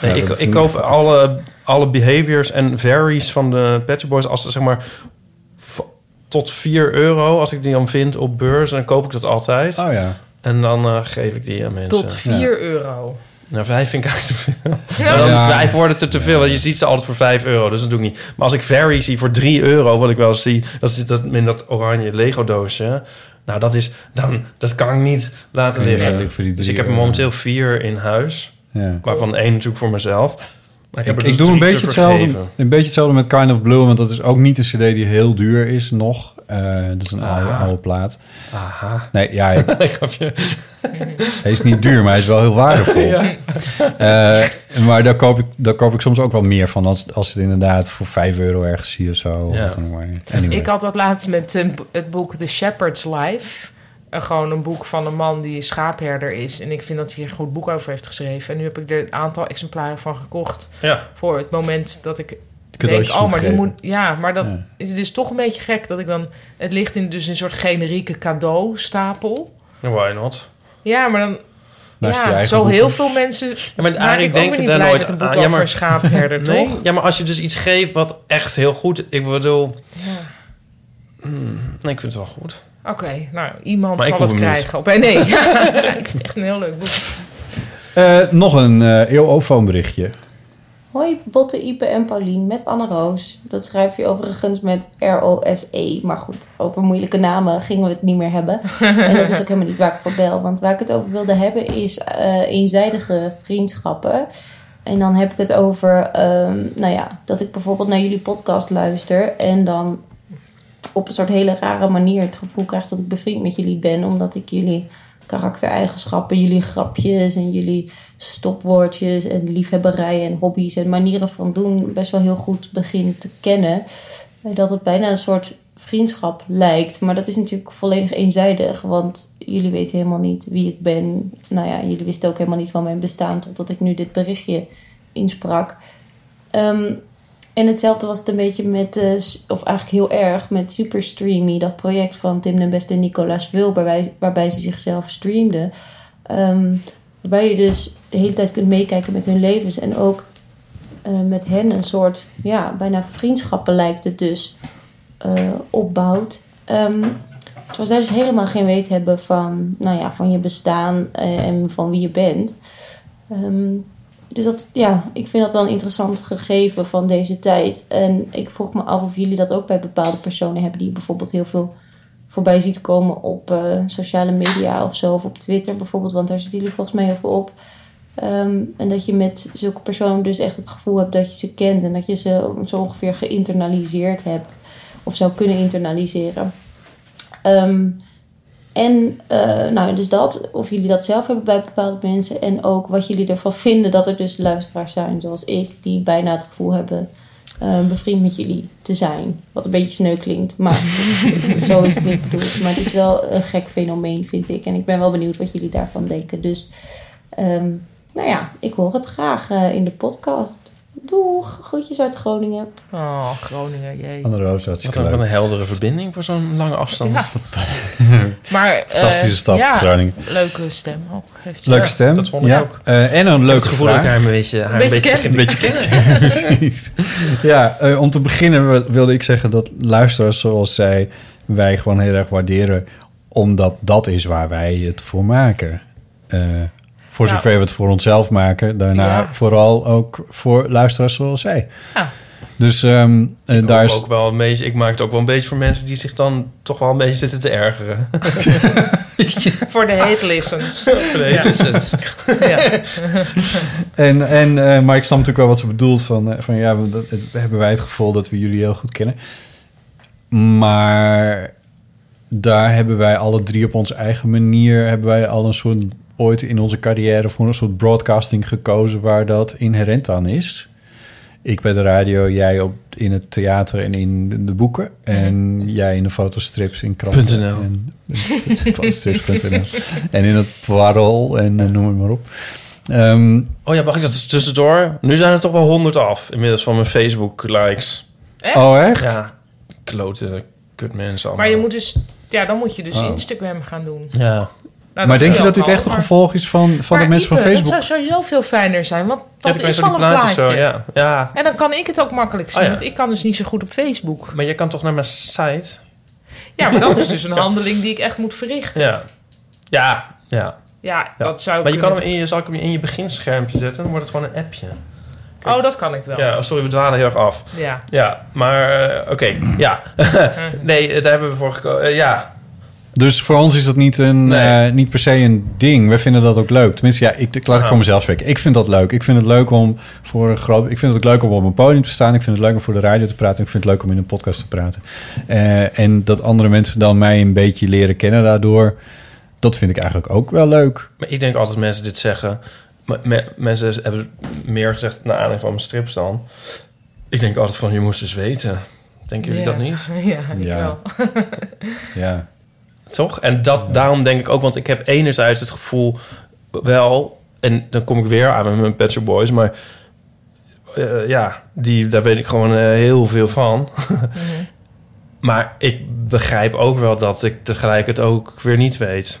Nee,
Ja,
ik,
dat is
ik
een-
koop alle, alle behaviors en varies van de Pet Shop Boys als zeg maar v- tot 4 euro. Als ik die dan vind op beurs, dan koop ik dat altijd.
Oh ja.
En dan eh, geef ik die aan mensen.
Tot 4 euro.
Nou, vijf vind ik eigenlijk te veel.
Ja.
Maar dan
Ja.
vijf wordt het te veel. Want je ziet ze altijd voor vijf euro, dus dat doe ik niet. Maar als ik varies zie voor 3 euro, wat ik wel eens zie... dat zit dat, in dat oranje Lego-doosje. Nou, dat, is, dan, dat kan ik niet laten
Kun je
liggen.
eigenlijk voor die
dus
drie
ik heb er
euro.
momenteel vier in huis.
Ja.
Waarvan één natuurlijk voor mezelf. Maar ik heb
Ik,
er dus
ik doe een
drie
beetje,
te
hetzelfde,
vergeven.
een beetje hetzelfde met Kind of Blue, want dat is ook niet een CD die heel duur is nog. Eh, dat is een oude,
Aha.
oude plaat.
Aha.
Nee, ja, ik-
Ik gaf je-
hij is niet duur, maar hij is wel heel waardevol.
Ja.
Eh, maar daar koop, ik, daar koop ik soms ook wel meer van als, als het inderdaad voor 5 euro ergens zie of zo.
Ja.
Wat dan ook maar. Anyway.
Ik had dat laatst met een bo- het boek The Shepherd's Life. Eh, gewoon een boek van een man die schaapherder is. En ik vind dat hij er een goed boek over heeft geschreven. En nu heb ik er een aantal exemplaren van gekocht.
Ja.
Voor het moment dat ik denk,
Cadeautjes
oh, maar die
moet
moet... Ja, maar dat
Ja.
is dus toch een beetje gek. Dat ik dan... Het ligt in dus een soort generieke cadeaustapel.
Why not?
Ja, maar dan...
Naast je
Ja,
eigen
zo
boeken.
heel veel mensen... Ja,
maar eigenlijk
denk
denk
ik
je
daar
daar
blij
nooit
met een boek
aan.
over een schaapherder,
nee,
toch?
Ja, maar als je dus iets geeft wat echt heel goed is. Ik bedoel... Hmm, nee, ik vind het wel goed.
Oké, nou, iemand
Maar ik
zal
hoef
het
hem niet.
krijgen. Op, nee, ik vind het echt een heel leuk boek.
Eh, nog een eh eeuwofoon berichtje.
Hoi Botte, Ipe en Paulien met Anne Roos. Dat schrijf je overigens met R-O-S-E. E, Maar goed, over moeilijke namen gingen we het niet meer hebben. en dat is ook helemaal niet waar ik voor bel. Want waar ik het over wilde hebben is eh, eenzijdige vriendschappen. En dan heb ik het over, ehm, nou ja, dat ik bijvoorbeeld naar jullie podcast luister. En dan op een soort hele rare manier het gevoel krijg dat ik bevriend met jullie ben. Omdat ik jullie karaktereigenschappen, jullie grapjes en jullie stopwoordjes en liefhebberijen en hobby's en manieren van doen best wel heel goed begin te kennen. En Dat het bijna een soort vriendschap lijkt. Maar dat is natuurlijk volledig eenzijdig. Want jullie weten helemaal niet wie ik ben. Nou ja, jullie wisten ook helemaal niet van mijn bestaan totdat ik nu dit berichtje insprak. Ehm, en hetzelfde was het een beetje met, eh, s- of eigenlijk heel erg, met Super Streamy. Dat project van Tim den Beste en Nicolaas Wilber, waarbij, waarbij ze zichzelf streamden. Ehm, waarbij je dus de hele tijd kunt meekijken met hun levens. En ook eh, met hen een soort, ja, bijna vriendschappen lijkt het dus, eh, opbouwt. Ehm, terwijl zij dus helemaal geen weet hebben van, nou ja, van je bestaan eh, en van wie je bent. Ehm, dus dat, ja, ik vind dat wel een interessant gegeven van deze tijd. En ik vroeg me af of jullie dat ook bij bepaalde personen hebben die je bijvoorbeeld heel veel voorbij ziet komen op eh, sociale media of zo, of op Twitter bijvoorbeeld, want daar zitten jullie volgens mij heel veel op. Ehm, en dat je met zulke personen dus echt het gevoel hebt dat je ze kent en dat je ze zo ongeveer geïnternaliseerd hebt of zou kunnen internaliseren. Ehm, en eh, nou, dus dat, of jullie dat zelf hebben bij bepaalde mensen en ook wat jullie ervan vinden dat er dus luisteraars zijn zoals ik, die bijna het gevoel hebben eh, bevriend met jullie te zijn. Wat een beetje sneu klinkt, maar zo is het niet bedoeld. Maar het is wel een gek fenomeen, vind ik. En ik ben wel benieuwd wat jullie daarvan denken. Dus, ehm, nou ja, ik hoor het graag eh, in de podcast. Doeg, groetjes uit Groningen.
Oh, Groningen, jee.
Anne Roos,
Wat
hartstikke
ook
leuk.
een heldere verbinding voor zo'n lange afstand.
Ja. Maar, eh,
Fantastische stad,
ja,
Groningen.
Leuke stem ook. heeft hij.
Leuke stem.
dat vond ik
ja.
ook.
Eh, en een leuke
het gevoel
vraag.
dat ik haar een beetje- haar een Beetje beetje kennen. begint te
Beetje
kennen.
kennen. Precies. Ja, eh, om te beginnen wil- wilde ik zeggen dat luisteraars zoals zij wij gewoon heel erg waarderen. Omdat dat is waar wij het voor maken. Eh, voor
Nou.
zover we het voor onszelf maken. Daarna
Ja.
vooral ook voor luisteraars zoals zij.
Ja.
Dus ehm, eh,
Ik,
daar
hoop
is...
ook wel een beetje, ik maak het ook wel een beetje voor mensen die zich dan toch wel een beetje zitten te ergeren.
Voor de hate listens.
de hate listens.
Ja.
En, en, eh, maar ik snap natuurlijk wel wat ze bedoelt. Van, eh, van ja, we- dat, eh, hebben wij het gevoel dat we jullie heel goed kennen. Maar daar hebben wij alle drie op onze eigen manier... hebben wij al een soort ooit in onze carrière... voor een soort broadcasting gekozen waar dat inherent aan is. Ik bij de radio, jij op, in het theater en in de, de boeken. En jij in de fotostrips in kranten.
.nl.
En, fotostrips.nl. en in het parool en eh, noem het maar op. Ehm,
Oh ja, mag ik dat eens tussendoor? Nu zijn er toch wel honderd af inmiddels van mijn Facebook likes.
Echt? Oh, echt?
Ja, klote kut mensen allemaal.
Maar je moet dus... Ja, dan moet je dus
Oh.
Instagram gaan doen.
Ja.
Nou, dat
maar denk je
wel
dat dit
kan,
echt een
maar-
gevolg is van, van de
Maar
mensen van
Ipe,
Facebook?
Dat zou sowieso veel fijner zijn, want dat
die
is
mensen
al een
die plaatjes
plaatje.
zo, ja. ja.
En dan kan ik het ook makkelijk zien,
Oh, ja.
want ik kan dus niet zo goed op Facebook.
Maar je kan toch naar mijn site?
Ja, maar dat is dus een
Ja.
handeling die ik echt moet verrichten.
Ja. Ja, ja.
Ja, dat zou
Maar je kan
kunnen.
hem in je, zal ik hem in je beginschermpje zetten, dan wordt het gewoon een appje.
Oh, dat kan ik wel.
Ja, oh, sorry, we dwalen heel erg af.
Ja.
Ja, maar eh, oké, ja. nee, eh, daar hebben we voor gekozen. ja.
Dus voor ons is dat niet, een, eh, niet per se een ding. We vinden dat ook leuk. Tenminste, ja, ik, ik- laat ik
Ja.
voor mezelf spreken. Ik vind dat leuk. Ik vind het leuk om voor een groot. Ik vind het ook leuk om op een podium te staan. Ik vind het leuk om voor de radio te praten. Ik vind het leuk om in een podcast te praten. Eh, en dat andere mensen dan mij een beetje leren kennen daardoor. Dat vind ik eigenlijk ook wel leuk.
Maar ik denk altijd mensen dit zeggen. me- me- mensen hebben meer gezegd naar aanleiding van mijn strips dan. Ik denk altijd van je moest eens weten. Denken jullie
Ja.
dat niet?
Ja, ik
Ja.
wel.
Ja.
Toch? En dat, daarom denk ik ook, want ik heb enerzijds het gevoel wel, en dan kom ik weer aan met mijn Pet Shop Boys, maar eh, ja, die, daar weet ik gewoon eh, heel veel van.
Mhm.
Maar ik begrijp ook wel dat ik tegelijk het ook weer niet weet.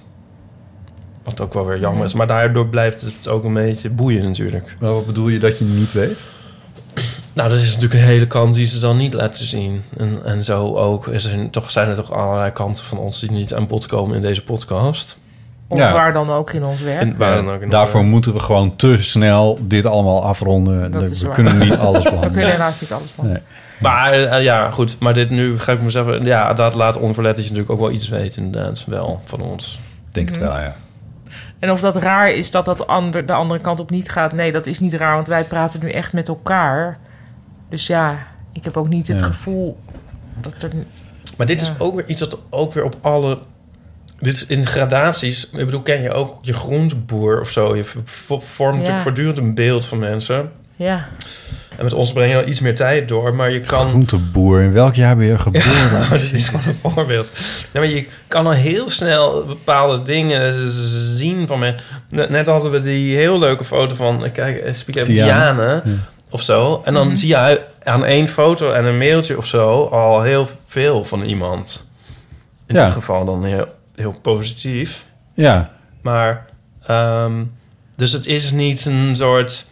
Wat ook wel weer
Mhm.
jammer is. Maar daardoor blijft het ook een beetje boeien natuurlijk.
Maar wat bedoel je dat je niet weet?
Nou, dat is natuurlijk een hele kant die ze dan niet laten zien. En, en zo ook is er, toch, zijn er toch allerlei kanten van ons die niet aan bod komen in deze podcast.
Of
Ja.
waar dan ook in ons werk.
En waar dan ook in
Eh, Daarvoor moeten we gewoon te snel dit allemaal afronden.
Dat
we
is waar.
kunnen niet alles behandelen.
We kunnen helaas niet alles behandelen.
Maar eh, ja, goed. Maar dit nu ga ik mezelf... Ja, dat laat onverlet dat je natuurlijk ook wel iets weet inderdaad wel van ons.
Denk
het Mhm. wel,
ja.
En of dat raar is dat dat ander, de andere kant op niet gaat. Nee, dat is niet raar, want wij praten nu echt met elkaar. Dus ja, ik heb ook niet het
Ja.
gevoel dat er...
Maar dit
Ja.
is ook weer iets dat ook weer op alle... Dit is in gradaties. Ik bedoel, ken je ook je groenteboer of zo? Je v- v- vormt natuurlijk voortdurend een beeld van mensen.
Ja.
En met ons breng je al iets meer tijd door, maar je kan...
Groenteboer, in welk jaar ben je geboren?
dit is gewoon een voorbeeld. Nee, maar je kan al heel snel bepaalde dingen z- zien van me. Net net hadden we die heel leuke foto van, eh, kijk, eh, speak even
Diane.
Diane
Ja.
of zo. En dan
Mhm.
zie je hu- aan één foto en een mailtje of zo al heel veel van iemand. In
Ja.
dit geval dan heel, heel positief.
Ja.
Maar, ehm, dus het is niet een soort...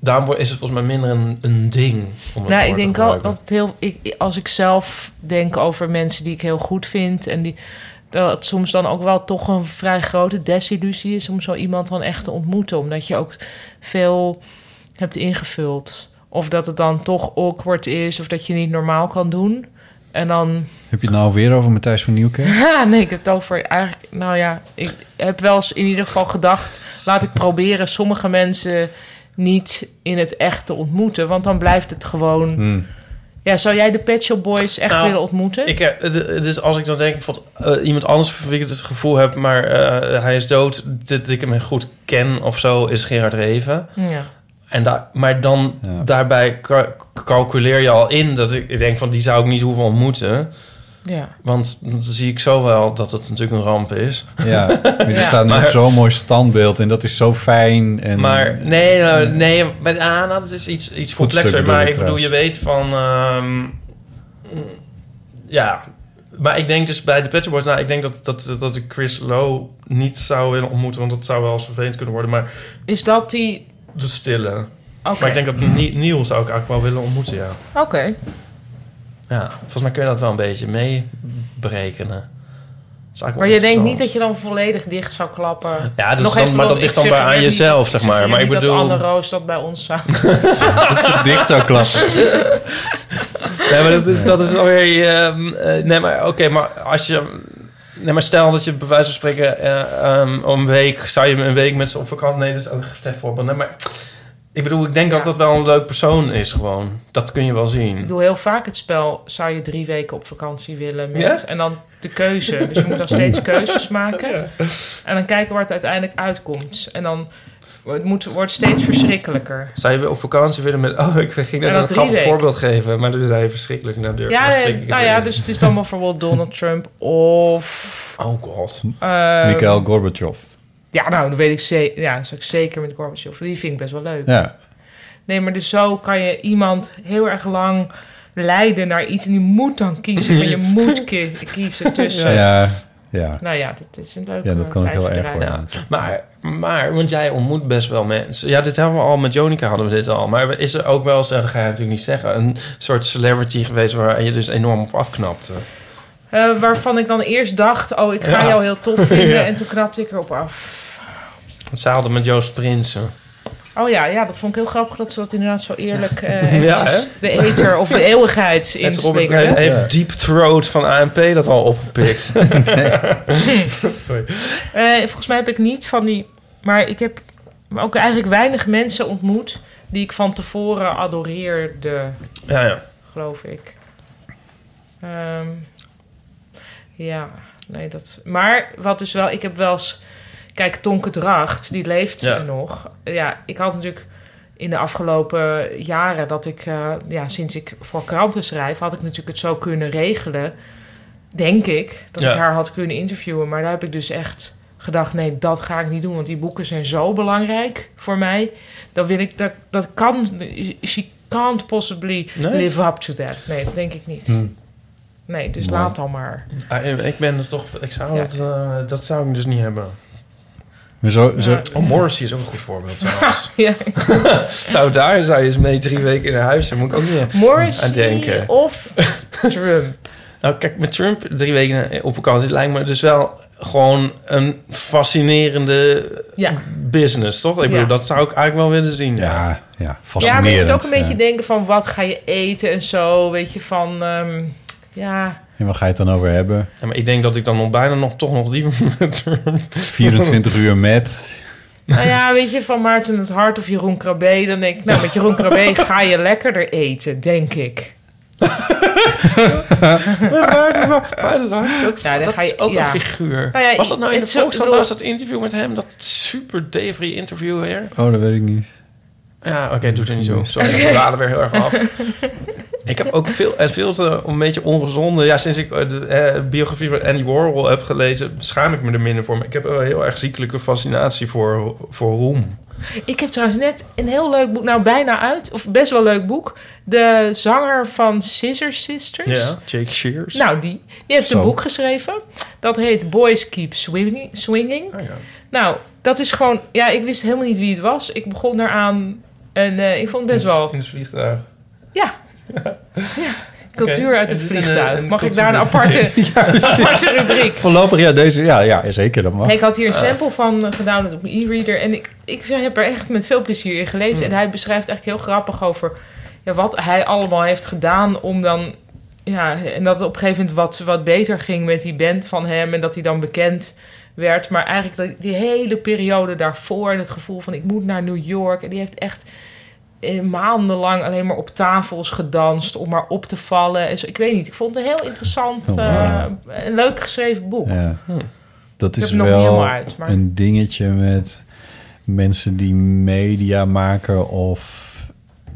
Daarom wo- is het volgens mij minder een, een ding. Om het
Nou, ik
woord te
denk wel
gebruiken.
dat het heel. Ik, als ik zelf denk over mensen die ik heel goed vind en die. Dat het soms dan ook wel toch een vrij grote desillusie is om zo iemand dan echt te ontmoeten. Omdat je ook veel hebt ingevuld. Of dat het dan toch awkward is of dat je niet normaal kan doen. En dan.
Heb je het nou weer over Matthijs van Nieuwkerk?
Ja, nee, ik heb het over eigenlijk. Nou ja, ik heb wel eens in ieder geval gedacht. Laat ik proberen sommige mensen niet in het echt te ontmoeten. Want dan blijft het gewoon.
Hmm.
Ja, zou jij de Pet Shop Boys echt
Nou,
willen ontmoeten?
Ik heb, het- het is als ik dan denk, bijvoorbeeld eh, iemand anders van wie ik het gevoel heb, maar eh, hij is dood, dat ik hem goed ken of zo, is Gerard Reven.
Ja.
En daar, maar dan daarbij ka- calculeer je al in dat ik, ik denk van die zou ik niet hoeven ontmoeten.
Ja.
Want dan zie ik zo wel dat het natuurlijk een ramp is.
Ja, maar er staat nu
Maar-
op zo'n mooi standbeeld en dat is zo fijn. En,
maar nee, nou, nee, maar ah, nou, dat is iets, iets complexer.
bedoel
Maar
ik
ik bedoel, je weet van, ehm, ja. Maar ik denk dus bij de Pet Shop Boys, nou, ik denk dat, dat, dat ik Chris Lowe niet zou willen ontmoeten, want dat zou wel eens vervelend kunnen worden. Maar
is dat die?
De stille.
Oké.
Maar ik denk dat Ni- Neil zou ik eigenlijk wel willen ontmoeten, ja.
Oké.
Ja, volgens mij kun je dat wel een beetje meeberekenen. Dat is eigenlijk wel
Maar je denkt
interessant.
niet dat je dan volledig dicht zou klappen.
Ja, dus
Nog
dan-
even
maar
nog-
dat ligt
ik
dan
zeg
bij
je
aan
niet-
jezelf, zeg
zeg
maar.
je
Maar ik
niet
bedoel-
Dat Anne Roos dat bij ons zou.
Dat ze dicht zou klappen. Nee, maar dat is, dat is alweer... je, ehm, eh, nee, maar oké, maar als je... Nee, maar stel dat je bij wijze van spreken eh, ehm, om een week... Zou je een week met ze op vakantie... Nee, dat is ook een slecht voorbeeld. Nee, maar ik bedoel, ik denk dat dat wel een leuk persoon is gewoon. Dat kun je wel zien.
Ik doe heel vaak het spel, zou je drie weken op vakantie willen? Met,
Ja?
En dan de keuze. Dus je moet dan steeds keuzes maken. En dan kijken waar het uiteindelijk uitkomt. En dan het moet, wordt steeds verschrikkelijker.
Zou je weer op vakantie willen met... Oh, ik ging net
Ja, dat
een
drie
grappig
weken.
voorbeeld geven. Maar toen zei je verschrikkelijk naar deur.
Ja, nee,
verschrikkelijk
nou ja, dus het is dan bijvoorbeeld Donald Trump of...
Oh god.
Ehm,
Mikhail Gorbachev.
Ja, nou, dat weet ik zeker. Ja, dat zou ik zeker met Gorbachev. Die vind ik best wel leuk.
Ja.
Nee, maar dus zo kan je iemand heel erg lang leiden naar iets. En die moet dan kiezen. Van je moet ki- kiezen tussen.
Ja, ja.
Nou ja, dat is een leuke
Ja, dat kan ook heel erg
tijdverdrijf.
worden.
Maar, maar, want jij ontmoet best wel mensen. Ja, dit hebben we al met Jonica hadden we dit al. Maar is er ook wel eens, nou, dat ga je natuurlijk niet zeggen, een soort celebrity geweest waar je dus enorm op afknapte?
Eh, waarvan ik dan eerst dacht, oh, ik ga
Ja.
jou heel tof vinden.
Ja.
En toen knapte ik erop af.
Want zij hadden met Joost Prinsen.
Oh ja, ja, dat vond ik heel grappig dat ze dat inderdaad zo eerlijk eh,
Ja,
eventjes
hè?
de eter of de eeuwigheid
Heeft Robert
inslingeren.
heeft Deep Throat van ANP dat al opgepikt. Sorry.
Eh, volgens mij heb ik niet van die. Maar ik heb ook eigenlijk weinig mensen ontmoet die ik van tevoren adoreerde.
Ja, ja.
Geloof ik. Ehm, ja, nee, dat. Maar wat dus wel, ik heb wel eens. Kijk, Tonke Dracht, die leeft
Ja.
nog. Ja, ik had natuurlijk in de afgelopen jaren dat ik, eh, ja, sinds ik voor kranten schrijf, had ik natuurlijk het zo kunnen regelen. Denk ik dat
Ja.
ik haar had kunnen interviewen. Maar daar heb ik dus echt gedacht: nee, dat ga ik niet doen. Want die boeken zijn zo belangrijk voor mij. Dan wil ik dat, dat kan. She can't possibly
Nee.
live up to that. Nee, dat denk ik niet.
Hmm.
Nee, dus
Mooi.
laat dan maar.
Ah, en ik ben er toch... Ik zou
Ja.
dat, eh, dat zou ik dus niet hebben.
Maar zo, zo,
Oh, Morrissey is ook een goed voorbeeld trouwens.
ja.
zou daar zou je eens mee drie weken in huis zijn. Moet ik ook niet
Morrissey
aan denken.
of Trump.
Nou, kijk, met Trump drie weken op vakantie lijkt me dus wel gewoon een fascinerende
Ja.
business, toch? Ik bedoel,
Ja.
dat zou ik eigenlijk wel willen zien. Ja,
ja
Ja, maar je moet ook een beetje denken van wat ga je eten en zo. Weet je, van ehm, ja.
En waar ga je het dan over hebben?
Ja, maar ik denk dat ik dan nog bijna nog, toch nog liever met Trump...
24 uur met.
Nou ja, weet je, van Maarten het Hart of Jeroen Krabbe. Dan denk ik, nou, met Jeroen Krabbe ga je lekkerder eten, denk ik. Ja, dan
dat
ga
is
je-
ook
ja.
een figuur.
Nou ja,
was dat nou in de
het zo-
Volkskrant
bedoel-
laatst dat interview met hem? Dat super debris interview weer?
Oh, dat weet ik niet.
Ja, oké, doe het niet zo. Sorry, we dwalen weer heel erg af. Ik heb ook veel, en veel te, een beetje ongezonde... Ja, sinds ik eh, de eh, biografie van Andy Warhol heb gelezen... schaam ik me er minder voor. Maar ik heb een heel erg ziekelijke fascinatie voor, voor roem.
Ik heb trouwens net een heel leuk boek, nou bijna uit, of best wel een leuk boek. De zanger van Scissor Sisters.
Ja, Jake Shears.
Nou, die, die heeft
Zo.
een boek geschreven. Dat heet Boys Keep Swinging.
Ah,
swinging. Nou, dat is gewoon... Ja, ik wist helemaal niet wie het was. Ik begon eraan en eh, ik vond het best
In het-
wel...
In het vliegtuig.
Ja. ja. Cultuur
Oké,
uit het
dit is een,
vliegtuig.
een
Mag ik daar een
cultuur-
aparte, aparte rubriek?
Voorlopig, ja, deze, ja, ja zeker. Dat mag.
ik had hier een sample van eh, gedownload op mijn e-reader. En ik, ik heb er echt met veel plezier in gelezen.
Hmm.
En hij beschrijft eigenlijk heel grappig over ja, wat hij allemaal heeft gedaan om dan. Ja, en dat het op een gegeven moment wat, wat beter ging met die band van hem. En dat hij dan bekend werd. Maar eigenlijk dat- die hele periode daarvoor. En het gevoel van ik moet naar New York. En die heeft echt eh, maandenlang alleen maar op tafels gedanst. Om maar op te vallen. En zo. Ik weet niet. Ik vond het een heel interessant.
Oh,
eh,
wow.
een leuk geschreven boek.
Ja. Dat
Oh. Hm. Ik
is
heb hem nog niet
wel
helemaal uit, maar-
een dingetje met mensen die media maken of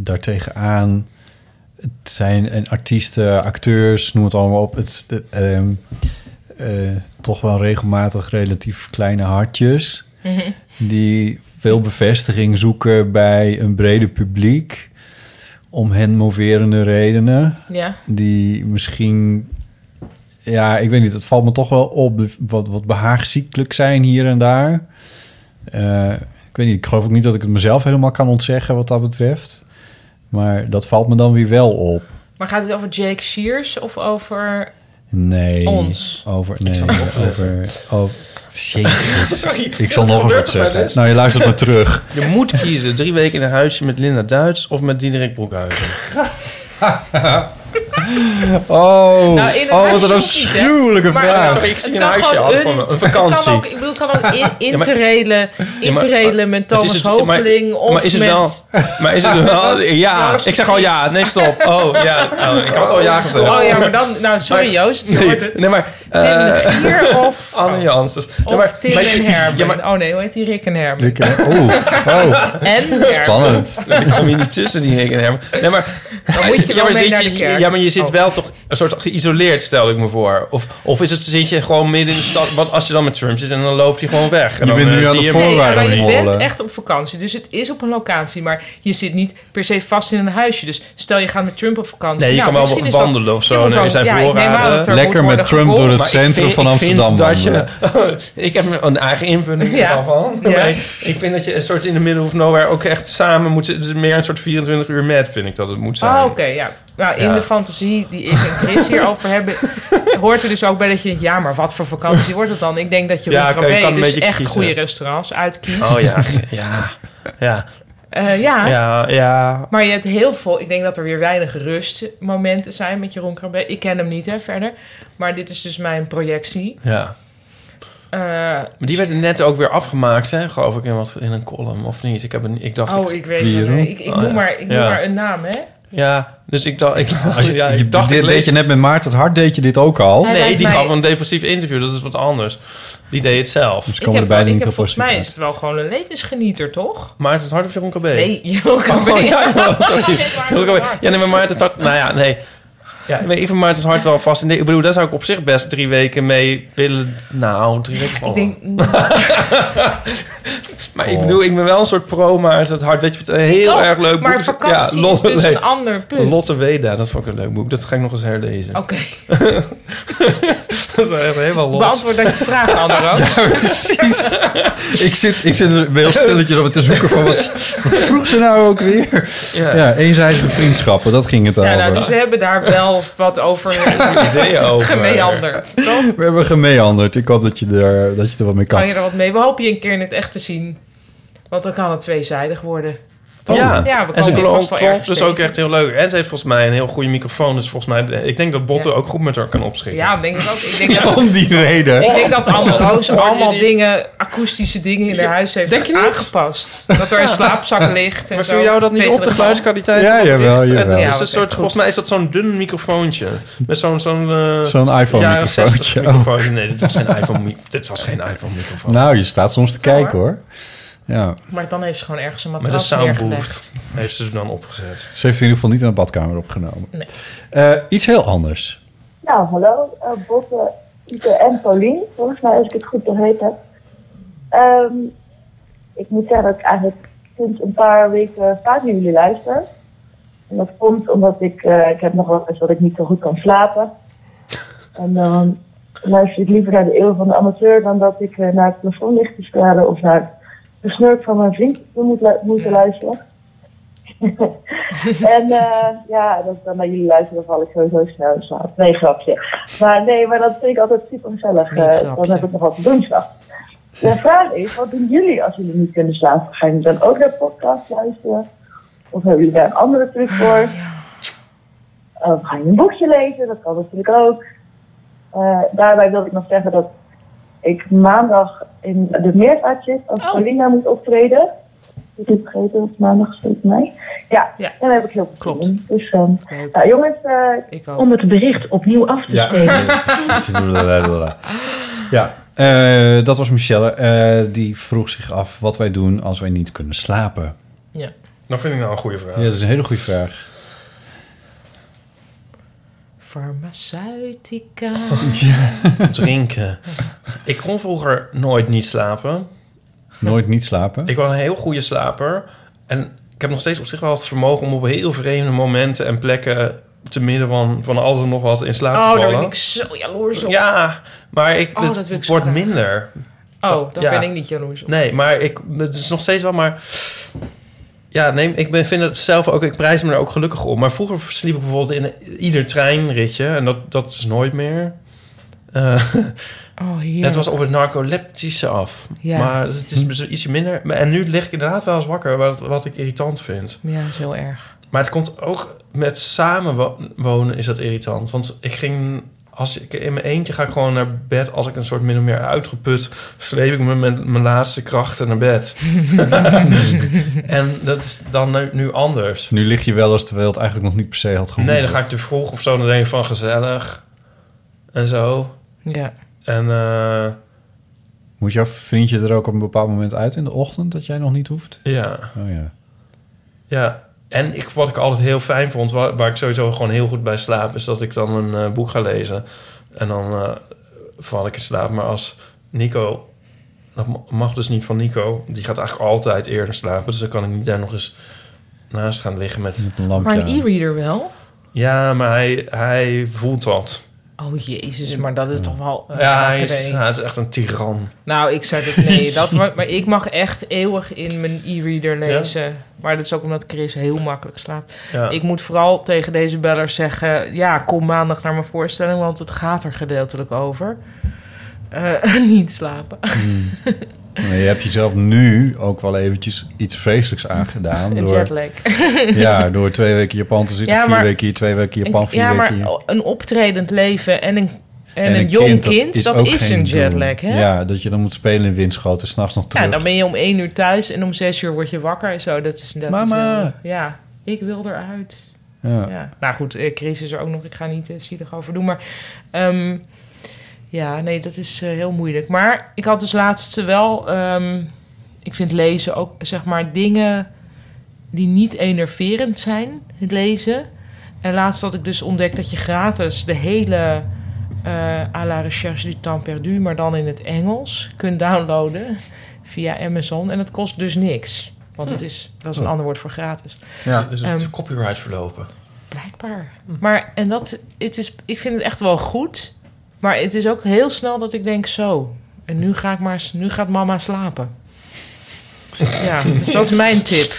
daartegenaan. Het zijn en artiesten, acteurs, noem het allemaal op. Het, het, ehm, eh, toch wel regelmatig relatief kleine hartjes.
Mhm.
Die veel bevestiging zoeken bij een breder publiek. Om hen moverende redenen.
Ja.
Die misschien ja, ik weet niet. Het valt me toch wel op. de- Wat, wat behaagziekelijk zijn hier en daar. Eh, ik weet niet. Ik geloof ook niet dat ik het mezelf helemaal kan ontzeggen wat dat betreft. Maar dat valt me dan weer wel op.
Maar gaat het over Jake Shears of over...
Nee.
Ons.
Over, nee,
zal nog
over... Oh, jezus.
Sorry,
ik zal
dat gebeurt er
nog eens wat
bij
zeggen.
les.
Nou, je luistert maar terug.
Je moet kiezen. Drie weken in een huisje met Linda Duits of met Diederik Broekhuizen.
Nou,
Oh,
in een
oh
huisje
wat
hoeft
een
niet, hè?
afschuwelijke
Maar-
vraag.
Sorry, ik zie
Het
een
kan
huisje
gewoon
al van een vakantie.
Het kan ook, ik bedoel, het kan ook in, interrelen,
Ja, maar-
interrelen met
Het
Thomas
is het-
Hoogeling
maar-
of
maar is het
met...
wel, Maar is het wel... Ja,
Joost
ik zeg al ja. Nee, stop. Oh, ja. Oh, ik had al ja gezegd.
Oh ja, maar dan... Nou, sorry Joost, je
nee,
hoort het.
Nee, maar... eh,
Tim de Gier of...
Anne Jans. Dus, nee,
Of
maar-
Tim
maar-
en Herman.
Ja, maar
Oh nee, hoe heet die? Rick en Herman.
Rick en- oh, oh.
En Herman.
Dan kom je niet tussen die Rick en Herman. Nee, maar,
Dan moet
ja,
je wel
maar
mee
zit
naar
je-
de kerk. Oh.
ja, maar je zit wel toch een soort geïsoleerd, stel ik me voor. Of, of is het, zit je gewoon midden in de stad... Want als je dan met Trump zit en dan loopt hij gewoon weg. En
Je
dan,
bent
eh,
nu aan
zie
de
je hem-
Nee, maar je bent
mollen.
echt op vakantie, dus het is op een locatie. Maar je zit niet per se vast in een huisje. Dus stel je gaat met Trump op vakantie.
Nee, je
nou,
kan wel
misschien is
wandelen
dat-
of zo,
je moet
en
dan-
zijn
ja, ik neem aan
voorraden.
dat er
Lekker
moet
met
worden
Trump door
gevolgd.
het centrum van Amsterdam
Ik vind dat
wandelen.
je... ik heb een eigen invulling
Ja.
daarvan.
Ja.
Maar ik vind dat je een soort in de middle of nowhere ook echt samen moet... Dus meer een soort 24 uur met, vind ik dat het moet zijn.
Oh, oké, ja. Nou, in
Ja.
de fantasie die ik en Chris hierover hebben... hoort er dus ook bij dat je denkt... ja, maar wat voor vakantie wordt het dan? Ik denk dat je
Ja,
ja,
oké, je kan een
dus
beetje
echt
kiezen.
goede restaurants uitkiest.
Oh ja, ja. ja.
Eh, ja.
Ja, ja.
Maar je hebt heel veel... Ik denk dat er weer weinig rustmomenten zijn met Jeroen Krabbe. Ik ken hem niet, hè, verder. Maar dit is dus mijn projectie.
Ja.
Eh,
Maar die werd net ook weer afgemaakt, hè? geloof ik, in, wat, in een column of niet. Ik, heb een, ik dacht...
oh, ik weet het.
Jeroen?
Ik, ik
Oh,
noem,
ja.
maar, ik noem
Ja.
maar een naam, hè?
Ja, dus ik dacht... Ik,
Als je,
ja, ik
je-
dacht
dit
ik lees-
deed je net met Maarten het Hart, deed je dit ook al.
Hij
Nee,
lijkt
die
mij-
gaf een depressief interview. dus Dat is wat anders. Die deed het zelf.
Dus komen er beide niet heel
Volgens
positief
mij
uit.
is het wel gewoon een levensgenieter, toch?
Maarten het Hart of Jeroen KB?
Nee, Jeroen Krabbe.
Oh, ja, ja, sorry.
Dit waren
Jeroen
we
Krabbe. Ja, nee, maar Maarten het Hart... Nou ja, nee. Ja, nee, ik vind Maarten het Hart wel vast. Nee, ik bedoel, daar zou ik op zich best drie weken mee willen... Nou, drie weken
Ik
wel.
denk...
Maar ik bedoel, ik ben wel een soort pro Maarten het Hart. Weet je, wat een heel
ook,
erg leuk
maar
boek.
vakantie is dus
nee.
een ander punt.
Lotte Weda, dat vond ik een leuk boek. Dat ga ik nog eens herlezen.
Oké,
dat is echt helemaal los.
beantwoord dat je vraag, Andro.
Ja, precies. ik zit, ik zit er heel stilletjes op te zoeken van wat, wat vroeg ze nou ook weer? Ja, eenzijdige vriendschappen, dat ging het
Ja,
over.
nou, dus we hebben daar wel wat over eh,
Ideeën over.
gemeanderd. toch?
We hebben gemeanderd. Ik hoop dat je er, dat je er wat mee kan.
Kan je er wat mee? We hopen je een keer in het echt te zien. Want dan kan het tweezijdig worden. Toch?
Ja,
we
en ze
komen vast wel
klonk
ergens
dus
tegen.
ook echt heel leuk. En ze heeft volgens mij een heel goede microfoon. Dus volgens mij, ik denk dat Botten ook goed met haar kan opschieten.
Ja, ik denk dat. Ik denk dat
Om die reden.
Ik denk dat Anne Roos
Hoor je
allemaal
die-
dingen, akoestische dingen in haar huis heeft aangepast. Dat er een slaapzak ligt en
Maar
zo.
viel jou dat niet
tegen
op de
grond.
geluidskwaliteit? van
Ja,
het
jawel,
licht? En
jawel.
het
Ja,
is
was
een
echt
soort, volgens mij is dat zo'n dun microfoontje. Met zo'n... Zo'n eh,
Zo'n Oh.
jaren 60
iPhone-microfoontje.
microfoontje. Nee, dit was geen iPhone, dit was geen iPhone microfoon.
Nou, je staat soms te kijken hoor. Ja.
Maar dan heeft ze gewoon ergens een
Met een
matras neergelegd.
soundboost heeft ze hem dan opgezet.
Ze heeft in ieder geval niet in een badkamer opgenomen.
Nee.
Eh, iets heel anders.
Nou, hallo, eh Botte, Ipe en Paulien. Volgens mij, als ik het goed begrepen heb. Ehm, ik moet zeggen dat ik eigenlijk sinds een paar weken vaak naar jullie luister. En dat komt omdat ik, eh, ik heb nog wel eens dat ik niet zo goed kan slapen. En dan luister ik liever naar de eeuw van de amateur dan dat ik eh, naar het plafond ligt te stralen of naar het gesnurk van mijn vriend moet lu- moeten luisteren. en eh, ja, dat ik dan naar jullie luister, dan val ik sowieso snel in slaap. Nee, grapje. Maar nee, maar dat vind ik altijd super gezellig.
Niet
Eh, dan
grapje.
heb ik nog wat te doen s'nachts. De vraag is, wat doen jullie als jullie niet kunnen slapen? Gaan jullie dan ook naar podcast luisteren? Of hebben jullie daar een andere truc voor? Of ga Eh, je een boekje lezen? Dat kan natuurlijk ook. Eh, daarbij wil ik nog zeggen dat ik maandag in de meervaart zit als Paulina moet optreden. Ik heb vergeten, dat is maandag volgens mij. Ja, en daar heb ik heel veel Klopt. Dus ehm, nou, jongens, eh, om het bericht opnieuw af te
Ja.
spelen.
Ja, eh, dat was Michelle. Eh, die vroeg zich af wat wij doen als wij niet kunnen slapen.
Ja.
Dat vind ik nou een goede vraag.
Ja, dat is een hele goede vraag.
Farmaceutica. Oh,
Drinken. Ik kon vroeger nooit niet slapen.
Nooit niet slapen.
Ik was een heel goede slaper. En ik heb nog steeds op zich wel het vermogen om op heel vreemde momenten en plekken... te midden van, van alles en nog wat in slaap
Oh,
te
daar
vallen.
ben ik zo jaloers op.
Ja, maar ik,
Oh,
het
dat wil ik zo
wordt
graag.
minder.
Oh, daar
ja.
ben ik niet jaloers op.
Nee, maar ik, het is nog steeds wel maar... Ja, nee, ik ben, vind het zelf ook... Ik prijs me er ook gelukkig om. Maar vroeger sliep ik bijvoorbeeld in ieder treinritje. En dat, dat is nooit meer. Eh,
Oh, heerlijk.
het was op het narcoleptische af.
Ja.
Maar het is dus ietsje minder. Maar- En nu lig ik inderdaad wel eens wakker. Wat, wat ik irritant vind.
Ja, dat is heel erg.
Maar het komt ook met samenwonen is dat irritant. Want ik ging... Als ik in mijn eentje ga ik gewoon naar bed. Als ik een soort min of meer uitgeput... sleep ik me met mijn laatste krachten naar bed. en dat is dan nu, nu anders.
Dus Nu lig je wel eens terwijl het eigenlijk nog niet per se had gehoeven.
Nee, dan ga ik te vroeg of zo. Dan denk ik van gezellig. En zo.
Ja.
En eh,
Moet jouw vriendje er ook op een bepaald moment uit in de ochtend dat jij nog niet hoeft?
ja.
Oh ja.
Ja, en ik, wat ik altijd heel fijn vond, waar, waar ik sowieso gewoon heel goed bij slaap, is dat ik dan een eh, boek ga lezen. En dan eh, val ik in slaap. Maar als Nico, dat ma- mag dus niet van Nico, die gaat eigenlijk altijd eerder slapen. Dus dan kan ik niet daar nog eens naast gaan liggen met
een
Maar een e-reader wel?
Ja, maar hij, hij voelt dat.
Oh, jezus, maar dat is toch wel... eh,
Ja, hij is,
acadee.
hij is echt een tiran.
Nou, ik zou dit... Nee, dat, maar, maar ik mag echt eeuwig in mijn e-reader lezen. Maar dat is ook omdat Chris heel makkelijk slaapt.
Ja.
Ik moet vooral tegen deze bellers zeggen... Ja, kom maandag naar mijn voorstelling, want het gaat er gedeeltelijk over. Eh, niet slapen.
Maar Hmm. je hebt jezelf nu ook wel eventjes iets vreselijks aangedaan.
Een
door,
jetlag.
Ja, door twee weken Japan te zitten,
Ja,
vier
maar-
weken hier, twee weken Japan,
Ik-
vier
ja,
weken
maar
hier.
een optredend leven en een, en een, jong kind, dat is,
ook geen
een
doel.
jetlag, hè?
Ja, dat je dan moet spelen in windschoten, s'nachts nog terug.
Ja, dan ben je om één uur thuis en om zes uur word je wakker en zo. Dat is dat
Mama.
Is, eh, ja, ik wil eruit.
Ja.
Nou goed, eh, Chris is er ook nog. Ik ga niet eh, zielig over doen. Maar ehm, ja, nee, dat is eh, heel moeilijk. Maar ik had dus laatst wel... ehm, ik vind lezen ook, zeg maar, dingen die niet enerverend zijn. Het lezen. En laatst had ik dus ontdekt dat je gratis de hele... eh à la recherche du temps perdu, maar dan in het Engels, kunt downloaden via Amazon. En dat kost dus niks. Want het is, dat is een
Oh.
ander woord voor gratis.
Ja. Dus het
Ehm,
copyright verlopen.
Blijkbaar. Mhm. Maar en dat, het is, ik vind het echt wel goed. Maar het is ook heel snel dat ik denk zo. En nu ga ik maar, eens- nu gaat mama slapen. Ja, dus dat is mijn tip.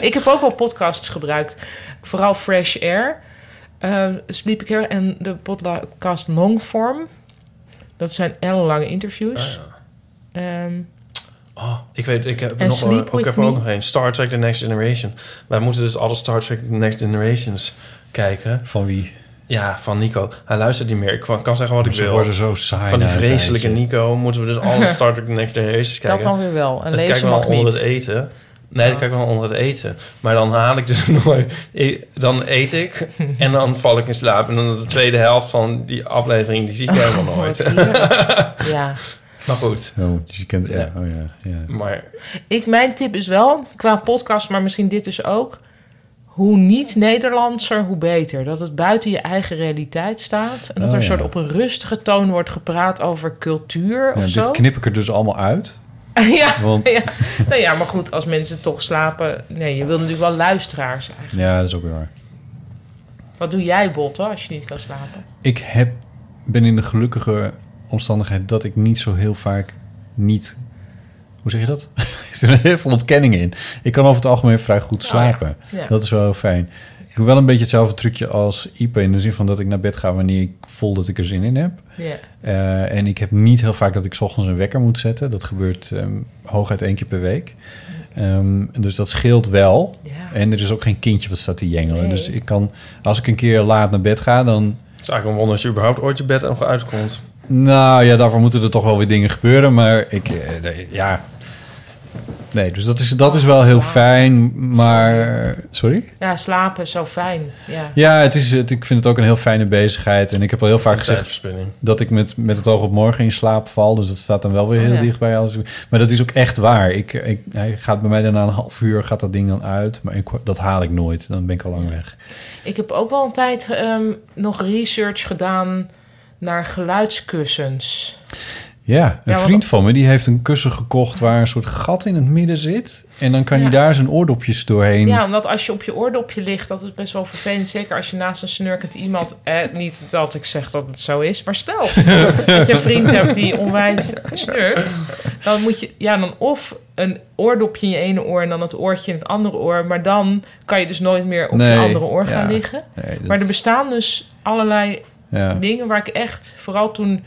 ik heb ook wel podcasts gebruikt. Vooral Fresh Air. eh, sliep ik heel en de podcast Longform. Dat zijn ellenlange interviews. Ehm,
Oh, ik weet, ik heb,
En
er nog,
Sleep
eh, ik
With
heb er ook
Me.
nog één. Star Trek The Next Generation. Wij moeten dus alle Star Trek The Next Generations kijken.
Van wie?
Ja, van Nico. Hij luistert niet meer. Ik kan, kan zeggen wat
Maar
ik
ze
wil.
worden zo saai
Van die
na een
vreselijke
tijdje.
Nico moeten we dus alle Star Trek The Next Generations kijken.
dan weer wel. En
dat
lezen
kijk ik
mag
wel onder
niet.
het eten. Nee, dat kijk ik wel onder het eten. Maar dan haal ik dus nooit... ik- Dan eet ik en dan val ik in slaap. En dan de tweede helft van die aflevering, die zie ik helemaal nooit.
ja.
Maar goed.
Oh, dus je kent, ja, oh ja, ja.
Maar
Ik, mijn tip is wel, qua podcast, maar misschien dit dus ook... hoe niet Nederlandser, hoe beter. Dat het buiten je eigen realiteit staat. En dat er
Oh,
een
ja.
soort op een rustige toon wordt gepraat over cultuur
Ja,
of
dit
zo.
knip ik er dus allemaal uit.
ja,
Want-
ja. Nou ja, maar goed, als mensen toch slapen... Nee, je wil natuurlijk wel luisteraars zijn.
Ja, dat is ook weer waar.
Wat doe jij, Botte, als je niet kan slapen?
Ik heb, ben in de gelukkige omstandigheid dat ik niet zo heel vaak niet... Hoe zeg je dat? er zit heel veel ontkenning in. Ik kan over het algemeen vrij goed slapen.
Oh Ja.
Dat is wel heel fijn. Ik doe wel een beetje hetzelfde trucje als Ipe... in de zin van dat ik naar bed ga wanneer ik voel dat ik er zin in heb.
Ja.
Eh, en ik heb niet heel vaak dat ik 's ochtends een wekker moet zetten. Dat gebeurt ehm, hooguit één keer per week. Ehm, dus dat scheelt wel. En er is ook geen kindje wat staat te jengelen.
Nee.
Dus ik kan, als ik een keer laat naar bed ga, dan
het is eigenlijk een wonder als je überhaupt ooit je bed nog uitkomt.
nou ja, daarvoor moeten er toch wel weer dingen gebeuren. Maar ik, eh, nee, ja. Nee, dus dat is, dat is wel heel fijn. Maar. Sorry?
Ja, slapen is zo fijn. Ja.
Ja, het is, het, ik vind het ook een heel fijne bezigheid. En ik heb al heel vaak
Een
gezegd
tijdverspilling.
dat ik met, met het oog op morgen in slaap val. Dus dat staat dan wel weer heel
Oh, ja.
dichtbij. Alles. Maar dat is ook echt waar. Ik, ik, hij gaat bij mij daarna een half uur gaat dat ding dan uit. Maar ik, dat haal ik nooit. Dan ben ik al lang weg.
Ik heb ook wel een tijd ehm, nog research gedaan naar geluidskussens.
Ja, een
Ja, want-
vriend van me die heeft een kussen gekocht waar een soort gat in het midden zit. En dan kan hij daar zijn oordopjes doorheen.
Ja, omdat als je op je oordopje ligt, dat is best wel vervelend. Zeker als je naast een snurkend iemand... Eh, niet dat ik zeg dat het zo is, maar stel dat je een vriend hebt die onwijs snurkt. Dan moet je, ja, dan of een oordopje in je ene oor en dan het oortje in het andere oor. Maar dan kan je dus nooit meer op
Nee,
je andere oor gaan
ja.
liggen.
Nee, dat-
Maar er bestaan dus allerlei
Ja.
dingen waar ik echt... Vooral toen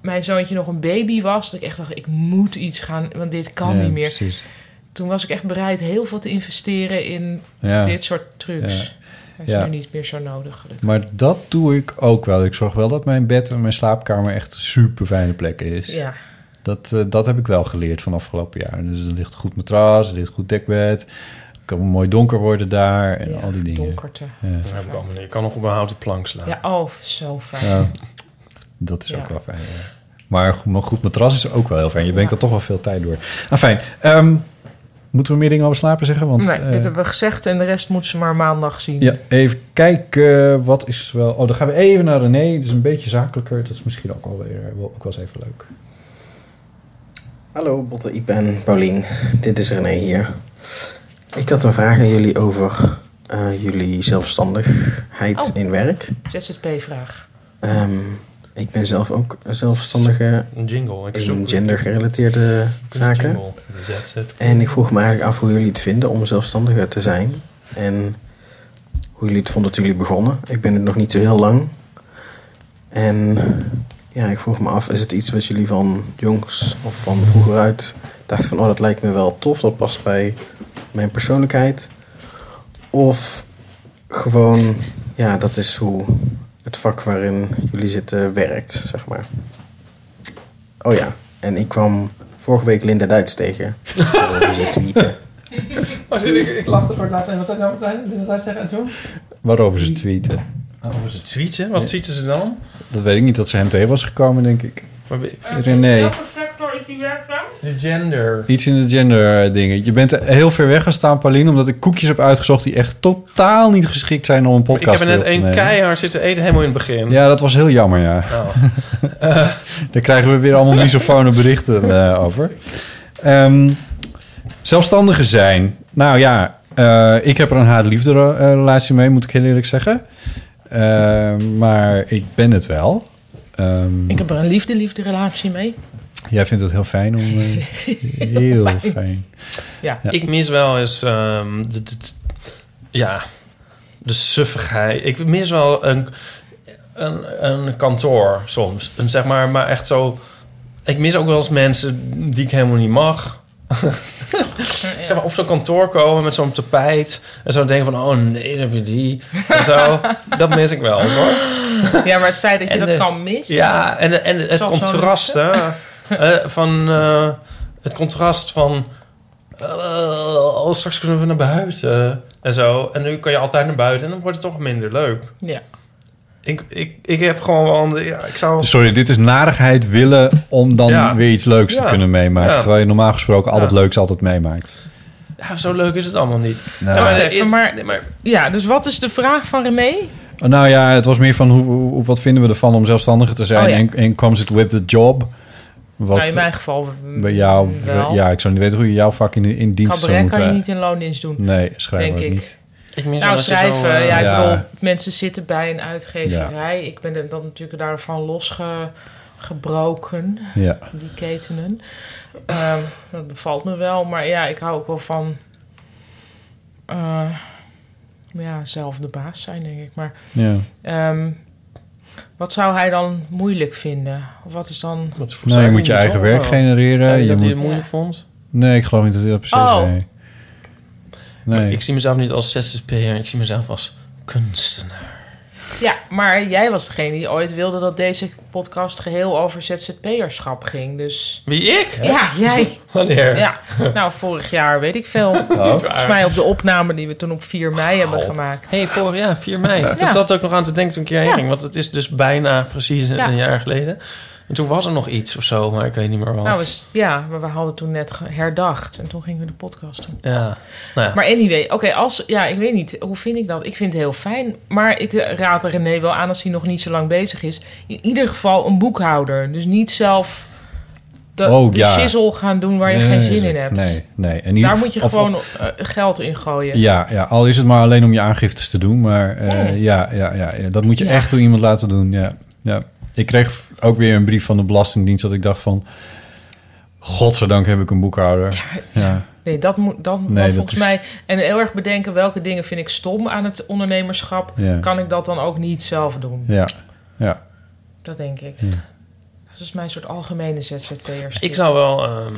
mijn zoontje nog een baby was, dat ik echt dacht, ik moet iets gaan... Want dit kan
Ja,
niet meer
precies.
toen was ik echt bereid heel veel te investeren in
Ja.
dit soort trucs.
Ja.
Dat is
Ja.
nu niet meer zo nodig, gelukkig.
Maar dat doe ik ook wel. Ik zorg wel dat mijn bed en mijn slaapkamer echt super fijne plekken is.
Ja.
Dat, eh, dat heb ik wel geleerd van afgelopen jaar. Dus er ligt een goed matras, er ligt een goed dekbed. Het kan mooi donker worden daar en al die dingen.
donkerte.
Ja.
Dat heb ik allemaal niet. Ik kan nog op een houten plank slaan.
Ja, oh, zo fijn.
Ja, dat is
Ja.
ook wel fijn. ja. Maar goed, maar goed matras is ook wel heel fijn. Je brengt er toch wel veel tijd door. Ah, fijn. Ehm, moeten we meer dingen over slapen zeggen? Want,
nee,
eh,
dit hebben we gezegd en de rest moeten ze maar maandag zien.
Ja, even kijken. Wat is wel. Oh, dan gaan we even naar René. Het is een beetje zakelijker. Dat is misschien ook wel weer. Wel, ook wel eens even leuk.
Hallo Botte, Ipe en Paulien. Dit is René hier. Ik had een vraag aan jullie over eh, jullie zelfstandigheid
Oh.
in werk.
ZZP-vraag.
Ehm, ik ben zelf ook een zelfstandige
Een jingle. Ik
in
zoek-
gendergerelateerde
Een
zaken.
jingle. De ZZP.
En ik vroeg me eigenlijk af hoe jullie het vinden om zelfstandiger te zijn. En hoe jullie het vonden toen jullie begonnen. Ik ben het nog niet zo heel lang. En Ja, ik vroeg me af, is het iets wat jullie van jongs of van vroeger uit dachten van, oh dat lijkt me wel tof, dat past bij mijn persoonlijkheid? Of gewoon, ja, dat is hoe het vak waarin jullie zitten werkt, zeg maar. Oh ja, en ik kwam vorige week Linda Duits tegen. Over ze tweeten.
Oh, zit ik, ik lachte voor het laatst. En was dat nou Martijn? Dit was laatst tegen en zo?
Waarover ze tweeten.
Over ze tweeten? Wat
Ja.
tweeten ze dan?
Dat weet ik niet, dat ze hem tegen was gekomen, denk ik.
Maar wie-
René.
sector is die werkzaam?
De gender.
Iets in de gender dingen. Je bent heel ver weg gaan staan, Pauline, omdat ik koekjes heb uitgezocht die echt totaal niet geschikt zijn om een
Ik
podcast
heb er net
mee op te
één
nemen.
keihard zitten eten helemaal in het begin.
Ja, dat was heel jammer, ja.
Eh,
Daar krijgen we weer allemaal misofone berichten eh, over. Ehm zelfstandigen zijn. Nou ja, eh, ik heb er een haat-liefde eh, relatie mee, moet ik heel eerlijk zeggen. Eh, maar ik ben het wel. Ehm,
Ik heb er een liefde-liefde relatie mee.
Jij vindt het heel fijn om... eh, heel
fijn.
fijn.
Ja.
Ik mis wel eens ehm, de, de- de- ja, de suffigheid. Ik mis wel een, een, een kantoor soms. Een, zeg maar, maar echt zo. Ik mis ook wel eens mensen die ik helemaal niet mag. zeg maar, op zo'n kantoor komen met zo'n tapijt. En zo denken van, oh nee, dan heb je die. En zo. dat mis ik wel eens hoor.
Ja, maar het feit dat je
En,
dat
eh,
kan missen.
Ja, en, en het
Zoals zo'n-
contrast, hè. eh, van, eh, het contrast van... eh, oh, straks kunnen we naar buiten eh, en zo. En nu kan je altijd naar buiten en dan wordt het toch minder leuk.
Ja.
Ik, ik, ik heb gewoon wel... een- Ja, ik zou...
Sorry, dit is narigheid willen om dan
Ja.
weer iets leuks
Ja.
te kunnen meemaken.
Ja.
Terwijl je normaal gesproken al het
Ja.
leuks altijd meemaakt.
Ja, zo leuk is het allemaal niet.
Nou.
Ja, maar er
Even,
is-
maar-
nee, maar
Ja, dus wat is de vraag van René?
Nou ja, het was meer van hoe, hoe- wat vinden we ervan om zelfstandige te zijn?
Oh ja.
en, en comes it with the job? Wat,
nou, in mijn geval mm,
Bij jou,
wel.
ja, ik zou niet weten hoe je jouw vak in, in dienst zou
Cabaret
moeten...
kan je niet in loondienst doen.
Nee, schrijven
denk
ook
ik.
niet.
Ik mis wel
nou,
dat je
schrijven.
zo, eh,
ja, ik
Ja.
bedoel, mensen zitten bij een uitgeverij. Ik ben er dan natuurlijk daarvan losgebroken.
Ja.
Die ketenen. Ehm, dat bevalt me wel. Maar ja, ik hou ook wel van... eh, ja, zelf de baas zijn, denk ik. Maar
Ja.
ehm, wat zou hij dan moeilijk vinden? Of wat is dan...
Nou, je moet je eigen werk genereren.
Zei je dat
moet...
hij het moeilijk vond?
Nee, ik geloof niet dat hij dat precies
Oh.
zei.
maar
Nee.
ik zie mezelf niet als zzp'er. Ik zie mezelf als kunstenaar.
Ja, maar jij was degene die ooit wilde dat deze podcast geheel over ZZP'erschap ging. Dus...
Wie, ik?
Ja, jij.
Wanneer? Oh.
Ja, nou vorig jaar weet ik veel. Volgens mij op de opname die we toen op 4 mei hebben gemaakt.
hey, vorig jaar, 4 mei. Dus
Ja.
Dat zat ook nog aan te denken toen ik hierheen
Ja.
ging. Want het is dus bijna precies een,
Ja.
een jaar geleden. En toen was er nog iets of zo, maar ik weet niet meer wat.
Nou, was, ja, maar we hadden toen net ge- herdacht en toen gingen we de podcast doen.
Ja, nou ja.
Maar anyway, oké, als ja, ik weet niet, hoe vind ik dat? Ik vind het heel fijn, maar ik eh, raad René wel aan als hij nog niet zo lang bezig is. In ieder geval een boekhouder, dus niet zelf de,
Oh,
de
ja.
shizzle gaan doen waar je
Nee,
geen zin
nee,
in hebt.
nee, nee. In ieder
Daar
geval-
moet je
of-
gewoon eh, geld in gooien.
Ja, ja, al is het maar alleen om je aangiftes te doen. Maar eh, ja. Ja, ja, ja, dat moet je
Ja.
echt door iemand laten doen. Ja, ja. Ik kreeg ook weer een brief van de Belastingdienst... dat ik dacht van... Godzijdank heb ik een boekhouder. Ja,
Nee, dat moet dan
Nee, dat
volgens
is-
mij. En heel erg bedenken welke dingen vind ik stom aan het ondernemerschap.
Ja.
Kan ik dat dan ook niet zelf doen?
ja, ja.
Dat denk ik.
Ja.
Dat is mijn soort algemene ZZP'ers.
Ik zou wel... ehm,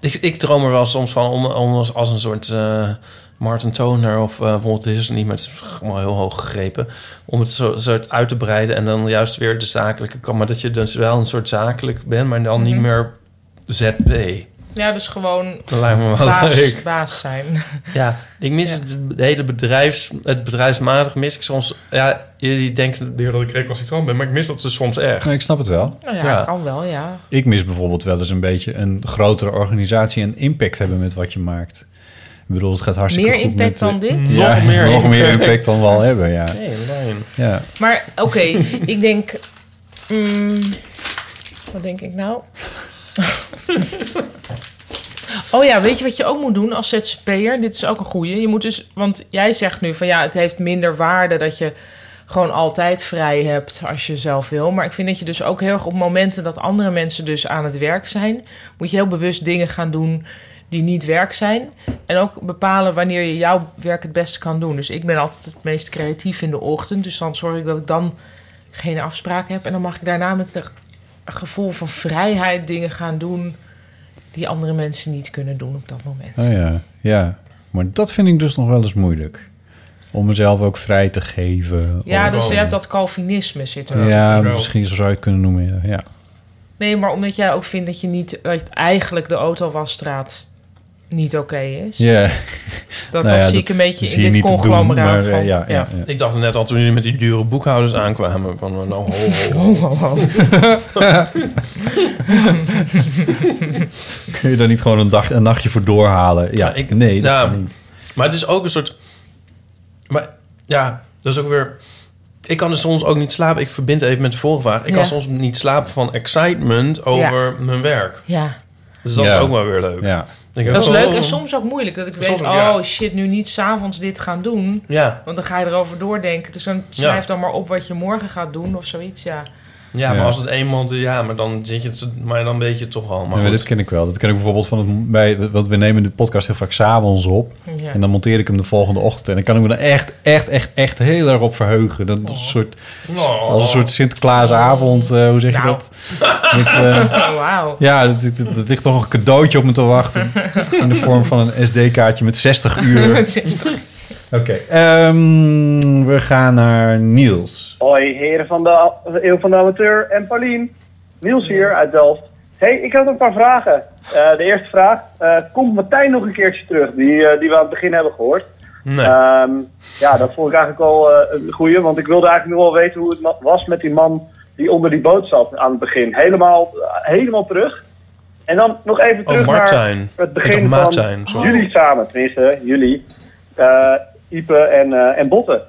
ik, ik droom er wel soms van om, om als, als een soort eh, Martin Toner of eh Walt Disney... maar het is allemaal heel hoog gegrepen... om het zo, soort uit te breiden en dan juist weer de zakelijke kant. Maar dat je dus wel een soort zakelijk bent, maar dan niet
Mhm.
meer ZP.
Ja, dus gewoon
Dat lijkt me wel
baas,
leuk.
baas zijn.
Ja, ik mis het hele bedrijfs, het bedrijfsmatig mis ik soms. Ja, jullie denken weer dat ik recalcitrant ben, maar ik mis dat ze soms echt.
Nee, ik snap het wel.
Nou ja,
Ja.
kan wel, ja.
Ik mis bijvoorbeeld wel eens een beetje een grotere organisatie en impact hebben met wat je maakt. Ik bedoel, het gaat hartstikke
Meer
goed
impact
met de-
dan dit?
Ja,
Nog meer
nog meer
impact.
impact dan we al hebben, ja.
Nee, lijn.
Ja.
Maar oké, ik denk. mm, wat denk ik nou? oh ja, weet je wat je ook moet doen als ZZP'er? Dit is ook een goeie. Je moet dus, want jij zegt nu van ja, het heeft minder waarde dat je gewoon altijd vrij hebt als je zelf wil. Maar ik vind dat je dus ook heel erg op momenten dat andere mensen dus aan het werk zijn, moet je heel bewust dingen gaan doen die niet werk zijn. En ook bepalen wanneer je jouw werk het beste kan doen. Dus ik ben altijd het meest creatief in de ochtend. Dus dan zorg ik dat ik dan geen afspraak heb. En dan mag ik daarna met het gevoel van vrijheid dingen gaan doen die andere mensen niet kunnen doen op dat moment.
Oh ja, ja. Maar dat vind ik dus nog wel eens moeilijk. Om mezelf ook vrij te geven.
Ja,
Of-
dus je hebt dat Calvinisme zit er.
Ja, misschien zou je het kunnen noemen. Ja. ja.
Nee, maar omdat jij ook vindt dat je niet dat eigenlijk de autowasstraat niet oké is.
Ja.
Dat,
Nou
dat
ja,
zie ik
dat
een beetje
zie je
in dit
niet te doen, maar,
conglomeraat
eh,
van.
ja, ja. Ja.
Ik dacht net al toen jullie met die dure boekhouders aankwamen van eh, nou ho, ho,
ho.
Kun je daar niet gewoon een, dag, een nachtje voor doorhalen? Ja,
ik-
nee, dat
ja.
kan niet.
Maar het is ook een soort. Maar ja, dat is ook weer. Ik kan er soms ook niet slapen. Ik verbind even met de vorige vraag. Ik
Ja.
kan soms niet slapen van excitement over mijn werk.
Ja.
Dus dat
Ja.
is ook wel weer leuk.
Ja.
Ik
Dat is
ook,
leuk
oh,
en soms ook moeilijk. Dat ik weet,
Soms
oh
ook, ja.
shit, nu niet s'avonds dit gaan doen.
Ja.
Want dan ga je erover doordenken. Dus dan schrijf
Ja.
dan maar op wat je morgen gaat doen of zoiets. Ja,
Ja, maar
Ja.
als het eenmaal... Ja, maar dan, zit je, het- maar dan weet je het toch al. Maar
Ja, maar
goed.
dit ken ik wel. Dat ken ik bijvoorbeeld van het, bij, want we nemen de podcast heel vaak s'avonds op.
Ja.
En dan monteer ik hem de volgende ochtend. En dan kan ik me er echt, echt, echt, echt heel erg op verheugen. Dat is een soort,
Oh.
Als een soort Sinterklaasavond, eh, hoe zeg
Nou.
je dat? Met, eh,
Oh, wauw.
Ja, dat, dat, dat ligt toch een cadeautje op me te wachten. In de vorm van een SD-kaartje met 60 uur.
Met 60.
Oké, ehm, we gaan naar Niels.
Hoi, heren van de Eeuw van de Amateur en Paulien. Niels hier uit Delft. hey, ik had een paar vragen. Eh, de eerste vraag, eh, komt Martijn nog een keertje terug, die, eh, die we aan het begin hebben gehoord?
Nee.
Ehm, ja, dat vond ik eigenlijk al eh, een goeie, want ik wilde eigenlijk nog wel weten hoe het ma- was met die man die onder die boot zat aan het begin. Helemaal, eh, helemaal terug. En dan nog even
Oh,
terug
Martijn.
naar het
Ik
begin
dacht
van
Maartijn, sorry.
jullie samen, tenminste, jullie, eh, Ipe en, eh, en Botten.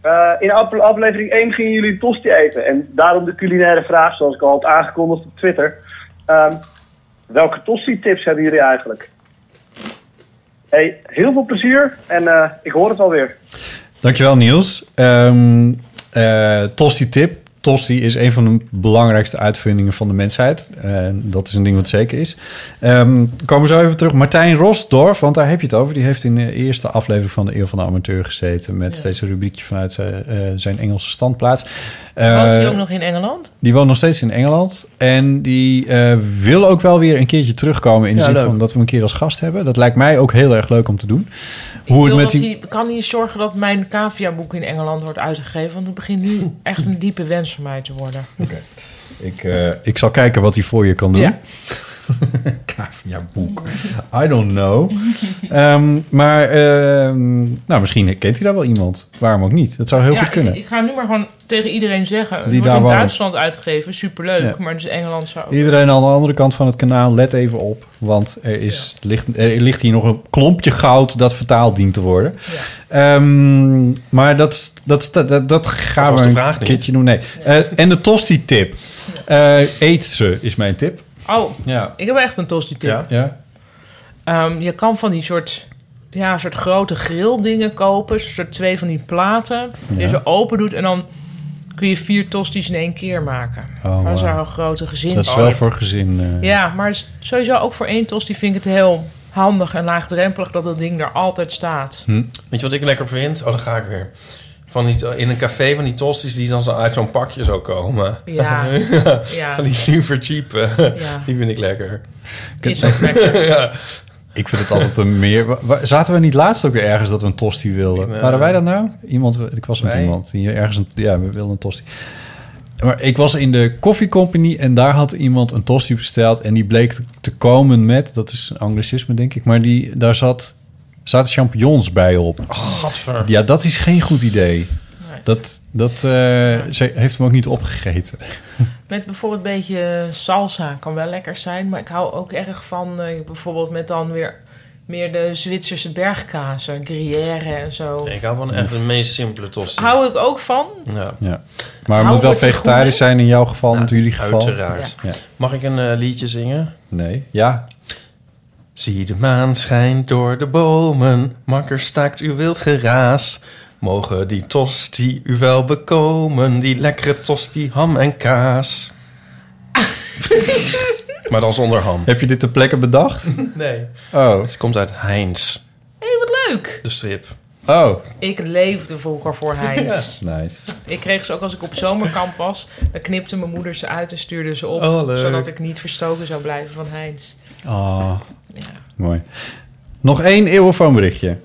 Eh, in afle- aflevering 1 gingen jullie tosti eten. En daarom de culinaire vraag, zoals ik al had aangekondigd op Twitter. Ehm, welke tosti-tips hebben jullie eigenlijk? Hey, heel veel plezier en eh, ik hoor het alweer.
Dankjewel Niels. Ehm eh, Tosti tip. Tosti is een van de belangrijkste uitvindingen van de mensheid. Eh, dat is een ding wat zeker is. Ehm komen we zo even terug. Martijn Rosdorf, want daar heb je het over. Die heeft in de eerste aflevering van de Eeuw van de Amateur gezeten. Met steeds een rubriekje vanuit zijn, eh, zijn Engelse standplaats. Eh,
Woont hij ook nog in Engeland?
die woont nog steeds in Engeland. En die eh, wil ook wel weer een keertje terugkomen. In de
Ja,
zin
leuk.
van dat we hem een keer als gast hebben. Dat lijkt mij ook heel erg leuk om te doen. Hoe
Wil dat hij- kan hij zorgen dat mijn caviarboek in Engeland wordt uitgegeven? Want het begint nu echt een diepe wens van mij te worden.
Ik, eh, ik zal kijken wat hij voor je kan doen.
Ja.
Kavia boek. I don't know. Ehm, maar ehm, nou, misschien kent hij daar wel iemand. Waarom ook niet? Dat zou heel
ja,
goed kunnen.
Ik, ik ga nu maar gewoon tegen iedereen zeggen. Het
Die
wordt
daar
in
woont.
Duitsland uitgegeven, superleuk.
Ja.
Maar dus Engeland zou ook-
Iedereen aan de andere kant van het kanaal, let even op. Want er, is, ligt, er ligt hier nog een klompje goud dat vertaald dient te worden. Ehm, maar dat, dat, dat, dat, gaan
was
we
de
een
vraag niet.
keertje doen. Nee. Eh, en de tosti-tip. Eh, eet ze, is mijn tip.
Oh,
Ja.
ik heb echt een tosti tip.
ja.
Ehm, je kan van die soort, ja, soort grote grilldingen kopen. Zo'n soort twee van die platen. Die
Ja.
je zo open doet en dan kun je vier tosties in één keer maken.
Oh,
dat is
wauw.
wel een grote gezin. Oh.
Dat is wel voor gezin. eh.
Ja, maar het is sowieso ook voor één tosti vind ik het heel handig en laagdrempelig dat dat ding er altijd staat.
Weet je wat ik lekker vind? Oh, dan ga ik weer. Van die, in een café van die tosties die dan zo uit zo'n pakje zo komen.
Ja. Ja.
Van die super cheap. eh,
Ja.
Die vind ik lekker.
Is ook lekker.
ja.
Ik vind het altijd een meer. wa- wa- Zaten we niet laatst ook weer ergens dat we een tosti wilden?
eh,
Waren wij dat nou? Iemand, ik was met
wij?
iemand die ergens een, ja, we wilden een tosti. Maar ik was in de Coffee Company en daar had iemand een tosti besteld en die bleek te- te komen met, dat is een anglicisme denk ik, maar die daar zat zaten champignons bij op.
Gadver.
Ja, dat is geen goed idee. Dat, dat eh, ze heeft hem ook niet opgegeten.
Met bijvoorbeeld een beetje eh, salsa kan wel lekker zijn. Maar ik hou ook erg van eh, bijvoorbeeld met dan weer meer de Zwitserse bergkazen, gruyère en zo.
Ik hou van echt de meest simpele tosti.
Hou ik ook van.
Ja.
Ja. Maar
Hou
het moet wel
het te
vegetarisch
goede.
zijn in jouw geval, in jullie geval.
Uiteraard.
Ja.
Mag ik een eh, liedje zingen?
Nee. Ja.
Zie de maan schijnt door de bomen. Makker staakt uw wild geraas. Mogen die tosti u wel bekomen. Die lekkere tosti ham en kaas. maar dan zonder ham.
Heb je dit ter plekke bedacht?
Nee.
Oh.
Het komt uit Heinz,
Hé, hey, wat leuk!
de strip.
Oh.
Ik leefde vroeger voor Heinz.
Ja. Nice.
Ik kreeg ze ook als ik op zomerkamp was. Dan knipte mijn moeder ze uit en stuurde ze op.
Oh, leuk.
zodat ik niet verstoken zou blijven van Heinz.
Oh. Mooi. Nog één eeuwenfoonberichtje.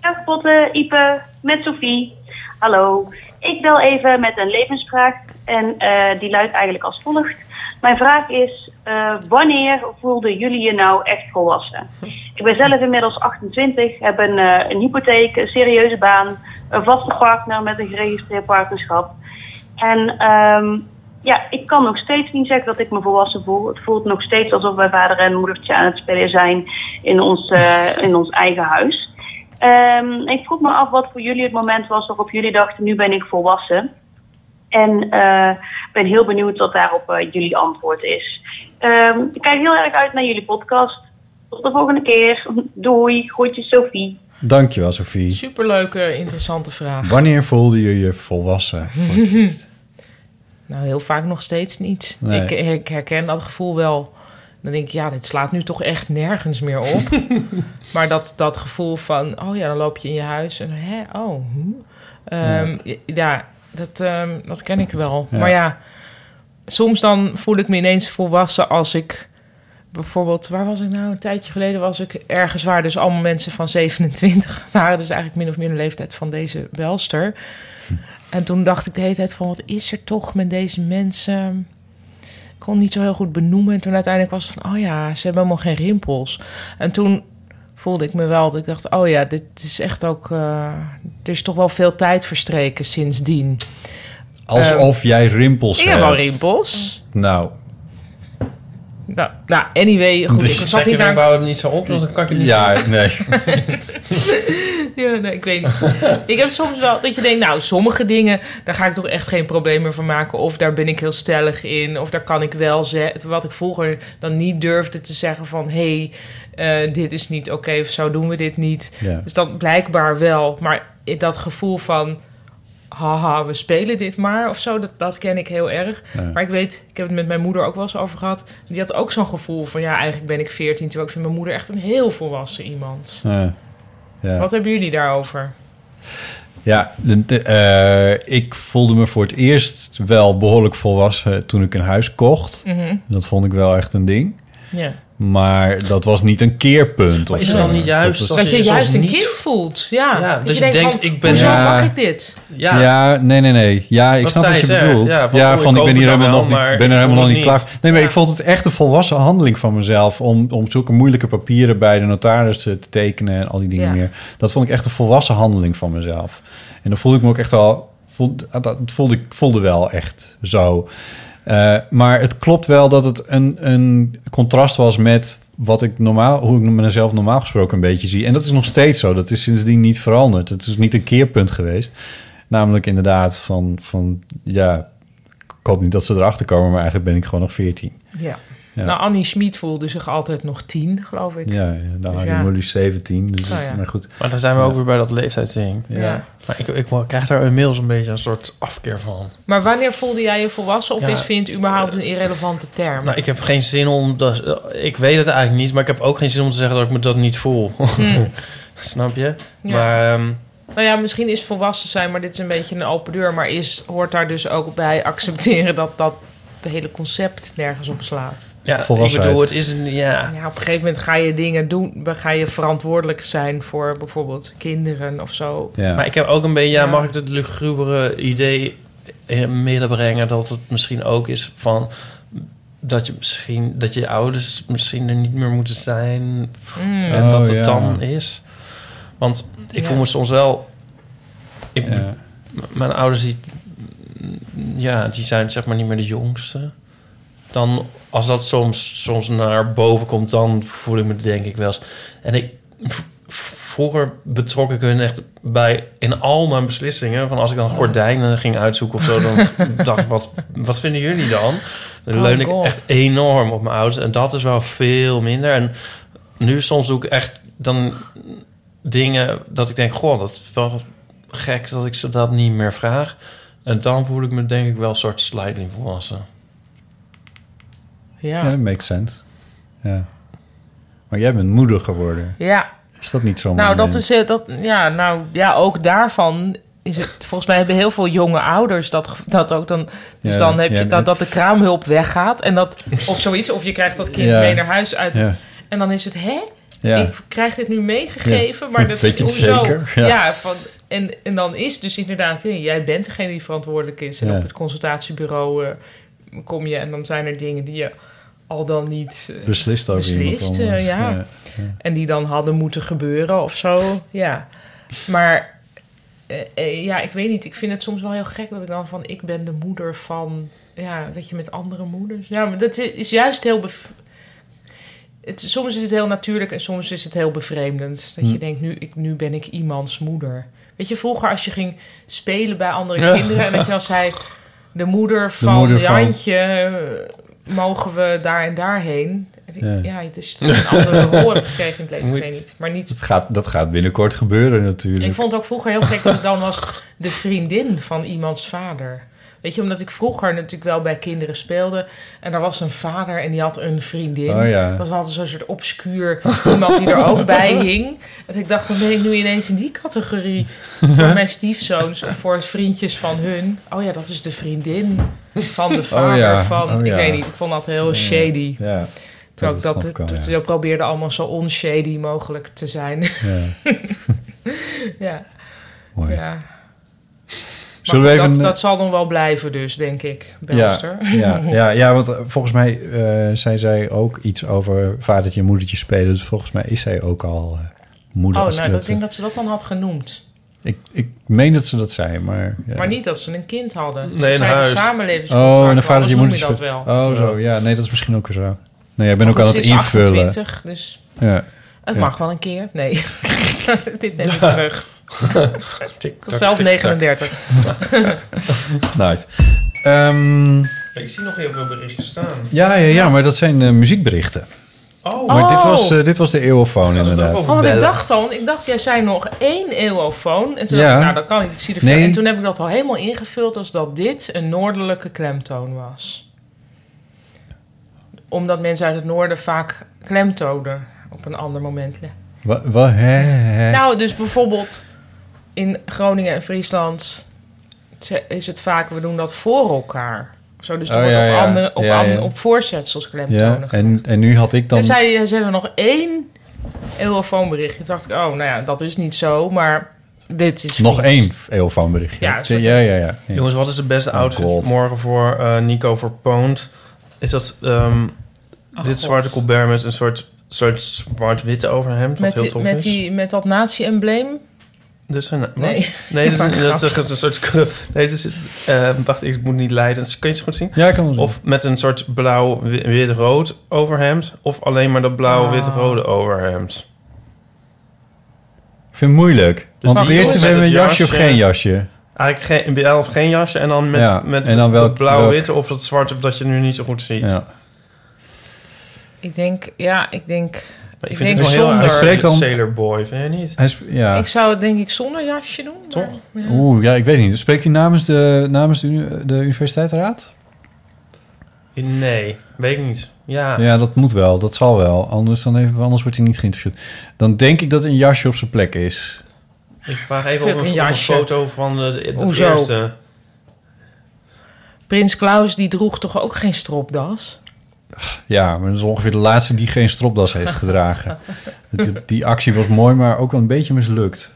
Dag Botte, Ipe, met Sophie. Hallo. Ik bel even met een levensvraag en eh, die luidt eigenlijk als volgt. Mijn vraag is, eh, wanneer voelden jullie je nou echt volwassen? Ik ben zelf inmiddels 28, heb een, eh, een hypotheek, een serieuze baan, een vaste partner met een geregistreerd partnerschap. En ehm, ja, ik kan nog steeds niet zeggen dat ik me volwassen voel. Het voelt nog steeds alsof mijn vader en moedertje aan het spelen zijn in ons, eh, in ons eigen huis. Ehm, ik vroeg me af wat voor jullie het moment was waarop jullie dachten, nu ben ik volwassen. En eh, ben heel benieuwd wat daarop eh, jullie antwoord is. Ehm, ik kijk heel erg uit naar jullie podcast. Tot de volgende keer. Doei. Groetjes Sophie.
Dankjewel, Sophie.
Superleuke, interessante vraag.
Wanneer voelde je je volwassen?
nou, heel vaak nog steeds niet.
Nee.
Ik, ik herken dat gevoel wel. Dan denk ik, ja, dit slaat nu toch echt nergens meer op. maar dat, dat gevoel van, oh ja, dan loop je in je huis en hè, oh. hm. Ehm, ja. dat, ehm, dat ken ik wel.
Ja.
Maar ja, soms dan voel ik me ineens volwassen als ik... Bijvoorbeeld, waar was ik nou? Een tijdje geleden was ik ergens waar dus allemaal mensen van 27 waren. Dus eigenlijk min of meer de leeftijd van deze belster. En toen dacht ik de hele tijd van, wat is er toch met deze mensen? Ik kon het niet zo heel goed benoemen. En toen uiteindelijk was het van, oh ja, ze hebben helemaal geen rimpels. En toen voelde ik me wel, dat ik dacht, oh ja, dit is echt ook... eh, er is toch wel veel tijd verstreken sindsdien.
Eh,
Alsof
Ehm,
jij rimpels
ik
hebt.
heb wel rimpels.
Nou,
Nou, nou anyway,
Dus
goed, ik
zeg
zat
Dus je,
niet
dan
naar...
bouw het niet zo op, dan kan ik het niet
Ja, nee.
Ja, nee, ik weet niet. ik heb soms wel dat je denkt, nou, sommige dingen, daar ga ik toch echt geen probleem meer van maken. Of daar ben ik heel stellig in. Of daar kan ik wel zeggen. Wat ik vroeger dan niet durfde te zeggen van, hé, hey, eh, dit is niet oké of zo doen we dit niet.
Ja.
Dus dan blijkbaar wel. Maar dat gevoel van, haha, we spelen dit maar of zo, dat, dat ken ik heel erg.
Ja.
Maar ik weet, ik heb het met mijn moeder ook wel eens over gehad. Die had ook zo'n gevoel van, ja, eigenlijk ben ik veertien. Terwijl ik vind mijn moeder echt een heel volwassen iemand.
Ja. eh, Ja.
Wat hebben jullie daarover?
Ja, de- de- eh, ik voelde me voor het eerst wel behoorlijk volwassen toen ik een huis kocht.
Mhm.
Dat vond ik wel echt een ding.
Ja.
Maar dat was niet een keerpunt.
Maar
of
is het dan
zo.
niet juist
was-
dat
Dat je
soms
juist een
niet-
kind voelt. Ja. dat,
dat
je
je
denkt,
denkt,
van,
ik ben-
hoezo
Ja.
mag ik dit?
Ja. nee, nee, nee. Ja, ik
Wat
snap
zij
wat je
zegt,
bedoelt.
ja,
Ja,
van,
van,
oh, ik
ik
koop
ben hier
het nou
helemaal nog
wel,
niet,
maar
ben er
ik
helemaal
voel
nog
het
niet
niet.
klaar. Nee, maar ik vond het echt een volwassen handeling van mezelf om, om zulke moeilijke papieren bij de notaris te te tekenen en al die dingen
Ja.
meer. Dat vond ik echt een volwassen handeling van mezelf. En dan voelde ik me ook echt al, voelde, dat voelde ik voelde wel echt zo. Eh, maar het klopt wel dat het een, een contrast was met wat ik normaal, hoe ik mezelf normaal gesproken een beetje zie. En dat is nog steeds zo. Dat is sindsdien niet veranderd. Het is niet een keerpunt geweest. Namelijk inderdaad van, van ja, ik hoop niet dat ze erachter komen, maar eigenlijk ben ik gewoon nog 14.
Ja.
Ja.
Nou, Annie Schmid voelde zich altijd nog tien, geloof ik.
Ja, ja, dan
Dus
had
ja.
je Molly 17. Dus
Oh
het-
ja.
Maar goed.
Maar dan zijn we
Ja.
ook weer bij dat leeftijdsding.
Ja.
Ja.
Maar ik, ik krijg daar inmiddels een beetje een soort afkeer van.
Maar wanneer voelde jij je volwassen? Of
Ja.
is vind je het überhaupt een irrelevante term?
Nou, ik heb geen zin om... Dat, ik weet het eigenlijk niet, maar ik heb ook geen zin om te zeggen dat ik me dat niet voel. Snap je?
Ja.
Maar ehm,
Nou ja, misschien is volwassen zijn, maar dit is een beetje een open deur. Maar is, hoort daar dus ook bij accepteren dat dat het hele concept nergens op slaat.
ja, ik
Volwassenheid.
bedoel, het is een... Ja,
Ja, op een gegeven moment ga je dingen doen, ga je verantwoordelijk zijn voor bijvoorbeeld kinderen of zo.
Maar ik heb ook een beetje, ja, mag ik het lugubere idee in het midden brengen dat het misschien ook is van dat je misschien dat je ouders misschien er niet meer moeten zijn pff,
Mm.
en
Oh,
dat het
ja.
dan is. Want ik
Ja.
voel me soms wel. Ik,
Ja.
m- Mijn ouders die, ja, die zijn zeg maar niet meer de jongste. Dan als dat soms, soms naar boven komt, dan voel ik me denk ik wel eens. En ik vroeger betrok ik hun echt bij in al mijn beslissingen. Van als ik dan gordijnen ging uitzoeken of zo, dan dacht ik, wat, wat vinden jullie dan? Dan
Oh
leun ik
God.
echt enorm op mijn ouders. En dat is wel veel minder. En nu soms doe ik echt dan dingen dat ik denk, goh, dat is wel gek dat ik ze dat niet meer vraag. En dan voel ik me denk ik wel een soort slightly volwassen.
Ja, dat makes sense. Ja. Maar jij bent moeder geworden.
Ja.
Is dat niet zo?
Nou, dat is, eh, dat, ja, nou ja, ook daarvan is het. Volgens mij hebben heel veel jonge ouders dat, ge- dat ook dan. Dus
Ja,
dan heb
ja,
je
maar-
dat, dat de kraamhulp weggaat en dat. Of zoiets, of je krijgt dat kind
Ja.
mee naar huis uit. Het,
Ja.
En dan is het, hè?
Ja.
Ik krijg dit nu meegegeven,
Ja.
maar dat
Weet je het
hoezo?
zeker? Ja.
Ja, van, en, en dan is dus inderdaad, ja, jij bent degene die verantwoordelijk is. En
Ja.
op het consultatiebureau eh, kom je en dan zijn er dingen die je al dan niet eh,
Beslist over iemand
beslist, eh,
anders.
ja.
Ja, ja.
En die dan hadden moeten gebeuren of zo. Ja. Maar eh, eh, ja, ik weet niet. Ik vind het soms wel heel gek dat ik dan van ik ben de moeder van. Ja, dat je met andere moeders. Ja, maar dat is juist heel. bev- Het, soms is het heel natuurlijk en soms is het heel bevreemdend. Dat je
Hm.
denkt, nu, ik, nu ben ik iemands moeder. Weet je, vroeger als je ging spelen bij andere
Ja.
kinderen... en dat je dan zei, de moeder van
moeder van-
Jantje... eh, mogen we daar en daarheen.
Ja.
Ja, ja het is een andere rol hebt gekregen in het leven. Ik weet niet. Maar niet
Dat gaat, dat gaat binnenkort gebeuren natuurlijk.
ik vond het ook vroeger heel gek dat ik dan was de vriendin van iemands vader. Weet je, omdat ik vroeger natuurlijk wel bij kinderen speelde. En er was een vader en die had een vriendin.
Oh ja.
Dat was altijd zo'n soort obscuur iemand die er ook bij hing. En ik dacht, dan ben ik nu ineens in die categorie. Voor mijn stiefzoons of voor vriendjes van hun. Oh ja, dat is de vriendin van de vader
ja.
van...
Oh
ik
ja.
weet niet, ik vond dat heel
Ja.
shady.
Ja,
Terwijl ik dat,
dat snap ik wel,
dat-
ja.
dat probeerde allemaal zo onshady mogelijk te zijn.
Ja.
ja.
Mooi.
Ja. Maar
Zullen we
goed,
even-
dat, dat zal dan wel blijven dus, denk ik, Belster.
Ja, ja, ja, ja, want eh, volgens mij eh, zei zij ook iets over vadertje en moedertje spelen. Dus volgens mij is zij ook al eh, moeder.
oh,
als
nou,
ik,
dat,
dat,
ik denk dat ze dat dan had genoemd.
ik, ik meen dat ze dat zei, maar... ja.
Maar niet dat ze een kind hadden.
Nee,
ze
een
zijn
huis.
een samenlevingscontract.
Oh, en de
anders
vadertje en
noem je
moedertje
dat
spelen.
wel.
Oh, zo. Ja, nee, dat is misschien ook weer zo. Nee, ik ben ook
Goed,
aan
ze
het
is
invullen.
28, dus
Ja.
het
Ja.
mag wel een keer. Nee, dit neem ik terug. Ik was zelf
tik-tak.
39.
nice. Ehm,
Ik zie nog heel veel berichten staan.
ja, ja, ja, maar dat zijn eh, muziekberichten.
Oh.
Maar dit
Oh.
was, eh, dit was de eeuwofoon inderdaad.
Oh, want ik dacht al, want ik dacht, jij zei nog één eeuwofoon. En toen
Ja.
dacht ik, nou, dat kan niet, ik zie de
Nee.
En toen heb ik dat al helemaal ingevuld als dat dit een noordelijke klemtoon was. Omdat mensen uit het noorden vaak klemtonen op een ander moment.
Wa- wa- hè, hè.
Nou, dus bijvoorbeeld in Groningen en Friesland ze- is het vaak, we doen dat voor elkaar. Of Zo, dus er
Oh,
wordt
ja,
op,
ja.
andere, op,
Ja, ja.
andere- op voorzetsels klemtonen
ja, en, en nu had ik dan...
dan... zei ze hebben nog één eeuwfoonberichtje. Toen dacht ik, oh, nou ja, dat is niet zo, maar dit is...
Nog
vies.
één eeuwfoonberichtje.
Ja, een soort-
ja, ja, ja, ja.
Jongens, wat is de beste
Oh,
outfit
God.
morgen voor eh, Nico voor Poont? Is dat ehm, dit
Oh, God.
zwarte colbert met een soort, soort zwart-witte overhemd, wat
Met,
heel
die,
tof
met,
is?
die, met dat nazi-embleem.
Dus een, wat?
Nee.
nee, dat
Maar
is, een- dat is
grapje.
echt een soort. Nee, dat is, eh, wacht, ik moet niet leiden. Dus Kun je het goed zien?
Ja, ik kan wel zien.
Of met een soort blauw-wit-rood overhemd. Of alleen maar dat
Ah.
blauw-wit-rode overhemd.
Ik vind het moeilijk. Want
Dus die
het eerste
jongens
zijn we
met
een
het
jasje of
jasje.
geen jasje.
Eigenlijk geen, BL of geen jasje. En dan met,
Ja,
met
en dan welk-
dat blauw-wit of dat zwart dat je nu niet zo goed ziet.
Ja.
Ik denk, ja, ik denk... Ik,
Ik vind
denk
het wel heel
zonder-
aardig.
Hij spreekt dan-
Sailor Boy, vind je niet?
Hij is, ja.
Ik zou het denk ik zonder jasje doen. maar- Ja.
Mm. Oeh, ja, ik weet niet. Spreekt hij namens de, namens de, uni- de universiteitsraad?
Nee, weet ik niet. Ja.
Ja, dat moet wel. Dat zal wel. Anders, dan even, anders wordt hij niet geïnterviewd. Dan denk ik dat een jasje op zijn plek is.
Ik vraag even op
Fucking
een, op een
jasje.
foto van de, de, de
Hoezo?
eerste.
Prins Klaus, die droeg toch ook geen stropdas?
Ja, maar dat is ongeveer de laatste die geen stropdas heeft gedragen. die, die actie was mooi, maar ook wel een beetje mislukt.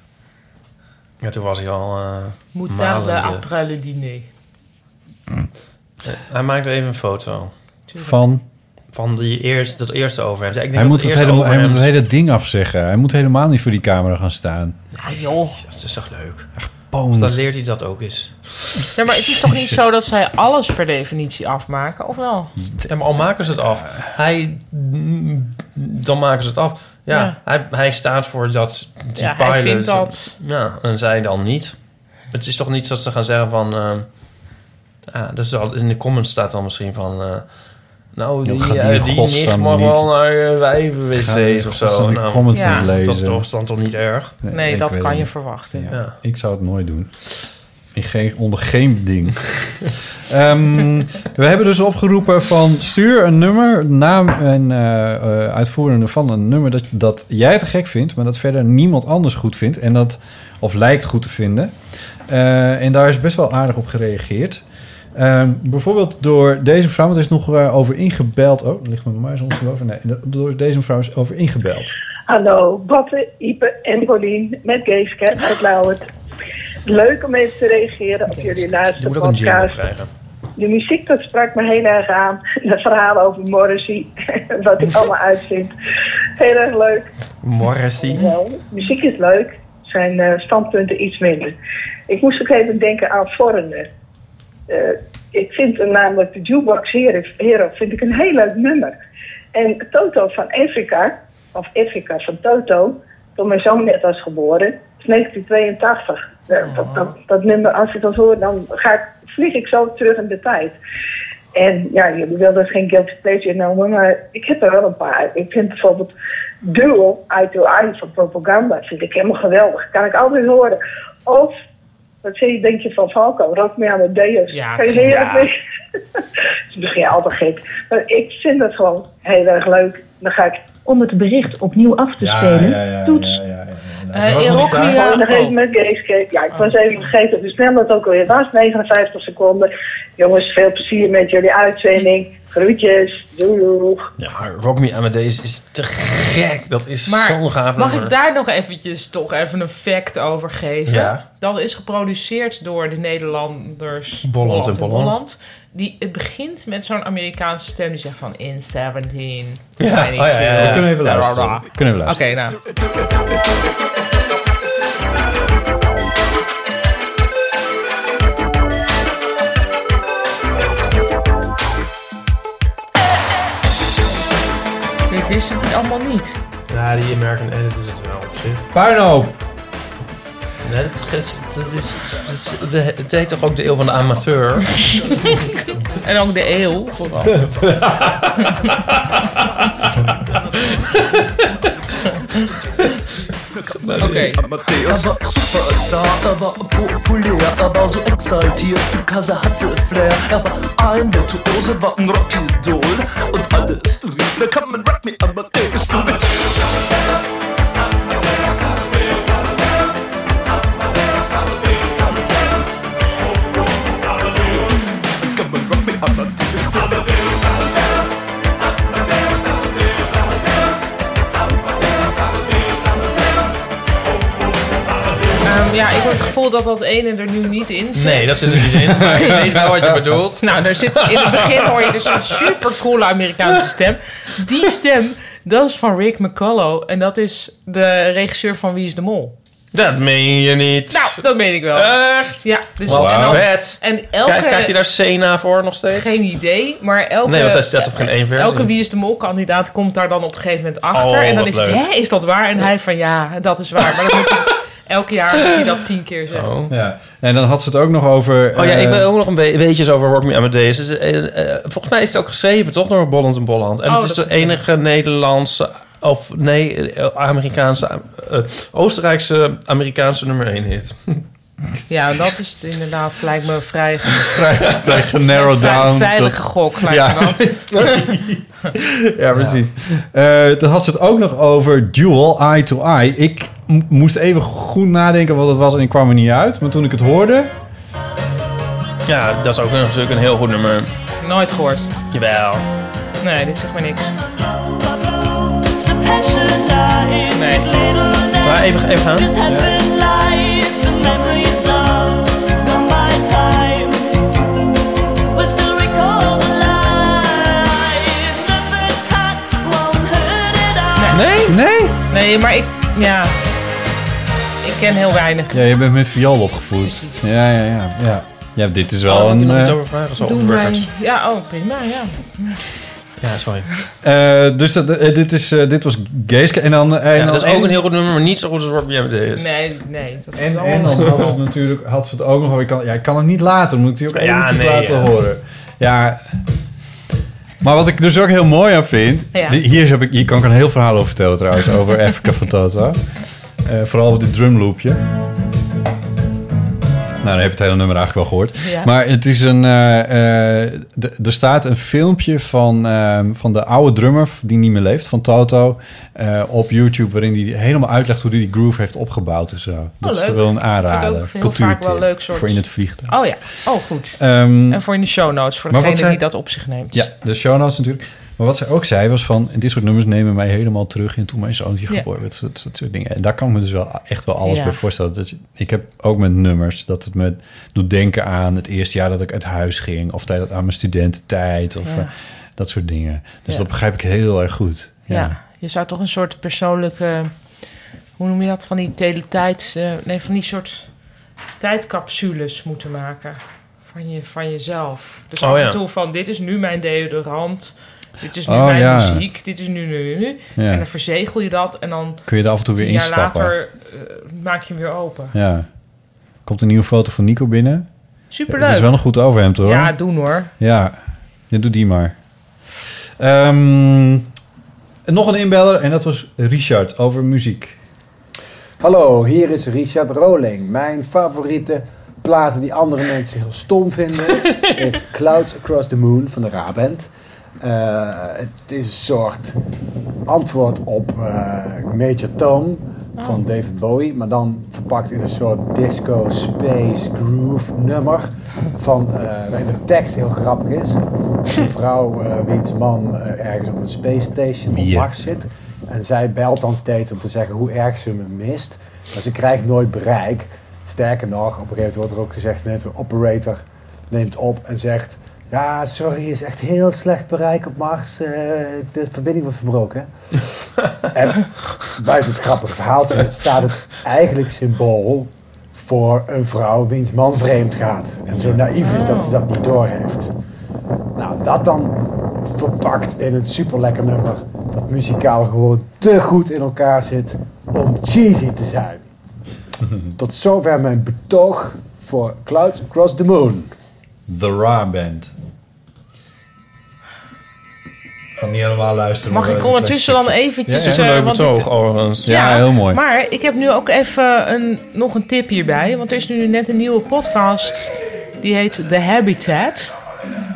Ja, toen was hij al. eh
Moutarde
malende.
après le diner. ah.
Eh, Hij maakt er even een foto.
Van?
Van die eerste, dat eerste overhemd. Ja, ik denk
Hij
dat
moet, het
eerste
hele, hij moet
overhemd-
het hele ding afzeggen. Hij moet helemaal niet voor die camera gaan staan.
Ah, joh.
Dat is toch leuk?
Poont.
Dan leert hij dat ook eens.
Ja, maar het is toch niet zo dat zij alles per definitie afmaken, of wel?
Ja, maar al maken ze het af. Hij, mm, dan maken ze het af. Ja,
Ja.
Hij, hij staat voor dat die
Ja,
pilot.
hij vindt dat.
Ja, en zij dan niet. Het is toch niet dat ze gaan zeggen van... ehm, ah, dus al, in de comments staat dan misschien van... eh, nou,
Joh,
die,
gaat die
eh,
in
die
godsnaam
nicht mag
niet-
wel naar eh,
Ga die in
wijven-wc's of zo.
godsnaam die
Nou,
comments niet lezen.
Dat is toch- is dan toch niet erg?
Nee,
ik
dat
weet
kan
het
je
niet.
verwachten.
Ik zou het nooit doen. In geen, onder geen ding. Ehm, we hebben dus opgeroepen van stuur een nummer, naam en eh, eh, uitvoerende van een nummer dat, dat jij te gek vindt, maar dat verder niemand anders goed vindt en dat of lijkt goed te vinden. Eh, en daar is best wel aardig op gereageerd. Ehm, bijvoorbeeld door deze vrouw, want er is nog eh, over ingebeld. Oh, ligt mijn muis ondersteboven. Nee, door deze mevrouw is over ingebeld.
Hallo, Botte, Ipe en Paulien met Geeske uit Lauwert. Leuk om even te reageren op jullie
Je
laatste
moet ook een jingle
podcast.
krijgen.
De muziek, dat sprak me heel erg aan. De verhalen over Morrissey, wat ik allemaal uitvind. Heel erg leuk.
Morrissey.
Wel, muziek is leuk, zijn eh, standpunten iets minder. Ik moest ook even denken aan Foreigner. Eh, ik vind hem namelijk de Jukebox Hero, Hero vind ik een heel leuk nummer. En Toto van Afrika, of Afrika van Toto, toen mijn zoon net was geboren, is 1982. Eh, dat, dat, dat nummer, als ik dat hoor, dan ga ik, vlieg ik zo terug in de tijd. En ja, jullie wilden geen guilty pleasure noemen, maar ik heb er wel een paar. Ik vind bijvoorbeeld Duel Eye to Eye van Propaganda, vind ik helemaal geweldig. Kan ik altijd horen. Of, wat zeg je, denk je van Falco, Rock Me Amadeus.
Ja,
kan je ze heerlijk
ja.
mee- dat is misschien altijd gek. Maar ik vind dat gewoon heel erg leuk. Dan ga ik om het bericht opnieuw af te spelen. toets.
Eh, in Rock Me
Oh, nog even met Geeske. Ja, ik was even vergeten hoe snel dat ook alweer was. 59 seconden. Jongens, veel plezier met jullie uitzending. Groetjes. Doei doei.
Ja, Ah, Rock Me Amadeus is te gek. Dat is zo'n gaaf
mag
nummer.
ik daar nog eventjes toch even een fact over geven?
Ja.
Dat is geproduceerd door de Nederlanders
Bolland en Bolland.
Die, het begint met zo'n Amerikaanse stem die zegt van in 17.
Ja,
I need
oh ja, ja, ja.
you."
We kunnen even
Bla, bla,
luisteren.
bla.
We kunnen even luisteren.
Oké, nou. Dit wist het allemaal niet.
Ja, die American Edit is het wel op zich.
Puinhoop!
Nee, dat, is, dat, is, dat is- de- het heet toch ook de eeuw van de amateur?
en ook de eeuw vooral.
Okay. Er war Superstar, er war populär, er war so exaltiert, because er hatte Flair. Er war ein Virtuose, war ein Rockidol und alles rief, da kann man Rock Me Amadeus du mit. Kann man Rock Me Amadeus du
Ehm, ja, ik heb het gevoel dat dat ene er nu niet in zit.
Nee, dat is er niet in, maar ik weet wel wat je bedoelt.
Nou, daar zit, in het begin hoor je dus een super coole Amerikaanse stem. Die stem, dat is van Rick McCullough. En dat is de regisseur van Wie is de Mol.
Dat meen je niet.
Nou, dat meen ik wel. Echt? Ja. Dus
Wat
en dan-
vet.
En elke...
Krijg- krijgt hij daar Sena voor nog steeds?
Geen idee, maar elke...
Nee, want hij staat op geen één versie.
Elke Wie is de Mol kandidaat komt daar dan op een gegeven moment achter.
Oh,
en dan
wat
is het,
leuk.
hè, is dat waar? En hij van, ja, dat is waar. Maar dan moet hij dus elke jaar moet hij dat tien keer zeggen.
Ja. En dan had ze het ook nog over...
Oh ja, ik
eh,
wil ook nog een be- weetjes over Rock Me Amadeus. Dus, eh, eh, volgens mij is het ook geschreven, toch? Door Bolland en Bolland. En
Oh,
het is
dat
de
is-
enige Nederlandse... Of nee, eh, Amerikaanse... eh, Oostenrijkse Amerikaanse nummer 1 hit.
Ja, dat is het inderdaad, lijkt me vrij...
vrij genarrowed
vrij
down,
veilige
dat-
gok, lijkt
Ja.
me dat.
Ja, precies. Eh, dan had ze het ook nog over dual eye to eye. Ik m- moest even goed nadenken wat het was en ik kwam er niet uit. Maar toen ik het hoorde...
Ja, dat is ook een- natuurlijk een heel goed nummer.
Nooit gehoord.
Jawel.
Nee, dit zegt me niks.
Nee. Maar even, even gaan. Nee?
Nee?
Nee, maar ik... Ja. Ik ken heel weinig.
Ja, je bent met viool opgevoed. Ja, ja, ja. ja. Ja, dit is wel
Oh,
een...
ik wil
eh,
niet over vragen, zo
Doe
onbewerkt.
mij... Ja, oh, prima, ja.
Ja, sorry.
eh, dus dat, eh, dit, is, eh, dit was Geeske. En dan... en
Ja,
dan
dat is
en-
ook een heel goed nummer, maar niet zo goed als Rock Me Amadeus.
Nee, nee. Dat is
En,
wel-
en dan had ze het natuurlijk had ze het ook nog over. Ik kan, ja, ik kan het niet laten. Dan moet ik die ook
Ja,
eventjes
nee,
laten
ja.
horen. Ja. Maar wat ik dus ook heel mooi aan vind.
Ja.
die- hier, heb ik, hier kan ik een heel verhaal over vertellen trouwens. Over Africa van Toto. Eh, vooral over dit drumloopje. Nou, dan heb je het hele nummer eigenlijk wel gehoord.
Ja.
Maar het is een. eh, eh, d- er staat een filmpje van, eh, van de oude drummer die niet meer leeft, van Toto, eh, op YouTube, waarin hij helemaal uitlegt hoe hij die groove heeft opgebouwd en zo. Dat is
Oh, leuk.
wel een
Dat
aanrader.
vind ik ook heel vaak wel
Cultuurtip
leuk soort.
voor in het vliegtuig.
Oh ja, oh goed.
Ehm,
en voor in de show notes, voor
maar
degene
wat zij-
die dat op zich neemt.
Ja, de show notes natuurlijk. Maar wat zij ook zei was van... en dit soort nummers nemen mij helemaal terug in toen mijn zoontje
Ja.
geboren werd. Dat, dat soort dingen. En daar kan ik me dus wel echt wel alles
Ja.
bij voorstellen. Dat je- ik heb ook met nummers dat het me doet denken aan het eerste jaar dat ik uit huis ging... of tijd- aan mijn studententijd of
Ja.
eh, dat soort dingen. Dus
Ja.
dat begrijp ik heel erg goed. Ja.
Ja. je zou toch een soort persoonlijke, hoe noem je dat, van die teletijds, eh, nee, van die soort tijdcapsules moeten maken van, je, van jezelf. Dus
Oh,
af
ja.
en toe van, dit is nu mijn deodorant, dit is nu
Oh,
mijn
ja.
muziek, dit is nu, nu, nu.
Ja.
En dan verzegel je dat en dan...
Kun je er af en toe weer
tien jaar
instappen.
later eh, maak je hem weer open.
Ja. Komt een nieuwe foto van Nico binnen.
Superleuk.
Ja, Het is wel een goed overhemd hoor.
Ja, doen hoor.
Ja, ja doe die maar. Ehm, en nog een inbeller en dat was Richard over muziek.
Hallo, hier is Richard Roling. Mijn favoriete platen die andere mensen heel stom vinden is Clouds Across the Moon van de Raband. Eh, het is een soort antwoord op eh, Major Tom van David Bowie, maar dan verpakt in een soort disco space groove nummer van eh, waarin de tekst heel grappig is. Een vrouw eh, wiens man eh, ergens op een space station op
Mier.
Mars zit. En zij belt dan steeds om te zeggen hoe erg ze me mist. Maar ze krijgt nooit bereik. Sterker nog, op een gegeven moment wordt er ook gezegd... net een operator neemt op en zegt... Ja, sorry, is echt heel slecht bereik op Mars. Eh, de verbinding wordt verbroken. en buiten het grappige verhaaltje staat het eigenlijk symbool... voor een vrouw wiens man vreemd gaat. En zo naïef is dat ze dat niet doorheeft. Nou, dat dan verpakt in een superlekker nummer... dat muzikaal gewoon te goed in elkaar zit om cheesy te zijn. Tot zover mijn betoog voor Clouds Across the Moon.
The Ra Band. Ik kan niet helemaal luisteren.
Mag ik ondertussen dan eventjes...
Ja, ja.
eh,
Superleuk
want dit-
betoog, overigens. Ja,
heel mooi.
Maar ik heb nu ook even een, nog een tip hierbij. Want er is nu net een nieuwe podcast. Die heet The Habitat.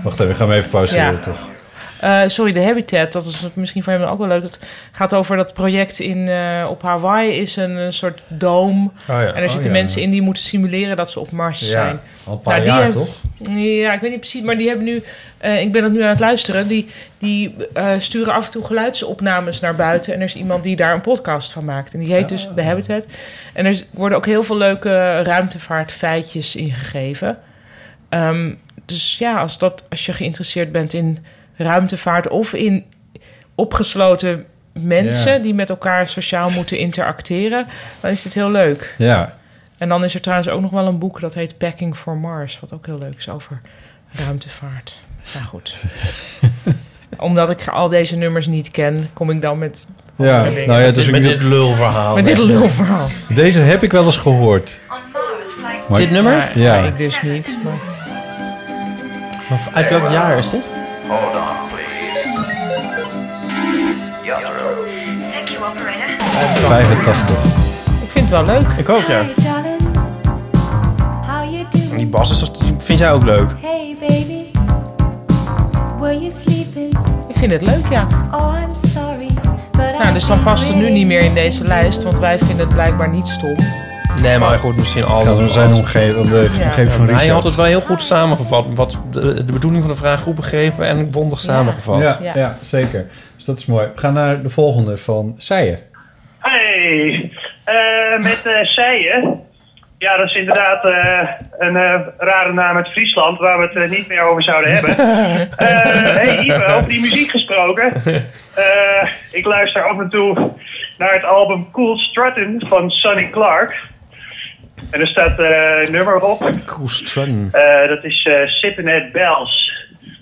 Wacht even, gaan we even
Oh,
pauzeren
Ja.
toch?
Eh, sorry, The Habitat. Dat is misschien voor hem ook wel leuk. Het gaat over dat project in, eh, op Hawaii. Is een, een soort dome.
ja.
En er
Oh,
zitten
ja.
mensen in die moeten simuleren dat ze op Mars
Ja,
zijn. Nou,
al een paar
die
jaar,
hebben-
toch?
Ja, ik weet niet precies. Maar die hebben nu... eh, ik ben dat nu aan het luisteren. Die, die eh, sturen af en toe geluidsopnames naar buiten. En er is iemand die daar een podcast van maakt. En die heet dus The Habitat. En er is- worden ook heel veel leuke ruimtevaartfeitjes ingegeven. Ehm, dus ja, als, dat, als je geïnteresseerd bent in ruimtevaart of in opgesloten mensen
Ja.
die met elkaar sociaal moeten interacteren, dan is dit heel leuk.
Ja.
En dan is er trouwens ook nog wel een boek dat heet Packing for Mars, wat ook heel leuk is over ruimtevaart. Nou goed. Omdat ik al deze nummers niet ken, kom ik dan met.
Ja,
andere dingen.
nou ja, het is Met ook dit niet- lulverhaal.
Met dit lulverhaal.
Deze heb ik wel eens gehoord. Maar-
Dit nummer? Ja,
Ja.
ik dus niet. Maar...
Uit welk jaar is dit?
Hold on, please. Jethro. Thank you, operator.
85.
Ik vind het wel leuk.
Ik ook, ja. En die bas is toch, die vind jij ook leuk?
Hey baby, were you sleeping?
Ik vind het leuk, ja.
Oh, I'm sorry, but
Nou, dus dan past het nu niet meer in deze lijst, want wij vinden het blijkbaar niet stom.
Nee, maar goed, misschien al.
gaat om zijn omgeving, om de omgeving van
Hij
Richard.
had het wel heel goed samengevat. Wat de, de bedoeling van de vraag goed begrepen en bondig samengevat.
Ja, ja. zeker. Dus dat is mooi. We gaan naar de volgende van Seijen.
Hey, eh, met eh Seijen. Ja, dat is inderdaad eh, een eh, rare naam uit Friesland waar we het eh, niet meer over zouden hebben. Eh hey Ipe, over die muziek gesproken. Eh, ik luister af en toe naar het album Cool Strutting van Sonny Clark. En er staat eh, een nummer op.
Cool Strutting.
Eh, dat is eh Sippin' at Bells.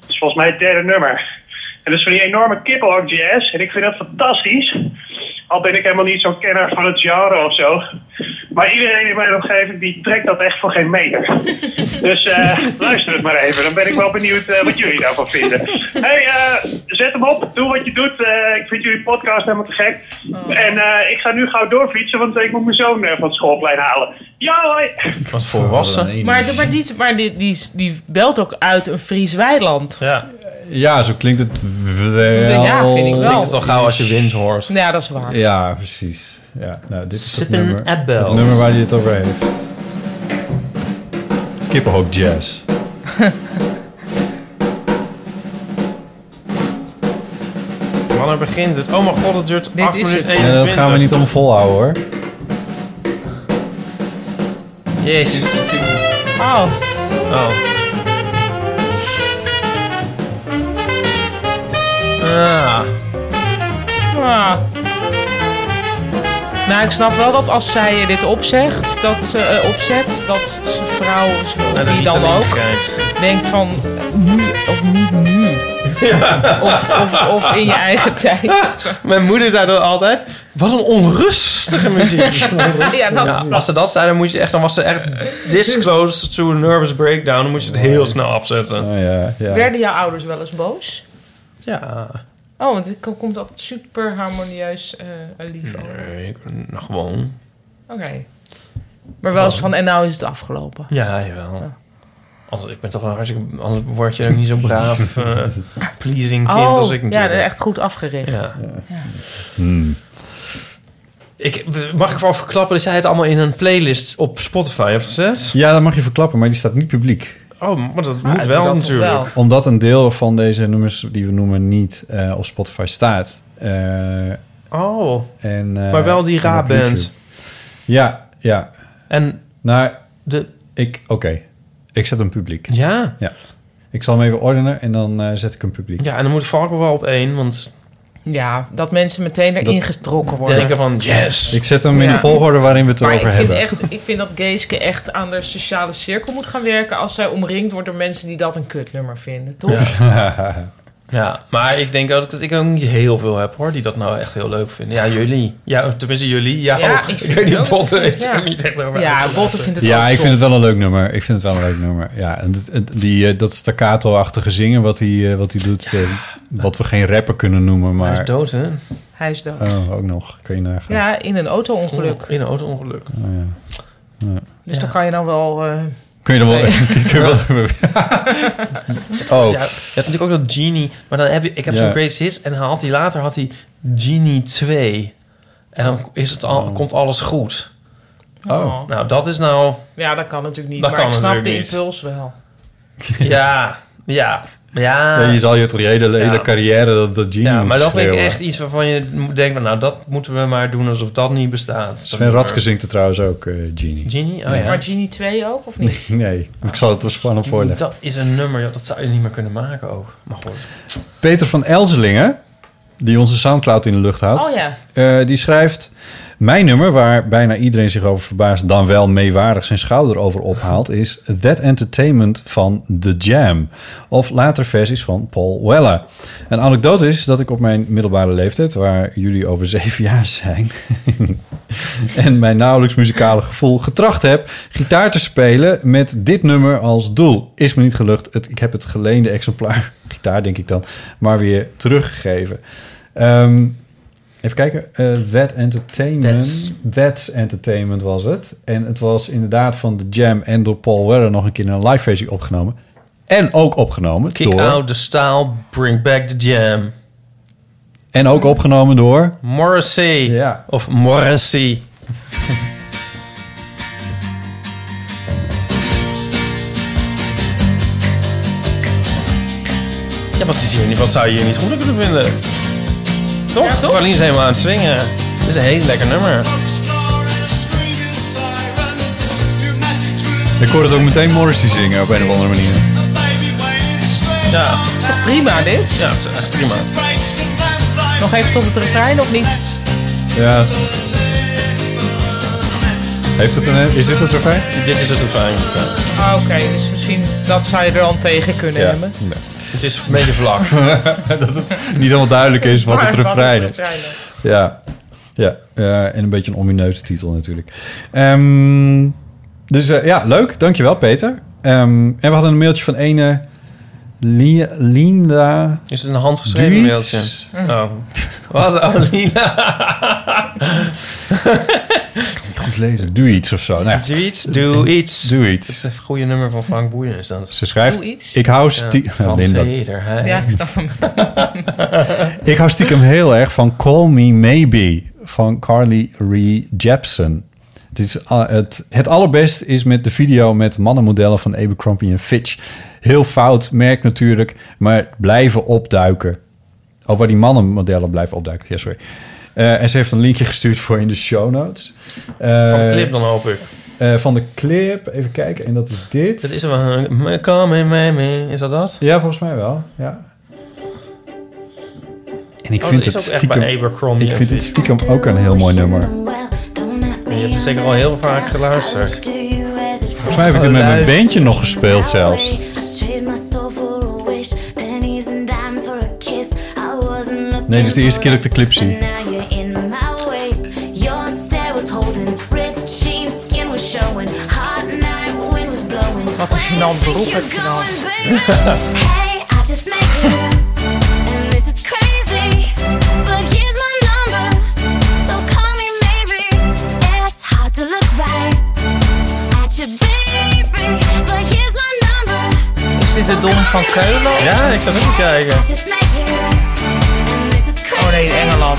Dat is volgens mij het derde nummer. En dat is van die enorme kippenhok jazz. En ik vind dat fantastisch. Al ben ik helemaal niet zo'n kenner van het genre of zo. Maar iedereen in mijn omgeving die trekt dat echt voor geen meter. Dus eh, luister het maar even. Dan ben ik wel benieuwd eh, wat jullie daarvan vinden. hey, eh, zet hem op. Doe wat je doet. Eh, ik vind jullie podcast helemaal te gek. En eh, ik ga nu gauw doorfietsen, want ik moet mijn zoon eh, van het schoolplein halen. Ja, hoi.
Wat volwassen.
Maar, de- maar, die, maar die, die, die belt ook uit een Fries weiland.
Ja.
Ja, zo klinkt het wel.
Ja, vind ik wel. Klinkt het al
gauw als je wind hoort.
Ja, dat is waar.
Ja, precies. Ja, nou, dit is het
Sippin'
nummer,
at Bells.
het nummer waar hij het over heeft. Kippenhoop jazz.
Wanneer begint het? Oh mijn god, het duurt 8
is
minuten
Ja, dat
21.
gaan we niet om volhouden hoor.
Jezus.
Oh.
Oh. Ah.
Ja. Ah. Nou, ik snap wel dat als zij dit opzegt, dat ze eh, opzet, dat zijn vrouw, of
Naar de
wie dan
Ritalin
ook,
kijkt.
denkt van nu of niet nu. Of, of, of in je eigen tijd.
Mijn moeder zei dat altijd. Wat een onrustige muziek.
Ja, dat-
Nou, als ze dat zei, dan, moest je echt, dan was ze echt this close to a nervous breakdown. Dan moest je het heel snel afzetten.
ja, ja.
Werden jouw ouders wel eens boos?
Ja.
Oh, want het ko- komt altijd super harmonieus eh lief over.
Nee, nou gewoon.
Oké. Maar wel eens van, en nou is het afgelopen.
Ja, jawel. Als, ik ben toch wel hartstikke... Anders word je ook niet zo braaf, eh, pleasing kind als ik
Oh, ja,
natuurlijk.
echt goed afgericht.
Ja. Ik, mag ik wel verklappen dat jij het allemaal in een playlist op Spotify hebt gezet?
Ja, dat mag je verklappen, maar die staat niet publiek.
Oh, maar dat
Ah,
moet
doe
wel
dat toch
natuurlijk.
wel.
Omdat een deel van deze nummers die we noemen niet eh, op Spotify staat. Eh,
Oh.
en, eh,
Maar wel die
en
Ra
op
band.
YouTube. Ja, ja.
En
nou,
de...
ik, oké, ik zet een publiek.
Ja.
ja. Ik zal hem even ordenen en dan eh, zet ik een publiek.
Ja, en dan moet Valken wel op één, want...
Ja, dat mensen meteen erin
Dat-
getrokken worden.
Denken van, yes.
Ik zet hem in
Ja.
de volgorde waarin we het
Maar
erover
ik vind,
hebben.
echt, ik vind dat Geeske echt aan de sociale cirkel moet gaan werken... als zij omringd wordt door mensen die dat een kutnummer vinden, toch?
Ja.
Ja, maar ik denk ook dat ik ook niet heel veel heb, hoor, die dat nou echt heel leuk vinden. Ja, jullie. Ja, tenminste jullie. Ja,
oh.
Ja, ik
ik
vind
weet
het
die
ook
botten
goed,
weet
ja.
ik niet echt over
Ja,
uitgelaten.
botten vind het
Ja, ik vind het wel een leuk nummer. Ik vind het wel een leuk nummer. Ja, en het- het- die, eh, dat staccato-achtige zingen wat hij, eh, wat hij doet, eh, wat we geen rapper kunnen noemen, maar...
Hij is dood, hè?
Hij is dood.
Oh, ook nog. Kun je nagaan.
Ja, in een auto-ongeluk.
In een auto-ongeluk.
Oh, ja. Ja.
Dus dan kan je dan wel... eh,
Kun je dan wel...
Nee.
kun je wel
Ja, je
oh,
hebt natuurlijk ook dat Genie. Maar dan heb je, ik heb
Ja.
zo'n Greatest Hits en dan had hij later had hij Genie 2. En dan is het al,
Oh.
komt alles goed.
Oh.
Nou, dat is nou...
Ja, dat kan natuurlijk niet.
Dat
maar
kan
ik snap
natuurlijk
de
niet.
impuls wel.
Ja, ja, ja.
Ja, je zal je toch je hele, hele carrière dat, dat genie
Eh, Ja, maar
moeten
dat vind ik
schreeuwen.
echt iets waarvan je denkt... van, Nou, dat moeten we maar doen alsof dat niet bestaat.
Sven Ratske zingt er trouwens ook, eh, Genie.
Genie? Oh ja.
Maar Genie 2 ook, of niet?
Nee, ik zal het wel spannend voorleggen.
Dat is een nummer, joh, dat zou je niet meer kunnen maken ook. Maar goed.
Peter van Elzelingen, die onze Soundcloud in de lucht houdt.
Oh ja.
eh, die schrijft... Mijn nummer, waar bijna iedereen zich over verbaast... dan wel meewarig zijn schouder over ophaalt... is That Entertainment van The Jam. Of later versies van Paul Weller. Een anekdote is dat ik op mijn middelbare leeftijd... waar jullie over zeven jaar zijn... en mijn nauwelijks muzikale gevoel getracht heb... gitaar te spelen met dit nummer als doel. Is me niet gelukt. Het, ik heb het geleende exemplaar, gitaar denk ik dan... maar weer teruggegeven. Ehm, even kijken. Eh, That Entertainment.
That's.
That's Entertainment was het. En het was inderdaad van The Jam en door Paul Weller... nog een keer in een live versie opgenomen. En ook opgenomen
Kick
door...
out the style, bring back the jam.
En ook opgenomen door...
Morrissey. Of Morrissey. ja, wat, is hier niet, wat zou je hier niet goed aan kunnen vinden? Toch? Ja, is helemaal aan het zingen. Dit is een heel lekker nummer.
Ik hoor het ook meteen Morrissey zingen op een of andere manier.
Ja.
Is toch prima, dit?
Ja, dat is echt prima.
Nog even tot het refrein, of niet?
Ja. Heeft het een, is dit het refrein?
Dit is het refrein. ja.
Ah, Oké, dus misschien dat zou je er dan tegen kunnen
Ja.
hebben.
Het is een beetje vlak.
dat het niet helemaal duidelijk is wat het refrein is. Ja, ja. eh, en een beetje een omineuze titel natuurlijk. Ehm, dus eh, ja, leuk. Dankjewel Peter. Ehm, en we hadden een mailtje van ene Li- Linda...
Is het een handgeschreven
Duits?
mailtje?
Mm.
Oh. Wat, Alina?
goed lezen. Doe iets of zo. Nou, ja.
Doe iets, doe iets.
Doe iets.
Dat is een goede nummer van Frank Boeien. Is dat.
Ze schrijft, ik hou stie-
van
Linda.
Zeder, hè.
Ja, ik snap hem.
Ik hou stiekem heel erg van Call Me Maybe van Carly Rae Jepsen. Het, is, ah, het, het allerbest is met de video met mannenmodellen van Abercrombie en Fitch. Heel fout, merk natuurlijk, maar blijven opduiken. Oh, waar die mannenmodellen blijven opduiken. Ja, sorry. Eh, en ze heeft een linkje gestuurd voor in de show notes.
Van de
Eh,
clip dan hoop ik.
eh, van de clip, even kijken. En dat is dit.
Dat is wel een... Come in, Miami. Is dat dat?
Ja, volgens mij wel. Ja. En ik
Oh,
vind
dat
het
is ook echt bij
stiekem,
Abercrombie
ik
en
vind het
Fitch.
stiekem ook een heel mooi nummer.
Je hebt het zeker al heel vaak geluisterd.
Volgens mij heb ik het met mijn bandje nog gespeeld zelfs. Nee, dit is de eerste keer dat ik de clip zie.
Wat een gênant beroep heb je dan. Is dit de Dom van Keulen?
Ja, ik zat ook te kijken.
Oh nee, in Engeland.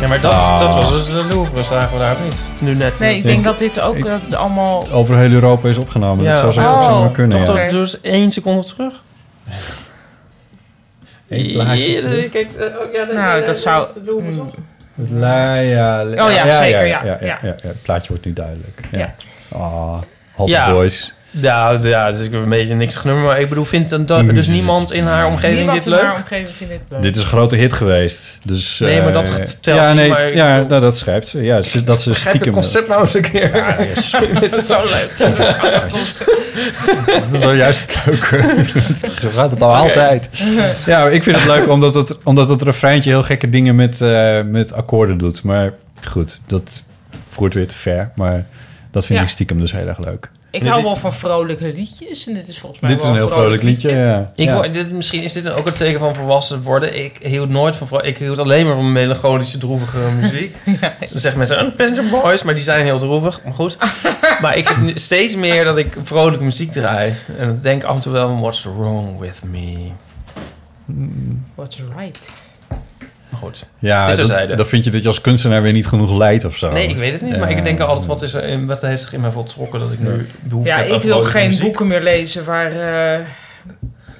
Ja, maar dat,
Ah.
dat was het de Louvre, zagen we daar ook niet. Nu net.
Nee, ik denk dat dit ook dat het allemaal...
Over heel Europa is opgenomen. Dat zou zeker ook
Oh,
zomaar kunnen.
Toch,
Ja.
dat dus één seconde terug.
Eén plaatje terug.
Nou, dat zou...
La, ja, la-
Oh ja, zeker, ja,
ja,
ja.
ja. Het plaatje wordt nu duidelijk. Ja.
Ja.
Ah, Hot
Ja.
Boys.
Ja, ja, dus ik heb een beetje niks genoemd. Maar ik bedoel, vindt dan dat- dus niemand in haar omgeving
Niemand
dit
in
leuk?
haar omgeving vindt dit leuk.
Dit is een grote hit geweest. Dus,
Nee,
eh,
maar dat telt
ja,
niet,
nee,
maar ik
ja, nou, dat schrijft ze. Ja, ze- dat
Begrijp
ze
het
stiekem...
concept nou eens een keer. dit is zo leuk.
Dat is wel juist het leuke. Zo gaat het al altijd. Ja, ik vind het leuk omdat het, omdat het refreintje heel gekke dingen met, eh, met akkoorden doet. Maar goed, dat voert weer te ver. Maar dat vind
Ja.
ik stiekem dus heel erg leuk.
Ik hou wel van vrolijke liedjes en dit is volgens mij
Dit is
wel
een heel vrolijk liedje. Ja.
Ik
Ja.
word- dit, misschien is dit ook een teken van volwassen worden. Ik hield nooit van vrou- Ik hield alleen maar van melancholische, droevige muziek. Dan zeggen mensen, een Passenger Boys, maar die zijn heel droevig. Maar goed. maar ik heb nu steeds meer dat ik vrolijke muziek draai. En dan denk ik af en toe wel van, what's wrong with me?
What's right?
Maar goed.
Mm. Ja,
dit
dat,
terzijde.
dan vind je dat je als kunstenaar weer niet genoeg leidt of zo.
Nee, ik weet het niet. Maar ik
Ehm.
denk altijd, wat, is er in, wat heeft zich in mij voltrokken dat ik nu behoefte
Ja,
heb aan
ik wil
vrolijke
geen
muziek?
boeken meer lezen waar eh,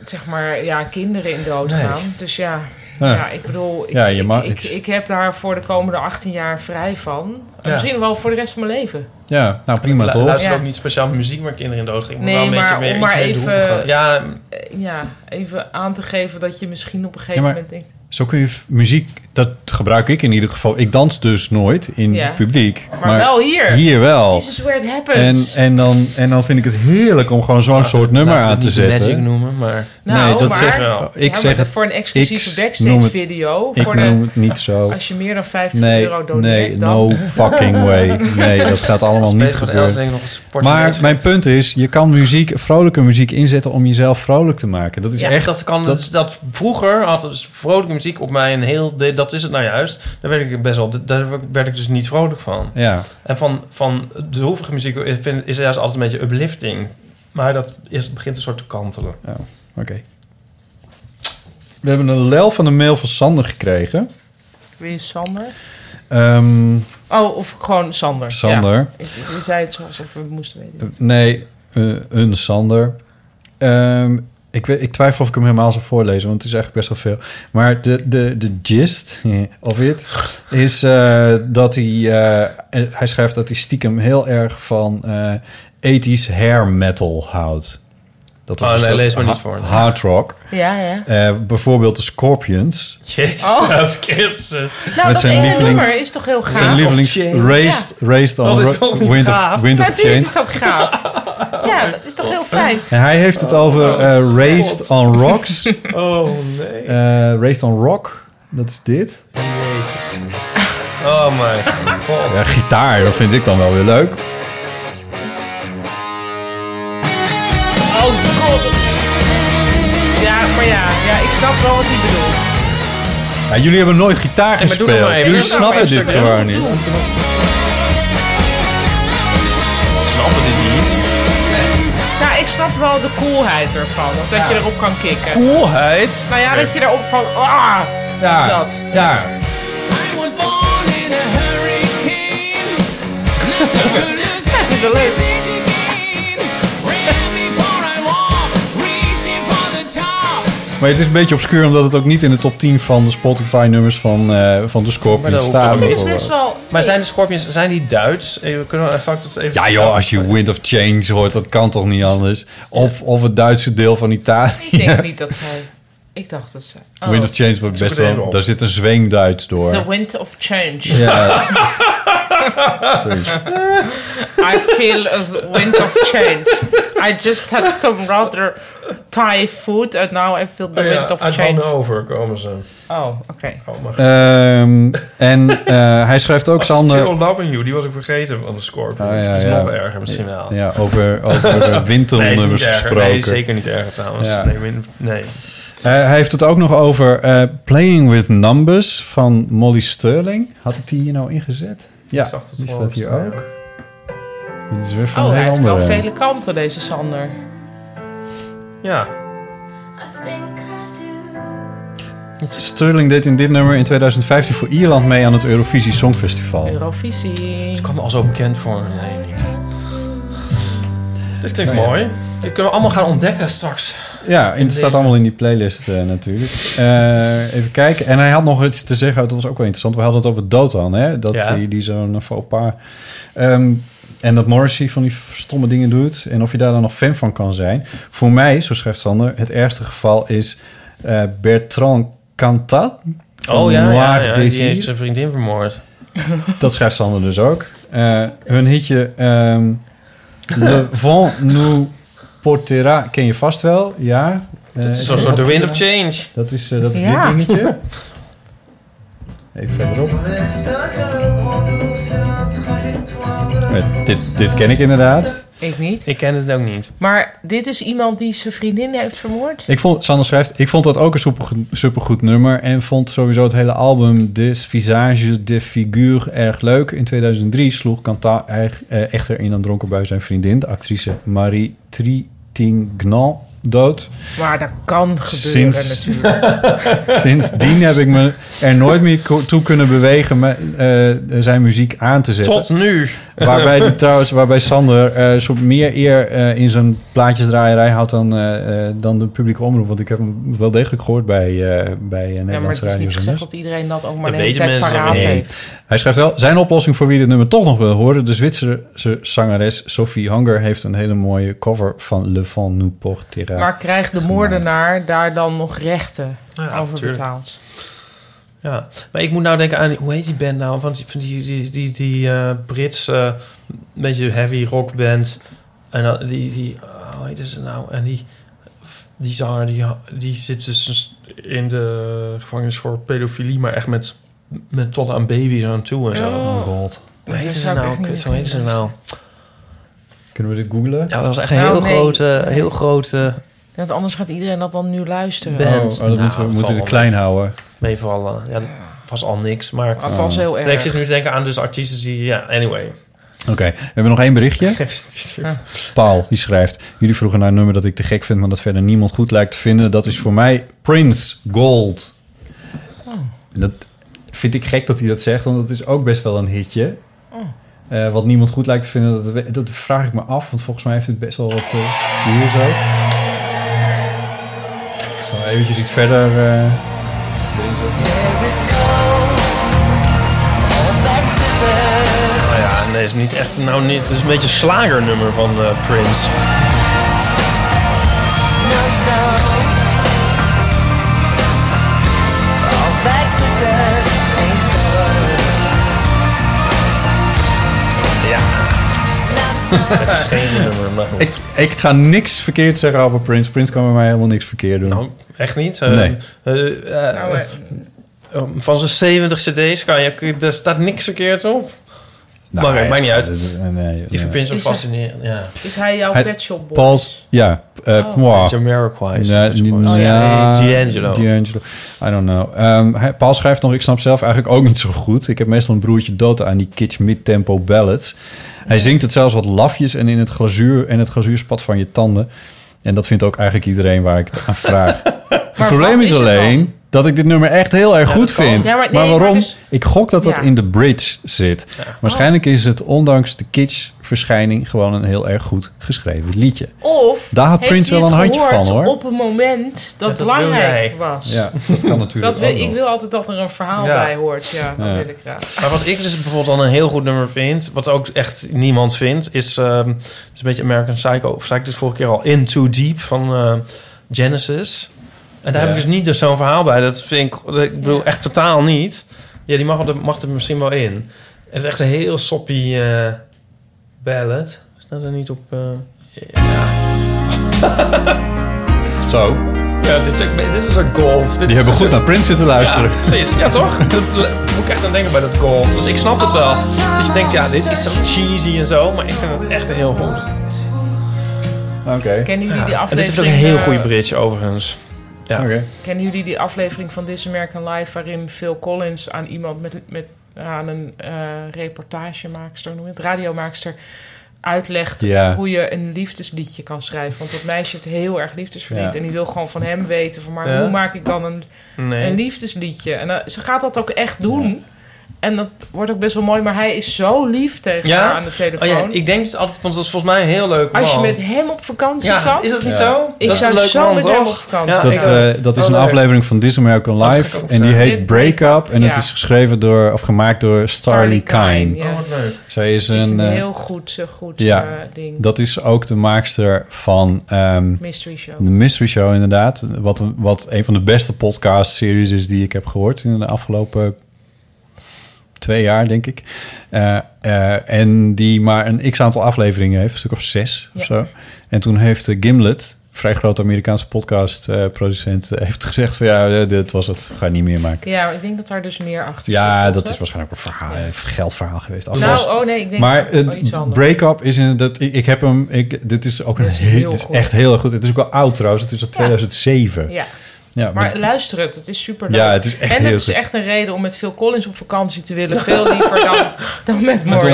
zeg maar ja, kinderen in dood
Nee.
gaan. Dus ja,
Ja.
ja. ik bedoel, ik,
Ja, je mag-
ik, ik, ik heb daar voor de komende 18 jaar vrij van.
Ja.
Misschien wel voor de rest van mijn leven.
Ja, nou prima
Lu-
toch?
Luister
Ja.
ook niet speciaal muziek waar kinderen in dood gingen.
Nee,
maar wel een
maar
beetje meer iets
om maar
meer droevige.
even,
Ja,
eh, ja, even aan te geven dat je misschien op een
Ja,
gegeven
maar
moment denkt...
zo kun je f- muziek, dat gebruik ik in ieder geval. Ik dans dus nooit in
Ja.
publiek.
Maar wel hier.
Hier wel.
This is where it
En,
happens.
en, dan, en dan vind ik het heerlijk om gewoon zo'n soort nummer
laten we
aan te
het niet
zetten.
Magic noemen, maar-
Nou,
nee, dat
maar-
zeg
Ja,
ik.
maar
zeg het,
voor een exclusieve
ik
backstage
noem het-
video,
Ik
voor de-
noem het niet zo.
als je meer dan 50
nee,
euro doneert,
Nee,
dan-
no fucking way. Nee, dat gaat allemaal
Als
niet
Peter van Elsen
gebeuren.
nog een sportje
Maar
heeft.
mijn punt is, je kan muziek, vrolijke muziek inzetten om jezelf vrolijk te maken. Dat is
ja,
echt...
dat kan, dat, dat, vroeger had dus vrolijke muziek op mij een heel... de- Dat is het nou juist. Daar werd ik best wel... Daar werd ik dus niet vrolijk van.
Ja.
En van, van de hoevige muziek is- vind- is juist altijd een beetje uplifting. Maar dat is, begint een soort te kantelen.
Ja, oké. We hebben een lel van de mail van Sander gekregen.
Wie is Sander?
Ehm,
Oh, of gewoon Sander.
Sander.
Ja. Ik, je zei het zo alsof we het moesten weten.
Nee, eh, een Sander. Ehm, ik, weet, ik twijfel of ik hem helemaal zou voorlezen, want het is eigenlijk best wel veel. Maar de, de, de gist of it is eh, dat hij... eh, eh, hij schrijft dat hij stiekem heel erg van eh ethisch hair metal houdt. Dat was
Oh,
dus
nee,
dat
lees maar
ha-
niet voor.
Hard rock.
Ja, ja.
Eh, bijvoorbeeld de Scorpions.
Jezus
Oh.
Christus.
Nou, dat ene nummer is toch heel gaaf?
Zijn lievelings
Oh,
Of Change.
Raised, raised on
Dat is
Ro-
toch niet
Wind of,
gaaf?
wind of
Natuurlijk
Change.
is dat gaaf. Ja, dat is toch heel fijn.
En hij heeft het over eh, Raised on Rocks.
Oh, nee.
Eh, raised on Rock, dat is dit.
Jezus. Oh mijn god.
Ja, gitaar, dat vind ik dan wel weer leuk.
Oh god. Ja, maar ja, ja, ik snap wel wat hij bedoelt.
Ja, jullie hebben nooit gitaar
maar doe
gespeeld.
nog maar even.
Jullie
Doe nog maar
snappen
even
dit
stuk, hè?
gewoon niet.
Snappen dit niet?
Nou, ik snap wel de coolheid ervan. Of dat je erop kan kicken.
Coolheid?
Nou ja, dat je erop van... Ah,
Ja,
dat.
ja.
Dat is wel leuk.
Maar het is een beetje obscuur omdat het ook niet in de top 10 van de Spotify-nummers van, eh, van de Scorpions staat. bijvoorbeeld.
Maar zijn de Scorpions, zijn die Duits? Eh, Kunnen we, zal ik dat even
Ja joh, als je Wind of Change hoort, dat kan toch niet anders? Of, of het Duitse deel van Italië.
Ik denk niet dat zij... Ik dacht dat ze... Oh.
Wind of Change wordt best wel... Daar zit een zweem Duits
It's the
door.
wind of change.
Ja. Zoiets.
I feel a wind of change. I just had some rather Thai food and now I feel the
Oh ja,
wind of
uit
change.
Hannover komen ze.
Oh, oké.
Oh, maar
Ehm, en eh, hij schrijft ook,
Was Still
Sander...
Loving You, die was ik vergeten van de Scorpions.
Ah, ja,
Dat is
ja.
nog erger misschien wel.
Ja, over- over, eh, winternummers
Nee, is niet erger.
gesproken.
Nee, is zeker niet erger trouwens.
Ja.
Nee, min- nee.
eh, hij heeft het ook nog over eh, Playing with Numbers van Molly Sterling. Had ik die hier nou ingezet? Ja, die staat hier ook. Dit is weer van
Oh,
een
hij
heel
heeft wel
andere.
vele kanten, deze Sander.
Ja.
Sterling deed in dit nummer in 2015 voor Ierland mee aan het Eurovisie Songfestival.
Eurovisie.
Ik kwam al zo bekend voor. Nee, niet. Dit klinkt
Nou ja.
mooi. Dit kunnen we allemaal gaan ontdekken straks.
Ja, en
In
het staat
deze-
allemaal in die playlist eh, natuurlijk. Eh, even kijken. En hij had nog iets te zeggen. Dat was ook wel interessant. We hadden het over Dotan, hè? Dat
Ja.
die, die zo'n faux pas. Ehm, en dat Morrissey van die stomme dingen doet. En of je daar dan nog fan van kan zijn. Voor mij, zo schrijft Sander, het ergste geval is eh, Bertrand Cantat. van
oh ja, ja,
Noir
ja, die
Désir.
heeft zijn vriendin vermoord.
Dat schrijft Sander dus ook. Eh, hun hitje ehm, Le vent nous portera ken je vast wel, ja. Eh,
Dat is zo'n soort The Wind of Change.
Dat is, eh, dat is
Ja.
dit dingetje. Even verderop. Eh, dit, dit ken ik inderdaad.
Ik niet.
Ik ken het ook niet.
Maar dit is iemand die zijn vriendin heeft vermoord?
Ik vond, Sander schrijft, ik vond dat ook een supergoed, supergoed nummer. En vond sowieso het hele album Des Visages de Figure erg leuk. In 2003 sloeg Canta eig- eh, echter in een dronken bui zijn vriendin, de actrice Marie Trintignant, dood.
Maar dat kan gebeuren
Sinds-
natuurlijk.
Sindsdien heb ik me er nooit meer ko- toe kunnen bewegen me, eh, zijn muziek aan te zetten.
Tot nu.
Waarbij, die, trouwens, waarbij Sander eh zo meer eer eh, in zijn plaatjesdraaierij houdt dan, eh, eh, dan de publieke omroep. Want ik heb hem wel degelijk gehoord bij, eh bij eh,
Ja, maar
Nederlandse
het is
Radio.
niet gezegd
NOS.
dat iedereen dat ook maar de
Dat
hele
weten
tijd
mensen
paraat
niet.
heeft.
Hij schrijft wel, zijn oplossing voor wie dit nummer toch nog wil horen. De Zwitserse zangeres Sophie Hunger heeft een hele mooie cover van Le Vent nous portera.
Maar krijgt de moordenaar daar dan nog rechten over
tuurlijk.
betaald?
Ja, maar ik moet nou denken aan, die- hoe heet die band nou? Van die, van die, die, die, die eh, Britse, eh, beetje heavy rock band. En dan die, die oh, hoe heet ze nou? En die, die zanger, die, die zit dus in de gevangenis voor pedofilie, maar echt met, met tot aan baby's aan toe en zo.
Oh.
god.
Hoe heet
Dat
ze
zou ik
nou?
echt niet
Kut,
meer
Hoe heet ze
kunnen
nou?
Kunnen we dit googlen?
Ja, dat was echt een
Nou,
heel
nee.
grote, eh, heel grote
Want anders gaat iedereen dat dan nu luisteren.
band. Nou,
oh, dat moeten we- moeten we klein houden. Ah.
Meevallen. Ja, dat was al niks, maar...
Dat was heel
Nee,
erg.
ik zit nu te denken aan dus artiesten die... Ja, anyway.
Oké, we hebben nog één berichtje. Ah.
Ja.
Paul, die schrijft... Jullie vroegen naar een nummer dat ik te gek vind... maar dat verder niemand goed lijkt te vinden. Dat is voor mij Prince Gold.
Oh.
Dat vind ik gek dat hij dat zegt... want dat is ook best wel een hitje.
Oh.
Eh, wat niemand goed lijkt te vinden, dat, we- dat vraag ik me af. Want volgens mij heeft het best wel wat eh vuur zo. Ik zal eventjes iets verder... eh,
Nou ja, nee, is niet echt... Nou, niet, het is een beetje een slagernummer van eh, Prince. Ja. het is geen nummer, maar goed.
ik, ik ga niks verkeerd zeggen over Prince. Prince kan bij mij helemaal niks verkeerd doen.
Echt niet? Eh,
Nee.
eh, oh, eh, eh, van zijn 70 cd's kan je... Daar staat niks verkeerd op. maar het maakt niet uit.
nee,
die
nee.
vind zo
Is hij-
fascinerend. Ja.
Is hij jouw
Hij-
Pet Shop Boy?
Pauls, ja.
Oh.
eh moi.
Jamiroquai is
Nee,
het,
niet-
Boys. Oh, ja.
ja,
Nee, D'Angelo.
D'Angelo. I don't know. Ehm, hij- Paul schrijft nog, ik snap zelf eigenlijk ook niet zo goed. Ik heb meestal een broertje dood aan die kitsch mid-tempo ballads. Hij zingt het zelfs wat lafjes en in het glazuur en het glazuur spat van je tanden. En dat vindt ook eigenlijk iedereen waar ik het aan vraag. het probleem is alleen dat ik dit nummer echt heel erg
oh.
goed vind.
Ja, maar
maar,
nee, maar
waarom?
dus-
Ik gok dat dat
Ja.
in de bridge zit. Waarschijnlijk is het ondanks de kitsch verschijning gewoon een heel erg goed geschreven liedje.
Of
Daar had
heeft
Prince
hij
wel
het
een handje
gehoord
van, hoor.
op een moment dat,
Ja, dat wil
belangrijk
jij.
was.
Ja, dat kan natuurlijk
Dat wil,
ook nog.
ik wil altijd dat er een verhaal
Ja.
bij hoort. Ja, dat
Ja.
wil ik graag.
Maar wat ik dus bijvoorbeeld dan een heel goed nummer vind, wat ook echt niemand vindt, is, ehm, het is een beetje American Psycho. Of zei ik dit vorige keer al? In Too Deep van eh, Genesis. En daar
Ja.
heb ik dus niet dus zo'n verhaal bij. Dat vind ik, ik bedoel, echt totaal niet. Ja, die mag, er- mag er misschien wel in. Het is echt een heel soppie eh ballad. Staat er niet op... eh, ja.
Zo.
Ja, dit is, echt- dit is een gold. Dit
Die
is
hebben
een
goed
soort-
naar Prince zitten luisteren. Dus
Ja, precies. Ja, toch? Daar moet ik echt aan denken bij dat goal. Dus ik snap het wel. Dat je denkt, ja, dit is zo cheesy en zo. Maar ik vind het echt heel goed.
Oké.
Kennen jullie die
En dit heeft ook
aflevering?
een heel
eh,
goede bridge, overigens. Ja.
Kennen jullie die aflevering van This American Life waarin Phil Collins aan iemand met, met aan een eh, reportagemaakster, noem je het, radiomaakster uitlegt
Ja.
hoe je een liefdesliedje kan schrijven. Want dat meisje heeft heel erg liefdesverdriet
Ja.
en die wil gewoon van hem weten van maar
Ja.
hoe maak ik dan een,
Nee.
een liefdesliedje? En eh, ze gaat dat ook echt doen. En dat wordt ook best wel mooi, maar hij is zo lief tegen haar aan de telefoon.
Oh ja, ik denk dat altijd, want dat is volgens mij een heel leuk
Als je
man.
met hem op vakantie
Ja,
kan...
is dat niet Ja. zo?
Ik
Dat is
zou
een leuk
zo
man,
met hem
toch?
op vakantie
Ja.
gaan.
Dat, eh, dat is een
Oh, leuk.
aflevering van This American Life. En die heet Break Up. En
ja.
het is geschreven door, of gemaakt door Starly Kine.
ja. Oh, wat leuk.
Zij is een...
is een
eh,
heel goed, eh, goed
ja,
eh, ding.
dat is ook de maakster van... ehm,
Mystery Show.
De Mystery Show, inderdaad. Wat, een- wat een van de beste podcast-series is die ik heb gehoord in de afgelopen twee jaar, denk ik. Eh, eh, en die maar een x-aantal afleveringen heeft, een stuk of zes
Ja.
of zo. En toen heeft eh, Gimlet, vrij grote Amerikaanse podcast-producent, heeft gezegd van ja, eh, dit was het, ga je niet meer maken.
Ja, maar ik denk dat daar dus meer achter zit.
Ja,
klopt
dat
het?
is waarschijnlijk een verhaal, een geldverhaal geweest.
Nou,
Afwas.
oh nee, ik denk
maar
dat- oh,
het
iets anders.
break-up is inderdaad... Ik, ik heb hem... Ik, dit is ook een
Dit is
heel,
heel
dit is
goed.
echt heel erg goed. Het is ook wel oud trouwens. Het is uit 2007.
Ja.
Ja,
maar
want-
luister het, het is super
Ja, het is echt
En
heel
het is
goed.
echt een reden om met Phil Collins op vakantie te willen. Veel liever dan, dan met
Dat
Morrissey.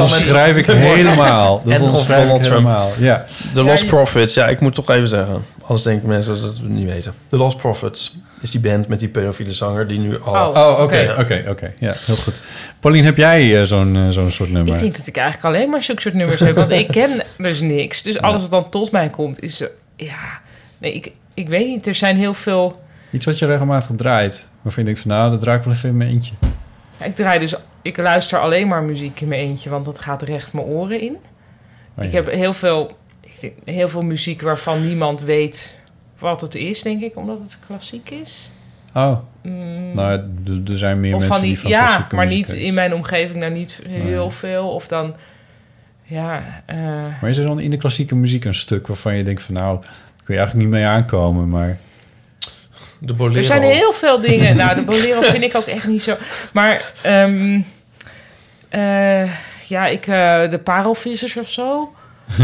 onderschrijf ik helemaal. Dat
en of
onderschrijf ik
Donald Trump.
helemaal. Ja.
De Lost
Ja, je-
Profits, ja, ik moet toch even zeggen. Anders denken mensen dat ze het niet weten. De Lost Profits is die band met die pedofiele zanger die nu al...
Oh,
Oh, oké, oké, oké. Ja, heel goed. Paulien, heb jij eh, zo'n eh, zo'n soort nummer?
Ik denk dat ik eigenlijk alleen maar zulke soort nummers heb. Want ik ken dus niks. Dus alles wat dan tot mij komt is... eh, Ja, nee, ik, ik weet niet. Er zijn heel veel...
Iets wat je regelmatig draait. Waarvan je denkt van nou, dat draai ik wel even in mijn eentje.
Ik draai dus... Ik luister alleen maar muziek in mijn eentje. Want dat gaat recht mijn oren in.
Oh ja.
Ik heb heel veel, ik denk, heel veel muziek waarvan niemand weet wat het is, denk ik. Omdat het klassiek is.
Oh.
Mm.
Nou, d- er zijn meer
of
mensen
van die,
die van
ja,
klassieke
maar
muziek
niet
Oh houden.
in mijn omgeving nou niet heel veel. Of dan, ja... eh,
Maar is er dan in de klassieke muziek een stuk waarvan je denkt van nou, kun je eigenlijk niet mee aankomen, maar...
De Bolero.
Er zijn heel veel dingen. Nou, de bolero vind ik ook echt niet zo. Maar ehm, eh, ja, ik, eh, de parelvissers of zo.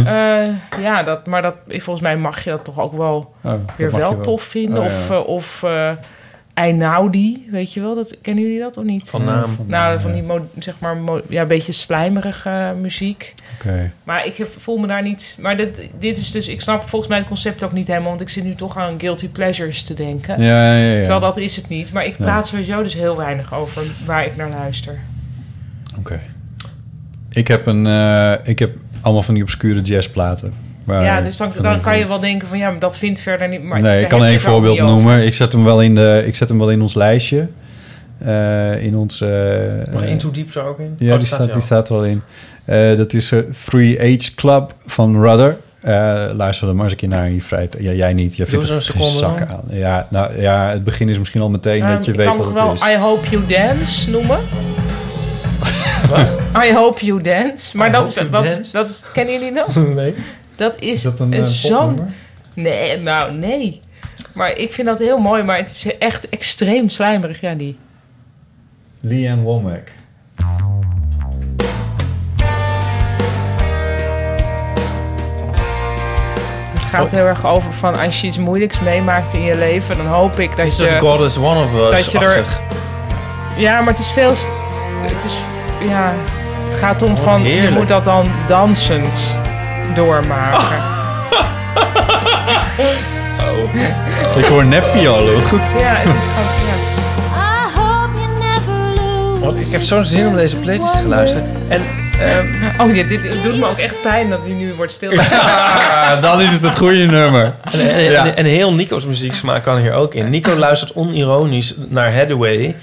Eh, ja, dat, maar dat, volgens mij mag je dat toch ook wel
Oh, dat
weer
mag
wel,
je wel.
tof vinden.
Oh,
of
ja.
eh, of eh Einaudi, weet je wel. Dat, kennen jullie dat of niet?
Van naam.
Nou, van die mo- zeg maar, mo- ja, een beetje slijmerige muziek.
Oké.
Maar ik heb- voel me daar niet... Maar dit, dit is dus... Ik snap volgens mij het concept ook niet helemaal... want ik zit nu toch aan guilty pleasures te denken.
Ja, ja, ja.
Terwijl dat is het niet. Maar ik
Ja. Oh,
praat sowieso dus heel weinig over waar ik naar luister.
Oké. Ik heb een... eh, ik heb allemaal van die obscure jazzplaten. waar-
ja, dus dan,
van
dan
die-
kan je wel denken van... ja, maar dat vindt verder niet... Maar daar
nee, ik kan
heb je
één
het ook
voorbeeld
niet over.
noemen. Ik zet, hem wel in de, ik zet hem wel in ons lijstje. Eh, in ons... eh,
Mag
eh,
Into Deep er ook in?
Ja,
Oh, staat
die, staat,
er al.
die staat er al in. Eh, dat is eh, Three Age Club van Rudder. Eh, luister er maar eens een keer naar in je vrij. Ja, jij niet.
Doe
Jij vindt
er
er
een
geen
seconde
zak aan. Ja, nou, ja, het begin is misschien al meteen
Ehm,
dat je
ik
weet
kan
wat
nog
het
wel
is.
I Hope You Dance noemen. I Hope You Dance. Maar
I
dat,
Hope You
is, dat,
Dance?
dat is- kennen jullie dat?
Nee.
Dat is,
dat een,
een
eh,
zo'n...
popnummer?
Nee, nou, nee. Maar ik vind dat heel mooi. Maar het is echt extreem slijmerig, ja, die.
Leanne Womack.
Oh.
gaat heel erg over van als je iets moeilijks meemaakt in je leven, dan hoop ik dat
Is
je.
dat God is one of us?
dat je er-
achtig?
Ja, maar het is veel. Het is. Ja. Het gaat om van. Je
Oh, heerlijk.
moet dat dan dansend doormaken.
Ah.
Ik hoor nepviolen, wat goed.
Ja, het is gewoon.
Want ik heb zo'n zin om deze playlist te luisteren. En.
ehm, oh ja, dit doet me ook echt pijn dat die nu wordt stil.
Ah, dan is het het goede nummer.
En, en,
Ja.
en, en heel Nico's muzieksmaak kan hier ook in. Nico luistert onironisch naar Hathaway.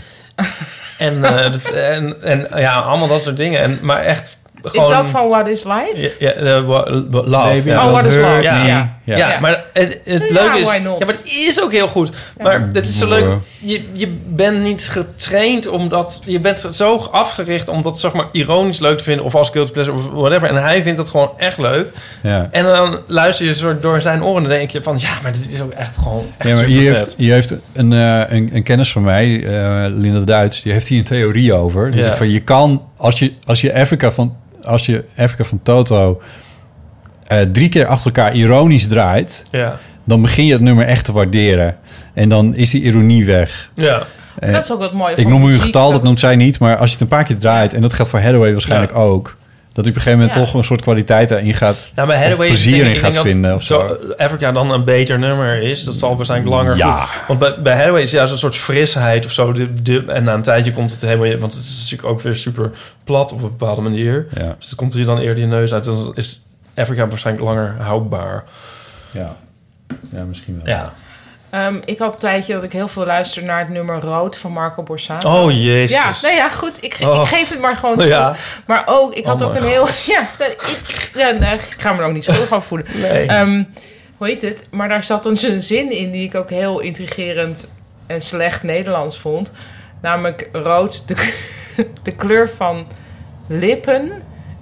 En, eh, de- en, en ja, allemaal dat soort dingen. En, maar echt gewoon...
Is dat van What is Life?
Ja, ja, eh, wa- wa- love.
Maybe
ja.
Oh, what is love?
Ja,
me.
ja.
Ja.
ja, maar het, het
Ja,
leuke is...
why
Ja,
not?
maar het is ook heel goed. Maar het is zo leuk... Je, je bent niet getraind omdat... Je bent zo afgericht om dat zeg maar, ironisch leuk te vinden... of als guilty pleasure of whatever. En hij vindt dat gewoon echt leuk.
Ja.
En dan luister je soort door zijn oren en dan denk je van... ja, maar dit is ook echt gewoon echt
Ja, maar hier
supervet.
heeft, hier heeft een, eh, een, een kennis van mij, eh, Linda Duits, die heeft hier een theorie over. Die
Ja.
zegt van je kan, als je, als je Afrika van, als je Afrika van Toto eh, drie keer achter elkaar ironisch draait,
Ja.
dan begin je het nummer echt te waarderen. En dan is die ironie weg.
Ja.
Eh,
Dat is ook wat mooie
Ik
van
noem u een
muziek,
getal,
dat-
dat noemt zij niet, maar als je het een paar keer draait, en dat geldt voor Hathaway waarschijnlijk ook, dat u op een gegeven moment
Ja.
toch een soort kwaliteit daarin gaat,
Ja, Nou, maar
of
Hathaway
plezier
ik denk-
in
ik
gaat
denk
vinden.
dat
Of zo. Mm,
zo- Africa dan een beter nummer is. Dat zal waarschijnlijk langer
Ja.
goed. Want bij, bij Hathaway is juist een soort frisheid of zo. De, de, en na een tijdje komt het helemaal... Want het is natuurlijk ook weer super plat op een bepaalde manier. Dus het komt hier dan eerder je neus uit. Dan is Africa waarschijnlijk langer houdbaar.
Ja, ja misschien wel.
Ja.
Ehm, ik had een tijdje dat ik heel veel luister naar het nummer Rood van Marco Borsato.
Oh, jezus.
Ja, nou ja, goed. Ik, ge-
Oh.
ik geef het maar gewoon toe.
Nou ja.
Maar ook, ik
Oh
had ook
mijn
een heel... Ja, dat- ik, ja, nee, ik ga me er ook niet schuldig over voelen.
Nee.
Ehm, hoe heet het? Maar daar zat dan zo'n zin in die ik ook heel intrigerend en slecht Nederlands vond. Namelijk rood, de, de kleur van lippen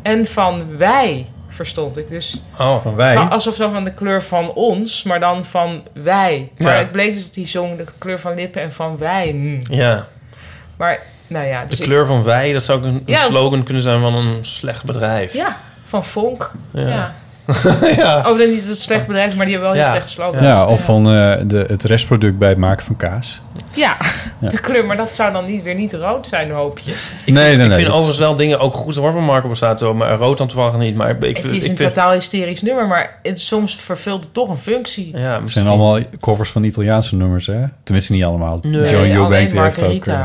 en van wij, verstond ik. Dus
Oh, van wij?
Van- alsof dan van de kleur van ons, maar dan van wij. Maar
Ja.
het bleek dus dat hij zong de kleur van lippen en van wijn.
Ja.
Maar, nou ja.
De
dus ik-
kleur van wij, dat zou ook een, een
Ja, of-
slogan kunnen zijn van een slecht bedrijf.
Ja, van Vonk.
Ja.
Ja.
Ja.
Of dan niet het slecht bedrijf, maar die hebben wel
Ja.
heel slecht slogans.
Ja, of van eh, de, het restproduct bij het maken van kaas.
Ja,
Ja.
de kleur, maar dat zou dan niet, weer niet rood zijn, hoop je.
nee, nee, nee.
ik vind
dat-
overigens wel dingen ook goed hoor van Marco Borsato, maar rood dan toevallig niet. Maar ik,
het
vind-
is
ik
een
vind,
totaal hysterisch nummer, maar het, soms vervult het toch een functie.
Ja,
het zijn allemaal covers van Italiaanse nummers, hè? Tenminste, niet allemaal. John Eubank die heeft ook... eh,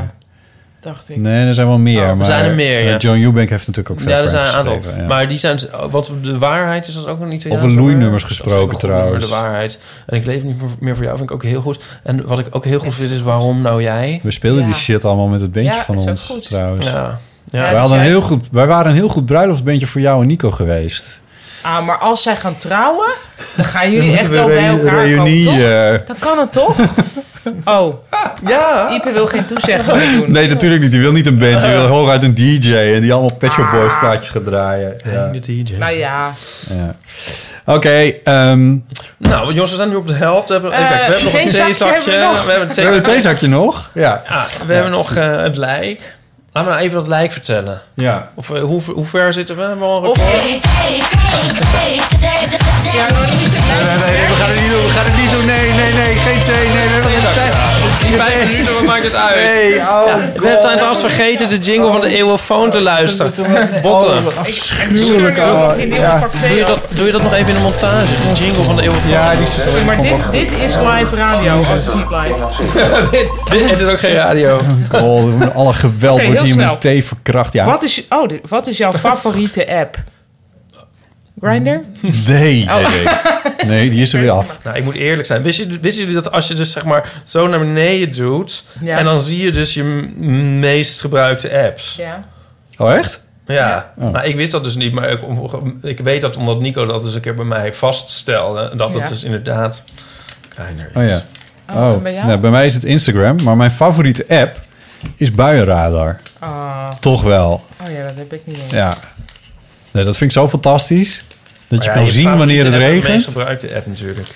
dacht ik.
nee, er zijn wel meer.
Oh, er
maar,
zijn er meer,
eh,
ja.
John Eubank heeft natuurlijk ook veel
Ja, er zijn
Frank
een aantal.
geschreven, ja.
Maar die zijn, want de waarheid is dat ook nog niet.
Over loeinummers gesproken
De
trouwens.
waarheid. En ik leef niet voor- meer voor jou, vind ik ook heel goed. En wat ik ook heel goed vind is waarom nou jij?
We speelden
Ja.
die shit allemaal met het bandje
Ja,
van
is ook
ons,
goed.
trouwens.
Ja. Ja,
wij,
dus
hadden een
jij-
heel goed, wij waren een heel goed bruiloftsbandje voor jou en Nico geweest.
Ah, maar als zij gaan trouwen, dan gaan jullie
Dan
echt
moeten
wel
we
bij
reu-
elkaar
reunie,
komen, toch?
eh.
Dan kan het toch? Oh.
Ja.
Ipe wil geen toezegging meer doen.
Nee, natuurlijk niet. Die wil niet een band. Die wil hooguit een DJ. En die allemaal Pet Shop Boys plaatjes gaat draaien. Ja.
De DJ.
Nou ja.
Ja. Oké, ehm
Nou, jongens, we zijn nu op de helft. We hebben,
Eh,
kijk, we hebben nog een
theezakje
theezakje.
hebben we nog.
We hebben een
we hebben een theezakje nog. Ja.
Ja, we hebben nog eh, het lijk. Laat me nou even dat lijk vertellen.
Ja.
Of eh, hoe, hoe ver zitten we? Hebben we al een
Of-
record?
We gaan het niet doen, we gaan het niet doen. Nee, nee, nee, geen thee. Nee, we hebben geen
thee. Vijf minuten, wat maakt het uit?
Nee, oh
Ja, we
God.
zijn trouwens vergeten de jingle van de eeuwenfoon te luisteren. Botten.
Oh, wat afschuwelijk, oh, ja.
Doe je, dat, doe je dat nog even in de montage? De jingle van de eeuwenfoon. Ja,
die zit
Maar dit, dit is live radio, als het niet live
is. dit, het is ook geen radio.
Oh God, alle geweld
Oké,
wordt
heel
hier
snel.
met thee verkracht. Ja.
Wat, is, oh, dit- wat is jouw favoriete app? Grinder?
Nee,
Oh.
nee, nee. Nee, die is er weer af.
Nou, ik moet eerlijk zijn. Wisten jullie, wisten jullie dat als je dus zeg maar zo naar beneden doet...
Ja.
en dan zie je dus je m- meest gebruikte apps?
Ja.
Oh, echt?
Ja,
Oh.
nou, ik wist dat dus niet, maar ik, om- ik weet dat omdat Nico dat eens een keer bij mij vaststelde. Dat
Ja.
het dus inderdaad kleiner is.
Oh ja.
Oh, en bij jou?
Nou, bij mij is het Instagram, maar mijn favoriete app is Buienradar.
Ah.
Toch wel.
Oh ja, dat heb ik niet eens.
Ja. Nee, dat vind ik zo fantastisch. Dat je
Maar ja,
kan zien wanneer het
favoriete app is De meest
regent.
gebruikte app natuurlijk.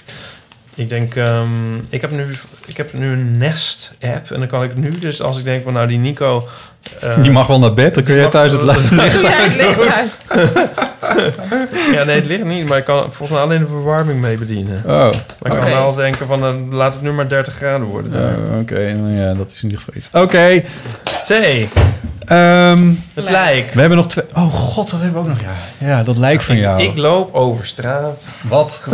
Ik denk, ehm, ik, heb nu, ik heb nu een Nest-app. En dan kan ik nu dus, als ik denk van nou die Nico... eh,
Die mag wel naar bed, dan
die
kun jij
mag-
thuis het licht- licht Ja, het licht
doen. ja, nee, het ligt niet. Maar ik kan volgens mij alleen de verwarming mee bedienen.
Oh.
Maar ik kan
Oké.
wel denken van eh, laat het nu maar 30 graden worden. daar.
Oh, Oké, nou ja, dat is in ieder geval iets. Oké.
C. Het lijk.
We hebben nog twee... Oh god, dat hebben we ook nog. Ja, ja dat lijk van
Ik-
jou.
Ik loop over straat.
Wat?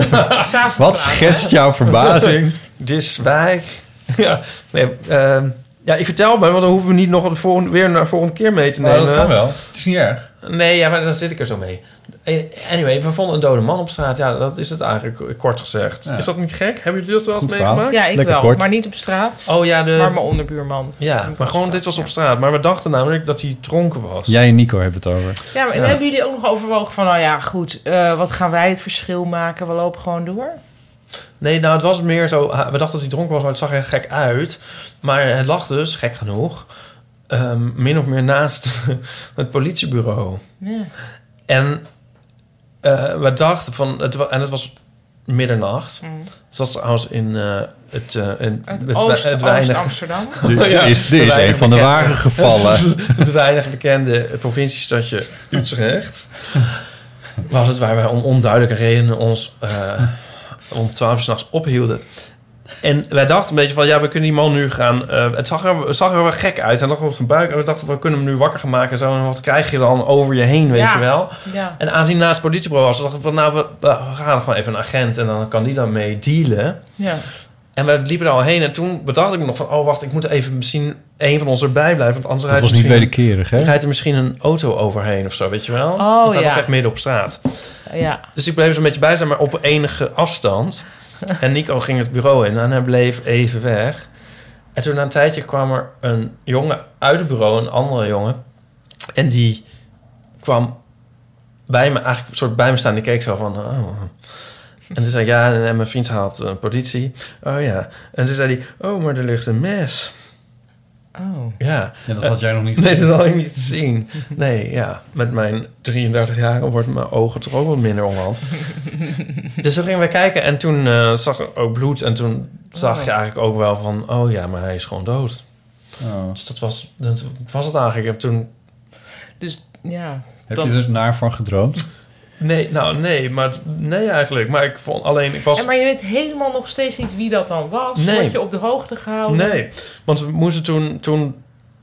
Wat schetst jouw verbazing?
Dis wijk. Ja, nee, ehm, ja, ik vertel maar, want dan hoeven we niet nog de volgende, weer naar de volgende keer mee te
Nou,
nemen.
dat kan wel. Het is niet erg.
Nee, ja, maar dan zit ik er zo mee. Eh, Anyway, we vonden een dode man op straat. Ja, dat is het eigenlijk, kort gezegd.
Ja.
Is dat niet gek? Hebben jullie dat wel eens
Goed verhaal.
meegemaakt?
Ja, ik wel. Maar niet op straat.
Oh ja, de...
Maar mijn onderbuurman.
Ja, maar gewoon dit was op straat. Maar we dachten namelijk dat hij dronken was.
Jij en Nico hebben het over.
Ja, maar en
Ja.
hebben jullie ook nog overwogen van... nou ja, goed, eh, wat gaan wij het verschil maken? We lopen gewoon door.
Nee, nou, het was meer zo... We dachten dat hij dronken was, maar het zag er gek uit. Maar het lag dus, gek genoeg... ehm, min of meer naast het politiebureau.
Ja.
En eh, we dachten van... Het, wa- en het was middernacht.
Mm.
Het was trouwens in eh, het... eh in
Het
het we-
oost-
het weinig-
Oost-Amsterdam.
Er is- er is
het weinig
een van de
bekende-
wagen gevallen.
het weinig bekende provinciestadje Utrecht. Was het waar wij om onduidelijke redenen ons eh, om twaalf uur s'nachts ophielden. En wij dachten een beetje van, ja, we kunnen die man nu gaan... eh, het zag er, het zag er wel gek uit. Hij lag op zijn buik en we dachten, we kunnen hem nu wakker gaan maken. En, zo, en wat krijg je dan over je heen, weet
Ja.
je wel?
Ja.
En aanzien naast het politiebureau was, dachten we van, nou, we, we gaan gewoon even een agent... en dan kan die dan mee dealen.
Ja.
En we liepen er al heen en toen bedacht ik me nog van... oh, wacht, ik moet even misschien een van ons erbij blijven... want anders
Dat
rijdt er
was niet
misschien-
wederkerig, hè?
rijdt er misschien een auto overheen of zo, weet je wel?
Oh,
Want hij
ja.
lag echt midden op straat.
Ja.
Dus ik bleef er een beetje bij zijn, maar op enige afstand. En Nico ging het bureau in en hij bleef even weg. En toen na een tijdje kwam er een jongen uit het bureau, een andere jongen. En die kwam bij me, eigenlijk een soort bij me staan. Die keek zo van, oh. En toen zei ik, ja, en mijn vriend haalt eh, politie. Oh ja. En toen zei hij, oh, maar er ligt een mes.
Oh.
Ja.
Ja, dat had jij nog niet
Nee,
gezien.
dat had ik niet gezien. Nee, ja. Met mijn 33 jaar wordt mijn ogen toch ook wat minder onderhand. dus toen gingen we kijken en toen eh, zag ik ook bloed. En toen zag
Oh.
je eigenlijk ook wel van... Oh ja, maar hij is gewoon dood.
Oh.
Dus dat was, dat was het eigenlijk. En toen...
Dus ja...
Heb
dan-
je er naar van gedroomd?
Nee, nou nee, maar nee eigenlijk. Maar ik vond alleen... Ik was...
En maar je weet helemaal nog steeds niet wie dat dan was.
Nee.
Word je op de hoogte gehouden?
Nee, want we moesten toen... toen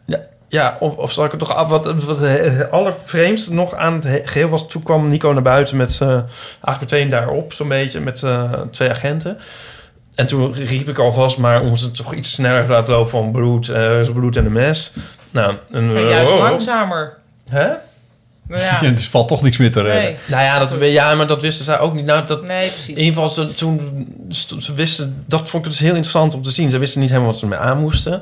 ja, ja, of, of zal ik het toch af... Wat, wat het allervreemdste nog aan het he- geheel was... Toen kwam Nico naar buiten met... eh eigenlijk meteen daarop, zo'n beetje, met eh, twee agenten. En toen riep ik alvast, maar om ze toch iets sneller te laten lopen van bloed, eh, er is bloed en een mes. Nou, en,
Maar
eh,
juist
oh, oh.
langzamer.
Hè?
Nou ja.
het valt toch niks meer te redden.
Nee.
Nou ja, dat, ja, maar dat wisten zij ook niet. Nou, dat,
Nee, precies.
In ieder geval, ze- toen st- ze wisten, dat vond ik dus heel interessant om te zien. Ze wisten niet helemaal wat ze ermee aan moesten.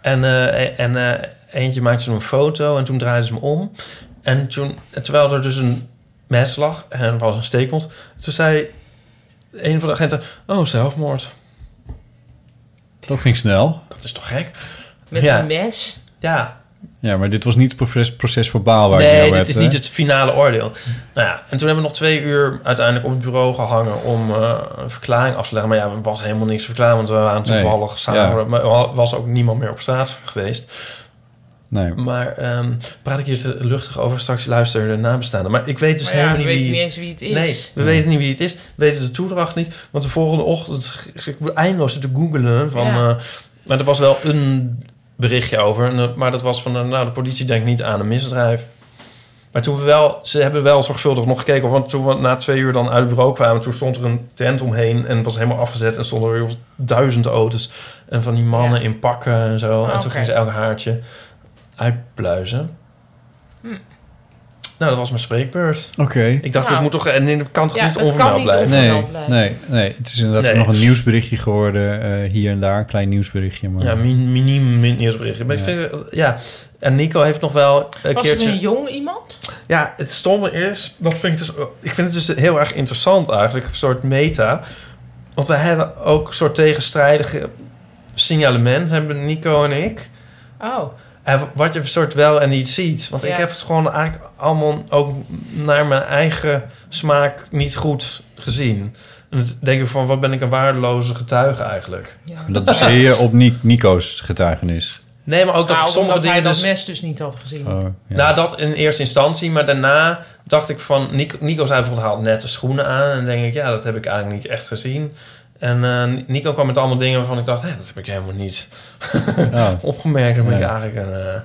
En, eh, en eh, eentje maakte toen een foto en toen draaiden ze hem om. En toen, terwijl er dus een mes lag en er was een steekwond, toen zei een van de agenten: Oh, zelfmoord.
Dat ging snel.
Dat is toch gek?
Met
Ja.
een mes.
Ja.
Ja, maar dit was niet het proces, proces verbaal waar je
nee,
het
dit
over
is
hebt,
niet
hè?
het finale oordeel. Nou ja, en toen hebben we nog twee uur uiteindelijk op het bureau gehangen om eh, een verklaring af te leggen. Maar ja, er was helemaal niks te verklaren, want we waren
Nee,
toevallig samen.
ja.
Maar er was ook niemand meer op straat geweest.
Nee.
Maar ehm, praat ik hier te luchtig over, straks luisteren de nabestaanden. Maar ik weet dus
Maar ja,
helemaal
we
niet
weten
wie...
niet eens wie het is.
Nee, we
Nee.
weten niet wie het is. We weten de toedracht niet. Want de volgende ochtend, ik moet eindeloos te googelen. Van,
Ja.
eh, maar er was wel een berichtje over. En dat- Maar dat was van, eh, nou, de politie denkt niet aan een misdrijf. Maar toen we wel, ze hebben wel zorgvuldig nog gekeken. Want toen we na twee uur dan uit het bureau kwamen, toen stond er een tent omheen en het was helemaal afgezet. En stonden er weer duizend auto's. En van die mannen in pakken en zo. en
oké.
toen gingen ze elk haartje uitpluizen.
Hm.
Nou, dat was mijn spreekbeurt.
Oké.
Ik dacht,
Nou.
dit moet toch, en dit kan toch
Ja,
niet
het kan
onvermeld
niet
blijven?
Nee, nee, nee, het is inderdaad
Nee.
nog een nieuwsberichtje geworden. eh, hier en daar, een klein nieuwsberichtje. Maar...
Ja, min, miniem min- nieuwsberichtje. Maar ik
Ja.
vind, ja, en Nico heeft nog wel een
was
keertje...
het een jong iemand?
Ja, het stomme is, dat vind ik, dus, ik vind het dus heel erg interessant eigenlijk, een soort meta. Want we hebben ook een soort tegenstrijdige signalement, hebben Nico en ik.
Oh.
En wat je soort wel en niet ziet. Want
Ja.
ik heb het gewoon eigenlijk allemaal ook naar mijn eigen smaak niet goed gezien. En dan denk ik van, wat ben ik een waardeloze getuige eigenlijk.
Dat is hier op Ni- Nico's getuigenis.
Nee, maar ook dat
Nou,
ik sommige
omdat
dingen
hij
dus...
dat mes dus niet had gezien.
Oh,
Nou, dat in eerste instantie. Maar daarna dacht ik van... Nico, Nico zei bijvoorbeeld, haalt nette schoenen aan. En dan denk ik, ja, dat heb ik eigenlijk niet echt gezien. En eh, Nico kwam met allemaal dingen waarvan ik dacht... Hé, dat heb ik helemaal niet opgemerkt. Dan ben ik
Ja.
eigenlijk een... eh,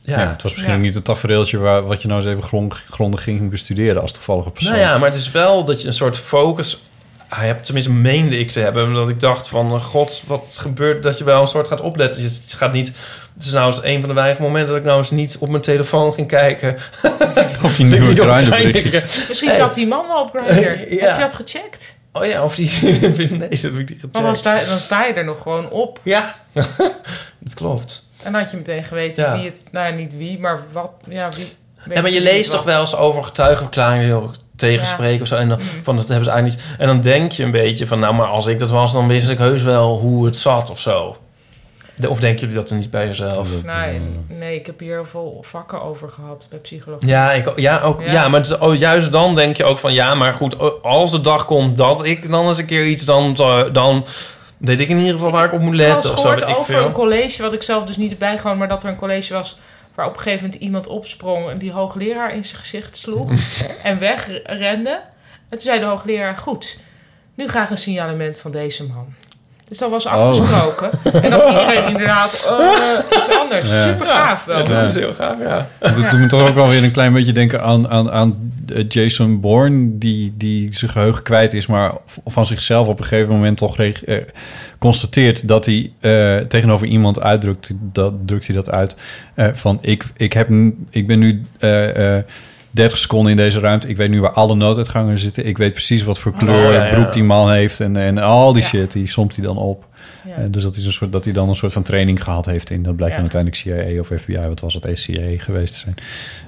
Ja. het was misschien ook niet het tafereeltje waar, wat je nou eens even grond, grondig ging bestuderen als toevallige persoon.
Nou ja, maar het is wel dat je een soort focus hebt. Tenminste, meende ik te hebben. Omdat ik dacht van, eh, god, wat gebeurt dat je wel een soort gaat opletten. Je gaat niet... Het is nou eens een van de weinige momenten dat ik nou eens niet op mijn telefoon ging kijken. of
je nieuwe
berichtjes.
Misschien zat die man wel op Grindr.
Ja.
Heb je dat gecheckt?
Oh ja, of die... nee, dat heb ik niet gecheckt.
Want dan sta, dan sta je er nog gewoon op.
Ja. Dat klopt.
En dan had je meteen geweten
Ja.
wie het... Nou, niet wie, maar wat... Ja, wie...
Ja, maar je leest toch wel eens over getuigenverklaringen die nog tegenspreken of zo. En dan, van, dat hebben ze eigenlijk niet. En dan denk je een beetje van, nou, maar als ik dat was, dan wist ik heus wel hoe het zat of zo. De- of denken jullie dat er niet bij jezelf?
Nee, Nou, nee, ik heb hier heel veel vakken over gehad bij psychologie.
Ja, ik, ja, ook, ja. maar het is- oh, juist dan denk je ook van... ja, maar goed, oh, als de dag komt dat ik dan eens een keer iets... dan, zou- dan weet ik in ieder geval waar ik op moet
Ik heb wel
letten
eens
of zo.
gehoord
Weet ik
over een
veel.
college, wat ik zelf dus niet erbij gewoon, maar dat er een college was waar op een gegeven moment iemand opsprong en die hoogleraar in zijn gezicht sloeg en wegrende. En toen zei de hoogleraar, goed, nu ga ik een signalement van deze man. Dus dat was afgesproken. En dat iedereen inderdaad eh, iets anders.
Ja.
Super gaaf wel.
Ja, dat is heel gaaf, ja.
Dat doet me toch ook wel weer een klein beetje denken aan, aan, aan eh, Jason Bourne, die, die zijn geheugen kwijt is, maar v- van zichzelf op een gegeven moment toch reg- eh, constateert dat hij eh, tegenover iemand uitdrukt, dat drukt hij dat uit, eh, van ik, ik, heb, n- ik ben nu eh, eh, 30 seconden in deze ruimte, ik weet nu waar alle nooduitgangen zitten, ik weet precies wat voor kleur
Oh,
en
ja, ja.
broek die man heeft en, en al die shit, die somt hij dan op. Eh, dus dat, is een soort, dat hij dan een soort van training gehad heeft in, dat blijkt
Ja.
dan uiteindelijk CIA of FBI, wat was het, ECA geweest te zijn.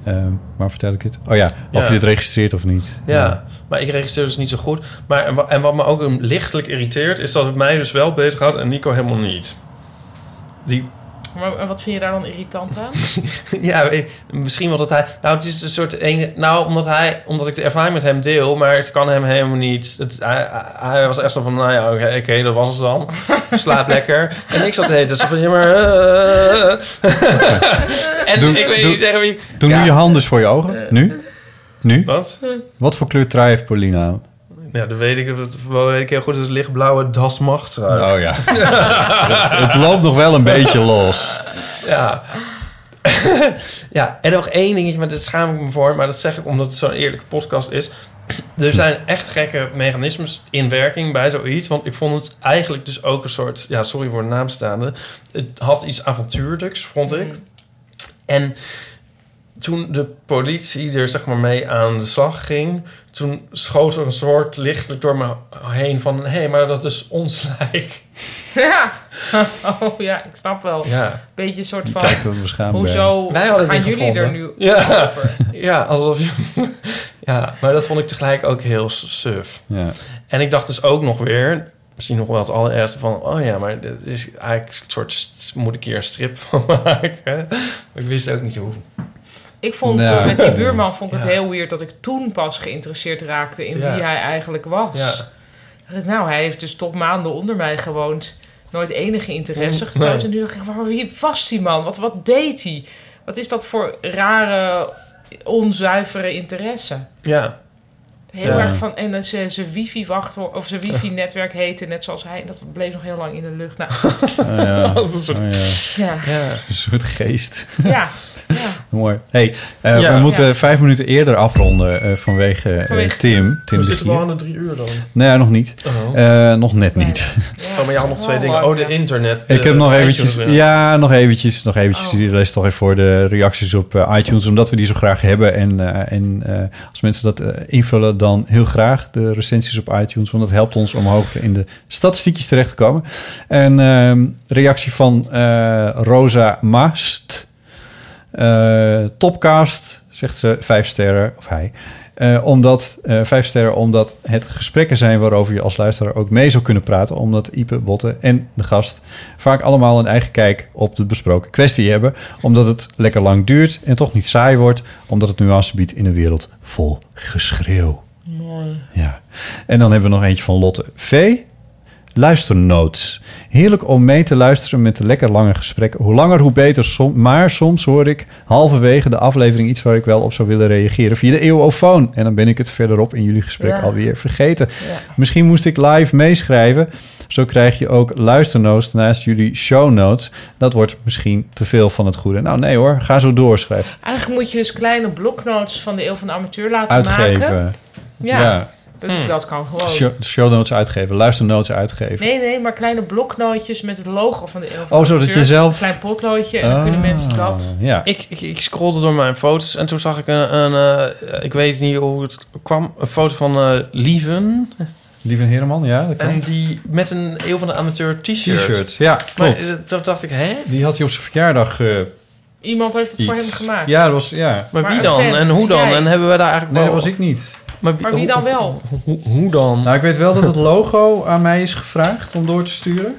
Ehm, maar vertel ik het? Oh ja, of
Ja.
je dit registreert of niet.
Ja, maar ik registreer dus niet zo goed. Maar, en wa- en wat me ook een- lichtelijk irriteert... is dat het mij dus wel bezighoudt en Nico helemaal niet. Die,
Maar wat vind je daar dan irritant aan?
ja, weet- misschien omdat hij... Nou, het is een soort... enge- nou, omdat, hij, omdat ik de ervaring met hem deel... maar het kan hem helemaal niet... Het, hij, hij was echt zo van... Nou ja, oké, oké, dat was het dan. Slaap lekker. En ik zat de hele tijd zo van... Ja, maar... eh, en
Doe-
ik weet
doe-
niet tegen wie...
Doe
Ja.
nu je hand dus voor je ogen.
Eh.
Nu? Nu?
Wat?
Wat voor kleur trui heeft Paulina aan?
Ja, dat weet ik, dat weet ik heel goed. Dat is lichtblauwe dasmacht. Oh
ja. het, het loopt nog wel een beetje los.
Ja. ja, en nog één dingetje, maar dat schaam ik me voor. Maar dat zeg ik omdat het zo'n eerlijke podcast is. Er zijn echt gekke mechanismes in werking bij zoiets. Want ik vond het eigenlijk dus ook een soort... Ja, sorry voor de naamstaande. Het had iets avontuurlijks, vond ik. En toen de politie er zeg maar mee aan de slag ging... toen schoot er een soort lichtelijk door me heen van... hé, hey, maar dat is ons lijk.
Ja. Oh ja, ik snap wel.
Ja.
Beetje een soort
Die
van.
kijkt dan beschaamd bij.
Hoezo
Wij hadden
gaan
die
jullie er nu
gevonden. Ja.
over?
Ja, alsof je... ja, maar dat vond ik tegelijk ook heel s- suf.
Ja.
En ik dacht dus ook nog weer... Misschien nog wel het allerergste van... Oh ja, maar dit is eigenlijk een soort... st- Moet ik hier een strip van maken? Maar ik wist ook niet hoe.
Ik vond
Nou.
eh, met die buurman vond ik het
Ja.
heel weird dat ik toen pas geïnteresseerd raakte in
Ja.
wie hij eigenlijk was.
Ja.
Ik dacht, Nou, hij heeft dus tot maanden onder mij gewoond. Nooit enige interesse
Mm,
getoond.
nee.
En nu dacht ik, waar wie was die man? Wat, wat deed hij? Wat is dat voor rare, onzuivere interesse?
Ja.
Heel
Ja.
erg van, en eh, ze- zijn wifi wachten, of zijn wifi netwerk heette, net zoals hij. En dat bleef nog heel lang in de lucht. Nou,
Ah, ja.
Dat is een soort-
Oh ja.
Ja.
Een soort geest.
Ja, ja.
Mooi. Hey, eh,
Ja.
we moeten
Ja.
vijf minuten eerder afronden eh, vanwege, eh,
Vanwege-
Tim. Tim
We
de
zitten
Gier.
wel aan de drie uur dan.
Nee, nog niet.
Oh.
Eh, nog net niet.
Oh, maar je had nog twee dingen. Oh, de internet.
Ik heb
eh, iTunes
nog
Oh.
eventjes,
en-
ja, nog eventjes, nog eventjes. Ik lees toch even voor de reacties op eh, iTunes, omdat we die zo graag hebben. En, eh, en eh, als mensen dat eh, invullen, dan heel graag de recensies op iTunes, want dat helpt ons om hoger in de statistiekjes terecht te komen. En ehm, reactie van eh, Rosa Mast. Eh, topcast, zegt ze, vijf sterren, of hij. Eh, omdat, eh, vijf sterren omdat het gesprekken zijn waarover je als luisteraar ook mee zou kunnen praten. Omdat Ipe, Botte en de gast vaak allemaal een eigen kijk op de besproken kwestie hebben. Omdat het lekker lang duurt en toch niet saai wordt. Omdat het nuance biedt in een wereld vol geschreeuw.
Mooi.
En dan hebben we nog eentje van Lotte V. Luisternoots. Heerlijk om mee te luisteren met de lekker lange gesprekken. Hoe langer, hoe beter. Som, maar soms hoor ik halverwege de aflevering iets waar ik wel op zou willen reageren via de eeuwofoon. En dan ben ik het verderop in jullie gesprek
Ja.
alweer vergeten. Misschien moest ik live meeschrijven. Zo krijg je ook luisternoots naast jullie show notes. Dat wordt misschien te veel van het goede. Nou nee hoor, ga zo door, schrijf.
Eigenlijk moet je dus kleine bloknotes van de Eeuw van de Amateur laten
Uitgeven.
maken. Ja,
Ja.
Dat,
Hm.
dat kan gewoon.
Show, show notes uitgeven, luisternotes uitgeven.
Nee, nee, maar kleine bloknootjes met het logo van de Eeuw van de
Oh, zodat
Amateur.
je zelf- Ah.
Klein potloodje en dan kunnen mensen dat...
Ja.
Ik, ik, ik scrollde door mijn foto's en toen zag ik een, een eh, ik weet niet hoe het kwam, een foto van eh, Lieven.
Lieve Heerman, ja. Oh, Dat kan.
En die met een Eeuw van de Amateur t-shirt.
T-shirt, ja,
Maar
klopt.
eh, toen dacht ik, hè?
Die had hij op zijn verjaardag. eh,
Iemand heeft het voor
iets.
hem gemaakt.
Ja, dat was, ja.
Maar, wie dan? En hoe dan? En hebben we daar eigenlijk
Nee,
wel-
dat was ik niet.
Maar
Maar wie dan wel?
Hoe, dan?
Nou, ik weet wel dat het logo aan mij is gevraagd om door te sturen.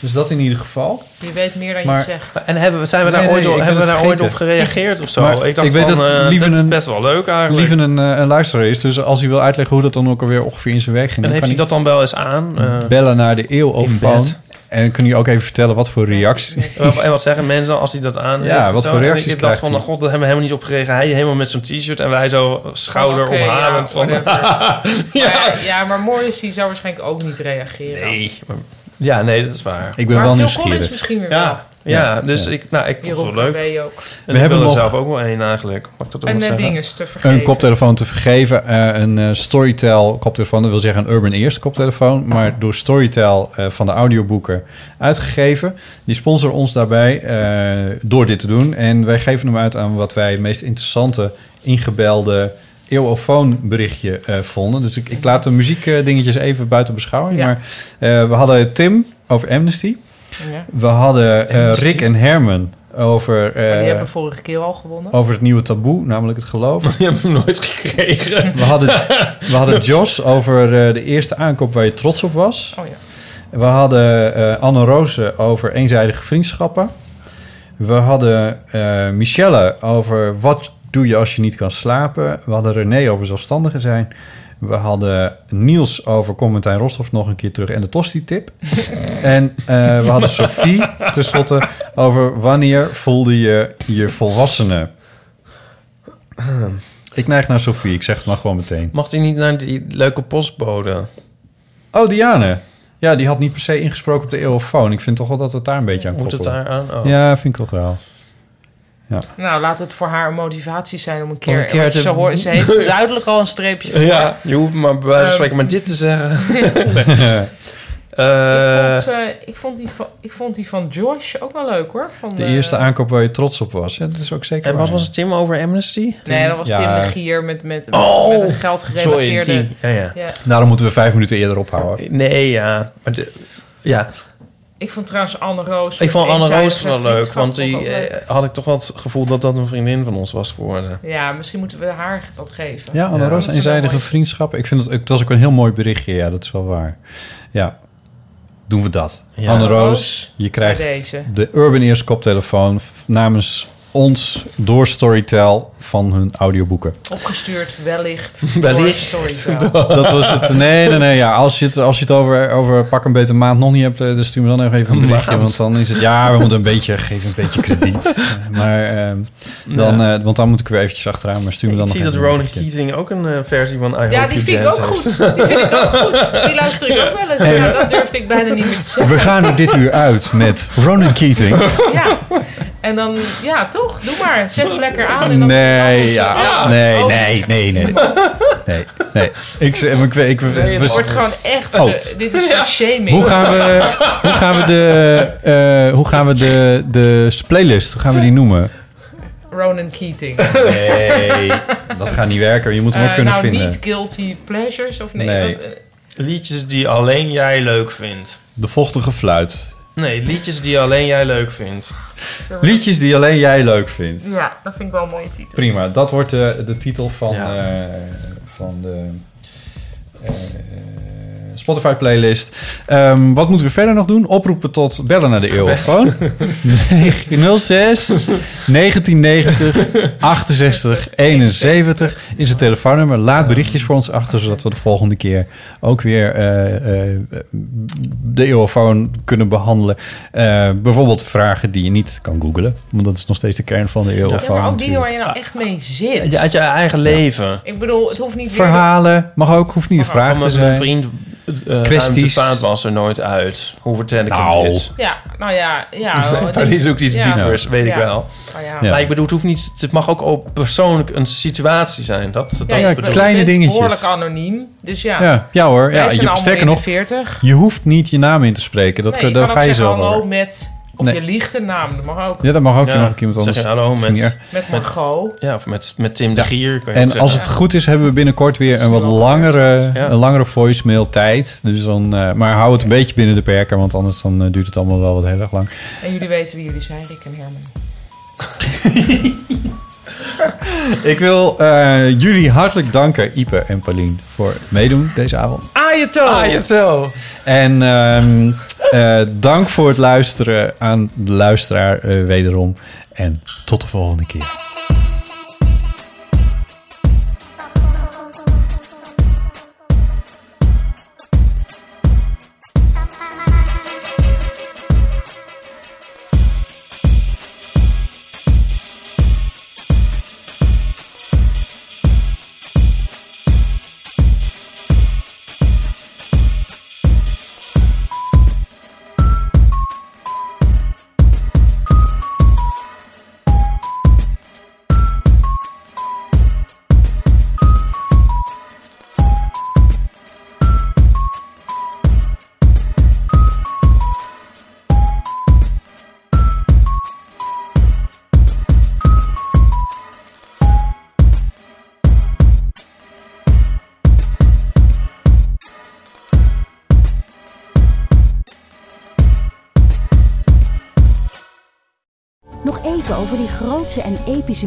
Dus dat in ieder geval.
Je weet meer dan je zegt.
En hebben we, zijn we daar,
Nee, nee,
ooit,
ik
op,
ben
hebben we
het
daar ooit op
vergeten.
gereageerd of zo?
Maar
ik dacht
ik weet
van,
dat
eh,
Lieven
dat is
een-
best wel leuk eigenlijk.
Lieven een, eh, een luisteraar is, dus als hij wil uitleggen hoe dat dan ook alweer ongeveer in zijn werk ging...
en
dan
heeft
kan
hij dat dan wel eens aan? Eh,
bellen naar de eeuwofoon.
bed.
En kun je ook even vertellen wat voor reacties...
en wat zeggen mensen dan als hij dat aan heeft
Ja,
en
wat
zo?
voor
En
reacties
Ik dacht
krijgt
van, "Oh, god, daar hebben we helemaal niet op gereageerd. Hij helemaal met zo'n t-shirt en wij zo schouder
Oké,
omhalend
ja,
van...
whatever. ja. Maar, ja, maar Morrissey zou waarschijnlijk ook niet reageren.
Nee, maar- ja, nee, dat is waar.
Ik ben
maar
wel
Phil
nieuwsgierig.
Collins misschien weer wel.
Ja, ja,
Ja,
dus
ja.
ik, nou, ik vond
Jeroen
het wel leuk.
Krabbe ook.
En
We
ik
hebben
wil er
nog-
zelf ook wel één eigenlijk. Mag ik dat ook
En
nog
net
zeggen?
dinges te vergeten.
een koptelefoon te vergeven. eh, een eh, Storytel koptelefoon, dat wil zeggen een Urban Eerst koptelefoon, maar door Storytel eh, van de audioboeken uitgegeven. Die sponsor ons daarbij eh, door dit te doen. En wij geven hem uit aan wat wij het meest interessante ingebelde eeuwofoon berichtje eh, vonden. Dus ik, ik laat de muziekdingetjes even buiten beschouwing. Maar eh, we hadden Tim over Amnesty.
Ja.
We hadden eh,
Amnesty.
Rick en Herman over... eh,
Maar die hebben vorige keer al gewonnen.
over het nieuwe taboe, namelijk het geloof.
Die hebben we nooit gekregen.
We hadden, we hadden Jos over eh, de eerste aankoop waar je trots op was.
Oh ja.
We hadden eh, Anne Roze over eenzijdige vriendschappen. We hadden eh, Michelle over wat doe je als je niet kan slapen. We hadden René over zelfstandigen zijn. We hadden Niels over Commentijn Rostov nog een keer terug en de Tosti-tip. en eh, we hadden Sophie tenslotte over wanneer voelde je je volwassene. Ik neig naar Sophie, ik zeg het maar gewoon meteen.
Mag hij niet naar die leuke postbode?
Oh, Diane. Ja, die had niet per se ingesproken op de eeuwofoon. Ik vind toch wel dat we het daar een beetje aan
Moet het
koppelen.
daar aan? Oh.
Ja, vind ik toch wel. Ja.
Nou, laat het voor haar een motivatie zijn om een keer...
Om een keer
want
te-
ze, hoort, ze heeft duidelijk al een streepje voor.
Ja, je hoeft maar bij wijze van
Ehm.
spreken maar dit te zeggen.
Nee.
Eh,
Want, eh, ik, vond die van, ik vond die van Josh ook wel leuk, hoor. Van,
De
eh,
eerste aankoop waar je trots op was. Ja, dat is ook zeker
en wat
waar.
was het Tim over Amnesty?
Nee, dat was
Ja.
Tim de Gier met, met, met,
Oh!
met een
Sorry,
geldgerelateerde...
Tim. Ja, ja.
Daarom moeten we vijf minuten eerder ophouden.
Nee, ja. Maar de- ja.
Ik vond trouwens Anne Roos...
Ik vond Anne
eenzijdige
Roos wel leuk,
vriendschap
want
ook
die
wel leuk.
eh, had ik toch wel het gevoel dat dat een vriendin van ons was geworden.
Ja, misschien moeten we haar dat geven.
Ja, Anne Roos,
Dat is wel
eenzijdige vriendschap. Ik vind dat, het was ook een heel mooi berichtje. Ja, dat is wel waar. Ja, doen we dat.
Ja.
Anne
Roos,
Roos, je krijgt
bij deze.
de Urban Ears koptelefoon f- namens ons door Storytel van hun audioboeken.
Opgestuurd wellicht.
Wellicht.
door Storytel.
Dat was het. Nee, nee, nee. Ja, als je het, als je het over, over pak een beter maand nog niet hebt, eh, dan stuur me dan nog even een
Een
berichtje.
maand.
Want dan is het, ja, we moeten een beetje, geef een beetje krediet. Eh, Maar ehm, dan, eh, want dan moet ik weer eventjes achteraan, maar stuur me dan
Ik
nog
zie dat
even een
Ronan
berichtje.
Keating ook een eh, versie van I Hope
Ja,
You
die vind ik ook
Dance
goed.
heeft.
Die vind ik ook goed. Die luister ik ook wel eens.
Hey.
Ja, dat durfde ik bijna niet meer te zeggen.
We gaan er dit uur uit met Ronan Keating.
Ja. En dan, ja, toch? Doe maar. Zet hem lekker aan. En dan
Nee, ja.
Ja.
Nee,
Oh.
nee, nee, nee. Nee, nee. Ik, zeg- ik, ik,
Nee, het
we-
wordt gewoon echt...
Oh.
eh, dit is ja. shaming.
Hoe gaan we, hoe gaan we, de, eh, hoe gaan we de, de playlist, hoe gaan we die noemen?
Ronan Keating.
Nee, dat gaat niet werken. Je moet hem ook
Eh,
kunnen
nou,
vinden.
niet guilty pleasures of nee?
Nee.
want, eh,
Liedjes die alleen jij leuk vindt.
De vochtige fluit.
Nee, liedjes die alleen jij leuk vindt.
Liedjes die alleen jij leuk vindt.
ja, dat vind ik wel een mooie titel.
Prima, dat wordt de, de titel van, eh, van de... eh, Spotify playlist. Ehm, wat moeten we verder nog doen? Oproepen tot bellen naar de eeuwfoon. 06 1990 68 71 is het telefoonnummer. Laat berichtjes voor ons achter, zodat we de volgende keer ook weer eh, eh, de eeuwfoon kunnen behandelen. Eh, bijvoorbeeld vragen die je niet kan googlen, want dat is nog steeds de kern van de eeuwfoon.
Ja, maar ook dingen waar je nou echt mee zit.
Je- Ah. Uit je eigen leven.
Ik bedoel, het hoeft niet weer-
Verhalen, mag ook, hoeft niet een vraag
Van
te
mijn,
zijn.
mijn vriend uh,
Kwesties.
Kwesties. was er nooit uit. Hoe vertel ik
Nou.
hem dit?
Ja, nou ja. ja
Nee,
het
maar die zoekt iets
ja.
diepers, weet ik
Ja.
wel.
Nou ja.
Maar ik bedoel, het, hoeft niet, het mag ook op persoonlijk een situatie zijn. Dat, dat
Ja, je bent-
bedoel ik.
kleine
je bent
dingetjes.
Behoorlijk anoniem. Dus ja.
Ja, ja hoor.
Wij
Ja,
zijn
je,
allemaal
sterker
in de
nog,
40.
je hoeft niet je naam in te spreken. Dat,
Nee,
kun-
je
daar
kan
ga
ook
je
zeggen oh,
zelf
hallo
over.
met... Of
Nee.
je liegt een naam. Dat mag ook.
Ja, dat mag ook.
Ja,
Je mag ook iemand
zeg
anders.
je hallo met-
vinger.
Met Margot.
Ja, of met, met Tim de Gier. Kan je ook
En
zeggen.
als het goed is, hebben we binnenkort weer een wat langere, een langere voicemail tijd. Dus dan, eh, maar hou het een beetje binnen de perken, want anders dan, eh, duurt het allemaal wel wat heel erg lang.
En jullie weten wie jullie zijn, Rick en Herman.
Ik wil eh, jullie hartelijk danken, Ipe en Paulien, voor het meedoen deze avond.
Ayato!
En ehm, eh, dank voor het luisteren aan de luisteraar eh, wederom. En tot de volgende keer.
Nog even over die grootse en epische